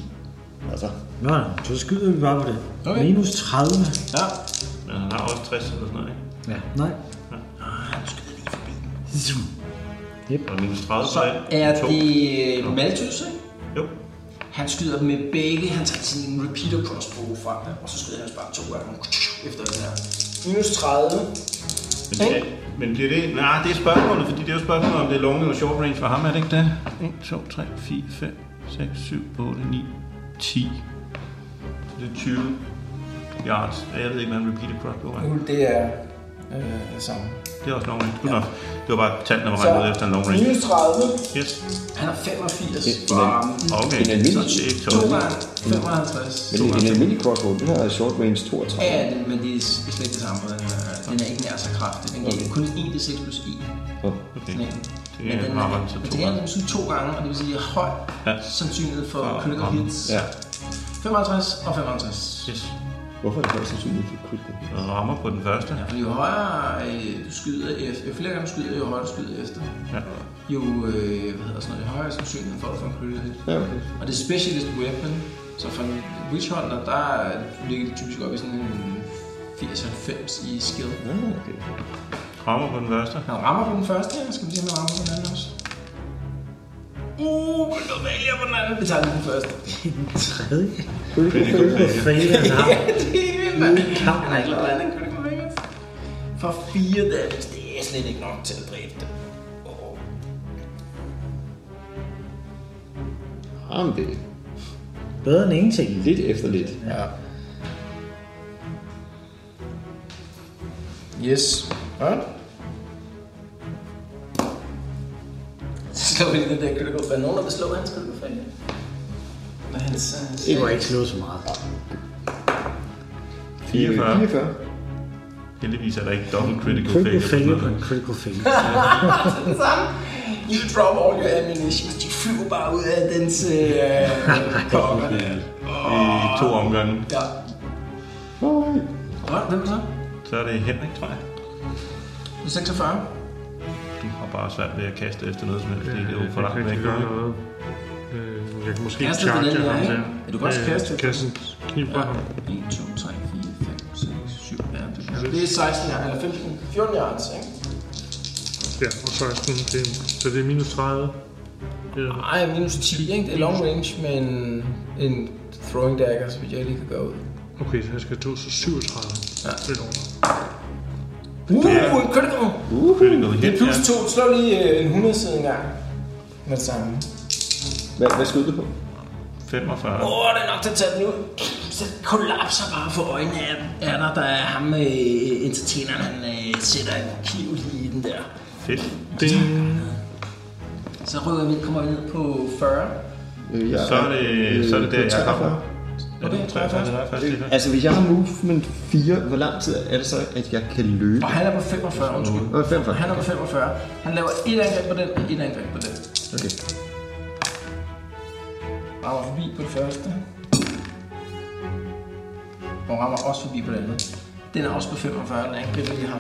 E: Altså,
I: Nå, så skyder vi bare på det.
B: Okay.
I: Minus 30.
B: Ja.
F: Men han har også 60 eller sådan noget, ikke?
I: Ja. Nej. Zoom.
F: Og minus 30
B: Så
F: på den.
B: er
F: To.
B: det Malthus, ikke?
F: Jo.
B: Han skyder dem med begge. Han tager sin repeater crossbow frem, og så skyder han bare to gange efter den her. Minus 30.
F: Men, det, men bliver det... Nej, det er spørgsmålet, fordi det er jo spørgsmålet, om det er long eller short range for ham, er det ikke det? 1, 2, 3, 4, 5, 6, 7, 8, 9, 10. Så det er 20 yards. Jeg ved ikke, hvad en repeated crossbow er.
B: Nu det er øh, samme.
F: Det er også long range. Good nok. Det var bare tallene, der var
B: Så-
F: regnet ud efter en long range.
B: Minus 30.
F: Yes.
B: Han er 85.
E: Det-
B: for
E: men-
B: armen.
F: Okay,
E: En almindelig
F: så det er ikke
B: To
F: tålet.
B: gange 55.
E: men en- en almindelig crossbow, den har short range 32.
B: Ja, ja, det- men det er slet ikke det samme. Den er, den er ikke nær så kraftig. Den giver kun 1d6 plus 1.
F: Okay.
B: Men
F: Det er
B: den
F: meget godt, så
B: men
F: to
B: det er
F: gange.
B: den sådan to gange, og det vil sige høj
F: Ja.
B: sandsynlighed for
F: For
B: critical
F: ramme.
B: hits.
E: Ja.
B: 55 og 55.
F: Yes.
E: Hvorfor er det faktisk sandsynligt for critical?
F: Og rammer på den første.
B: Og Jo højere øh, du skyder efter, jo flere gange du skyder, jo højere du skyder efter.
F: Ja.
B: Jo, øh, hvad hedder sådan noget, jo højere sandsynlighed for at få en critical hit.
E: Ja, okay.
B: Og det er specialist weapon, så for en witch hunter, der ligger det typisk op i sådan en 80-90 i skill.
E: Ja, okay.
F: Rammer på den første.
B: Han rammer på den første, ja. skal vi se, om han rammer på den anden også. Uh, men noget vælger på den anden. Vi tager lige den første.
I: Tredje.
E: Critical failure.
I: Failure, han har.
B: det er helt vildt, mand.
I: kamp,
B: Han har ikke lavet andet end critical failures. For fire damage, det er slet ikke nok til at dræbe dem. Åh.
E: Jamen, det er
I: Bedre end ingenting.
E: lidt efter lidt. Ja.
B: Yes. Ja. Så slår vi lige den der critical fail. Nogen, der vil slå hans critical fail. Men hans... øh,
I: Det var ikke slået så meget.
F: 44.
E: 44.
F: Heldigvis er der ikke double critical
I: Critical failure
F: failure.
I: på en critical failure.
B: det samme. You drop all your ammunition. De flyver bare ud af dens øh, kokker.
F: I to omgange.
B: Ja.
E: Nej.
B: Godt, hvem så?
F: Så er det Henrik, tror jeg.
B: Det er 46.
F: Du har bare svært ved at kaste efter noget som helst. Det er jo for langt væk.
G: gøre
F: ikke?
G: noget. Øh, Jeg kan måske
B: Kaster på
G: charge
B: den der,
G: ham
B: ikke?
G: der.
B: Ja, du kan også
G: Øh,
B: kaste.
G: Kaste en kniv på ham.
B: 1, 2, 3, 4, 5, 6, 7, 8, 9. Det er 16 yards, eller 15, 14 yards, ikke?
G: Ja, og 16. Det, så det er minus 30. Ja.
B: Nej, minus 10, ikke? Det er long range, men en throwing dagger, så vidt jeg lige kan gøre ud.
G: Okay, så jeg skal to, så 37. Ja. Lidt over.
B: Uh, yeah. critical!
F: Critical
B: Det er
F: hit,
B: plus
F: ja.
B: 2, slå lige øh, en 100 side en gang. Med det samme.
E: Hvad, hvad skød du på?
F: 45.
B: Åh, oh, det er nok til at tage den ud. Så kollapser bare for øjnene af af dig, der er ham, øh, entertaineren, han øh, sætter en kniv lige i den der.
F: Fedt.
B: Så rykker vi, kommer vi ned på 40.
E: Øh, jeg
F: Så er det, så er det der, jeg kommer. Er
B: Okay,
F: det 43? Det er faktisk det.
E: Altså, hvis jeg har movement 4, hvor lang tid er det så, at jeg kan løbe?
B: Og han er på 45, undskyld.
E: Nå, 45.
B: Han er på 45. Han laver et angreb på den, og et angreb på den.
E: Okay.
B: Rammer forbi på det første. Og rammer også forbi på det andet. Den er også på 45, den angriber lige ham.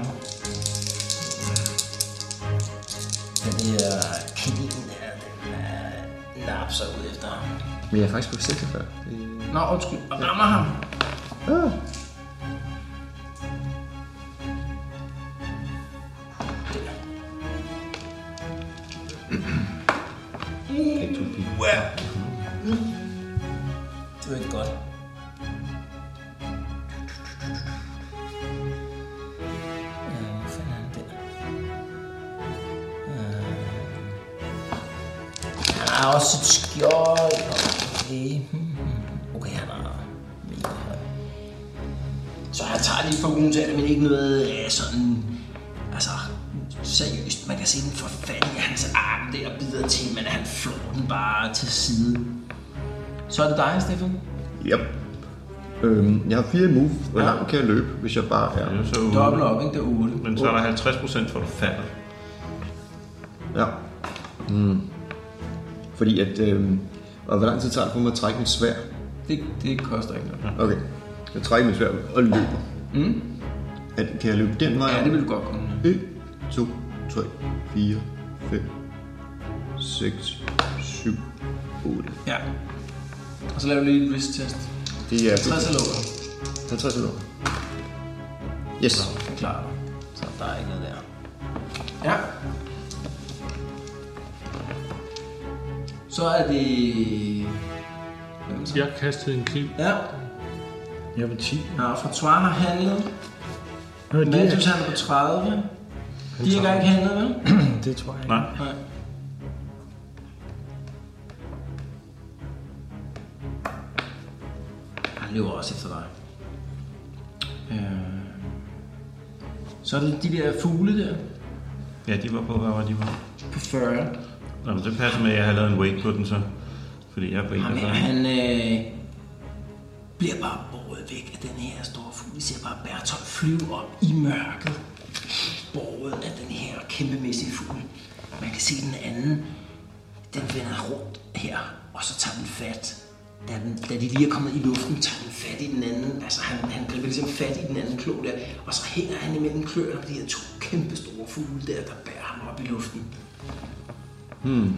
B: Den her kniven der, den øh, napser ud efter ham.
E: Men jeg er faktisk på 46. Øh,
B: Nå, undskyld. Og rammer ham.
E: Ah.
B: Der. Det var ikke godt. Øh, hvor fanden er den der? Øh. Han har også et skjold. Okay. hmm, Okay, han har mega høj. Så jeg tager lige for ugen til, men ikke noget øh, sådan... Altså, seriøst. Man kan se den for fanden i hans arm der og bider til, men han flår den bare til side. Så er det dig, Stefan.
E: Yep. Øhm, jeg har fire move. Hvor langt kan jeg løbe, hvis jeg bare er?
F: Så,
B: Dobbelt op, ikke? Det er 8.
F: men så er der 50 procent for, at du falder.
E: Ja. Mm. Fordi at... Øhm, og hvor lang tid tager det for mig at trække mit svær?
B: Det, det koster ikke noget.
E: Okay. Jeg trækker mit svær og løber. Mm. At, kan jeg løbe den vej?
B: Ja, det vil du godt kunne.
E: 1, 2, 3, 4, 5, 6, 7, 8.
B: Ja. Og så laver vi lige en risk-test.
E: Det er
B: 60 eller over.
E: 50 euro. Yes.
B: Jeg klarer dig. Så der er ikke noget der. Ja. Så er det... Hvem så?
G: Jeg kastede en kniv.
B: Ja.
C: Jeg vil 10.
B: Nå, Francois har handlet.
C: Nå, det,
B: Matus han er på 30. De har ikke engang handlet, vel?
C: det tror jeg ikke.
F: Nej.
B: Nej. Han løber også efter dig. Øh. Så er det de der fugle der
F: Ja, de var på, hvad var de på?
B: på 40.
F: Nå, men det passer med, at jeg har lavet en wake på den så. Fordi jeg er på en
B: Ham
F: af
B: her, han øh, bliver bare båret væk af den her store fugl. Vi ser bare Bertolt flyve op i mørket. Båret af den her kæmpemæssige fugl. Man kan se den anden. Den vender rundt her, og så tager den fat. Da, den, da de lige er kommet i luften, tager den fat i den anden. Altså han, han griber ligesom fat i den anden klo der. Og så hænger han imellem kløerne på de her to kæmpe store fugle der, der bærer ham op i luften.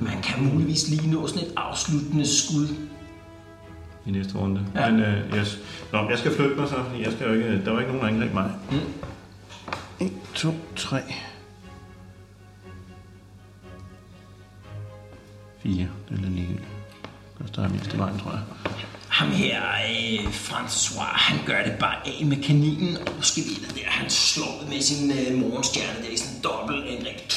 B: Man kan muligvis lige nå sådan et afsluttende skud
F: i næste runde.
B: Ja.
F: Ja. Men øh, yes. Nå, jeg skal flytte mig så, fordi jeg skal jo ikke, der var ikke nogen, der angreb mig. Mm. 1, 2, 3. 4. Det er lidt ligegyldigt. Der er mindst i vejen, tror jeg.
B: Ham her, øh, François, han gør det bare af med kaninen og muskelettet der. Han slår det med sin øh, morgenstjerne der i sådan en dobbelt angreb.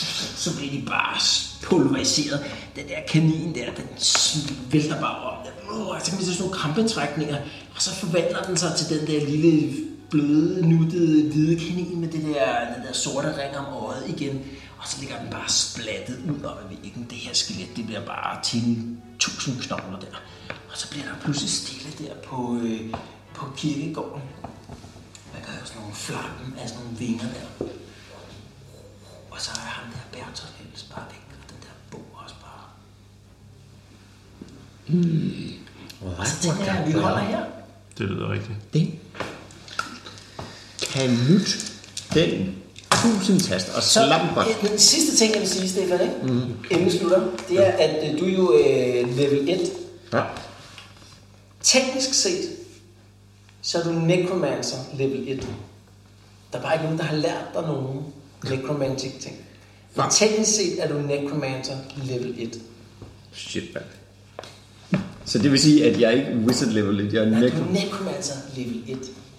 B: Så bliver de bare pulveriseret. Den der kanin der, den sm- vælter bare op. Uh, så kan vi se sådan nogle krampetrækninger. Og så forvandler den sig til den der lille bløde, nuttede, hvide kanin med det der, den der sorte ring om øjet igen. Og så ligger den bare splattet ud op ad væggen. Det her skelet, det bliver bare til en tusind knogler der. Og så bliver der pludselig stille der på, øh, på kirkegården. Man kan høre sådan nogle flappen af sådan nogle vinger der. Og så er ham der Bertolt ellers bare væk, og den der bog også bare. Mm. Og så tænker jeg, at vi holder her.
F: Det lyder rigtigt.
E: Kan nyt den tusind tast og slap godt.
B: øh, den sidste ting, jeg vil sige, Stefan, ikke? Mm. inden vi slutter, det er, at øh, du er jo øh, level 1.
E: Ja.
B: Teknisk set, så er du necromancer level 1. Der er bare ikke nogen, der har lært dig nogen necromantic ting. Men teknisk set er du necromancer level 1.
E: Shit, mand. Så det vil sige, at jeg er ikke wizard level 1, jeg er
B: Nej, du er
E: necro.
B: necromancer level 1.